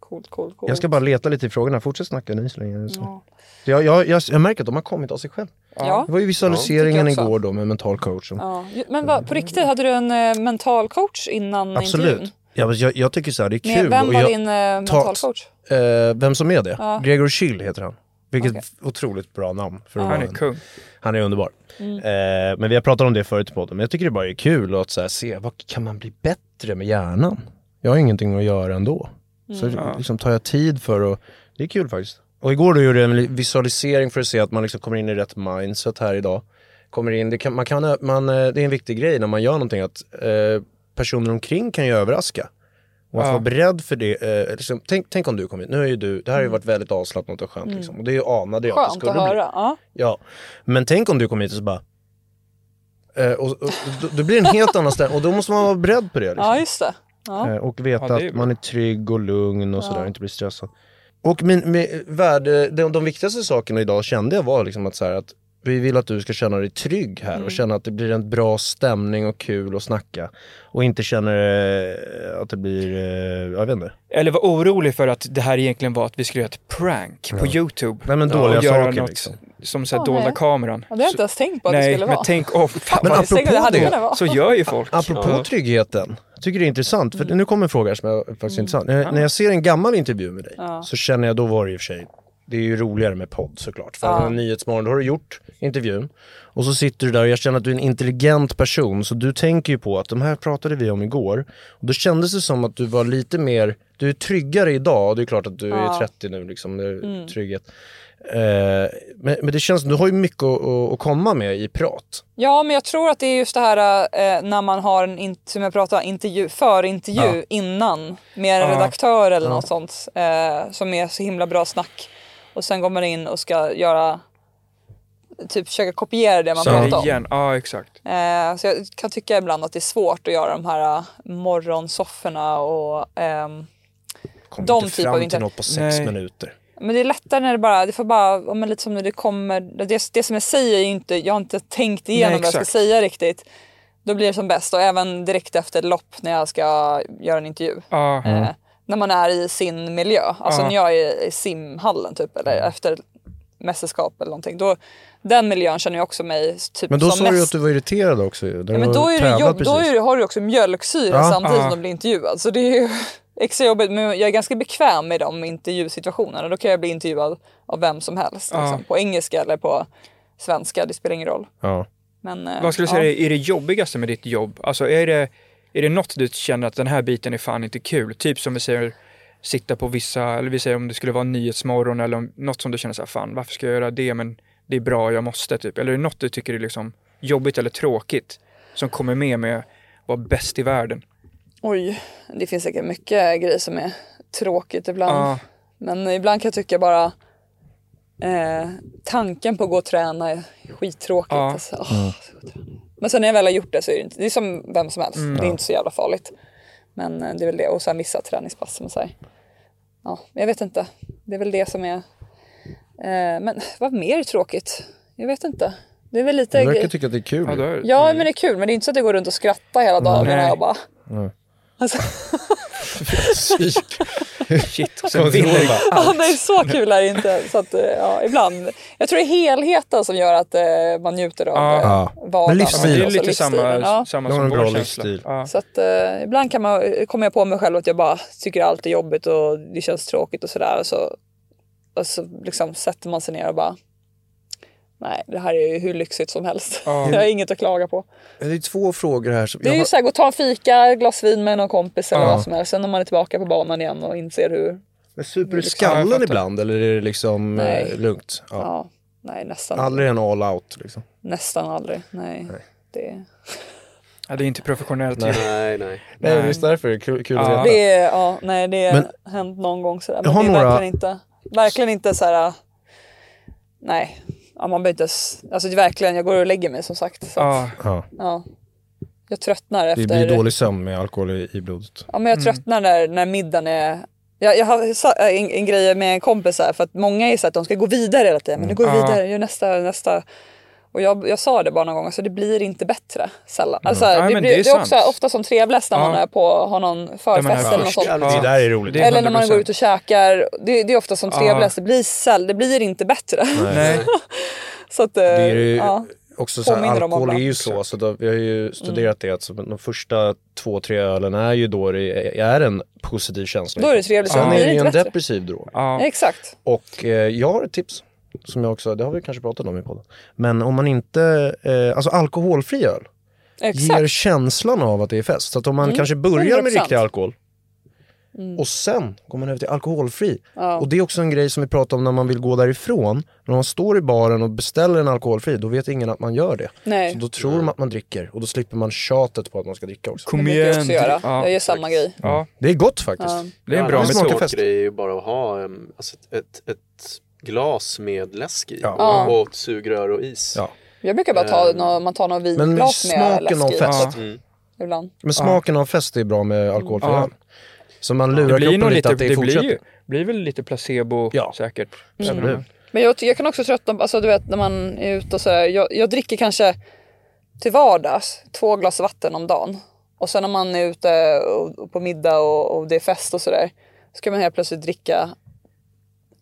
[SPEAKER 1] coolt, coolt, coolt.
[SPEAKER 7] jag ska bara leta lite i frågorna, fortsätt snacka ni så länge. Så.
[SPEAKER 1] Ja.
[SPEAKER 7] Jag, jag, jag, jag märker att de har kommit av sig själv.
[SPEAKER 1] Ja.
[SPEAKER 7] Det var ju visualiseringen
[SPEAKER 1] Ja, tycker jag också.
[SPEAKER 7] igår då med mental coachen.
[SPEAKER 1] Ja. Men vad, på riktigt, hade du en eh, mental coach innan intervjun?
[SPEAKER 7] Absolut. Ja, men jag, jag tycker så här, det är
[SPEAKER 1] Med,
[SPEAKER 7] kul.
[SPEAKER 1] vem
[SPEAKER 7] och
[SPEAKER 1] var
[SPEAKER 7] jag,
[SPEAKER 1] din eh, mental coach?
[SPEAKER 7] Eh, vem som är det?
[SPEAKER 1] Ja.
[SPEAKER 7] Gregor Schill heter han. Vilket
[SPEAKER 1] Okej.
[SPEAKER 7] otroligt bra namn. För att
[SPEAKER 2] Han
[SPEAKER 7] vara
[SPEAKER 2] är
[SPEAKER 7] en,
[SPEAKER 2] kung.
[SPEAKER 7] han är underbar. Eh, men vi har pratat om det förut i podden, men jag tycker det bara är kul att så här, se vad kan man bli bättre med hjärnan? Jag har ingenting att göra ändå. Så
[SPEAKER 2] Ja.
[SPEAKER 7] liksom, tar jag tid för att, det är kul faktiskt. Och igår då gjorde jag en li- visualisering för att se att man liksom kommer in i rätt mindset här idag. Kommer in, det, kan, man kan, man, eh, det är en viktig grej när man gör någonting att eh, personer omkring kan ju överraska. Och att
[SPEAKER 2] Ja.
[SPEAKER 7] vara beredd för det. Eh, liksom, tänk, tänk om du kom hit, nu är ju du, det här har ju varit väldigt avslappnat och skönt liksom. Och det anade jag att det
[SPEAKER 1] Skönt
[SPEAKER 7] skulle
[SPEAKER 1] att
[SPEAKER 7] bli.
[SPEAKER 1] höra. Ja.
[SPEAKER 7] Ja, men tänk om du kom hit och så bara... Eh, och, och, då, då blir det en helt annan ställning och då måste man vara beredd på det. Liksom.
[SPEAKER 1] ja, just det. Ja.
[SPEAKER 7] Eh, och veta
[SPEAKER 2] Ja, det är
[SPEAKER 7] att
[SPEAKER 2] bra.
[SPEAKER 7] man är trygg och lugn och sådär, inte blir stressad. Och min, min värde, de, de viktigaste sakerna idag kände jag var liksom att, så här, att vi vill att du ska känna dig trygg här
[SPEAKER 1] Mm.
[SPEAKER 7] och känna att det blir en bra stämning och kul att snacka. Och inte känna eh, att det blir, eh, jag vet inte.
[SPEAKER 2] Eller var orolig för att det här egentligen var att vi skulle göra ett prank på YouTube.
[SPEAKER 7] Nej men
[SPEAKER 2] Ja,
[SPEAKER 7] dåliga
[SPEAKER 2] och göra
[SPEAKER 7] saker
[SPEAKER 2] något
[SPEAKER 7] liksom.
[SPEAKER 2] som så här,
[SPEAKER 1] Ja,
[SPEAKER 2] dolda
[SPEAKER 1] nej.
[SPEAKER 2] kameran.
[SPEAKER 1] Ja, det har jag inte ens tänkt på att det
[SPEAKER 2] Nej,
[SPEAKER 1] skulle
[SPEAKER 2] men
[SPEAKER 1] vara.
[SPEAKER 2] tänk, åh fan
[SPEAKER 7] Men
[SPEAKER 2] vad
[SPEAKER 1] Jag tänker att det
[SPEAKER 7] apropå
[SPEAKER 1] hade
[SPEAKER 7] det,
[SPEAKER 1] kunnat vara.
[SPEAKER 2] Så gör ju folk.
[SPEAKER 7] Apropå
[SPEAKER 2] Ja.
[SPEAKER 7] tryggheten, jag tycker det är intressant,
[SPEAKER 1] Mm.
[SPEAKER 7] för nu kommer en fråga som jag faktiskt inte intressant. När, när jag ser en gammal intervju med dig så känner jag, då var det i och för sig, det är ju roligare med podd såklart. För ja. Nyhetsmorgon, då har du gjort intervjun och så sitter du där och jag känner att du är en intelligent person så du tänker ju på att de här pratade vi om igår och då kändes det som att du var lite mer, du är tryggare idag och det är klart att du är 30 nu liksom, det är trygghet. Eh, men, men det känns, du har ju mycket att, att- att komma med i prat.
[SPEAKER 1] Ja, men jag tror att det är just det här eh, när man har en in- som jag pratade, om, intervju, förintervju innan med en redaktör eller något sånt eh, som är så himla bra snack. Och sen går man in och ska göra, typ försöka kopiera det man pratar
[SPEAKER 2] Så
[SPEAKER 1] om.
[SPEAKER 2] igen, ja exakt.
[SPEAKER 1] Eh, så jag kan tycka ibland att det är svårt att göra de här eh, morgonsofforna och ehm,
[SPEAKER 7] Kom
[SPEAKER 1] De
[SPEAKER 7] inte
[SPEAKER 1] typ av
[SPEAKER 7] fram
[SPEAKER 1] inter-
[SPEAKER 7] till något på sex
[SPEAKER 2] Nej.
[SPEAKER 7] minuter.
[SPEAKER 1] Men det är lättare när det bara, det får bara, ja, men lite som när det kommer, det, det som jag säger är ju inte, jag har inte tänkt igenom
[SPEAKER 2] Nej,
[SPEAKER 1] vad jag ska
[SPEAKER 2] exakt.
[SPEAKER 1] säga riktigt. Då blir det som bäst och även direkt efter ett lopp när jag ska göra en intervju.
[SPEAKER 2] Ja.
[SPEAKER 1] Eh, när man är i sin miljö, alltså
[SPEAKER 2] Ja.
[SPEAKER 1] när jag är i simhallen typ eller efter ett mästerskap eller någonting. Då, den miljön känner jag också mig typ
[SPEAKER 7] Men då
[SPEAKER 1] som
[SPEAKER 7] sa du
[SPEAKER 1] mest
[SPEAKER 7] att du var irriterad också ju.
[SPEAKER 1] Ja, men då, är det jobb, då är det, har du också mjölksyra
[SPEAKER 7] Ja.
[SPEAKER 1] samtidigt
[SPEAKER 2] Ja.
[SPEAKER 1] som du blir intervjuad. Så det är ju extra jobbigt. Men jag är ganska bekväm med de intervjusituationerna. Då kan jag bli intervjuad av vem som helst. Liksom, på engelska eller på svenska, det spelar ingen roll.
[SPEAKER 7] Ja.
[SPEAKER 1] Men, eh,
[SPEAKER 2] Vad skulle du
[SPEAKER 1] ja.
[SPEAKER 2] säga är det jobbigaste med ditt jobb? Alltså är det, är det något du känner att den här biten är fan inte kul? Typ som vi säger sitta på vissa, eller vi säger om det skulle vara Nyhetsmorgon eller om, något som du känner så här, fan varför ska jag göra det men det är bra, jag måste typ. Eller är det något du tycker är liksom jobbigt eller tråkigt som kommer med med att vara bäst i världen?
[SPEAKER 1] Oj, det finns säkert mycket grejer som är tråkigt ibland.
[SPEAKER 2] Ja,
[SPEAKER 1] Men ibland kan jag tycka bara eh, tanken på att gå och träna är skittråkigt.
[SPEAKER 2] Ja.
[SPEAKER 1] Alltså, åh,
[SPEAKER 7] Mm.
[SPEAKER 1] så gott. Men sen när jag väl har gjort det så är det, inte, det är som vem som helst. det är inte så jävla farligt. Men eh, det är väl det. Och sen vissa träningspass som är så här. Ja, men jag vet inte. Det är väl det som är... Eh, men vad mer är tråkigt? Jag vet inte. Det är väl lite...
[SPEAKER 7] Du verkar
[SPEAKER 1] gre-
[SPEAKER 7] tycka att det är kul.
[SPEAKER 2] ja, då är det.
[SPEAKER 1] Ja, men det är kul. Men det är inte så att jag går runt och skrattar hela dagen.
[SPEAKER 2] Nej.
[SPEAKER 1] Och jag bara...
[SPEAKER 7] Nej.
[SPEAKER 1] Alltså,
[SPEAKER 7] Psyk.
[SPEAKER 2] Shit, sen
[SPEAKER 5] Kommer vi
[SPEAKER 2] vinner
[SPEAKER 5] ihåg, va?
[SPEAKER 2] jag
[SPEAKER 1] Ja,
[SPEAKER 2] allt.
[SPEAKER 1] nej, så kul är det inte. Så att, eh, ja, ibland. Jag tror det är helheten som gör att eh, man njuter av
[SPEAKER 2] Ja.
[SPEAKER 1] eh,
[SPEAKER 5] Ja.
[SPEAKER 1] vardagen.
[SPEAKER 5] Men
[SPEAKER 2] Ja,
[SPEAKER 5] livsstilen.
[SPEAKER 2] men det är
[SPEAKER 1] Alltså
[SPEAKER 2] lite samma,
[SPEAKER 1] livsstilen, ja.
[SPEAKER 2] samma
[SPEAKER 5] De har
[SPEAKER 2] som vår
[SPEAKER 5] en bra
[SPEAKER 2] känsla.
[SPEAKER 5] livsstil.
[SPEAKER 2] Ja.
[SPEAKER 1] Så att, eh, ibland kan man, kommer jag på mig själv att jag bara tycker allt är jobbigt och det känns tråkigt och sådär. Och så, och så liksom sätter man sig ner och bara, nej det här är ju hur lyxigt som helst.
[SPEAKER 2] Ja.
[SPEAKER 1] Jag har inget att klaga på.
[SPEAKER 5] Det är två frågor här. Som
[SPEAKER 1] Det är
[SPEAKER 5] jag
[SPEAKER 1] ju
[SPEAKER 5] har-
[SPEAKER 1] såhär, gå och ta en fika, ett glas vin med någon kompis eller
[SPEAKER 5] Ja.
[SPEAKER 1] vad som helst. Sen när man är tillbaka på banan igen och inser hur,
[SPEAKER 5] Men super i
[SPEAKER 1] liksom-
[SPEAKER 2] Ja, jag
[SPEAKER 5] skallen
[SPEAKER 2] fattar.
[SPEAKER 5] ibland eller är det liksom eh,
[SPEAKER 1] Nej.
[SPEAKER 5] lugnt? Ja.
[SPEAKER 1] ja, nej nästan
[SPEAKER 5] Aldrig en all out liksom.
[SPEAKER 1] Nästan aldrig, nej. Det,
[SPEAKER 2] Ja, det är inte professionellt. ju.
[SPEAKER 6] Nej, nej.
[SPEAKER 5] Nej,
[SPEAKER 2] Nej.
[SPEAKER 5] visst därför är det kul, kul
[SPEAKER 2] Ja.
[SPEAKER 5] att veta.
[SPEAKER 1] det är, ja, nej det har
[SPEAKER 5] Men-
[SPEAKER 1] hänt någon gång sådär. Men
[SPEAKER 5] Jag har
[SPEAKER 1] det är
[SPEAKER 5] några-
[SPEAKER 1] verkligen inte, verkligen inte såhär, äh, nej. Ja, man behöver inte, ens- alltså det är verkligen, jag går och lägger mig som sagt. Så, att,
[SPEAKER 2] Ja,
[SPEAKER 5] Ja.
[SPEAKER 1] ja. Jag tröttnar
[SPEAKER 5] Det
[SPEAKER 1] efter,
[SPEAKER 5] blir dålig sömn med alkohol i, i blodet.
[SPEAKER 1] ja men
[SPEAKER 2] Mm.
[SPEAKER 1] jag tröttnar när, när middagen är jag, jag har sa- en, en grej med en kompis här, för att många är så att de ska gå vidare hela tiden. Men nu går vi
[SPEAKER 2] Mm. Ja.
[SPEAKER 1] vidare, gör nästa, nästa. Och jag, jag sa det bara någon gång, alltså det blir inte bättre sällan. Alltså,
[SPEAKER 2] Ja,
[SPEAKER 1] det, blir,
[SPEAKER 2] men det
[SPEAKER 1] det
[SPEAKER 2] är
[SPEAKER 1] är, också
[SPEAKER 2] sant.
[SPEAKER 1] ofta som trevligast när
[SPEAKER 2] Ja.
[SPEAKER 1] man är på, har någon förfest eller något sånt.
[SPEAKER 5] Det där är roligt.
[SPEAKER 2] Det
[SPEAKER 1] Eller när man går
[SPEAKER 2] 100%.
[SPEAKER 1] ut och käkar. Det, det är ofta som
[SPEAKER 2] Ja.
[SPEAKER 1] trevligast. Det blir, säll, det blir inte bättre.
[SPEAKER 2] Nej,
[SPEAKER 1] så att, eh,
[SPEAKER 5] Det är ju
[SPEAKER 1] ja.
[SPEAKER 5] också så här,
[SPEAKER 1] Påminner om Mm.
[SPEAKER 5] alkohol är
[SPEAKER 1] alla.
[SPEAKER 5] ju så, så då, vi har ju studerat det, att så de första två, tre ölen är ju då det är en positiv känsla.
[SPEAKER 1] Då är det trevligt.
[SPEAKER 5] Sen
[SPEAKER 1] Sen
[SPEAKER 5] är
[SPEAKER 1] blir
[SPEAKER 5] det
[SPEAKER 1] det
[SPEAKER 5] ju
[SPEAKER 1] inte
[SPEAKER 5] en
[SPEAKER 1] bättre.
[SPEAKER 5] depressiv drog.
[SPEAKER 2] ja.
[SPEAKER 1] Exakt.
[SPEAKER 5] Och eh, jag har ett tips, som jag också, det har vi kanske pratat om i podden. Men om man inte, eh, alltså alkoholfri öl ger
[SPEAKER 1] Exakt. Mm,
[SPEAKER 5] känslan av att det är fest. Så att om man kanske börjar med
[SPEAKER 1] 100%.
[SPEAKER 5] riktig alkohol och sen går man över till alkoholfri.
[SPEAKER 1] Mm. Ja.
[SPEAKER 5] Och det är också en grej som vi pratar om när man vill gå därifrån. När man står i baren och beställer en alkoholfri, då vet ingen att man gör det.
[SPEAKER 1] Nej.
[SPEAKER 5] Så då tror de att man dricker och då slipper man tjatet på att man ska dricka också.
[SPEAKER 2] kom
[SPEAKER 1] Det brukar jag
[SPEAKER 2] igen.
[SPEAKER 1] också göra.
[SPEAKER 2] typ. Ja,
[SPEAKER 1] Jag gör samma grej.
[SPEAKER 2] ja.
[SPEAKER 5] Det är gott faktiskt.
[SPEAKER 2] Det är en
[SPEAKER 6] Ja,
[SPEAKER 2] bra
[SPEAKER 6] det
[SPEAKER 5] smakar
[SPEAKER 2] metod.
[SPEAKER 5] fest.
[SPEAKER 6] svårt grej är ju bara att ha em, alltså ett, ett, ett glas med läsk i
[SPEAKER 5] Ja.
[SPEAKER 1] Ja.
[SPEAKER 6] och, och sugrör och is.
[SPEAKER 5] Ja.
[SPEAKER 1] Jag brukar bara ta, nå- man tar något
[SPEAKER 5] Men
[SPEAKER 1] vinglas med
[SPEAKER 5] smaken av
[SPEAKER 1] läsk i.
[SPEAKER 5] fest,
[SPEAKER 2] Ja.
[SPEAKER 1] Ibland.
[SPEAKER 5] men smaken av fest är bra med alkoholfri
[SPEAKER 2] Ja.
[SPEAKER 5] öl. Så man
[SPEAKER 2] Det
[SPEAKER 5] lurar
[SPEAKER 2] blir
[SPEAKER 5] kroppen
[SPEAKER 2] nog
[SPEAKER 5] lite,
[SPEAKER 2] lite,
[SPEAKER 5] att det,
[SPEAKER 2] det blir
[SPEAKER 5] fortsätter.
[SPEAKER 2] ju, blir väl lite placebo
[SPEAKER 5] Ja.
[SPEAKER 2] säkert. Mm.
[SPEAKER 5] Eller hur?
[SPEAKER 1] Men jag, jag kan också tröttna på, alltså du vet när man är ute och sådär. Jag, jag dricker kanske till vardags två glas vatten om dagen. Och sen när man är ute och, och på middag och, och det är fest och sådär. Så kan man helt plötsligt dricka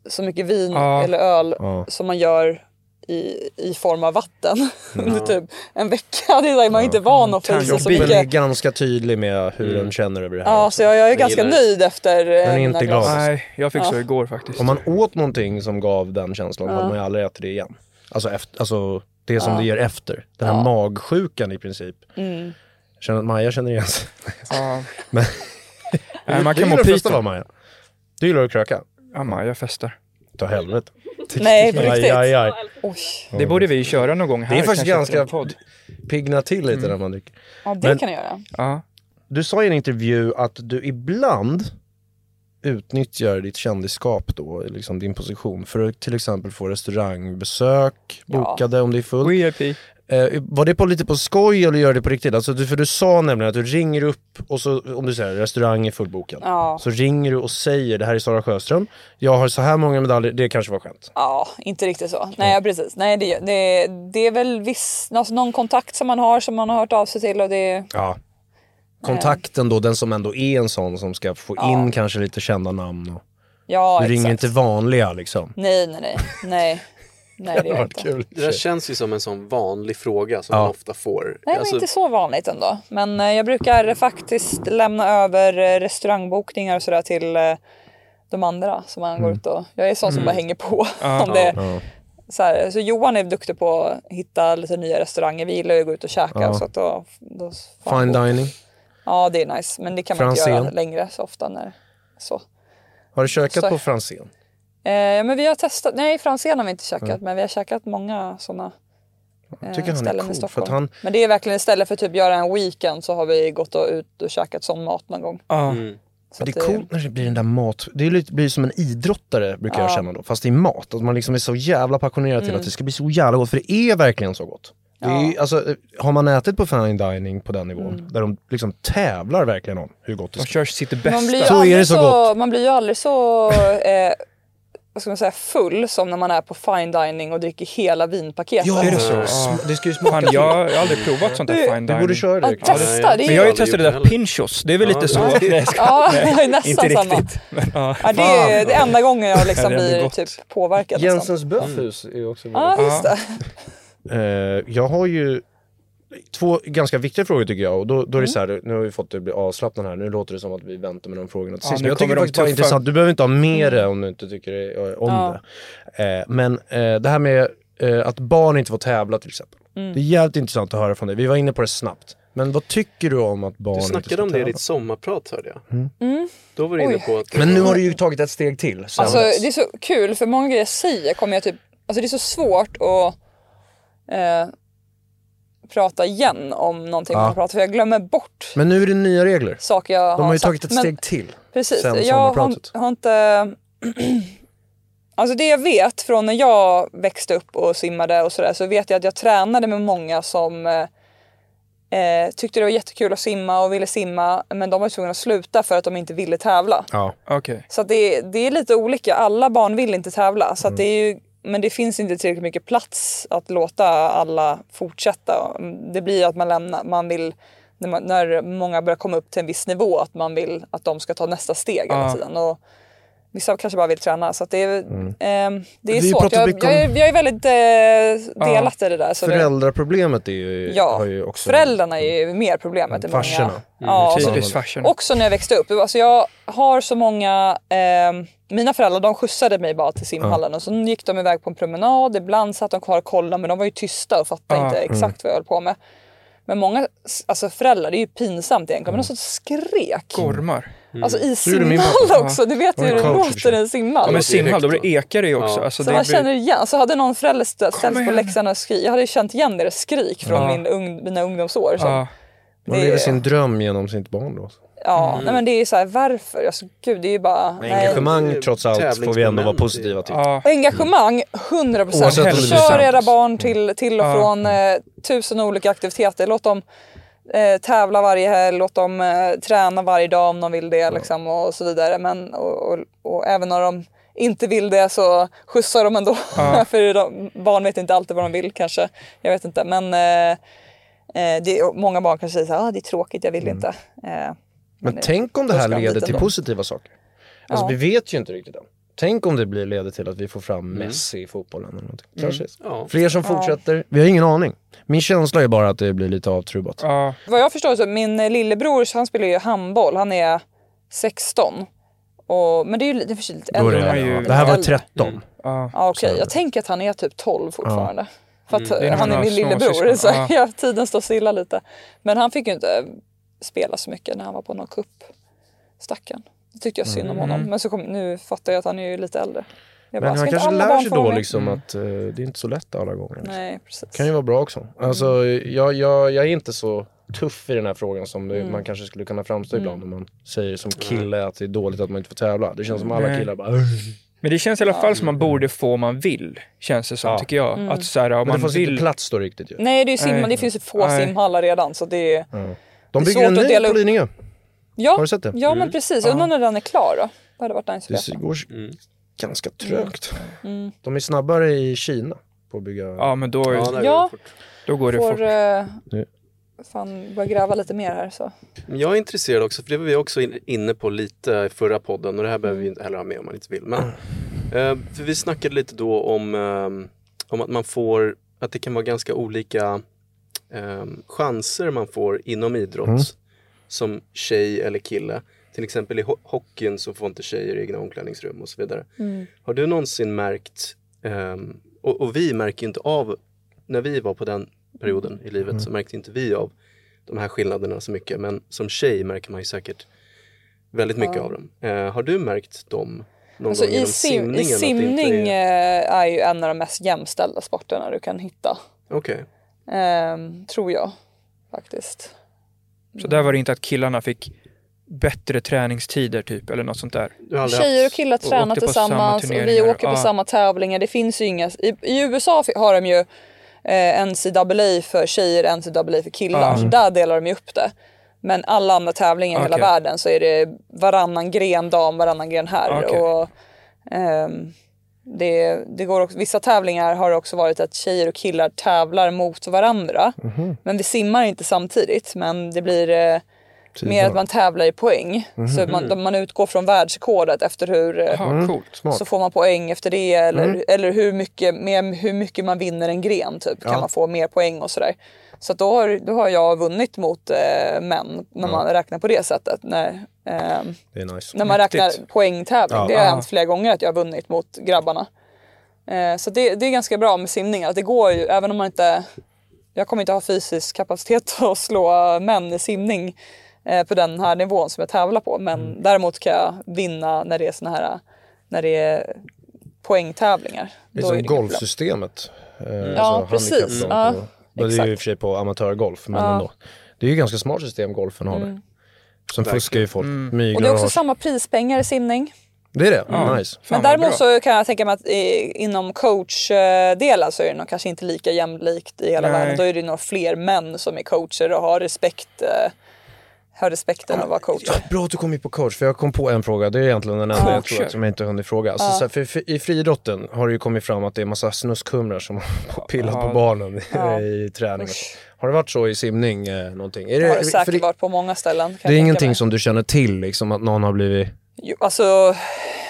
[SPEAKER 1] så mycket vin
[SPEAKER 2] Ja.
[SPEAKER 1] eller öl
[SPEAKER 5] Ja.
[SPEAKER 1] som man gör i, i form av vatten under typ en vecka. Det är där man är inte van att få i sig så
[SPEAKER 2] Tankebil.
[SPEAKER 5] Kroppen är
[SPEAKER 1] mycket.
[SPEAKER 5] ganska tydlig med hur den känner över det här.
[SPEAKER 1] Ja,
[SPEAKER 5] också.
[SPEAKER 1] så jag, jag är ganska
[SPEAKER 6] gillar det.
[SPEAKER 1] nöjd efter eh,
[SPEAKER 5] är
[SPEAKER 1] mina
[SPEAKER 5] inte
[SPEAKER 1] glas.
[SPEAKER 5] glad.
[SPEAKER 2] Nej, jag fick så igår faktiskt.
[SPEAKER 5] Om man åt någonting som gav den känslan har man ju aldrig ätit det igen. Alltså, efter, alltså det som det ger efter. Den här magsjukan i princip.
[SPEAKER 1] Mm.
[SPEAKER 5] Känner, Maja känner igen sig.
[SPEAKER 2] Ja.
[SPEAKER 5] Men-
[SPEAKER 2] Nej, man kan
[SPEAKER 5] Du gillar
[SPEAKER 2] må
[SPEAKER 5] att festa va
[SPEAKER 2] pito.
[SPEAKER 5] Maja? Du gillar att kröka?
[SPEAKER 2] Ja, man, jag festar.
[SPEAKER 5] Ta helvete.
[SPEAKER 1] Nej, på riktigt.
[SPEAKER 5] Aj, aj, aj.
[SPEAKER 1] Oj,
[SPEAKER 2] Det borde vi köra någon gång här.
[SPEAKER 5] Det är faktiskt
[SPEAKER 2] kanske till
[SPEAKER 5] ganska
[SPEAKER 2] en podd.
[SPEAKER 5] piggna till lite
[SPEAKER 1] Mm.
[SPEAKER 5] när man dricker.
[SPEAKER 1] ja, det
[SPEAKER 5] Men-
[SPEAKER 1] kan jag göra.
[SPEAKER 2] Ja.
[SPEAKER 5] Du sa i en intervju att du ibland utnyttjar ditt kändisskap då, liksom din position, för att till exempel få restaurangbesök bokade om det är fullt.
[SPEAKER 2] VIP.
[SPEAKER 5] Eh, var det på, lite på skoj eller gör det på riktigt? Alltså, du, för du sa nämligen att du ringer upp och så, om du säger restaurang är fullbokad,
[SPEAKER 1] Ja.
[SPEAKER 5] så ringer du och säger det här är Sara Sjöström, jag har så här många medaljer, det kanske var skämt.
[SPEAKER 1] Ja, inte riktigt så. Nej, precis. Nej, det, det, det är väl viss, alltså någon kontakt som man har som man har hört av sig till och det...
[SPEAKER 5] Ja. Kontakten då, den som ändå är en sån som ska få in kanske lite kända namn. Och,
[SPEAKER 1] Ja,
[SPEAKER 5] du
[SPEAKER 1] exakt.
[SPEAKER 5] ringer inte vanliga liksom.
[SPEAKER 1] Nej, nej, nej. Nej, nej det gör jag inte.
[SPEAKER 5] kul.
[SPEAKER 6] Det där känns ju som en sån vanlig fråga som man ofta får.
[SPEAKER 1] Nej,
[SPEAKER 6] Alltså,
[SPEAKER 1] men inte så vanligt ändå. Men eh, jag brukar faktiskt lämna över eh, restaurangbokningar och sådär till eh, de andra som man
[SPEAKER 5] Mm.
[SPEAKER 1] går ut och... Jag är sån som bara hänger på. om det, så, här, så Johan är duktig på att hitta lite nya restauranger. Vi gillar ju att gå ut och käka.
[SPEAKER 5] Ja.
[SPEAKER 1] Så att då, då får han
[SPEAKER 5] Fine
[SPEAKER 1] gå.
[SPEAKER 5] dining.
[SPEAKER 1] Ja, det är nice. Men det kan man inte göra
[SPEAKER 5] Franzén.
[SPEAKER 1] längre så ofta. När, så.
[SPEAKER 5] Har du kökat
[SPEAKER 1] Så-
[SPEAKER 5] på Franzén?
[SPEAKER 1] Eh, men vi har testat, nej Franzén har vi inte käkat, men vi har käkat många sådana eh,
[SPEAKER 5] tycker han är
[SPEAKER 1] ställen
[SPEAKER 5] cool,
[SPEAKER 1] i
[SPEAKER 5] för att
[SPEAKER 1] Stockholm.
[SPEAKER 5] han-
[SPEAKER 1] Men det är verkligen istället för att typ göra en weekend så har vi gått och ut och käkat sån mat någon gång.
[SPEAKER 2] Ja.
[SPEAKER 1] Så
[SPEAKER 5] Men det
[SPEAKER 1] att,
[SPEAKER 5] är
[SPEAKER 1] eh,
[SPEAKER 5] coolt när det blir den där mat... Det är lite, blir som en idrottare brukar jag känna då, fast i mat. Att man liksom är så jävla passionerad till
[SPEAKER 1] Mm.
[SPEAKER 5] att det ska bli så jävla gott, för det är verkligen så gott. Det är, alltså, eh, har man ätit på fine dining på den nivån,
[SPEAKER 1] Mm.
[SPEAKER 5] där de liksom tävlar verkligen om hur gott det
[SPEAKER 2] De
[SPEAKER 5] ska
[SPEAKER 2] kör sitt
[SPEAKER 1] Man blir
[SPEAKER 2] bästa.
[SPEAKER 1] ju
[SPEAKER 5] Så är det
[SPEAKER 1] aldrig
[SPEAKER 5] så
[SPEAKER 1] så,
[SPEAKER 5] gott.
[SPEAKER 1] man blir ju aldrig så eh, vad ska man säga, full som när man är på fine dining och dricker hela vinpaketet.
[SPEAKER 7] Ja,
[SPEAKER 2] Är det så?
[SPEAKER 7] Sm- Det ska ju smaka
[SPEAKER 2] Fan, jag har aldrig provat sånt där
[SPEAKER 1] Du-
[SPEAKER 2] fine
[SPEAKER 7] Du
[SPEAKER 2] dining.
[SPEAKER 7] borde köra det.
[SPEAKER 1] Att testa, det är
[SPEAKER 2] Men jag har ju
[SPEAKER 1] ju...
[SPEAKER 6] aldrig
[SPEAKER 2] testat det
[SPEAKER 6] gjort
[SPEAKER 2] där
[SPEAKER 6] det
[SPEAKER 2] pinchos, det är väl
[SPEAKER 6] Ja,
[SPEAKER 2] lite så.
[SPEAKER 6] ja.
[SPEAKER 2] Nej, jag skojar.
[SPEAKER 1] Ja, det är
[SPEAKER 2] Inte
[SPEAKER 1] nästan samma.
[SPEAKER 2] riktigt. Men, ja.
[SPEAKER 1] Ja, det är det enda gången jag
[SPEAKER 2] Ja,
[SPEAKER 1] liksom
[SPEAKER 2] det blir
[SPEAKER 1] blir
[SPEAKER 2] gott.
[SPEAKER 1] typ påverkad. Liksom.
[SPEAKER 7] Jensens böfhus är ju också
[SPEAKER 1] Ja, just det.
[SPEAKER 7] Eh, jag har ju två ganska viktiga frågor tycker jag. Och då, då är det så här, nu har vi fått det bli avslappnad här. Nu låter det som att vi väntar med de frågorna till
[SPEAKER 2] Ja,
[SPEAKER 7] sist.
[SPEAKER 2] nu
[SPEAKER 7] men jag tycker
[SPEAKER 2] kommer de
[SPEAKER 7] faktiskt bara det är
[SPEAKER 2] tuffa.
[SPEAKER 7] intressant. Du behöver inte ha med det om du inte tycker det, eh, om
[SPEAKER 1] Ja.
[SPEAKER 7] det. Eh, men eh, det här med eh, att barn inte får tävla till exempel. Det är jävligt intressant att höra från dig. Vi var inne på det snabbt. Men vad tycker du om att barn
[SPEAKER 6] Du
[SPEAKER 7] inte
[SPEAKER 6] snackade
[SPEAKER 7] får
[SPEAKER 6] om det i
[SPEAKER 7] tävla?
[SPEAKER 6] ditt sommarprat hörde jag.
[SPEAKER 2] Mm.
[SPEAKER 6] Då var du inne
[SPEAKER 1] Oj.
[SPEAKER 6] på att...
[SPEAKER 7] Men nu har du ju tagit ett steg till. sen
[SPEAKER 1] Alltså
[SPEAKER 7] dess.
[SPEAKER 1] det är så kul för många grejer jag säger kommer jag typ, alltså det är så svårt att eh, prata igen om någonting
[SPEAKER 7] Ja.
[SPEAKER 1] man pratar för jag glömmer bort
[SPEAKER 7] Men nu är det nya
[SPEAKER 5] Alltså,
[SPEAKER 7] regler.
[SPEAKER 1] saker jag
[SPEAKER 7] De har
[SPEAKER 1] har
[SPEAKER 7] ju
[SPEAKER 1] sagt.
[SPEAKER 7] tagit ett
[SPEAKER 1] Men-
[SPEAKER 7] steg till.
[SPEAKER 1] Precis,
[SPEAKER 7] sen
[SPEAKER 1] jag har,
[SPEAKER 7] sommarpratet.
[SPEAKER 1] har inte... alltså det jag vet från när jag växte upp och simmade och sådär så vet jag att jag tränade med många som eh, eh, tyckte det var jättekul att simma och ville simma men de var tvungna att sluta för att de inte ville tävla.
[SPEAKER 7] Ja.
[SPEAKER 2] Okej.
[SPEAKER 1] Så att det, det är lite olika. Alla barn vill inte tävla.
[SPEAKER 7] Mm.
[SPEAKER 1] Så att det är ju, men det finns inte tillräckligt mycket plats att låta alla fortsätta. Det blir att man lämnar. Man vill, när, man, när många börjar komma upp till en viss nivå att man vill att de ska ta nästa steg hela
[SPEAKER 2] Ja.
[SPEAKER 1] tiden. Och vissa kanske bara vill träna. Så att det är, ehm, det är
[SPEAKER 7] Mm. Vi
[SPEAKER 1] svårt.
[SPEAKER 7] pratar
[SPEAKER 1] Jag,
[SPEAKER 7] mycket
[SPEAKER 1] jag, är,
[SPEAKER 7] om-
[SPEAKER 1] jag är väldigt eh, delat i det där. Så det,
[SPEAKER 7] Föräldraproblemet är ju,
[SPEAKER 1] ja,
[SPEAKER 7] har ju också...
[SPEAKER 1] föräldrarna är ju mer problemet än
[SPEAKER 7] Farsorna.
[SPEAKER 1] många. Ja,
[SPEAKER 2] Precis,
[SPEAKER 1] som-
[SPEAKER 2] det är farsen.
[SPEAKER 1] Också när jag växte upp. Alltså jag har så många... Eh, mina föräldrar de skjutsade mig bara till simhallen och så gick de iväg på en promenad. Ibland satt de kvar och kollade men de var ju tysta och fattade
[SPEAKER 2] Ja, Mm.
[SPEAKER 1] inte exakt vad jag höll på med. Men många alltså föräldrar, det är ju pinsamt egentligen,
[SPEAKER 2] Mm.
[SPEAKER 1] men de så skrek.
[SPEAKER 2] Gormar.
[SPEAKER 1] Alltså i
[SPEAKER 7] är det min
[SPEAKER 1] simhall
[SPEAKER 2] pappa.
[SPEAKER 1] också, du vet ju
[SPEAKER 7] var
[SPEAKER 1] hur
[SPEAKER 7] en
[SPEAKER 1] det
[SPEAKER 7] coach i och för sig.
[SPEAKER 1] låter i en simhall.
[SPEAKER 2] Ja, men simhall, då blir det ekar ju också.
[SPEAKER 6] Ja.
[SPEAKER 2] Alltså,
[SPEAKER 1] Så
[SPEAKER 2] det
[SPEAKER 1] man
[SPEAKER 2] blir...
[SPEAKER 1] känner igen, så hade någon förälder stä- ställts på
[SPEAKER 2] igen.
[SPEAKER 1] läxan och skri, jag hade ju känt igen deras skrik från
[SPEAKER 2] Ja.
[SPEAKER 1] min ung, mina ungdomsår. Så.
[SPEAKER 2] Ja.
[SPEAKER 7] Man
[SPEAKER 1] Det-
[SPEAKER 7] lever sin dröm genom sitt barn då.
[SPEAKER 1] Ja,
[SPEAKER 2] Mm.
[SPEAKER 1] nej, men det är ju så här, varför? Alltså, gud, det är ju bara... nej.
[SPEAKER 6] det
[SPEAKER 7] Engagemang
[SPEAKER 6] är
[SPEAKER 7] trots allt får vi ändå vara
[SPEAKER 6] tävlingsmoment
[SPEAKER 7] positiva till.
[SPEAKER 2] Ja.
[SPEAKER 1] Engagemang, 100 procent.
[SPEAKER 7] Oavsett om det blir
[SPEAKER 1] Kör
[SPEAKER 7] sant.
[SPEAKER 1] era barn till, till och
[SPEAKER 2] Ja.
[SPEAKER 1] från eh, tusen olika aktiviteter. Låt dem eh, tävla varje helg, låt dem eh, träna varje dag om de vill det liksom, och, och så vidare. Men, och, och, och även när de inte vill det så skjutsar de ändå. För de, barn vet inte alltid vad de vill kanske. Jag vet inte. Men eh, eh, det, och många barn kanske säger så här, ah, det är tråkigt, jag vill inte. Eh,
[SPEAKER 7] Mm. Men tänk om det
[SPEAKER 1] då
[SPEAKER 7] här
[SPEAKER 1] ska han
[SPEAKER 7] leder
[SPEAKER 1] dit
[SPEAKER 7] till
[SPEAKER 1] ändå.
[SPEAKER 7] positiva saker. Alltså
[SPEAKER 1] Ja.
[SPEAKER 7] vi vet ju inte riktigt än. Tänk om det blir, leder till att vi får fram Messi i fotbollen eller någonting. Kanske.
[SPEAKER 6] Ja.
[SPEAKER 7] Fler som fortsätter, vi har ingen aning. Min känsla är bara att det blir lite avtrubbat.
[SPEAKER 2] Ja.
[SPEAKER 1] Vad jag förstår så min eh, lillebror han spelar ju handboll. Han är 16. Och, men det är ju lite, det är för sig lite
[SPEAKER 7] Då är
[SPEAKER 1] äldre.
[SPEAKER 2] man
[SPEAKER 7] det, Mm.
[SPEAKER 2] ju-
[SPEAKER 7] ja. det här var
[SPEAKER 1] äldre.
[SPEAKER 7] 13.
[SPEAKER 2] Ja.
[SPEAKER 1] Ja, okej. Jag tänker att han är typ 12 fortfarande. För att
[SPEAKER 7] Mm,
[SPEAKER 1] eh,
[SPEAKER 2] Det är när
[SPEAKER 1] han
[SPEAKER 2] man
[SPEAKER 1] är
[SPEAKER 2] har
[SPEAKER 1] min lillebror.
[SPEAKER 2] småsyskon,
[SPEAKER 1] Så
[SPEAKER 2] ja.
[SPEAKER 1] ja. tiden står stilla lite. Men han fick ju inte eh, spela så mycket när han var på någon kupp. Stackarn. Det tyckte jag synd om honom. Men så kom, nu fattar jag att han är ju lite äldre. Jag
[SPEAKER 7] Mm. Men
[SPEAKER 1] "Ska
[SPEAKER 7] han
[SPEAKER 1] inte
[SPEAKER 7] kanske
[SPEAKER 1] alla
[SPEAKER 7] lär
[SPEAKER 1] barn
[SPEAKER 7] sig
[SPEAKER 1] få
[SPEAKER 7] då
[SPEAKER 1] vara med?"
[SPEAKER 7] liksom att eh, det är inte så lätt alla gånger.
[SPEAKER 1] Nej, Mm. precis.
[SPEAKER 7] kan ju vara bra också. Alltså, jag, jag, jag är inte så tuff i den här frågan som det,
[SPEAKER 1] Mm.
[SPEAKER 7] man kanske skulle kunna framstå ibland om man säger som kille att det är dåligt att man inte får tävla. Det känns som alla
[SPEAKER 2] Nej.
[SPEAKER 7] killar bara "Äh." "Ugh."
[SPEAKER 2] Men det känns i alla fall som man borde få om man vill, känns det som,
[SPEAKER 7] Ja.
[SPEAKER 2] tycker jag.
[SPEAKER 1] Mm.
[SPEAKER 2] Att så här, om
[SPEAKER 7] Men det
[SPEAKER 2] man
[SPEAKER 7] fanns inte
[SPEAKER 2] vill...
[SPEAKER 7] plats då riktigt ju.
[SPEAKER 1] Nej, det, är ju simma,
[SPEAKER 2] Nej.
[SPEAKER 1] det finns ju få
[SPEAKER 2] Nej.
[SPEAKER 1] simhallar redan. Så det är...
[SPEAKER 7] De
[SPEAKER 1] Det är
[SPEAKER 7] bygger en
[SPEAKER 1] svårt att
[SPEAKER 7] ny
[SPEAKER 1] dela
[SPEAKER 7] på
[SPEAKER 1] upp.
[SPEAKER 7] Lidingö.
[SPEAKER 1] Ja,
[SPEAKER 7] Har du sett det?
[SPEAKER 1] Ja, men precis. Jag undrar när den är klar då. Det hade varit nice att
[SPEAKER 7] Det
[SPEAKER 1] veta.
[SPEAKER 7] går ganska trögt.
[SPEAKER 1] Mm.
[SPEAKER 7] De är snabbare i Kina på att bygga.
[SPEAKER 2] Ja, men då,
[SPEAKER 6] Ja, där
[SPEAKER 1] Ja.
[SPEAKER 6] går det fort.
[SPEAKER 2] då går det
[SPEAKER 1] Får
[SPEAKER 2] fort.
[SPEAKER 1] eh,
[SPEAKER 7] Nu.
[SPEAKER 1] fan börja gräva lite mer här så.
[SPEAKER 6] Men Jag är intresserad också, för det var vi också in, inne på lite i förra podden och det här behöver vi inte heller ha med om man inte vill. Men, eh, för vi snackade lite då om, ehm, om att man får, att det kan vara ganska olika ehm, chanser man får inom idrott som tjej eller kille. Till exempel i ho- hockeyn så får inte tjejer egna omklädningsrum och så vidare.
[SPEAKER 1] Mm.
[SPEAKER 6] Har du någonsin märkt, ehm, och, och vi märker ju inte av, när vi var på den perioden i livet så märkte inte vi av de här skillnaderna så mycket. Men som tjej märker man ju säkert väldigt mycket av dem. Eh, har du märkt dem någon
[SPEAKER 1] Alltså,
[SPEAKER 6] gång
[SPEAKER 1] i,
[SPEAKER 6] genom
[SPEAKER 1] sim,
[SPEAKER 6] simningen?
[SPEAKER 1] I
[SPEAKER 6] att det inte
[SPEAKER 1] simning
[SPEAKER 6] Är...
[SPEAKER 1] eh, är ju en av de mest jämställda sporterna du kan hitta.
[SPEAKER 6] Okej.
[SPEAKER 1] Ehm, tror jag faktiskt.
[SPEAKER 2] Så där var det inte att killarna fick bättre träningstider typ, eller något sånt där.
[SPEAKER 6] Du har aldrig
[SPEAKER 1] Tjejer och
[SPEAKER 6] haft-
[SPEAKER 1] killar
[SPEAKER 2] och
[SPEAKER 1] tränar
[SPEAKER 2] åkte på
[SPEAKER 1] tillsammans
[SPEAKER 2] samma
[SPEAKER 1] och vi
[SPEAKER 2] turneringar.
[SPEAKER 1] åker på
[SPEAKER 2] Ja.
[SPEAKER 1] samma tävlingar. Det finns ju inga... I, i USA fi- har de ju eh, NCAA för tjejer NCAA för killar.
[SPEAKER 2] Ja.
[SPEAKER 1] Så där delar de ju upp det. Men alla andra tävlingar i hela
[SPEAKER 2] Okej.
[SPEAKER 1] världen så är det varannan gren dam, varannan gren herr.
[SPEAKER 2] Okej.
[SPEAKER 1] Och, ehm, det, det går också, vissa tävlingar har det också varit att tjejer och killar tävlar mot varandra. Men vi simmar inte samtidigt. Men det blir eh, mer att man tävlar i poäng. Så man, man utgår från världsrekordet efter hur... eh,
[SPEAKER 7] Mm.
[SPEAKER 2] Ja, coolt.
[SPEAKER 1] Så får man poäng efter det eller, eller hur, mycket, med hur mycket man vinner en gren typ, kan man få mer poäng och sådär. Så att då, har, då har jag vunnit mot eh, män när man räknar på det sättet. När, ehm,
[SPEAKER 7] Det är nice.
[SPEAKER 1] när man
[SPEAKER 2] Mäktigt.
[SPEAKER 1] räknar poängtävling.
[SPEAKER 7] Ja.
[SPEAKER 1] det har hänt flera gånger att jag har vunnit mot grabbarna. Eh, så det, det är ganska bra med simning. Att det går ju, även om man inte... Jag kommer inte ha fysisk kapacitet att slå män i simning eh, på den här nivån som jag tävlar på. Men
[SPEAKER 7] Mm.
[SPEAKER 1] däremot kan jag vinna när det är såna här... När det är poängtävlingar.
[SPEAKER 7] Det är
[SPEAKER 1] Då
[SPEAKER 7] som
[SPEAKER 1] är det inget
[SPEAKER 7] golfsystemet. eh,
[SPEAKER 1] Ja, precis.
[SPEAKER 7] handikapplan
[SPEAKER 1] Ja,
[SPEAKER 7] på- men det är ju i och
[SPEAKER 1] exakt.
[SPEAKER 7] för sig på amatörgolf, men ändå. Det är ju ganska smart system golfen har där. Som fuskar ju folk,
[SPEAKER 1] problem. Mm. Och det är
[SPEAKER 7] myglar
[SPEAKER 1] också
[SPEAKER 7] och
[SPEAKER 1] samma prispengar i simning.
[SPEAKER 7] Det är det? Nice.
[SPEAKER 2] Fan,
[SPEAKER 1] Men
[SPEAKER 2] vad
[SPEAKER 1] däremot
[SPEAKER 2] bra.
[SPEAKER 1] så kan jag tänka mig att i, inom coachdelen så är det nog kanske inte lika jämlikt i hela
[SPEAKER 2] Nej.
[SPEAKER 1] världen. Då är det nog fler män som är coacher och har respekt eh, har respekten att vara
[SPEAKER 7] Ja,
[SPEAKER 1] coacher.
[SPEAKER 7] bra att du kom in på coach, för jag kom på en fråga. Det är egentligen den enda jag tror
[SPEAKER 2] Coacher.
[SPEAKER 7] att som jag inte hunnit fråga. Alltså, så här, för, för, I friidrotten har det ju kommit fram att det är massa snuskhumrar som har pillat på barnen i träning.
[SPEAKER 1] Usch.
[SPEAKER 7] Har det varit så i simning eh, någonting? Är
[SPEAKER 1] Det har det
[SPEAKER 7] för det,
[SPEAKER 1] säkert varit på många ställen.
[SPEAKER 7] det är ingenting som du känner till, liksom, att någon har blivit...
[SPEAKER 1] Jo, alltså,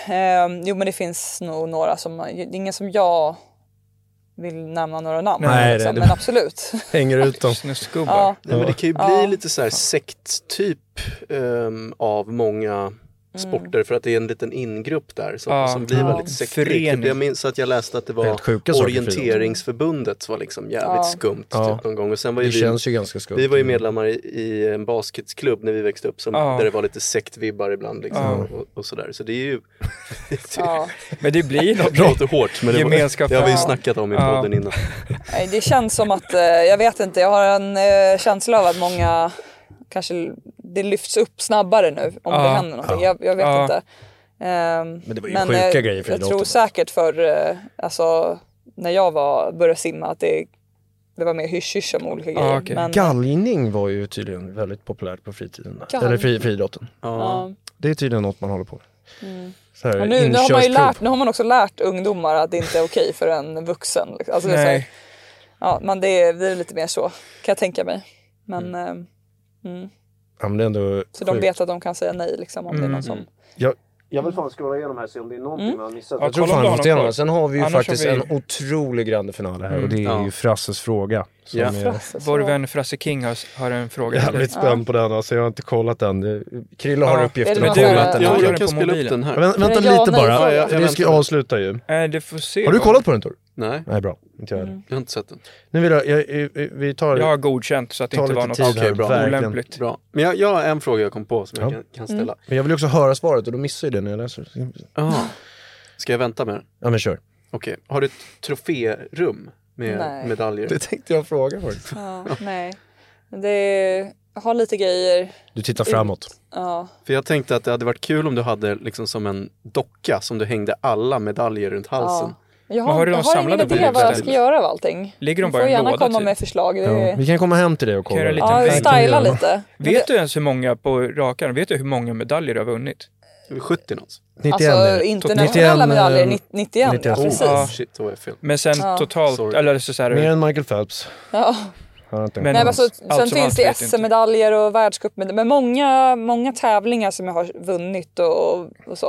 [SPEAKER 1] ehm, jo men det finns nog några som, det är ingen som jag vill nämna några namn.
[SPEAKER 7] Nej,
[SPEAKER 1] liksom,
[SPEAKER 7] det-
[SPEAKER 1] men absolut.
[SPEAKER 7] hänger ut dem.
[SPEAKER 2] Snusgubbar.
[SPEAKER 1] ja.
[SPEAKER 6] Nej, men det kan ju bli lite så här sekttyp ehm, av många
[SPEAKER 2] Mm.
[SPEAKER 1] Mm,
[SPEAKER 6] sporter för att det är en liten ingrupp där som,
[SPEAKER 2] Ja.
[SPEAKER 6] som blir
[SPEAKER 2] Ja.
[SPEAKER 6] väldigt
[SPEAKER 7] typ,
[SPEAKER 6] sektriktigt.
[SPEAKER 2] Förening.
[SPEAKER 6] Jag minns att jag läste att det
[SPEAKER 7] Helt sjuka
[SPEAKER 6] var
[SPEAKER 7] saker för idrott.
[SPEAKER 6] orienteringsförbundet var liksom jävligt skumt
[SPEAKER 7] Ja.
[SPEAKER 6] typ någon gång. Och sen var ju
[SPEAKER 7] Det
[SPEAKER 6] vi,
[SPEAKER 7] känns ju ganska skumt.
[SPEAKER 6] vi var ju medlemmar i, i en basketklubb när vi växte upp som,
[SPEAKER 2] Ja.
[SPEAKER 6] där det var lite sektvibbar ibland liksom,
[SPEAKER 2] Ja.
[SPEAKER 6] och, och sådär. Så det är ju... det,
[SPEAKER 1] Ja.
[SPEAKER 2] Men det blir något.
[SPEAKER 6] det låter hårt men det, var,
[SPEAKER 2] Gemenskap.
[SPEAKER 6] det har vi ju
[SPEAKER 2] Ja.
[SPEAKER 6] snackat om i
[SPEAKER 2] Ja.
[SPEAKER 6] podden innan.
[SPEAKER 1] Nej, det känns som att, eh, jag vet inte, jag har en eh, känsla av att många kanske, det lyfts upp snabbare nu om det
[SPEAKER 2] Ja.
[SPEAKER 1] händer någonting. Jag, jag vet
[SPEAKER 2] Ja.
[SPEAKER 1] inte. Ehm,
[SPEAKER 7] Men det var ju sjuka
[SPEAKER 1] eh,
[SPEAKER 7] grejer för
[SPEAKER 1] Jag
[SPEAKER 7] idrotten.
[SPEAKER 1] tror säkert för, eh, alltså när jag var, började simma att det, det var mer hysch-hysch om olika grejer.
[SPEAKER 2] okej.
[SPEAKER 1] Men,
[SPEAKER 7] Gallning var ju tydligen väldigt populärt på fritiden. där.
[SPEAKER 1] Gall-
[SPEAKER 7] Eller fri, friidrotten.
[SPEAKER 1] ja.
[SPEAKER 7] Det är tydligen något man håller på med. Så här,
[SPEAKER 1] Och Mm. nu, nu, har man ju
[SPEAKER 7] inkörsprov.
[SPEAKER 1] lärt, nu har man också lärt ungdomar att det inte är okej för en vuxen. liksom. Alltså, det är så här,
[SPEAKER 2] Nej.
[SPEAKER 1] ja, men det är, det är lite mer så, kan jag tänka mig. Men,
[SPEAKER 2] Mm.
[SPEAKER 1] eh,
[SPEAKER 7] Ja, men det är ändå
[SPEAKER 1] så de
[SPEAKER 7] sjukt.
[SPEAKER 1] vet att de kan säga nej liksom, om det
[SPEAKER 2] Mm.
[SPEAKER 1] är någon som
[SPEAKER 7] Jag,
[SPEAKER 4] Jag vill fan scrolla igenom här och se om det är någonting man har missat.
[SPEAKER 2] Ja,
[SPEAKER 7] Jag tror
[SPEAKER 2] kolla
[SPEAKER 7] fan
[SPEAKER 2] om
[SPEAKER 7] att
[SPEAKER 2] det
[SPEAKER 7] det
[SPEAKER 2] har
[SPEAKER 7] är
[SPEAKER 2] någon
[SPEAKER 7] något. Sen har vi ju
[SPEAKER 2] Annars
[SPEAKER 7] faktiskt
[SPEAKER 2] har vi-
[SPEAKER 7] en otrolig grande final här och det är
[SPEAKER 6] ja.
[SPEAKER 7] ju Frasses fråga. Som
[SPEAKER 6] Ja.
[SPEAKER 7] är...
[SPEAKER 2] Vår vän Frasse King har, har en fråga.
[SPEAKER 7] Jag är
[SPEAKER 2] till dig.
[SPEAKER 7] Jävligt spänd på den alltså, jag har inte kollat den. Det- Krille har
[SPEAKER 2] Ja.
[SPEAKER 7] uppgiften
[SPEAKER 1] Är det
[SPEAKER 7] att
[SPEAKER 1] någon
[SPEAKER 7] kolla
[SPEAKER 1] fråga?
[SPEAKER 7] den.
[SPEAKER 2] Ja,
[SPEAKER 6] Jag,
[SPEAKER 2] gör
[SPEAKER 6] jag
[SPEAKER 2] det
[SPEAKER 6] kan
[SPEAKER 2] på
[SPEAKER 6] spela upp
[SPEAKER 2] mobilen.
[SPEAKER 6] den här.
[SPEAKER 7] Vänta, vänta
[SPEAKER 1] Är det ja,
[SPEAKER 7] lite
[SPEAKER 1] nej,
[SPEAKER 7] bara,
[SPEAKER 1] fråga?
[SPEAKER 7] för
[SPEAKER 6] Ja, jag
[SPEAKER 7] vi ska
[SPEAKER 6] väntar.
[SPEAKER 7] avsluta ju.
[SPEAKER 2] Nej, du får se.
[SPEAKER 7] Har du
[SPEAKER 2] då.
[SPEAKER 7] kollat på den Tor?
[SPEAKER 6] Nej,
[SPEAKER 7] Nej bra, inte jag heller.
[SPEAKER 6] jag har inte sett den.
[SPEAKER 7] Nu vill jag, jag vi tar,
[SPEAKER 2] Jag har godkänt så att det
[SPEAKER 7] tar
[SPEAKER 2] inte var
[SPEAKER 7] lite
[SPEAKER 2] något
[SPEAKER 7] tid
[SPEAKER 6] Okej,
[SPEAKER 7] här.
[SPEAKER 6] bra.
[SPEAKER 7] verkligen.
[SPEAKER 2] olämpligt.
[SPEAKER 6] Bra. Men jag, jag har en fråga jag kom på som jag
[SPEAKER 7] Ja.
[SPEAKER 6] kan, kan ställa.
[SPEAKER 7] Men jag vill också höra svaret och då missar jag det när jag läser.
[SPEAKER 1] Mm.
[SPEAKER 6] Ah. Ska jag vänta med den?
[SPEAKER 7] Ja men kör.
[SPEAKER 6] Okej. Har du ett troférum med
[SPEAKER 1] Nej.
[SPEAKER 6] medaljer?
[SPEAKER 7] Det tänkte jag fråga faktiskt.
[SPEAKER 1] Ja, nej. Det är, jag har lite grejer.
[SPEAKER 7] Du tittar framåt.
[SPEAKER 1] Ja.
[SPEAKER 6] För jag tänkte att det hade varit kul om du hade liksom som en docka som du hängde alla medaljer runt halsen.
[SPEAKER 1] ja. Jag
[SPEAKER 2] Men
[SPEAKER 1] har,
[SPEAKER 2] har du
[SPEAKER 1] jag
[SPEAKER 2] dem
[SPEAKER 1] har ingen
[SPEAKER 2] samlade på
[SPEAKER 1] idé
[SPEAKER 2] något
[SPEAKER 1] vad jag
[SPEAKER 2] ställe?
[SPEAKER 1] ska göra av allting.
[SPEAKER 2] Ligger de
[SPEAKER 1] Ni
[SPEAKER 2] bara i
[SPEAKER 1] får
[SPEAKER 2] en
[SPEAKER 1] gärna
[SPEAKER 2] låda,
[SPEAKER 1] komma
[SPEAKER 2] typ?
[SPEAKER 1] med förslag. Det
[SPEAKER 7] Ja.
[SPEAKER 1] är,
[SPEAKER 7] Vi kan komma hem till dig och kolla.
[SPEAKER 2] Kan jag göra
[SPEAKER 1] ja,
[SPEAKER 2] lite
[SPEAKER 1] vi
[SPEAKER 2] fint.
[SPEAKER 1] stylar lite.
[SPEAKER 2] Vet du ens hur många på rakan, vet du hur många medaljer du har vunnit?
[SPEAKER 6] Det är väl 70 något.
[SPEAKER 7] 91 är
[SPEAKER 1] Alltså
[SPEAKER 7] det.
[SPEAKER 1] internationella
[SPEAKER 7] 91,
[SPEAKER 1] medaljer,
[SPEAKER 7] eh,
[SPEAKER 1] nitt- 91.
[SPEAKER 7] 91.
[SPEAKER 2] Oh.
[SPEAKER 1] Ja, precis.
[SPEAKER 2] Ja.
[SPEAKER 6] Shit, då var jag fel.
[SPEAKER 2] Men sen totalt,
[SPEAKER 6] Sorry.
[SPEAKER 2] eller så, så här,
[SPEAKER 7] Mer än Michael Phelps.
[SPEAKER 1] Ja.
[SPEAKER 7] Har jag inte.
[SPEAKER 2] Men-
[SPEAKER 1] Nej, men alltså,
[SPEAKER 2] Allt
[SPEAKER 1] sen
[SPEAKER 2] som allt
[SPEAKER 1] finns
[SPEAKER 2] vet
[SPEAKER 1] det
[SPEAKER 2] jag inte.
[SPEAKER 1] SM-medaljer och världscupmedaljer. Men många, många tävlingar som jag har vunnit och, och så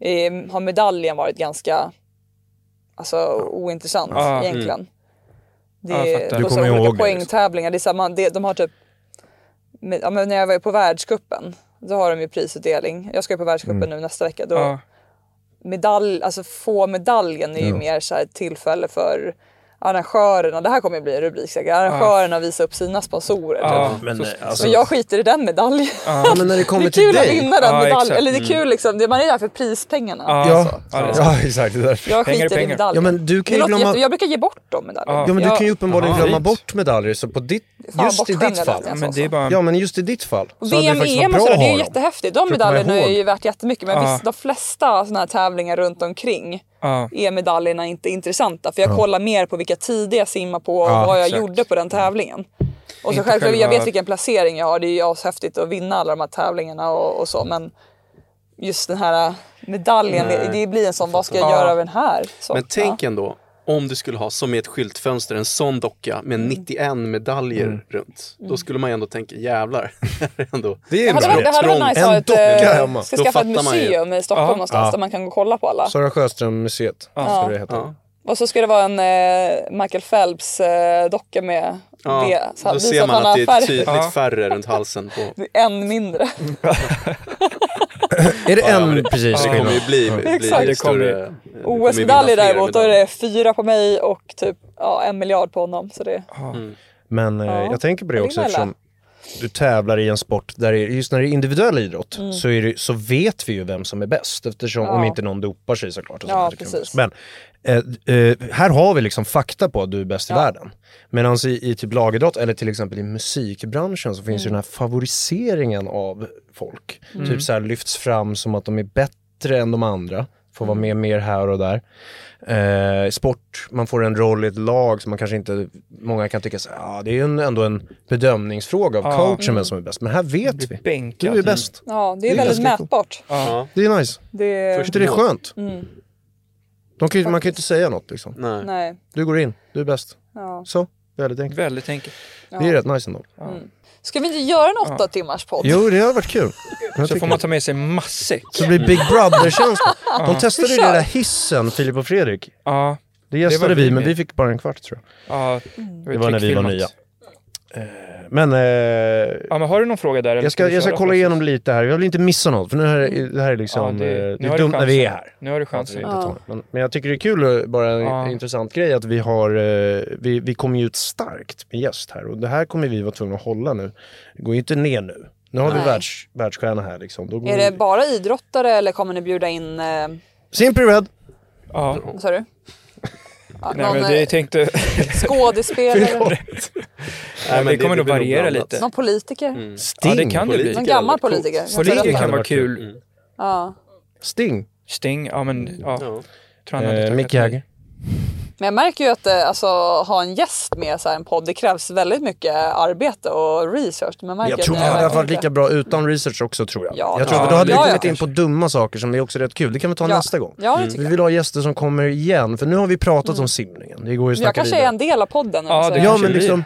[SPEAKER 1] eh, har medaljen varit ganska alltså, ointressant
[SPEAKER 2] Ja,
[SPEAKER 1] egentligen. Det,
[SPEAKER 2] Ah, mm. Ja, jag fattar.
[SPEAKER 1] och
[SPEAKER 7] Du
[SPEAKER 1] så
[SPEAKER 7] kommer
[SPEAKER 1] olika
[SPEAKER 7] ihåg det,
[SPEAKER 2] liksom.
[SPEAKER 1] poängtävlingar. Det är samma, det, de har typ, med, ja, men när jag var på världscupen då har de ju prisutdelning. Jag ska ju på världscupen
[SPEAKER 2] Mm.
[SPEAKER 1] nu nästa vecka. Då,
[SPEAKER 2] ja,
[SPEAKER 1] medalj, alltså få medaljen är ju mer så här ett tillfälle för arrangörerna, det här kommer ju bli en rubrik säkert, arrangörerna visar upp sina sponsorer.
[SPEAKER 2] ja,
[SPEAKER 1] Typ.
[SPEAKER 7] Men, eh, alltså,
[SPEAKER 1] Men jag skiter i den medaljen.
[SPEAKER 7] ja, men när det
[SPEAKER 1] Det är
[SPEAKER 7] kommer till
[SPEAKER 1] kul att
[SPEAKER 7] dig. Mm.
[SPEAKER 1] vinna den
[SPEAKER 2] Ja,
[SPEAKER 1] medaljen,
[SPEAKER 2] exakt.
[SPEAKER 1] eller det är kul liksom, det- man är där för prispengarna.
[SPEAKER 7] Ja,
[SPEAKER 2] Ja, det är
[SPEAKER 7] alltså. ja exakt. Det är därför.
[SPEAKER 1] Jag
[SPEAKER 2] Pengar är
[SPEAKER 1] skiter i
[SPEAKER 2] pengar.
[SPEAKER 1] medaljen.
[SPEAKER 7] Ja men du kan
[SPEAKER 1] det
[SPEAKER 7] ju
[SPEAKER 1] låter
[SPEAKER 7] glömma...
[SPEAKER 1] jätte- jag brukar ge bort de medaljerna.
[SPEAKER 7] Ja men du
[SPEAKER 1] Jag-
[SPEAKER 7] kan ju uppenbarligen
[SPEAKER 2] Aha,
[SPEAKER 7] glömma
[SPEAKER 2] fint.
[SPEAKER 7] bort medaljer, så på ditt,
[SPEAKER 1] Fan,
[SPEAKER 7] just i
[SPEAKER 1] bortskämd
[SPEAKER 7] ditt
[SPEAKER 1] jag
[SPEAKER 7] fall.
[SPEAKER 1] lät jag
[SPEAKER 2] men det är bara...
[SPEAKER 7] Ja men just i ditt fall. så hade
[SPEAKER 1] VM,
[SPEAKER 7] faktiskt varit
[SPEAKER 1] EM E och
[SPEAKER 7] bra
[SPEAKER 1] sådär,
[SPEAKER 7] att
[SPEAKER 1] det är
[SPEAKER 7] ha
[SPEAKER 1] ju
[SPEAKER 7] dem.
[SPEAKER 1] jättehäftigt. De
[SPEAKER 7] För att komma
[SPEAKER 1] medaljerna är
[SPEAKER 7] ihåg.
[SPEAKER 1] ju värt jättemycket men
[SPEAKER 2] Ja.
[SPEAKER 1] visst, de flesta såna här tävlingar runt omkring
[SPEAKER 2] Ja.
[SPEAKER 1] är medaljerna inte intressanta. För jag kollar mer på vilka tider jag simmar på och vad jag
[SPEAKER 2] exakt.
[SPEAKER 1] gjorde
[SPEAKER 7] Mm.
[SPEAKER 1] på den tävlingen. Och så
[SPEAKER 2] Inte
[SPEAKER 1] självklart, jag
[SPEAKER 2] själva-
[SPEAKER 1] vet vilken placering jag har. Det är ju ashäftigt att vinna alla de här tävlingarna och, och så. Men just den här medaljen, det, det blir en sån, vad ska jag göra av den här? Så,
[SPEAKER 6] Men tänk
[SPEAKER 1] ja.
[SPEAKER 6] ändå om du skulle ha, som i ett skyltfönster, en sån docka med
[SPEAKER 1] Mm.
[SPEAKER 6] 91 medaljer
[SPEAKER 7] Mm.
[SPEAKER 6] runt. Då skulle man ju ändå tänka, jävlar. ändå.
[SPEAKER 7] Det
[SPEAKER 1] Det
[SPEAKER 7] är
[SPEAKER 1] hade varit, det hade varit
[SPEAKER 6] Trång-
[SPEAKER 1] nice att ha
[SPEAKER 7] en
[SPEAKER 1] ett,
[SPEAKER 7] docka
[SPEAKER 1] eh,
[SPEAKER 7] hemma.
[SPEAKER 1] ska
[SPEAKER 6] Då
[SPEAKER 1] skaffa ett
[SPEAKER 6] fattar man ju.
[SPEAKER 1] museum i Stockholm någonstans där man kan gå och kolla på alla.
[SPEAKER 7] Sara Sjöström-museet ska det heta.
[SPEAKER 6] Ja.
[SPEAKER 1] Och så ska det vara en eh, Michael Phelps eh, docka med
[SPEAKER 6] Ja,
[SPEAKER 1] det. Så han-
[SPEAKER 6] då
[SPEAKER 1] visa
[SPEAKER 6] ser man
[SPEAKER 1] han
[SPEAKER 6] att
[SPEAKER 1] har
[SPEAKER 6] det är typ-
[SPEAKER 1] färg.
[SPEAKER 6] tydligt
[SPEAKER 2] Ja.
[SPEAKER 6] färre runt halsen. På.
[SPEAKER 1] Det är En mindre.
[SPEAKER 7] Är det
[SPEAKER 6] Ja, men
[SPEAKER 7] en precis
[SPEAKER 6] Det kommer
[SPEAKER 7] skillnad?
[SPEAKER 6] ju bli,
[SPEAKER 1] Exakt.
[SPEAKER 6] bli
[SPEAKER 2] Det kommer ju-
[SPEAKER 6] större. det kommer ju vinna
[SPEAKER 1] OS-medaljer
[SPEAKER 6] fler
[SPEAKER 1] däremot, då är
[SPEAKER 6] medaljer.
[SPEAKER 1] det fyra på mig och typ ja, en miljard på honom. Så det,
[SPEAKER 7] Men eh,
[SPEAKER 1] Ja.
[SPEAKER 7] jag tänker på det
[SPEAKER 1] Ja, det är
[SPEAKER 7] också
[SPEAKER 1] väl
[SPEAKER 7] eftersom du tävlar i en sport där, det- just när det är individuell idrott, så, är det, så vet vi ju vem som är bäst. Eftersom, Om
[SPEAKER 1] Mm. Ja.
[SPEAKER 7] inte någon dopar sig såklart. Och
[SPEAKER 1] Ja,
[SPEAKER 7] sånt där, det kan
[SPEAKER 1] precis.
[SPEAKER 7] vara bäst. Men eh, eh, här har vi liksom fakta på att du är bäst i världen. Medan i, i typ lagidrott eller till exempel i musikbranschen så finns
[SPEAKER 1] Mm.
[SPEAKER 7] ju den här favoriseringen av folk. Typ så här lyfts fram som att de är bättre än de andra. Får vara med mer här och där. Eh, sport, man får en roll i ett lag som man kanske inte, många kan tycka så här, ah, det är ju en, ändå en bedömningsfråga av coachen vem som är bäst. Men här vet vi, du
[SPEAKER 2] bänkad.
[SPEAKER 7] är bäst.
[SPEAKER 1] ja, det är
[SPEAKER 7] Det är
[SPEAKER 1] väldigt
[SPEAKER 7] ganska coolt.
[SPEAKER 1] mätbart.
[SPEAKER 7] Det är nice.
[SPEAKER 1] Det,
[SPEAKER 7] Är inte det skönt? De kan ju, man kan ju inte säga något liksom.
[SPEAKER 6] Nej.
[SPEAKER 1] nej.
[SPEAKER 7] Du går in, du är bäst.
[SPEAKER 1] Ja.
[SPEAKER 7] Så, väldigt enkelt.
[SPEAKER 2] Väldigt enkelt.
[SPEAKER 7] Det är rätt nice ändå.
[SPEAKER 1] Ska vi inte göra en åtta timmars podd?
[SPEAKER 7] Jo, det har varit kul. Jag
[SPEAKER 2] Så
[SPEAKER 7] tycker
[SPEAKER 2] får man ta med sig matsäck.
[SPEAKER 7] Så det blir Big Brother-känsla. De testade ju
[SPEAKER 1] Vi kör.
[SPEAKER 7] det där hissen, Filip och Fredrik.
[SPEAKER 2] Ja,
[SPEAKER 7] Det gästade
[SPEAKER 2] Det var
[SPEAKER 7] vi, men
[SPEAKER 2] rimligt.
[SPEAKER 7] vi fick bara en kvart tror jag.
[SPEAKER 2] ja.
[SPEAKER 1] Mm.
[SPEAKER 7] Det var när vi var
[SPEAKER 2] klickfilmat.
[SPEAKER 7] nya. Eh, Men eh,
[SPEAKER 2] Ja, men har du någon fråga där? eller
[SPEAKER 7] jag, ska,
[SPEAKER 2] vi
[SPEAKER 7] jag ska
[SPEAKER 2] köra
[SPEAKER 7] kolla
[SPEAKER 2] först?
[SPEAKER 7] igenom lite här. Jag vill inte missa något, för nu här, det här är liksom...
[SPEAKER 2] Ja,
[SPEAKER 7] eh, det,
[SPEAKER 2] nu har
[SPEAKER 7] är
[SPEAKER 2] du
[SPEAKER 7] dumt när vi är
[SPEAKER 2] chansen.
[SPEAKER 7] här.
[SPEAKER 2] Nu har du
[SPEAKER 7] Alltså,
[SPEAKER 2] chansen.
[SPEAKER 7] inte ta det. Men, men jag tycker det är kul, eh, bara en
[SPEAKER 2] Ja.
[SPEAKER 7] intressant grej, att vi har, eh, vi, vi kommer ju ut starkt med gäst här och det här kommer vi vara tvungna att hålla nu. Det går ju inte ner nu. Nu har
[SPEAKER 1] Nej.
[SPEAKER 7] vi världs, världsstjärna här liksom. Då går
[SPEAKER 1] Är det
[SPEAKER 7] vi-
[SPEAKER 1] bara idrottare eller kommer ni bjuda in, eh,
[SPEAKER 7] Simply
[SPEAKER 2] Mm.
[SPEAKER 7] Red!
[SPEAKER 2] Ja.
[SPEAKER 1] vad sa du? Ja,
[SPEAKER 2] Nej, men
[SPEAKER 1] någon
[SPEAKER 2] det
[SPEAKER 1] eh,
[SPEAKER 2] jag tänkte...
[SPEAKER 1] skådespelare,
[SPEAKER 6] Nej, men
[SPEAKER 2] det kommer nog
[SPEAKER 6] blir
[SPEAKER 2] variera
[SPEAKER 6] blandat.
[SPEAKER 2] lite.
[SPEAKER 1] någon politiker,
[SPEAKER 6] Mm.
[SPEAKER 7] Sting!
[SPEAKER 2] Ja, det kan det bli.
[SPEAKER 1] någon gammal politiker.
[SPEAKER 2] Politiker
[SPEAKER 7] Hade
[SPEAKER 2] kan vara
[SPEAKER 7] varit kul.
[SPEAKER 2] kul.
[SPEAKER 1] Ja.
[SPEAKER 7] Sting!
[SPEAKER 2] Sting, ja men... Ja.
[SPEAKER 6] Ja.
[SPEAKER 2] Tror han hade
[SPEAKER 7] Eh,
[SPEAKER 2] tackat
[SPEAKER 7] Mick
[SPEAKER 2] nej.
[SPEAKER 7] Jagger.
[SPEAKER 1] Men jag märker ju att eh, alltså, ha en gäst med så här, en podd, det krävs väldigt mycket arbete och research. Men märker
[SPEAKER 7] Jag
[SPEAKER 1] att
[SPEAKER 7] tror
[SPEAKER 1] ni
[SPEAKER 7] det hade
[SPEAKER 1] verkligen
[SPEAKER 7] varit
[SPEAKER 1] inte-
[SPEAKER 7] lika bra utan research också tror jag.
[SPEAKER 1] Ja,
[SPEAKER 7] jag tror
[SPEAKER 1] ja,
[SPEAKER 7] att då hade vi
[SPEAKER 1] ja, ja.
[SPEAKER 7] kommit in på dumma saker som är också rätt kul. Det kan vi ta
[SPEAKER 1] Ja.
[SPEAKER 7] nästa gång. Mm.
[SPEAKER 1] Ja, det tycker
[SPEAKER 7] Vi vill ha gäster som kommer igen, för nu har vi pratat om simningen. Det går ju
[SPEAKER 1] jag. Jag
[SPEAKER 7] att snacka
[SPEAKER 1] kanske
[SPEAKER 7] vidare.
[SPEAKER 1] är en del av podden.
[SPEAKER 2] Ja, det
[SPEAKER 1] så-
[SPEAKER 7] Ja
[SPEAKER 2] kanske
[SPEAKER 7] men
[SPEAKER 2] blir.
[SPEAKER 7] liksom,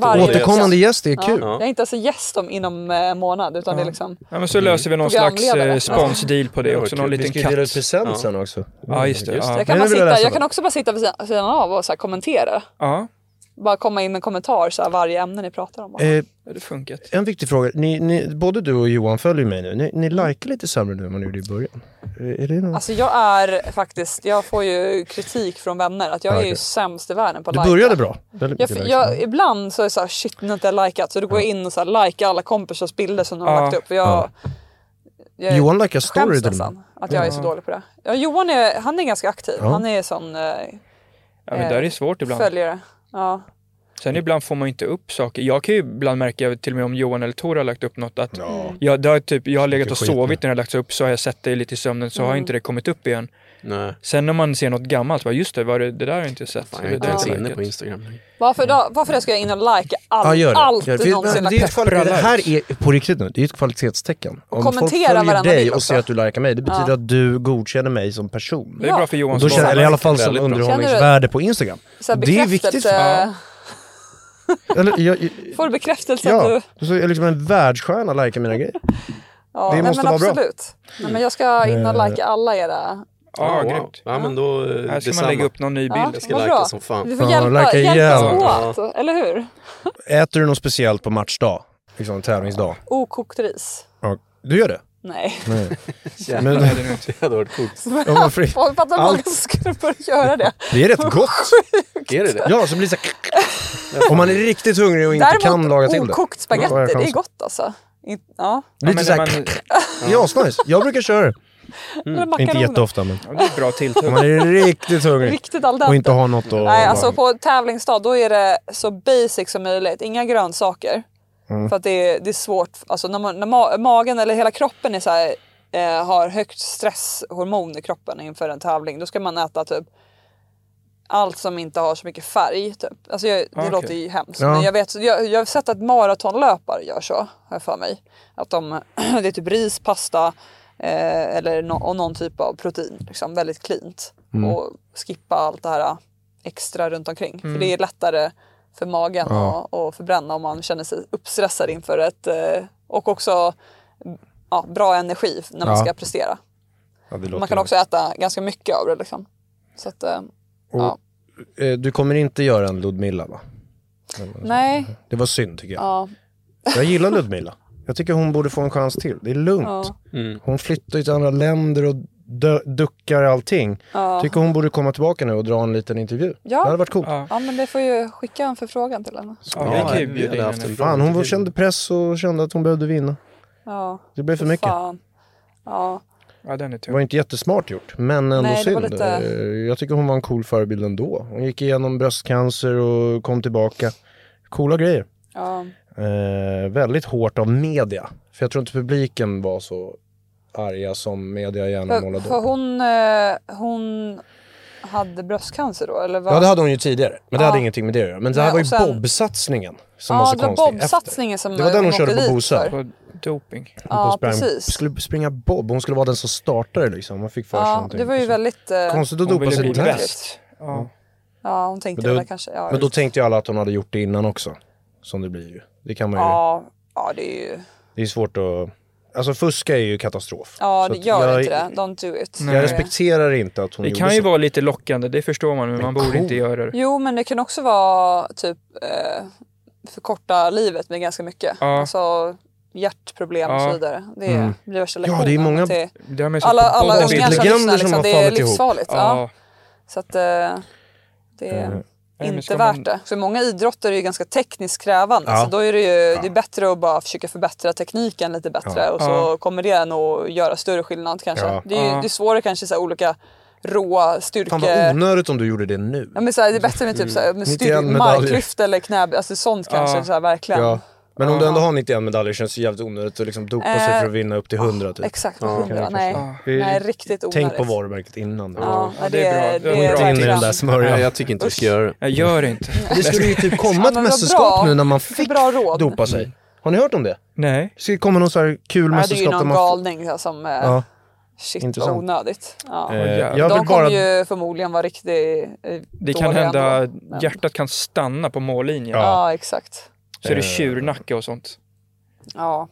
[SPEAKER 1] varje
[SPEAKER 7] återkommande
[SPEAKER 1] vecka.
[SPEAKER 7] gäst är kul.
[SPEAKER 1] Jag är inte alltså gäst om, inom eh, en månad utan det är liksom
[SPEAKER 2] Ja, men så löser vi någon slags
[SPEAKER 1] Programledare.
[SPEAKER 2] eh, sponsdeal på det också. Någon
[SPEAKER 7] Vi
[SPEAKER 2] liten
[SPEAKER 7] ska ju dela
[SPEAKER 2] katt.
[SPEAKER 7] ut present sen också.
[SPEAKER 2] Ja, just det. Ja.
[SPEAKER 1] Jag kan,
[SPEAKER 7] Men
[SPEAKER 1] bara
[SPEAKER 7] jag vill
[SPEAKER 1] sitta,
[SPEAKER 7] läsa
[SPEAKER 1] jag
[SPEAKER 7] det.
[SPEAKER 1] kan också bara sitta vid sidan- sidan av och så här kommentera.
[SPEAKER 2] ja,
[SPEAKER 1] Bara komma in med en kommentar så här, varje ämne ni pratar om.
[SPEAKER 7] Eh,
[SPEAKER 2] det hade funkat.
[SPEAKER 7] en viktig fråga, ni, ni, både du och Johan följer mig nu. Ni, ni likar lite sämre nu än vad ni gjorde i början. Eh, Är det någon...
[SPEAKER 1] Alltså jag är faktiskt, jag får ju kritik från vänner att jag är ju
[SPEAKER 7] okej.
[SPEAKER 1] sämst i världen på att
[SPEAKER 7] du
[SPEAKER 1] lajka.
[SPEAKER 7] började bra. Väldigt
[SPEAKER 1] Jag,
[SPEAKER 7] mycket likes.
[SPEAKER 1] jag, ibland så är det så här, shit nu har inte jag likat. Så då går jag in och så här, likar alla kompisars bilder som de har
[SPEAKER 2] Ja.
[SPEAKER 1] lagt upp. För jag, jag
[SPEAKER 7] Johan likar story
[SPEAKER 1] skäms
[SPEAKER 7] till och med.
[SPEAKER 1] nästan att jag är så dålig på det. Ja, Johan är, han är ganska aktiv. Han är sån eh,
[SPEAKER 2] Ja, men det där är svårt ibland.
[SPEAKER 1] följare. Ja.
[SPEAKER 2] Sen ibland får man ju inte upp saker. Jag kan ju ibland märka, till och med om Johan eller Tor har lagt upp något, att jag, det har typ, jag har legat och
[SPEAKER 7] skit nu.
[SPEAKER 2] sovit när det har lagts upp, så har jag sett det lite i sömnen, så
[SPEAKER 1] Mm.
[SPEAKER 2] har inte det kommit upp igen.
[SPEAKER 6] Nej.
[SPEAKER 2] Sen när man ser något gammalt, bara, just det, var det, det där har jag inte sett.
[SPEAKER 6] Fan,
[SPEAKER 2] Det
[SPEAKER 6] jag är inte
[SPEAKER 2] där
[SPEAKER 6] ens
[SPEAKER 2] har jag
[SPEAKER 6] inne
[SPEAKER 2] likat.
[SPEAKER 6] på Instagram.
[SPEAKER 1] Varför, då, varför då ska jag in och likea all,
[SPEAKER 7] Ja, gör det.
[SPEAKER 1] allt
[SPEAKER 7] gör det.
[SPEAKER 1] du någonsin
[SPEAKER 7] det,
[SPEAKER 1] lagt
[SPEAKER 7] det, är
[SPEAKER 1] upp?
[SPEAKER 7] ett kvalitet, det här är på riktigt nu, det är ett kvalitetstecken. Om folk
[SPEAKER 1] kommentera
[SPEAKER 7] följer
[SPEAKER 1] varandra
[SPEAKER 7] dig
[SPEAKER 1] bild
[SPEAKER 7] och
[SPEAKER 1] också.
[SPEAKER 7] ser att du likar mig, det betyder att du godkänner mig som person.
[SPEAKER 2] Det är bra för
[SPEAKER 7] Och
[SPEAKER 2] Johans
[SPEAKER 7] då känner,
[SPEAKER 2] barn.
[SPEAKER 7] eller i alla fall som
[SPEAKER 6] Väldigt bra.
[SPEAKER 7] underhållningsvärde på Instagram.
[SPEAKER 1] Så här
[SPEAKER 7] Det är viktigt.
[SPEAKER 1] bekräftelse-
[SPEAKER 2] Ja.
[SPEAKER 7] Eller, jag,
[SPEAKER 1] Får du bekräftelse att du...
[SPEAKER 7] ja, så är liksom en världsstjärna likar mina grejer.
[SPEAKER 1] Ja,
[SPEAKER 7] Det
[SPEAKER 1] nej,
[SPEAKER 7] måste
[SPEAKER 1] men
[SPEAKER 7] vara bra. Mm.
[SPEAKER 1] absolut. Nej, men jag ska in och likea alla era...
[SPEAKER 2] Ja,
[SPEAKER 6] wow.
[SPEAKER 2] grymt.
[SPEAKER 6] Ja, men då eh,
[SPEAKER 2] Här ska
[SPEAKER 6] detsamma.
[SPEAKER 2] man lägga upp någon ny bild.
[SPEAKER 6] Jag ska
[SPEAKER 1] vad
[SPEAKER 6] likea
[SPEAKER 1] bra.
[SPEAKER 6] som fan.
[SPEAKER 1] Vi får
[SPEAKER 7] Ja,
[SPEAKER 1] hjälpa,
[SPEAKER 7] likea igen.
[SPEAKER 1] hjälpas åt, eller hur?
[SPEAKER 7] Äter du något speciellt på matchdag? Liksom tävlingsdag?
[SPEAKER 1] Okokt ris.
[SPEAKER 7] Ja. Du gör det?
[SPEAKER 1] Nej.
[SPEAKER 7] Men,
[SPEAKER 6] Det hade varit coolt.
[SPEAKER 7] ja, varför?
[SPEAKER 1] Folk fattar hur många som skulle börja göra det.
[SPEAKER 7] det är rätt gott.
[SPEAKER 6] Är det det?
[SPEAKER 7] Ja, så blir det så här- Om man är riktigt hungrig och inte kan laga till det.
[SPEAKER 1] okokt
[SPEAKER 7] Då har jag
[SPEAKER 1] spagetti, det är
[SPEAKER 7] chansen.
[SPEAKER 1] gott alltså. In, ja.
[SPEAKER 2] Ja,
[SPEAKER 7] Lite
[SPEAKER 2] men
[SPEAKER 7] så
[SPEAKER 2] när
[SPEAKER 7] här...
[SPEAKER 2] man,
[SPEAKER 7] Det är asnice. Jag brukar köra det.
[SPEAKER 1] Eller
[SPEAKER 7] Inte
[SPEAKER 1] makaroner.
[SPEAKER 7] jätteofta, men
[SPEAKER 2] ja, det är ett bra tilltugg.
[SPEAKER 7] om man är riktigt hungrig
[SPEAKER 1] Riktigt al dente.
[SPEAKER 7] och inte har något att...
[SPEAKER 1] Nej, alltså på tävlingsdag då är det så basic som möjligt. Inga grönsaker.
[SPEAKER 7] Mm.
[SPEAKER 1] För att det är, det är svårt. Alltså när, man, när ma- magen eller hela kroppen är så här, eh, har högt stresshormon i kroppen inför en tävling. Då ska man äta typ allt som inte har så mycket färg. Typ. Alltså jag, det
[SPEAKER 2] okej.
[SPEAKER 1] låter ju hemskt.
[SPEAKER 7] Ja.
[SPEAKER 1] Men jag, vet, jag, jag har sett att maratonlöpare gör så, har jag för mig. Att de, det är typ ris, pasta, Eh, eller nå- och någon typ av protein. Liksom, väldigt cleant.
[SPEAKER 7] Mm.
[SPEAKER 1] Och skippa allt det här äh, extra runt omkring. För det är lättare för magen
[SPEAKER 7] Ja.
[SPEAKER 1] att, att förbränna om man känner sig uppstressad inför ett... Eh, och också ja, bra energi när man
[SPEAKER 7] Ja.
[SPEAKER 1] ska prestera.
[SPEAKER 7] Ja, det
[SPEAKER 1] Man
[SPEAKER 7] låter
[SPEAKER 1] kan också äta ganska mycket av det. Liksom. Så att, eh, ja.
[SPEAKER 7] Eh, Du kommer inte göra en Ludmilla va?
[SPEAKER 1] Nej,
[SPEAKER 7] Det var synd tycker jag.
[SPEAKER 1] ja.
[SPEAKER 7] Jag gillar Ludmilla. Jag tycker hon borde få en chans till. Det är lugnt.
[SPEAKER 1] Ja.
[SPEAKER 7] Hon flyttar ju till andra länder och dö- duckar allting. Tycker hon borde komma tillbaka nu och dra en liten intervju.
[SPEAKER 1] Ja.
[SPEAKER 7] Det hade varit coolt.
[SPEAKER 2] Ja.
[SPEAKER 1] ja, men det får ju skicka en förfrågan till henne.
[SPEAKER 2] Ja, vi kan ju
[SPEAKER 6] vi
[SPEAKER 2] bjuda
[SPEAKER 6] hade
[SPEAKER 2] in
[SPEAKER 6] haft
[SPEAKER 2] henne.
[SPEAKER 6] en bra
[SPEAKER 7] Fan, hon
[SPEAKER 6] intervju.
[SPEAKER 7] kände press och kände att hon behövde vinna.
[SPEAKER 1] Ja,
[SPEAKER 7] Det blev för mycket.
[SPEAKER 1] fan. Ja,
[SPEAKER 2] Ja, den är
[SPEAKER 7] Det var
[SPEAKER 2] tung.
[SPEAKER 7] inte jättesmart gjort, men ändå
[SPEAKER 1] Nej, det var
[SPEAKER 7] synd.
[SPEAKER 1] lite-
[SPEAKER 7] Eh, Jag tycker hon var en cool förebild ändå. Hon gick igenom bröstcancer och kom tillbaka. Coola grejer.
[SPEAKER 1] ja.
[SPEAKER 7] Eh, väldigt hårt av media. För jag tror inte publiken var så arga som media gärna
[SPEAKER 1] För,
[SPEAKER 7] målade
[SPEAKER 1] för
[SPEAKER 7] upp.
[SPEAKER 1] hon, eh, hon hade bröstcancer då, eller vad?
[SPEAKER 7] Ja det hade hon ju tidigare, men det
[SPEAKER 1] Ja.
[SPEAKER 7] hade ingenting med det att göra. Men det här
[SPEAKER 1] Nej,
[SPEAKER 7] var ju
[SPEAKER 1] och sen-
[SPEAKER 7] Bob-satsningen som var
[SPEAKER 1] Ja,
[SPEAKER 7] så
[SPEAKER 1] det var
[SPEAKER 7] konstig. efter.
[SPEAKER 1] Bob-satsningen som
[SPEAKER 7] Det var den hon körde
[SPEAKER 1] åkte
[SPEAKER 7] på
[SPEAKER 1] dit för.
[SPEAKER 7] Bosön.
[SPEAKER 2] På doping.
[SPEAKER 7] Hon
[SPEAKER 1] Ja,
[SPEAKER 7] på sprang,
[SPEAKER 1] precis.
[SPEAKER 7] skulle springa Bob, hon skulle vara den som startade liksom. Man fick för sig
[SPEAKER 1] Ja,
[SPEAKER 7] någonting.
[SPEAKER 1] det var ju väldigt... Eh,
[SPEAKER 7] Konstigt att
[SPEAKER 2] Hon
[SPEAKER 7] dopa
[SPEAKER 2] ville
[SPEAKER 7] sig
[SPEAKER 2] bli
[SPEAKER 7] till test.
[SPEAKER 2] bäst. Ja.
[SPEAKER 1] ja, hon tänkte
[SPEAKER 7] Men då-
[SPEAKER 1] väl kanske... Ja,
[SPEAKER 7] Men då
[SPEAKER 1] visst.
[SPEAKER 7] tänkte ju alla att hon hade gjort det innan också. Som det blir ju. Det kan man ju.
[SPEAKER 1] ja, ja, det är ju...
[SPEAKER 7] Det är svårt att... Alltså fuska är ju katastrof.
[SPEAKER 1] Ja,
[SPEAKER 7] Så
[SPEAKER 1] det
[SPEAKER 7] att
[SPEAKER 1] gör
[SPEAKER 7] jag,
[SPEAKER 1] inte det. Don't do it.
[SPEAKER 7] Jag respekterar inte att hon
[SPEAKER 2] Det
[SPEAKER 7] gjorde
[SPEAKER 2] kan ju
[SPEAKER 7] så.
[SPEAKER 2] vara lite lockande, det förstår man, men man borde inte göra det.
[SPEAKER 1] Jo, men det kan också vara typ eh, förkorta livet med ganska mycket.
[SPEAKER 2] Ja.
[SPEAKER 1] Alltså hjärtproblem och
[SPEAKER 2] Ja.
[SPEAKER 1] så vidare. Det är, blir värsta
[SPEAKER 7] Mm. det är
[SPEAKER 1] lektionen.
[SPEAKER 7] många-
[SPEAKER 1] till
[SPEAKER 2] Det har man ju sett
[SPEAKER 1] alla,
[SPEAKER 2] på
[SPEAKER 1] alla
[SPEAKER 2] Bob.
[SPEAKER 7] Bobby.
[SPEAKER 1] ungar som
[SPEAKER 7] Legender
[SPEAKER 1] lyssnar,
[SPEAKER 7] som
[SPEAKER 1] liksom,
[SPEAKER 7] har
[SPEAKER 1] det är
[SPEAKER 7] fallit ihop.
[SPEAKER 1] livsfarligt. Ja.
[SPEAKER 2] Ja.
[SPEAKER 1] Så att eh, det
[SPEAKER 7] Eh,
[SPEAKER 1] är
[SPEAKER 2] men
[SPEAKER 1] inte
[SPEAKER 2] ska man-
[SPEAKER 1] värt det. För många idrotter är ju ganska tekniskt krävande.
[SPEAKER 7] Ja.
[SPEAKER 1] Så då är det ju det är bättre att bara försöka förbättra tekniken lite bättre och så
[SPEAKER 2] Ja.
[SPEAKER 1] kommer det nog göra större skillnad kanske.
[SPEAKER 7] Ja.
[SPEAKER 1] Det, är ju,
[SPEAKER 2] Ja.
[SPEAKER 1] det är svårare kanske så här, olika råa
[SPEAKER 7] Fan vad
[SPEAKER 1] styrkor...
[SPEAKER 7] onödigt om du gjorde det nu.
[SPEAKER 1] Ja, men så här, det är bättre med typ så här, med
[SPEAKER 7] 91
[SPEAKER 1] styr,
[SPEAKER 7] medaljer.
[SPEAKER 1] marklyft eller knä, alltså sånt kanske så här, verkligen.
[SPEAKER 7] Ja. Men om du ändå har 91 medaljer känns det jävligt onödigt att liksom dopa sig
[SPEAKER 1] Eh,
[SPEAKER 7] för att vinna upp till 100 typ.
[SPEAKER 1] Exakt, hundra. Nej,
[SPEAKER 7] Det är-
[SPEAKER 1] nej, riktigt onödigt.
[SPEAKER 7] Tänk på varumärket innan.
[SPEAKER 1] Ja, nej, det,
[SPEAKER 2] det är
[SPEAKER 1] är
[SPEAKER 2] bra.
[SPEAKER 1] det,
[SPEAKER 2] Det
[SPEAKER 1] är
[SPEAKER 2] är bra.
[SPEAKER 7] Inte in i den där
[SPEAKER 1] verkligen.
[SPEAKER 7] smörjan.
[SPEAKER 6] Nej, jag tycker inte vi ska göra det.
[SPEAKER 2] Jag gör det inte.
[SPEAKER 7] Det skulle ju typ komma
[SPEAKER 1] Ja,
[SPEAKER 7] ett
[SPEAKER 1] men vad
[SPEAKER 7] mästerskap
[SPEAKER 1] bra.
[SPEAKER 7] nu när man fick
[SPEAKER 1] Bra råd.
[SPEAKER 7] dopa sig. Har ni hört om det?
[SPEAKER 2] Nej.
[SPEAKER 7] Det ska komma någon så här kul
[SPEAKER 1] Ja, det är ju
[SPEAKER 7] mästerskap där
[SPEAKER 1] någon
[SPEAKER 7] man... får-
[SPEAKER 1] galning här, som... eh,
[SPEAKER 7] Ja.
[SPEAKER 1] Shit
[SPEAKER 7] Intressant.
[SPEAKER 1] vad onödigt. Ja.
[SPEAKER 7] Eh,
[SPEAKER 2] jävlar.
[SPEAKER 7] jag
[SPEAKER 1] De
[SPEAKER 7] vill bara...
[SPEAKER 1] kommer ju förmodligen vara riktigt eh,
[SPEAKER 2] Det kan
[SPEAKER 1] dåliga
[SPEAKER 2] hända,
[SPEAKER 1] ändå, men-
[SPEAKER 2] hjärtat kan stanna på mållinjen.
[SPEAKER 7] Ja. Eh,
[SPEAKER 1] Ja, exakt.
[SPEAKER 2] Så är det tjurnacke och sånt.
[SPEAKER 1] Ja.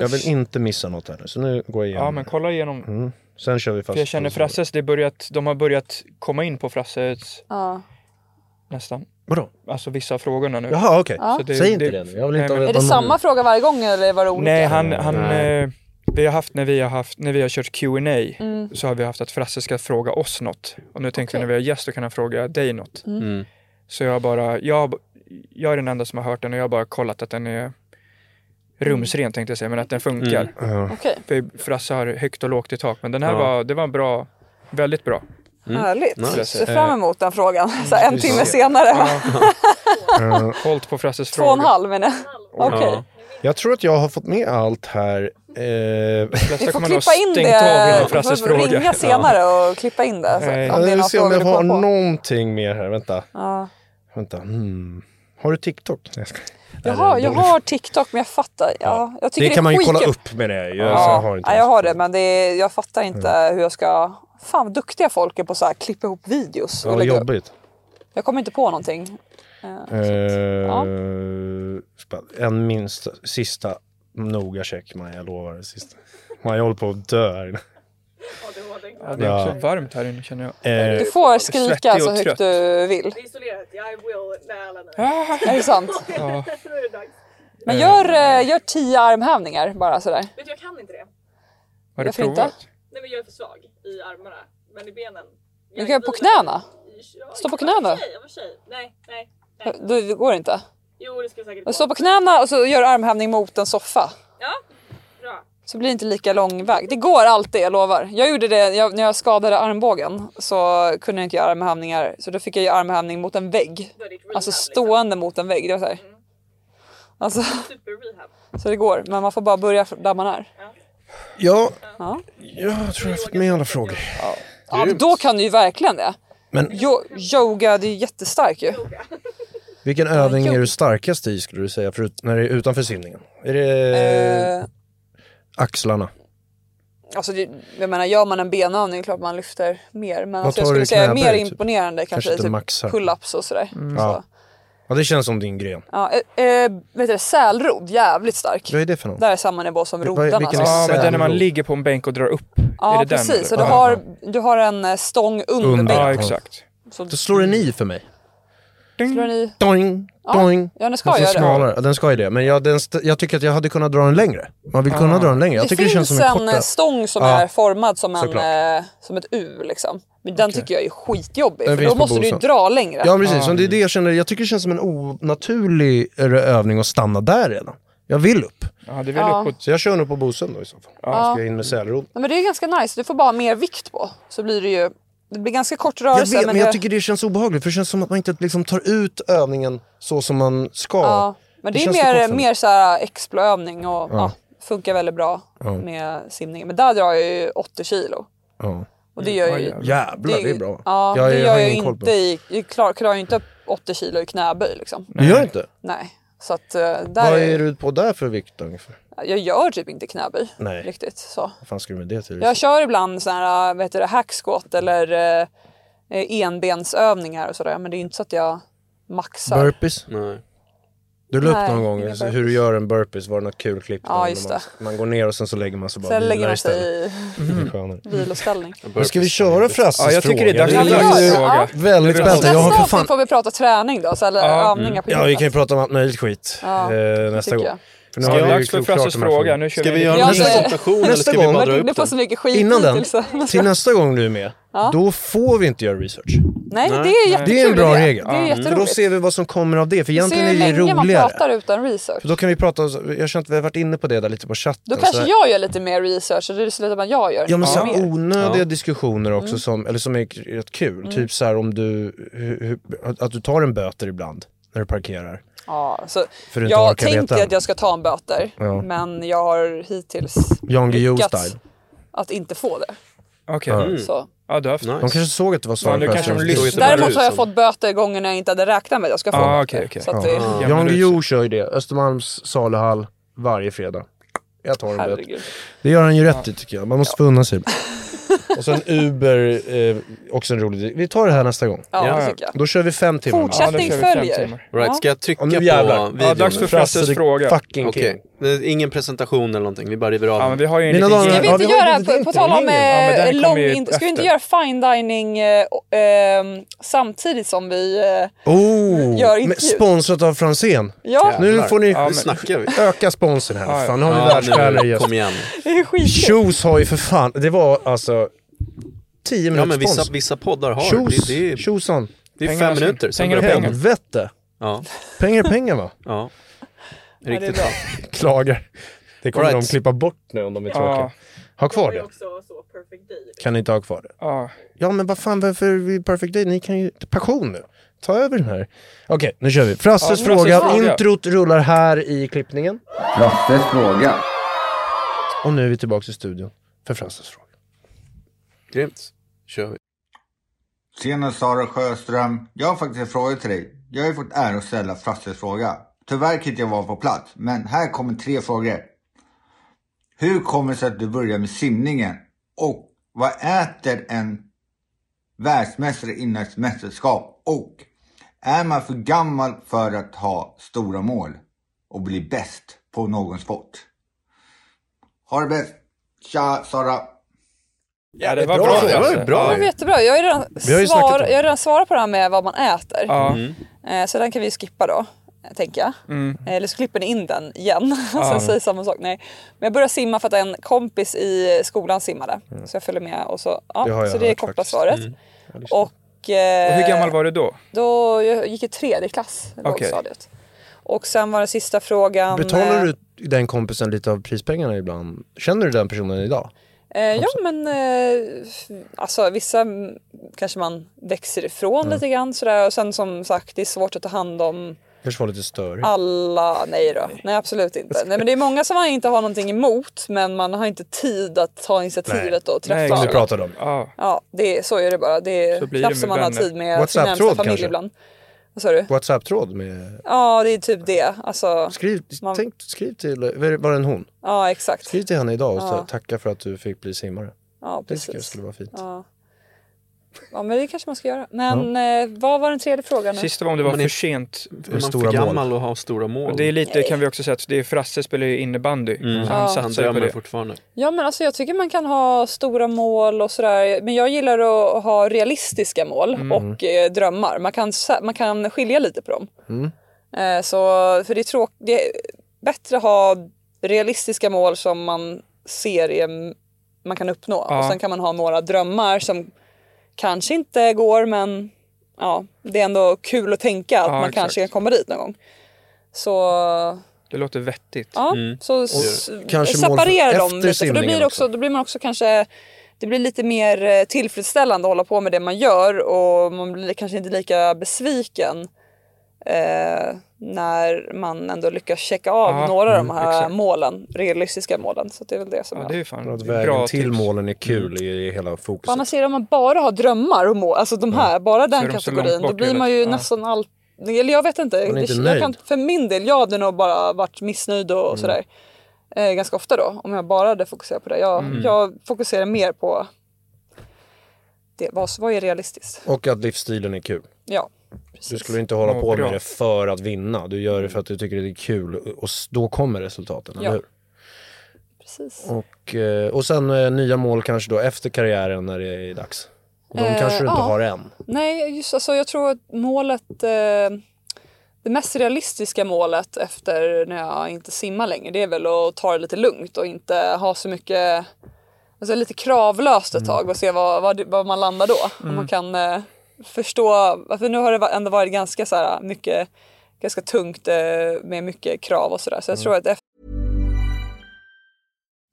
[SPEAKER 7] Jag vill inte missa något här nu, så nu går jag igenom.
[SPEAKER 2] Ja, men kolla igenom.
[SPEAKER 7] mm. Sen kör vi fast.
[SPEAKER 2] För jag känner Frasses, det börjat, de har börjat komma in på Frasses
[SPEAKER 1] Ja.
[SPEAKER 2] nästan.
[SPEAKER 7] Vadå?
[SPEAKER 2] Alltså vissa av frågorna nu.
[SPEAKER 7] Jaha, okej.
[SPEAKER 1] Ja.
[SPEAKER 2] Så
[SPEAKER 7] Säg inte det nu. Jag vill
[SPEAKER 2] Nej,
[SPEAKER 7] inte
[SPEAKER 2] men-
[SPEAKER 7] veta
[SPEAKER 1] Är det
[SPEAKER 7] någon-
[SPEAKER 1] samma fråga varje gång eller var det olika?
[SPEAKER 2] Nej, han, han,
[SPEAKER 7] Nej.
[SPEAKER 2] eh, vi har haft när vi har haft, när vi har kört Q&A
[SPEAKER 1] Mm.
[SPEAKER 2] så har vi haft att Frasse ska fråga oss något. Och nu tänkte jag när vi har gäst så kan han fråga dig något.
[SPEAKER 1] Mm.
[SPEAKER 2] Så jag bara, jag, jag är den enda som har hört den och jag har bara kollat att den är rumsren tänkte jag säga, men att den funkar.
[SPEAKER 1] Okej,
[SPEAKER 2] För Frasse har högt och lågt i tak, men den här
[SPEAKER 6] Ja.
[SPEAKER 2] var, det var en bra, väldigt bra.
[SPEAKER 7] Mm.
[SPEAKER 1] härligt.
[SPEAKER 6] Nice.
[SPEAKER 1] Ser
[SPEAKER 7] Eh,
[SPEAKER 1] fram emot den frågan. Så här, en timme senare.
[SPEAKER 2] Hållt på Frasses
[SPEAKER 1] Två och en
[SPEAKER 2] frågor.
[SPEAKER 1] halv menar jag. Okej.
[SPEAKER 7] Jag tror att jag har fått med allt här. Eh,
[SPEAKER 2] Flesta
[SPEAKER 1] Vi får
[SPEAKER 2] kommer nog ha
[SPEAKER 1] klippa in
[SPEAKER 2] stängt av
[SPEAKER 1] det.
[SPEAKER 2] hela
[SPEAKER 1] Vi får
[SPEAKER 2] Frasses frågor.
[SPEAKER 1] ringa senare och klippa in det. Så,
[SPEAKER 2] Nej.
[SPEAKER 1] om det är
[SPEAKER 7] jag
[SPEAKER 1] några
[SPEAKER 7] vill se om
[SPEAKER 1] frågor
[SPEAKER 7] jag
[SPEAKER 1] du
[SPEAKER 7] har
[SPEAKER 1] kommer på.
[SPEAKER 7] någonting mer här. Vänta.
[SPEAKER 1] Ja.
[SPEAKER 7] Vänta. Hmm. Har du TikTok? Nej, jag skojar. Nej, det är
[SPEAKER 1] Jaha, jag
[SPEAKER 7] dåligt.
[SPEAKER 1] har TikTok men jag fattar. Ja, jag tycker
[SPEAKER 7] Det kan man ju
[SPEAKER 1] är
[SPEAKER 7] kolla
[SPEAKER 1] skitkul.
[SPEAKER 7] upp med det. Jag,
[SPEAKER 1] Ja,
[SPEAKER 7] alltså, jag har inte
[SPEAKER 1] ja, jag
[SPEAKER 7] ens- Mm.
[SPEAKER 1] har det men det är, jag fattar inte hur jag ska... Fan vad duktiga folk är på så här klippa ihop videos.
[SPEAKER 7] Ja,
[SPEAKER 1] och
[SPEAKER 7] vad
[SPEAKER 1] lägga upp.
[SPEAKER 7] jobbigt.
[SPEAKER 1] Jag kommer inte på någonting.
[SPEAKER 7] Eh, spa- En minsta, sista noga check, Maja. Jag lovar. det Sista. Maja håller på att dö här inne.
[SPEAKER 2] Ja, det är också varmt här inne känner jag.
[SPEAKER 7] Eh,
[SPEAKER 1] Du får
[SPEAKER 2] svettig
[SPEAKER 1] skrika
[SPEAKER 2] och
[SPEAKER 1] så
[SPEAKER 2] trött.
[SPEAKER 1] högt du vill. Är det sant? Men gör, eh, gör tio armhävningar bara sådär.
[SPEAKER 2] Har du
[SPEAKER 1] Varför inte?
[SPEAKER 2] provat?
[SPEAKER 1] Du kan göra på knäna. Stå på knäna. Då Det går inte. Stå på knäna och så gör armhävning mot en soffa. Så blir det inte lika lång väg. Det går alltid, jag lovar. Jag gjorde det jag, när jag skadade armbågen så kunde jag inte göra armhävningar. Så då fick jag göra armhävning mot en vägg. Alltså stående mot en vägg. Det var så här. Alltså, så det går, men man får bara börja där man är.
[SPEAKER 7] ja,
[SPEAKER 1] Ja.
[SPEAKER 7] jag tror jag har fått med alla frågor.
[SPEAKER 1] Ja, men då kan du ju verkligen det.
[SPEAKER 7] Men-
[SPEAKER 1] Jo, yoga, det är ju jättestark ju.
[SPEAKER 7] Vilken övning
[SPEAKER 1] jo.
[SPEAKER 7] är du starkast i skulle du säga förut, när det är utanför simningen? Är det
[SPEAKER 1] Eh,
[SPEAKER 7] axlarna?
[SPEAKER 1] Alltså det, jag menar gör man en benövning klart man lyfter mer. Men alltså, jag
[SPEAKER 7] tar du
[SPEAKER 1] skulle
[SPEAKER 7] i
[SPEAKER 1] säga
[SPEAKER 7] knäböj,
[SPEAKER 1] mer
[SPEAKER 7] typ?
[SPEAKER 1] imponerande
[SPEAKER 7] Kanske
[SPEAKER 1] kanske,
[SPEAKER 7] inte
[SPEAKER 1] typ
[SPEAKER 7] maxar.
[SPEAKER 1] pull-ups och sådär.
[SPEAKER 2] Mm.
[SPEAKER 1] Så.
[SPEAKER 7] Ja. ja, det känns som din gren.
[SPEAKER 1] Ja, eh, eh, vet du, sälrodd, jävligt stark.
[SPEAKER 7] Vad är det för något?
[SPEAKER 1] Där är samma nivå som
[SPEAKER 7] Vad-
[SPEAKER 1] roddarna.
[SPEAKER 7] vilken
[SPEAKER 1] alltså.
[SPEAKER 7] är
[SPEAKER 2] Ja, men den när man
[SPEAKER 7] Sälro.
[SPEAKER 2] ligger på en bänk och drar upp.
[SPEAKER 1] Ja,
[SPEAKER 2] är det
[SPEAKER 1] precis.
[SPEAKER 2] den?
[SPEAKER 1] så du
[SPEAKER 2] eller?
[SPEAKER 1] har, du har en eh, stång under,
[SPEAKER 7] Under.
[SPEAKER 2] Ja,
[SPEAKER 1] bänken.
[SPEAKER 2] exakt.
[SPEAKER 1] Så
[SPEAKER 7] Då slår den i för mig.
[SPEAKER 1] slår den i.
[SPEAKER 7] Doing,
[SPEAKER 1] Ja,
[SPEAKER 7] doing.
[SPEAKER 1] ja, den ska
[SPEAKER 7] Den får
[SPEAKER 1] göra det.
[SPEAKER 7] Alltså, smalare. Ja, den ska ju det. Men jag, den st- jag tycker att jag hade kunnat dra den längre. Man vill kunna dra den längre. Jag
[SPEAKER 1] Ah. det
[SPEAKER 7] tycker det
[SPEAKER 1] finns
[SPEAKER 7] känns som en
[SPEAKER 1] en eh,
[SPEAKER 7] korta.
[SPEAKER 1] stång som
[SPEAKER 7] Ja,
[SPEAKER 1] är formad som, en,
[SPEAKER 7] såklart.
[SPEAKER 1] eh, som ett U liksom. Men den tycker jag är skitjobbig.
[SPEAKER 7] Den
[SPEAKER 1] För
[SPEAKER 7] finns
[SPEAKER 1] då
[SPEAKER 7] på
[SPEAKER 1] måste du ju
[SPEAKER 7] Bosön.
[SPEAKER 1] dra längre.
[SPEAKER 7] Ja precis, och det är det jag känner. Jag tycker det känns som en onaturlig ö- övning att stanna där redan. Jag vill upp.
[SPEAKER 2] Ja, det är väl uppåt.
[SPEAKER 7] Så jag kör nog på Bosön då i så fall. Ska jag in med sälrod.
[SPEAKER 1] Nej, men det är ganska nice. Du får bara ha mer vikt på. Så blir det ju... Det blir ganska kort rörelse.
[SPEAKER 7] Jag vet, men
[SPEAKER 1] det,
[SPEAKER 7] jag tycker det känns obehagligt för det känns som att man inte liksom tar ut övningen så som man ska.
[SPEAKER 1] ja, men det, är
[SPEAKER 7] känns
[SPEAKER 1] mer,
[SPEAKER 7] kort för mig.
[SPEAKER 1] mer så här exploövning och ja. funkar väldigt bra med simningen. Men där drar jag ju 80 kilo.
[SPEAKER 7] Ja.
[SPEAKER 1] Och det gör ju...
[SPEAKER 7] Jävlar, det är bra.
[SPEAKER 1] Ja,
[SPEAKER 7] Jag-
[SPEAKER 1] det
[SPEAKER 7] jag
[SPEAKER 1] gör
[SPEAKER 7] har
[SPEAKER 1] jag ju
[SPEAKER 7] ingen koll på
[SPEAKER 1] inte i... Jag klarar, klarar ju inte upp 80 kilo i knäböj liksom.
[SPEAKER 7] Du gör inte?
[SPEAKER 1] Nej. Så att eh, där...
[SPEAKER 7] Vad
[SPEAKER 1] är-
[SPEAKER 7] är du på där för vikt ungefär?
[SPEAKER 1] Jag gör typ inte knäböj
[SPEAKER 7] Nej.
[SPEAKER 1] riktigt. Så.
[SPEAKER 7] Vad fan ska du med det till?
[SPEAKER 1] Jag kör ibland såna här, äh, vad heter det, hackskott eller eh, enbensövningar och sådär. Men det är ju inte så att jag maxar.
[SPEAKER 7] Burpees?
[SPEAKER 6] Nej.
[SPEAKER 7] Du la upp
[SPEAKER 1] Nej,
[SPEAKER 7] någon gång
[SPEAKER 1] inga
[SPEAKER 7] hur du
[SPEAKER 1] burpees.
[SPEAKER 7] gör en burpees, var det något kul klipp?
[SPEAKER 1] Ja,
[SPEAKER 7] där
[SPEAKER 1] just
[SPEAKER 7] man, man går ner och sen så lägger man sig bara
[SPEAKER 1] Sen
[SPEAKER 7] vilar
[SPEAKER 1] lägger man
[SPEAKER 7] istället.
[SPEAKER 1] sig i
[SPEAKER 7] Det är skönare.
[SPEAKER 1] viloställning.
[SPEAKER 7] Men Mm. ska vi köra Frasses
[SPEAKER 2] Ja, jag tycker det är
[SPEAKER 7] fråga?
[SPEAKER 2] dags
[SPEAKER 1] Ja,
[SPEAKER 2] för
[SPEAKER 1] vi gör det.
[SPEAKER 2] dags
[SPEAKER 1] Ja.
[SPEAKER 2] fråga.
[SPEAKER 7] Väldigt spännande. Jag har
[SPEAKER 1] Alltså, Nästa
[SPEAKER 7] för
[SPEAKER 1] avsnitt
[SPEAKER 7] fan...
[SPEAKER 1] får vi prata träning då, så, eller övningar på
[SPEAKER 7] Ja, Mm. vi
[SPEAKER 1] gymmet.
[SPEAKER 7] kan ju prata om allt möjligt skit eh, nästa
[SPEAKER 1] tycker
[SPEAKER 7] gång.
[SPEAKER 1] jag.
[SPEAKER 7] För
[SPEAKER 2] Det är
[SPEAKER 7] vi ju
[SPEAKER 2] dags för
[SPEAKER 7] klart
[SPEAKER 2] Frasses
[SPEAKER 7] de här
[SPEAKER 2] fråga.
[SPEAKER 7] frågorna.
[SPEAKER 2] Nu kör
[SPEAKER 6] Ska vi
[SPEAKER 2] vi
[SPEAKER 6] göra en
[SPEAKER 1] Jag ska-
[SPEAKER 6] presentation eller
[SPEAKER 7] Nästa
[SPEAKER 6] ska vi
[SPEAKER 7] gång.
[SPEAKER 6] bara
[SPEAKER 1] Jag
[SPEAKER 6] dra
[SPEAKER 1] var inne
[SPEAKER 6] upp
[SPEAKER 1] på
[SPEAKER 6] den?
[SPEAKER 1] så mycket skit
[SPEAKER 7] Innan den,
[SPEAKER 1] hittills, så-
[SPEAKER 7] till nästa gång du är med, då får vi inte göra research.
[SPEAKER 1] Nej, det är jättekul
[SPEAKER 7] Det är en bra
[SPEAKER 1] idé.
[SPEAKER 7] regel.
[SPEAKER 1] Det är
[SPEAKER 7] För då
[SPEAKER 1] jätteroligt.
[SPEAKER 7] ser vi vad som kommer av det, för
[SPEAKER 1] Vi ser
[SPEAKER 7] egentligen
[SPEAKER 1] hur
[SPEAKER 7] är det
[SPEAKER 1] länge man pratar
[SPEAKER 7] roligare.
[SPEAKER 1] utan research.
[SPEAKER 7] För då kan vi prata, jag känner att vi har varit inne på det där lite på chatten.
[SPEAKER 1] Då
[SPEAKER 7] så
[SPEAKER 1] kanske
[SPEAKER 7] här-
[SPEAKER 1] jag gör lite mer research och det slutar med att jag gör
[SPEAKER 7] Ja men så här
[SPEAKER 1] mer. Mm.
[SPEAKER 7] onödiga diskussioner också som, eller som är k- rätt kul. Typ så här om du, hur, hur, att du tar en böter ibland när du parkerar.
[SPEAKER 1] Ja, så
[SPEAKER 7] För att inte
[SPEAKER 1] jag
[SPEAKER 7] orka
[SPEAKER 1] tänkte
[SPEAKER 7] veta.
[SPEAKER 1] att jag ska ta en böter,
[SPEAKER 7] Ja.
[SPEAKER 1] men jag har hittills
[SPEAKER 7] Jan Guillou
[SPEAKER 1] lyckats
[SPEAKER 7] style.
[SPEAKER 1] att inte få det.
[SPEAKER 2] Okej.
[SPEAKER 7] Mm.
[SPEAKER 1] Så.
[SPEAKER 2] Ja, du har haft...
[SPEAKER 7] De kanske såg att det var Sara
[SPEAKER 2] Ja, nu kanske
[SPEAKER 7] Sjöström.
[SPEAKER 2] de
[SPEAKER 7] Det stod-
[SPEAKER 2] lyssnar.
[SPEAKER 1] Däremot
[SPEAKER 6] rus
[SPEAKER 1] har jag
[SPEAKER 6] som-
[SPEAKER 1] fått böter gånger när jag inte hade räknat med att jag ska få
[SPEAKER 2] Ja,
[SPEAKER 1] böter.
[SPEAKER 2] okej, okej.
[SPEAKER 1] Så att det,
[SPEAKER 2] Ja.
[SPEAKER 7] Jan
[SPEAKER 2] Jämna
[SPEAKER 7] Guillou kör ju det. Östermalms saluhall varje fredag. Jag tar en böter.
[SPEAKER 1] herregud.
[SPEAKER 7] Det gör han ju rätt i tycker jag. Man måste få unna sig Och sen Uber, eh, också en rolig Vi tar det här nästa gång.
[SPEAKER 1] Ja,
[SPEAKER 2] Ja,
[SPEAKER 1] det
[SPEAKER 2] ja.
[SPEAKER 1] tycker jag.
[SPEAKER 7] Då kör vi fem timmar.
[SPEAKER 2] Ja, då
[SPEAKER 1] Fortsättning
[SPEAKER 2] kör vi fem
[SPEAKER 1] följer.
[SPEAKER 2] timmar.
[SPEAKER 6] Right, ska jag
[SPEAKER 7] Ja,
[SPEAKER 6] trycka
[SPEAKER 7] nu
[SPEAKER 6] på
[SPEAKER 7] jävlar.
[SPEAKER 6] videon?
[SPEAKER 2] Ja, dags för Frasses
[SPEAKER 7] Frasses
[SPEAKER 2] fråga.
[SPEAKER 7] Fucking
[SPEAKER 6] Okej,
[SPEAKER 7] king.
[SPEAKER 6] Det är ingen presentation eller någonting, vi bara river av
[SPEAKER 2] Ja, men vi har ju en
[SPEAKER 7] Mina
[SPEAKER 2] liten...
[SPEAKER 7] damer-
[SPEAKER 1] Ska vi
[SPEAKER 7] Ja,
[SPEAKER 2] gäng-
[SPEAKER 1] inte
[SPEAKER 7] vi har
[SPEAKER 1] göra,
[SPEAKER 7] inte
[SPEAKER 1] på,
[SPEAKER 7] dränkt
[SPEAKER 1] på
[SPEAKER 7] den
[SPEAKER 1] tal om
[SPEAKER 7] länge.
[SPEAKER 2] Ja, men
[SPEAKER 1] eh,
[SPEAKER 2] den
[SPEAKER 1] lång...
[SPEAKER 2] kommer ju
[SPEAKER 1] in- Ska vi inte
[SPEAKER 2] efter.
[SPEAKER 1] göra fine dining eh, och, ehm, samtidigt som vi... Eh,
[SPEAKER 7] Oh,
[SPEAKER 1] Gör inte
[SPEAKER 7] men
[SPEAKER 1] ljud.
[SPEAKER 7] sponsrat av Franzén.
[SPEAKER 1] ja,
[SPEAKER 7] Nu får ni
[SPEAKER 2] Ja,
[SPEAKER 6] Nu snackar vi.
[SPEAKER 7] öka sponsorn här.
[SPEAKER 2] ja.
[SPEAKER 7] Fan, nu har vi
[SPEAKER 6] Ja,
[SPEAKER 7] världsstjärnor i
[SPEAKER 6] nu,
[SPEAKER 7] gäst.
[SPEAKER 6] kom igen.
[SPEAKER 1] det är skit.
[SPEAKER 7] Shoes har ju för fan, det var alltså 10
[SPEAKER 6] Ja,
[SPEAKER 7] minuter
[SPEAKER 6] men vissa,
[SPEAKER 7] spons.
[SPEAKER 6] vissa poddar har
[SPEAKER 7] Shoes,
[SPEAKER 6] det. Det är,
[SPEAKER 7] Shoesan.
[SPEAKER 6] det är
[SPEAKER 2] Pengar
[SPEAKER 6] fem
[SPEAKER 2] alltså.
[SPEAKER 6] minuter. sen
[SPEAKER 2] Pengar
[SPEAKER 6] drar jag
[SPEAKER 2] och
[SPEAKER 6] på.
[SPEAKER 2] pengar.
[SPEAKER 7] Helvete.
[SPEAKER 6] Ja,
[SPEAKER 7] Pengar är pengar va?
[SPEAKER 6] ja.
[SPEAKER 1] Ja, det är
[SPEAKER 6] Riktigt
[SPEAKER 1] bra.
[SPEAKER 6] bra.
[SPEAKER 7] Klagar. Det kommer
[SPEAKER 6] Alright.
[SPEAKER 7] de klippa bort nu om de är tråkiga.
[SPEAKER 2] Ja,
[SPEAKER 7] Ha kvar det. Kan ni inte ha kvar det?
[SPEAKER 2] ja.
[SPEAKER 7] Ja men vad fan varför är vi Perfect Day? Ni kan ju, passion nu. Ta över den här. Okej, nu kör vi. Frasses
[SPEAKER 2] Ja,
[SPEAKER 7] fråga.
[SPEAKER 2] Frasses fråga.
[SPEAKER 7] Introt rullar här i klippningen.
[SPEAKER 5] Frasses fråga.
[SPEAKER 7] Och nu är vi tillbaka i studion för Frasses fråga.
[SPEAKER 6] Grymt. kör vi.
[SPEAKER 5] Tjena Sara Sjöström. Jag har faktiskt en fråga till dig. Jag har ju fått ära att ställa Frasses fråga. Tyvärr kan inte jag vara på plats, men här kommer tre frågor. Hur kommer det sig att du börjar med simningen? Och vad äter en världsmästare innan ett mästerskap? Och är man för gammal för att ha stora mål och bli bäst på någon sport? Ha det bäst! Tja Sara!
[SPEAKER 2] ja det var
[SPEAKER 7] bra
[SPEAKER 2] bra.
[SPEAKER 7] fråga.
[SPEAKER 2] Frasse.
[SPEAKER 7] Det var bra.
[SPEAKER 1] Det var jättebra. Jag har ju redan,
[SPEAKER 7] har ju snackat om
[SPEAKER 1] svar,
[SPEAKER 7] det.
[SPEAKER 1] jag har redan svarat på det här med vad man äter.
[SPEAKER 2] Ja.
[SPEAKER 1] Eh, Så den kan vi skippa då, eh, tänker jag. Eh, Eller så klipper ni in den igen. och Sen säger samma sak. Nej. Men jag började simma för att en kompis i skolan simmade. Så jag följde med. Och så, ja,
[SPEAKER 7] Det har jag
[SPEAKER 1] så det är
[SPEAKER 7] hört
[SPEAKER 1] korta
[SPEAKER 7] faktiskt.
[SPEAKER 1] svaret. Och, eh,
[SPEAKER 2] Och hur gammal var du då?
[SPEAKER 1] Då jag gick i tredje klass, lågstadiet. Och sen var den sista frågan...
[SPEAKER 7] Betalar
[SPEAKER 1] eh,
[SPEAKER 7] du den kompisen lite av prispengarna ibland? Känner du den personen idag?
[SPEAKER 1] Eh, ja men eh, alltså vissa mm, kanske man växer ifrån lite grann sådär och sen som sagt det är svårt att ta hand om
[SPEAKER 7] Kanske var lite störig.
[SPEAKER 1] alla, nej då, nej absolut inte. Nej men det är många som man inte har någonting emot men man har inte tid att ta initiativet och
[SPEAKER 2] Nej,
[SPEAKER 1] träffa
[SPEAKER 7] Som
[SPEAKER 2] exakt.
[SPEAKER 7] vi
[SPEAKER 1] alla.
[SPEAKER 7] pratade om.
[SPEAKER 2] Ja.
[SPEAKER 1] Ja det är, så är det bara, det
[SPEAKER 2] Så
[SPEAKER 1] är
[SPEAKER 2] blir
[SPEAKER 1] knappt
[SPEAKER 2] det
[SPEAKER 1] som
[SPEAKER 2] med
[SPEAKER 1] man har
[SPEAKER 2] vänner.
[SPEAKER 1] tid med sin
[SPEAKER 7] WhatsApp-tråd
[SPEAKER 1] närmsta familj
[SPEAKER 7] kanske?
[SPEAKER 1] ibland. Vad sa du?
[SPEAKER 7] Whatsapp-tråd med...
[SPEAKER 1] Ja, det är typ det. Alltså,
[SPEAKER 7] Skriv,
[SPEAKER 1] man-
[SPEAKER 7] tänk, skriv till, var det- var det en hon?
[SPEAKER 1] ja, exakt.
[SPEAKER 7] Skriv till henne idag och
[SPEAKER 1] Ja.
[SPEAKER 7] ta- tacka för att du fick bli simmare.
[SPEAKER 1] Ja,
[SPEAKER 7] Det tycker jag
[SPEAKER 1] precis.
[SPEAKER 7] skulle vara fint.
[SPEAKER 1] Ja. ja, men det kanske man ska göra. Men eh, vad var den tredje frågan nu?
[SPEAKER 2] Sista var om det var
[SPEAKER 6] Man
[SPEAKER 2] för
[SPEAKER 6] är-
[SPEAKER 2] sent.
[SPEAKER 6] Är man
[SPEAKER 7] stora
[SPEAKER 6] för gammal
[SPEAKER 7] mål.
[SPEAKER 6] att ha stora mål?
[SPEAKER 2] Och det är lite,
[SPEAKER 1] Nej.
[SPEAKER 2] kan vi också säga, att det är Frasse spelar ju innebandy. Så han
[SPEAKER 1] Ja.
[SPEAKER 6] Han
[SPEAKER 2] satsar ju på
[SPEAKER 6] drömmer
[SPEAKER 2] det.
[SPEAKER 6] fortfarande.
[SPEAKER 1] Ja, men alltså, jag tycker man kan ha stora mål och sådär. Men jag gillar att ha realistiska mål
[SPEAKER 2] Mm.
[SPEAKER 1] och eh, drömmar. Man kan, sä- man kan skilja lite på dem.
[SPEAKER 2] Mm.
[SPEAKER 1] Eh, så, för det är, tråk- det är bättre att ha realistiska mål som man ser är, man kan uppnå.
[SPEAKER 2] Ja.
[SPEAKER 1] Och sen kan man ha några drömmar som kanske inte går, men ja, det är ändå kul att tänka att
[SPEAKER 2] Ja,
[SPEAKER 1] man
[SPEAKER 2] exakt.
[SPEAKER 1] kanske kan komma dit någon gång. Så
[SPEAKER 2] Det låter vettigt.
[SPEAKER 1] Ja, så s-
[SPEAKER 7] kanske mål för-
[SPEAKER 1] separera dem lite. För
[SPEAKER 7] efter
[SPEAKER 1] då blir,
[SPEAKER 7] simningen
[SPEAKER 1] det också,
[SPEAKER 7] också.
[SPEAKER 1] då blir man också kanske... Det blir lite mer eh, tillfredsställande att hålla på med det man gör och man blir kanske inte lika besviken eh, när man ändå lyckas checka av
[SPEAKER 2] Ja,
[SPEAKER 1] några av de här
[SPEAKER 2] exakt.
[SPEAKER 1] målen, realistiska målen. Så det är väl det som
[SPEAKER 2] Ja,
[SPEAKER 1] jag...
[SPEAKER 2] det är fan
[SPEAKER 7] Att
[SPEAKER 2] det är
[SPEAKER 7] vägen
[SPEAKER 2] bra
[SPEAKER 7] till
[SPEAKER 2] tips. Mm.
[SPEAKER 7] målen är kul i hela
[SPEAKER 1] På
[SPEAKER 7] fokuset.
[SPEAKER 1] andra sidan om man bara har drömmar och mål, alltså de här, bara
[SPEAKER 2] Så
[SPEAKER 1] den
[SPEAKER 2] är de så
[SPEAKER 1] kategorin,
[SPEAKER 2] långt
[SPEAKER 1] då
[SPEAKER 2] bort
[SPEAKER 1] blir
[SPEAKER 2] hela
[SPEAKER 1] man ju
[SPEAKER 2] tiden. Ja.
[SPEAKER 1] nästan allt eller jag vet inte.
[SPEAKER 7] Man är
[SPEAKER 1] Det-
[SPEAKER 7] inte
[SPEAKER 1] jag
[SPEAKER 7] nöjd.
[SPEAKER 1] kan, för min del, jag hade nog bara varit missnöjd och
[SPEAKER 2] Mm.
[SPEAKER 1] sådär. Eh, ganska ofta då, om jag bara hade fokuserat på det. Jag,
[SPEAKER 2] Mm.
[SPEAKER 1] jag fokuserar mer på det, vad, vad är realistiskt.
[SPEAKER 7] Och att livsstilen är kul.
[SPEAKER 1] Ja,
[SPEAKER 7] Du
[SPEAKER 1] precis.
[SPEAKER 7] skulle inte hålla
[SPEAKER 2] Ja,
[SPEAKER 7] på
[SPEAKER 2] bra.
[SPEAKER 7] med det för att vinna. Du gör det för att du tycker det är kul och s- då kommer resultaten,
[SPEAKER 1] Ja.
[SPEAKER 7] eller hur?
[SPEAKER 1] precis.
[SPEAKER 7] Och, eh, och sen eh, nya mål kanske då efter karriären när det är dags. De
[SPEAKER 1] Eh,
[SPEAKER 7] kanske du inte
[SPEAKER 1] ja.
[SPEAKER 7] har än.
[SPEAKER 1] Nej, just alltså jag tror att målet, eh, det mest realistiska målet efter när jag inte simmar längre, det är väl att ta det lite lugnt och inte ha så mycket, alltså lite kravlöst ett tag och se vad, vad, vad man landar då. Om man kan eh, förstå, för nu har det va- ändå varit ganska så här mycket, ganska tungt eh, med mycket krav och sådär. Så jag tror att efter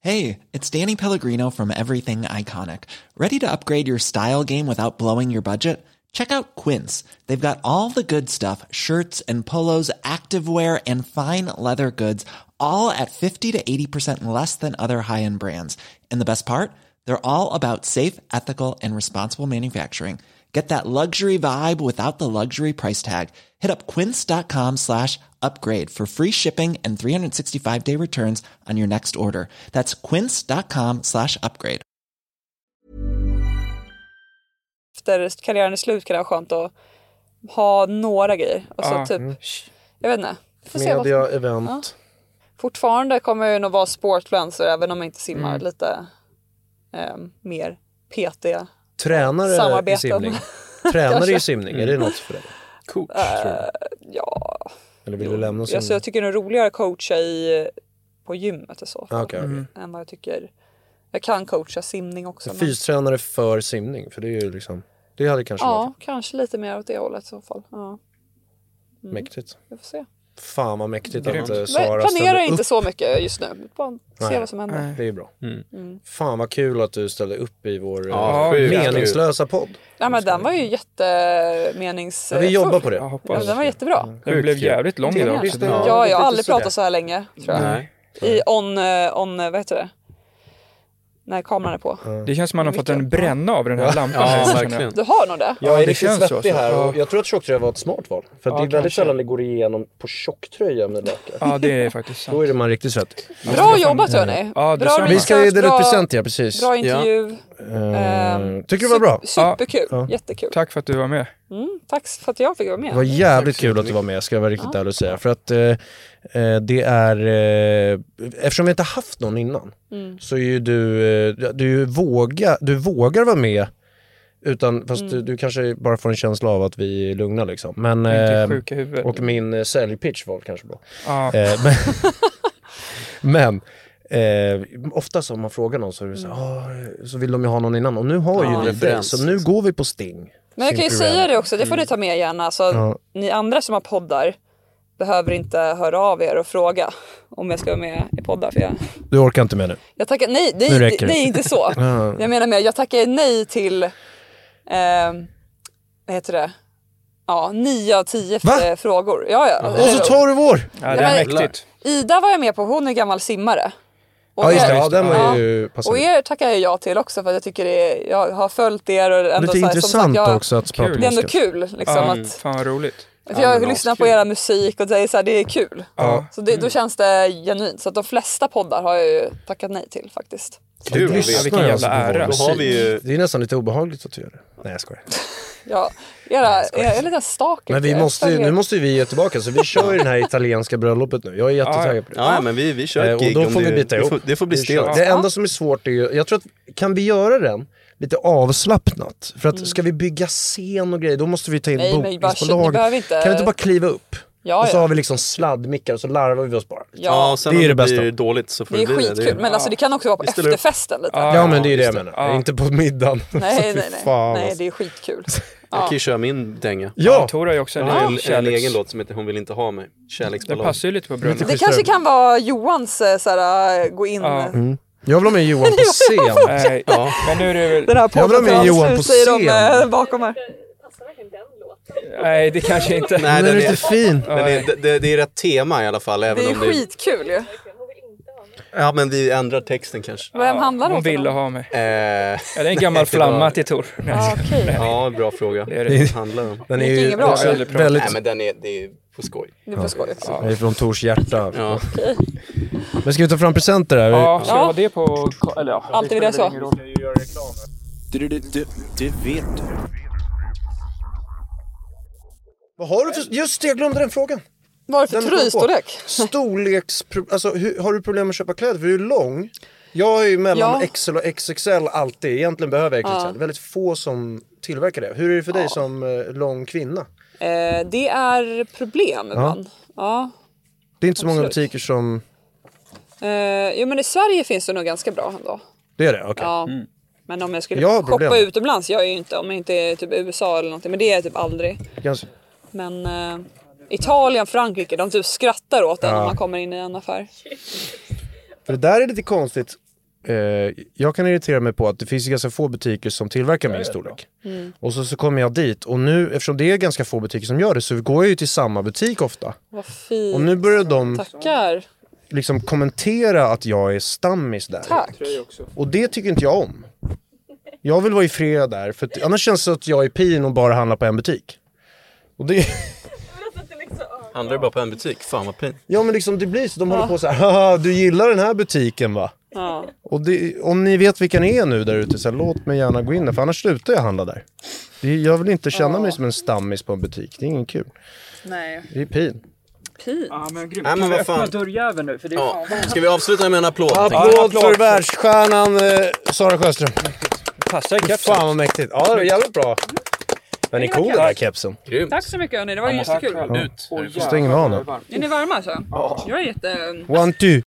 [SPEAKER 10] Hey, it's Danny Pellegrino from Everything Iconic. Ready to upgrade your style game without blowing your budget? Check out Quince. They've got all the good stuff shirts and polos, activewear, and fine leather goods, all at 50 to 80% less than other high end brands. And the best part? They're all about safe, ethical, and responsible manufacturing. Get that luxury vibe without the luxury price tag. Hit up quince.com slash upgrade for free shipping and 365 day returns on your next order. That's quince.com slash upgrade.
[SPEAKER 1] efter karriären är slut kan det vara skönt att ha några grejer. Och så
[SPEAKER 2] Ja.
[SPEAKER 1] typ, jag vet inte. Får se vad-
[SPEAKER 7] Media, event.
[SPEAKER 1] Fortfarande kommer jag ju nog vara sportfluencer även om jag inte simmar
[SPEAKER 7] Mm.
[SPEAKER 1] lite eh, mer PT.
[SPEAKER 7] Tränare i
[SPEAKER 1] Samarbeten.
[SPEAKER 7] simning. Tränare i simning, är det något för dig?
[SPEAKER 6] Coach, tror jag.
[SPEAKER 1] Ja,
[SPEAKER 7] Eller vill du lämna simning?
[SPEAKER 1] alltså jag tycker det är roligare att coacha i, på gymmet och så.
[SPEAKER 7] Ah, okej, okej.
[SPEAKER 1] Än vad jag tycker. Jag kan coacha simning också. men-
[SPEAKER 7] Fystränare för simning, för det är ju liksom, det hade kanske
[SPEAKER 1] ja, kanske lite mer åt det hållet i så fall. Ja, mm.
[SPEAKER 7] varit mäktigt.
[SPEAKER 1] vi får se.
[SPEAKER 7] Fan vad mäktigt
[SPEAKER 2] Grymt.
[SPEAKER 7] att eh,
[SPEAKER 1] Men
[SPEAKER 7] Sara
[SPEAKER 1] Jag planerar
[SPEAKER 7] ställde
[SPEAKER 1] inte
[SPEAKER 7] upp.
[SPEAKER 1] så mycket just nu. Bara se
[SPEAKER 7] Nej.
[SPEAKER 1] vad som händer.
[SPEAKER 7] Det är ju bra.
[SPEAKER 2] Mm.
[SPEAKER 1] Mm.
[SPEAKER 7] Fan vad kul att du ställde upp i vår
[SPEAKER 6] Ja,
[SPEAKER 7] eh,
[SPEAKER 6] sjukt.
[SPEAKER 7] meningslösa podd.
[SPEAKER 1] Nej, men den var ju
[SPEAKER 7] Ja,
[SPEAKER 1] jättemeningsfull.
[SPEAKER 7] vi jobbar på det. Mm.
[SPEAKER 2] Jag
[SPEAKER 1] Ja,
[SPEAKER 2] hoppas.
[SPEAKER 1] den var jättebra.
[SPEAKER 2] Den blev jävligt lång
[SPEAKER 1] Trevligt.
[SPEAKER 2] idag. också.
[SPEAKER 7] Ja,
[SPEAKER 1] Ja, jag har aldrig pratat så här länge tror jag.
[SPEAKER 6] Nej.
[SPEAKER 7] Mm.
[SPEAKER 1] I on, eh, on, eh, vad heter det? När kameran är på.
[SPEAKER 7] Mm.
[SPEAKER 2] Det känns som man har fått en bränna av den här lampan. här,
[SPEAKER 6] Ja,
[SPEAKER 2] känner jag.
[SPEAKER 6] verkligen.
[SPEAKER 1] Du har nog det?
[SPEAKER 2] Ja,
[SPEAKER 7] Jag
[SPEAKER 2] det
[SPEAKER 7] är riktigt
[SPEAKER 2] känns så,
[SPEAKER 7] svettig
[SPEAKER 2] alltså.
[SPEAKER 7] här
[SPEAKER 2] Ja.
[SPEAKER 7] och jag tror att tjocktröja var ett smart val. För
[SPEAKER 2] Ja,
[SPEAKER 7] att det är väldigt
[SPEAKER 2] kanske.
[SPEAKER 7] sällan det går igenom på tjocktröja med lökar.
[SPEAKER 2] Ja, det är faktiskt
[SPEAKER 7] Då är
[SPEAKER 2] sant.
[SPEAKER 7] det man riktigt svettig.
[SPEAKER 1] Bra jobbat hörni! bra
[SPEAKER 2] Ja, detsamma.
[SPEAKER 7] Vi ska ju dela
[SPEAKER 1] bra,
[SPEAKER 7] upp present ja, precis.
[SPEAKER 1] Bra intervju. ehm,
[SPEAKER 7] Eh, Tycker du det var bra?
[SPEAKER 1] Sup- Superkul,
[SPEAKER 7] Ja.
[SPEAKER 1] jättekul.
[SPEAKER 2] Tack för att du var med.
[SPEAKER 1] Mm, tack för att jag fick vara
[SPEAKER 7] Det var
[SPEAKER 1] med.
[SPEAKER 7] jävligt kul att du var med, ska jag vara riktigt ärlig och säga. För att eh, eh, det är, eh, eftersom vi inte haft någon innan, så är ju du, eh, du, våga, du vågar vara med utan, fast du, du kanske bara får en känsla av att vi är lugna liksom. Men,
[SPEAKER 2] Jag är inte
[SPEAKER 7] eh,
[SPEAKER 2] sjuk i huvudet.
[SPEAKER 7] och min eh, säljpitch var kanske bra.
[SPEAKER 2] Ja,
[SPEAKER 7] Eh, men men eh, ofta så om man frågar någon så, är det så, här, "Ah, så vill de ju ha någon innan och nu har
[SPEAKER 6] Ja,
[SPEAKER 7] ju vi dig,
[SPEAKER 6] referens,
[SPEAKER 7] så nu går vi på Sting.
[SPEAKER 1] Men jag kan ju
[SPEAKER 7] Simple
[SPEAKER 1] säga
[SPEAKER 7] Red.
[SPEAKER 1] det också, det får ni ta med gärna. Alltså,
[SPEAKER 7] Mm. Ja.
[SPEAKER 1] Ni andra som har poddar behöver inte höra av er och fråga om jag ska vara med i poddar. För jag,
[SPEAKER 7] Du orkar inte med nu.
[SPEAKER 1] jag tackar nej,
[SPEAKER 7] Nu
[SPEAKER 1] nej,
[SPEAKER 7] räcker det.
[SPEAKER 1] nej inte så.
[SPEAKER 7] Ja.
[SPEAKER 1] Jag menar mer, jag tackar nej till, eh, vad heter det, ja, 9 av 10
[SPEAKER 7] Va?
[SPEAKER 1] frågor. Ja, ja.
[SPEAKER 7] Och så tar du vår!
[SPEAKER 2] ja det är
[SPEAKER 1] men-
[SPEAKER 2] mäktigt.
[SPEAKER 1] Ida var jag med på, hon är gammal simmare. Och,
[SPEAKER 7] Ja just det,
[SPEAKER 1] er,
[SPEAKER 7] ja, den var
[SPEAKER 1] Ja.
[SPEAKER 7] ju passande.
[SPEAKER 1] och er tackar jag ja till också för att jag tycker det är, jag har följt er och ändå
[SPEAKER 7] Lite
[SPEAKER 1] så här, som sagt,
[SPEAKER 7] intressant
[SPEAKER 1] jag,
[SPEAKER 7] också att prata
[SPEAKER 2] kul.
[SPEAKER 7] om
[SPEAKER 1] Det är ändå
[SPEAKER 7] Oscar.
[SPEAKER 1] kul liksom
[SPEAKER 2] Ja,
[SPEAKER 1] att
[SPEAKER 2] Mm. fan vad roligt.
[SPEAKER 1] För jag lyssnar på era musik och säger så här, det är kul.
[SPEAKER 2] Ja.
[SPEAKER 1] Så det, då känns det genuint. Så att de flesta poddar har jag ju tackat nej till faktiskt.
[SPEAKER 7] Kul,
[SPEAKER 2] Ja, vilken jävla ära.
[SPEAKER 7] Då har vi ju... Det är nästan lite obehagligt att du gör det. Nej jag skojar.
[SPEAKER 1] Ja, era, jag är lite stalker.
[SPEAKER 7] Men vi
[SPEAKER 1] Jag
[SPEAKER 7] måste, ju-
[SPEAKER 1] följer-
[SPEAKER 7] nu måste ju vi ge tillbaka, så vi kör ju det här italienska bröllopet nu. Jag är jättetaggad på det.
[SPEAKER 6] Ja, ja, men vi, vi kör
[SPEAKER 7] Eh,
[SPEAKER 6] ett
[SPEAKER 7] och
[SPEAKER 6] gig.
[SPEAKER 7] då
[SPEAKER 6] om
[SPEAKER 7] får vi byta
[SPEAKER 6] det,
[SPEAKER 7] ihop.
[SPEAKER 6] får, det får bli
[SPEAKER 7] Vi kör.
[SPEAKER 6] stelt.
[SPEAKER 7] Det enda som är svårt är ju, jag tror att, kan vi göra den lite avslappnat? För att ska vi bygga scen och grejer, då måste vi ta in
[SPEAKER 1] Mm. Nej, men bara shit, ni
[SPEAKER 7] bokningsbolag.
[SPEAKER 1] behöver inte-
[SPEAKER 7] Kan vi inte bara kliva upp?
[SPEAKER 1] Ja,
[SPEAKER 7] och så
[SPEAKER 1] ja.
[SPEAKER 7] har vi liksom sladdmickar och så larvar vi oss bara.
[SPEAKER 6] Ja, och sen
[SPEAKER 7] det är
[SPEAKER 6] om
[SPEAKER 7] det bästa.
[SPEAKER 6] blir dåligt så får
[SPEAKER 1] Det är
[SPEAKER 6] bli
[SPEAKER 1] skitkul,
[SPEAKER 6] Det är-
[SPEAKER 1] men alltså det kan också vara på
[SPEAKER 6] Vi ställer upp.
[SPEAKER 1] efterfesten lite.
[SPEAKER 7] Ja, men det är ju det jag
[SPEAKER 6] just det.
[SPEAKER 7] menar. Inte på middagen. Så fy
[SPEAKER 1] Nej, nej, nej.
[SPEAKER 7] fan,
[SPEAKER 1] nej,
[SPEAKER 7] alltså.
[SPEAKER 1] det är skitkul.
[SPEAKER 6] Jag
[SPEAKER 1] Ja.
[SPEAKER 6] kan ju köra min dänga.
[SPEAKER 7] Ja!
[SPEAKER 2] Tor har ju också en,
[SPEAKER 6] Jag har
[SPEAKER 2] liten
[SPEAKER 6] en, en
[SPEAKER 2] kärleks-
[SPEAKER 6] egen låt som heter Hon vill inte ha mig.
[SPEAKER 2] Den
[SPEAKER 6] Kärleksballad.
[SPEAKER 2] passar ju lite på bröllopet.
[SPEAKER 1] Det kanske kan vara Johans eh, så här, gå in. eh,
[SPEAKER 2] Ja.
[SPEAKER 7] Mm. Jag vill ha med Johan på scen.
[SPEAKER 2] Nej, Eh, men nu är det väl...
[SPEAKER 1] Den här
[SPEAKER 7] Jag vill ha
[SPEAKER 1] podden
[SPEAKER 7] med Johan på
[SPEAKER 1] säger de
[SPEAKER 7] scen.
[SPEAKER 1] eh, bakom här.
[SPEAKER 2] Nej, det kanske inte...
[SPEAKER 6] Nej,
[SPEAKER 7] Den
[SPEAKER 6] den
[SPEAKER 7] är
[SPEAKER 6] är,
[SPEAKER 7] lite fin.
[SPEAKER 6] den är, det, det, det är rätt tema i alla fall. Även
[SPEAKER 1] Det är
[SPEAKER 6] om det,
[SPEAKER 1] skitkul ju.
[SPEAKER 6] Ja, men vi ändrar texten kanske.
[SPEAKER 1] Vem handlar det
[SPEAKER 2] Hon
[SPEAKER 1] om? för
[SPEAKER 2] ville
[SPEAKER 1] någon?
[SPEAKER 2] ha mig.
[SPEAKER 6] Eh,
[SPEAKER 2] Ja, det är en gammal
[SPEAKER 6] det var-
[SPEAKER 2] flamma till Tor. Nej,
[SPEAKER 1] Ah, okej.
[SPEAKER 6] ja, bra fråga.
[SPEAKER 2] det är
[SPEAKER 6] Vad
[SPEAKER 2] det.
[SPEAKER 6] handlar det om?
[SPEAKER 7] Den är
[SPEAKER 1] gick
[SPEAKER 7] ju
[SPEAKER 1] inget bra,
[SPEAKER 7] också
[SPEAKER 2] eller?
[SPEAKER 7] väldigt...
[SPEAKER 6] Nej, men den är, det är på skoj.
[SPEAKER 1] Det är för skojigt.
[SPEAKER 7] Den är från Tors hjärta.
[SPEAKER 6] Ja.
[SPEAKER 7] Men ska vi ta fram presenter här?
[SPEAKER 2] Ja, ska jag
[SPEAKER 1] Ja.
[SPEAKER 2] ha det på... Eller ja.
[SPEAKER 1] Alltid vill jag så.
[SPEAKER 7] Vad har du för... Just det, jag glömde den frågan.
[SPEAKER 1] Vad är det
[SPEAKER 7] Den
[SPEAKER 1] för
[SPEAKER 7] kom på.
[SPEAKER 1] tröjstorlek?
[SPEAKER 7] Storleks... Alltså, hur, har du problem med att köpa kläder? För du är lång. Jag är ju mellan
[SPEAKER 1] Ja.
[SPEAKER 7] XL och XXL alltid. Egentligen behöver jag XXL. Det är Väldigt få som tillverkar det. Hur är det för dig som eh, lång kvinna?
[SPEAKER 1] Eh, det är problem ibland. Ja.
[SPEAKER 7] Det är inte så många
[SPEAKER 1] Absolut.
[SPEAKER 7] butiker som...
[SPEAKER 1] Eh, jo men i Sverige finns det nog ganska bra ändå.
[SPEAKER 7] Det är det? Okej.
[SPEAKER 1] Ja. Men om jag skulle
[SPEAKER 7] Jag har
[SPEAKER 1] shoppa
[SPEAKER 7] problem.
[SPEAKER 1] utomlands, jag är ju inte, om jag inte är typ i USA eller någonting, men det är jag typ aldrig.
[SPEAKER 7] Ganska-
[SPEAKER 1] Men eh, Italien, Frankrike, de typ skrattar åt en när man kommer in i en affär.
[SPEAKER 7] För det där är lite konstigt. Eh, jag kan irritera mig på att det finns ju ganska få butiker som tillverkar min storlek. Och så, så kommer jag dit och nu, eftersom det är ganska få butiker som gör det, så går jag ju till samma butik ofta.
[SPEAKER 1] Vad fint.
[SPEAKER 7] Och nu börjar de
[SPEAKER 1] Tackar.
[SPEAKER 7] liksom kommentera att jag är stammis där.
[SPEAKER 1] Tack.
[SPEAKER 7] Och det tycker inte jag om. Jag vill vara i fred där, för att, annars känns det att jag är pin och bara handlar på en butik. Och det,
[SPEAKER 6] Handlar det bara på en butik? Fan vad pin.
[SPEAKER 7] ja men liksom det blir så, de håller på så här, "Haha, du gillar den här butiken va?
[SPEAKER 1] Ja.
[SPEAKER 7] Och det, om ni vet vilka ni är nu där ute, så här, låt mig gärna gå in där, för annars slutar jag handla där. Det, jag vill inte känna mig som en stammis på en butik, det är ingen kul.
[SPEAKER 1] Nej.
[SPEAKER 7] Det är pin.
[SPEAKER 2] Ja, men grymt.
[SPEAKER 6] Nej, men
[SPEAKER 2] Kan vi
[SPEAKER 6] vad
[SPEAKER 2] öppna
[SPEAKER 6] fan.
[SPEAKER 2] dörrjäveln nu? För det är
[SPEAKER 6] Ja. Ska vi avsluta med en applåd? tänker jag?
[SPEAKER 7] Applåd för världsstjärnan eh, Sara Sjöström.
[SPEAKER 2] Passar i kepsen.
[SPEAKER 7] Fan vad mäktigt. Ja, det var jävligt bra. Den är cool den här kepsen.
[SPEAKER 6] Grymt.
[SPEAKER 1] Tack så mycket hörni, det var ju
[SPEAKER 2] Tack
[SPEAKER 1] jättekul.
[SPEAKER 2] själv.
[SPEAKER 6] Ut.
[SPEAKER 2] Åh,
[SPEAKER 7] Stänger vi av nu?
[SPEAKER 1] Är ni varma så? Jag är jätte...
[SPEAKER 7] One, two.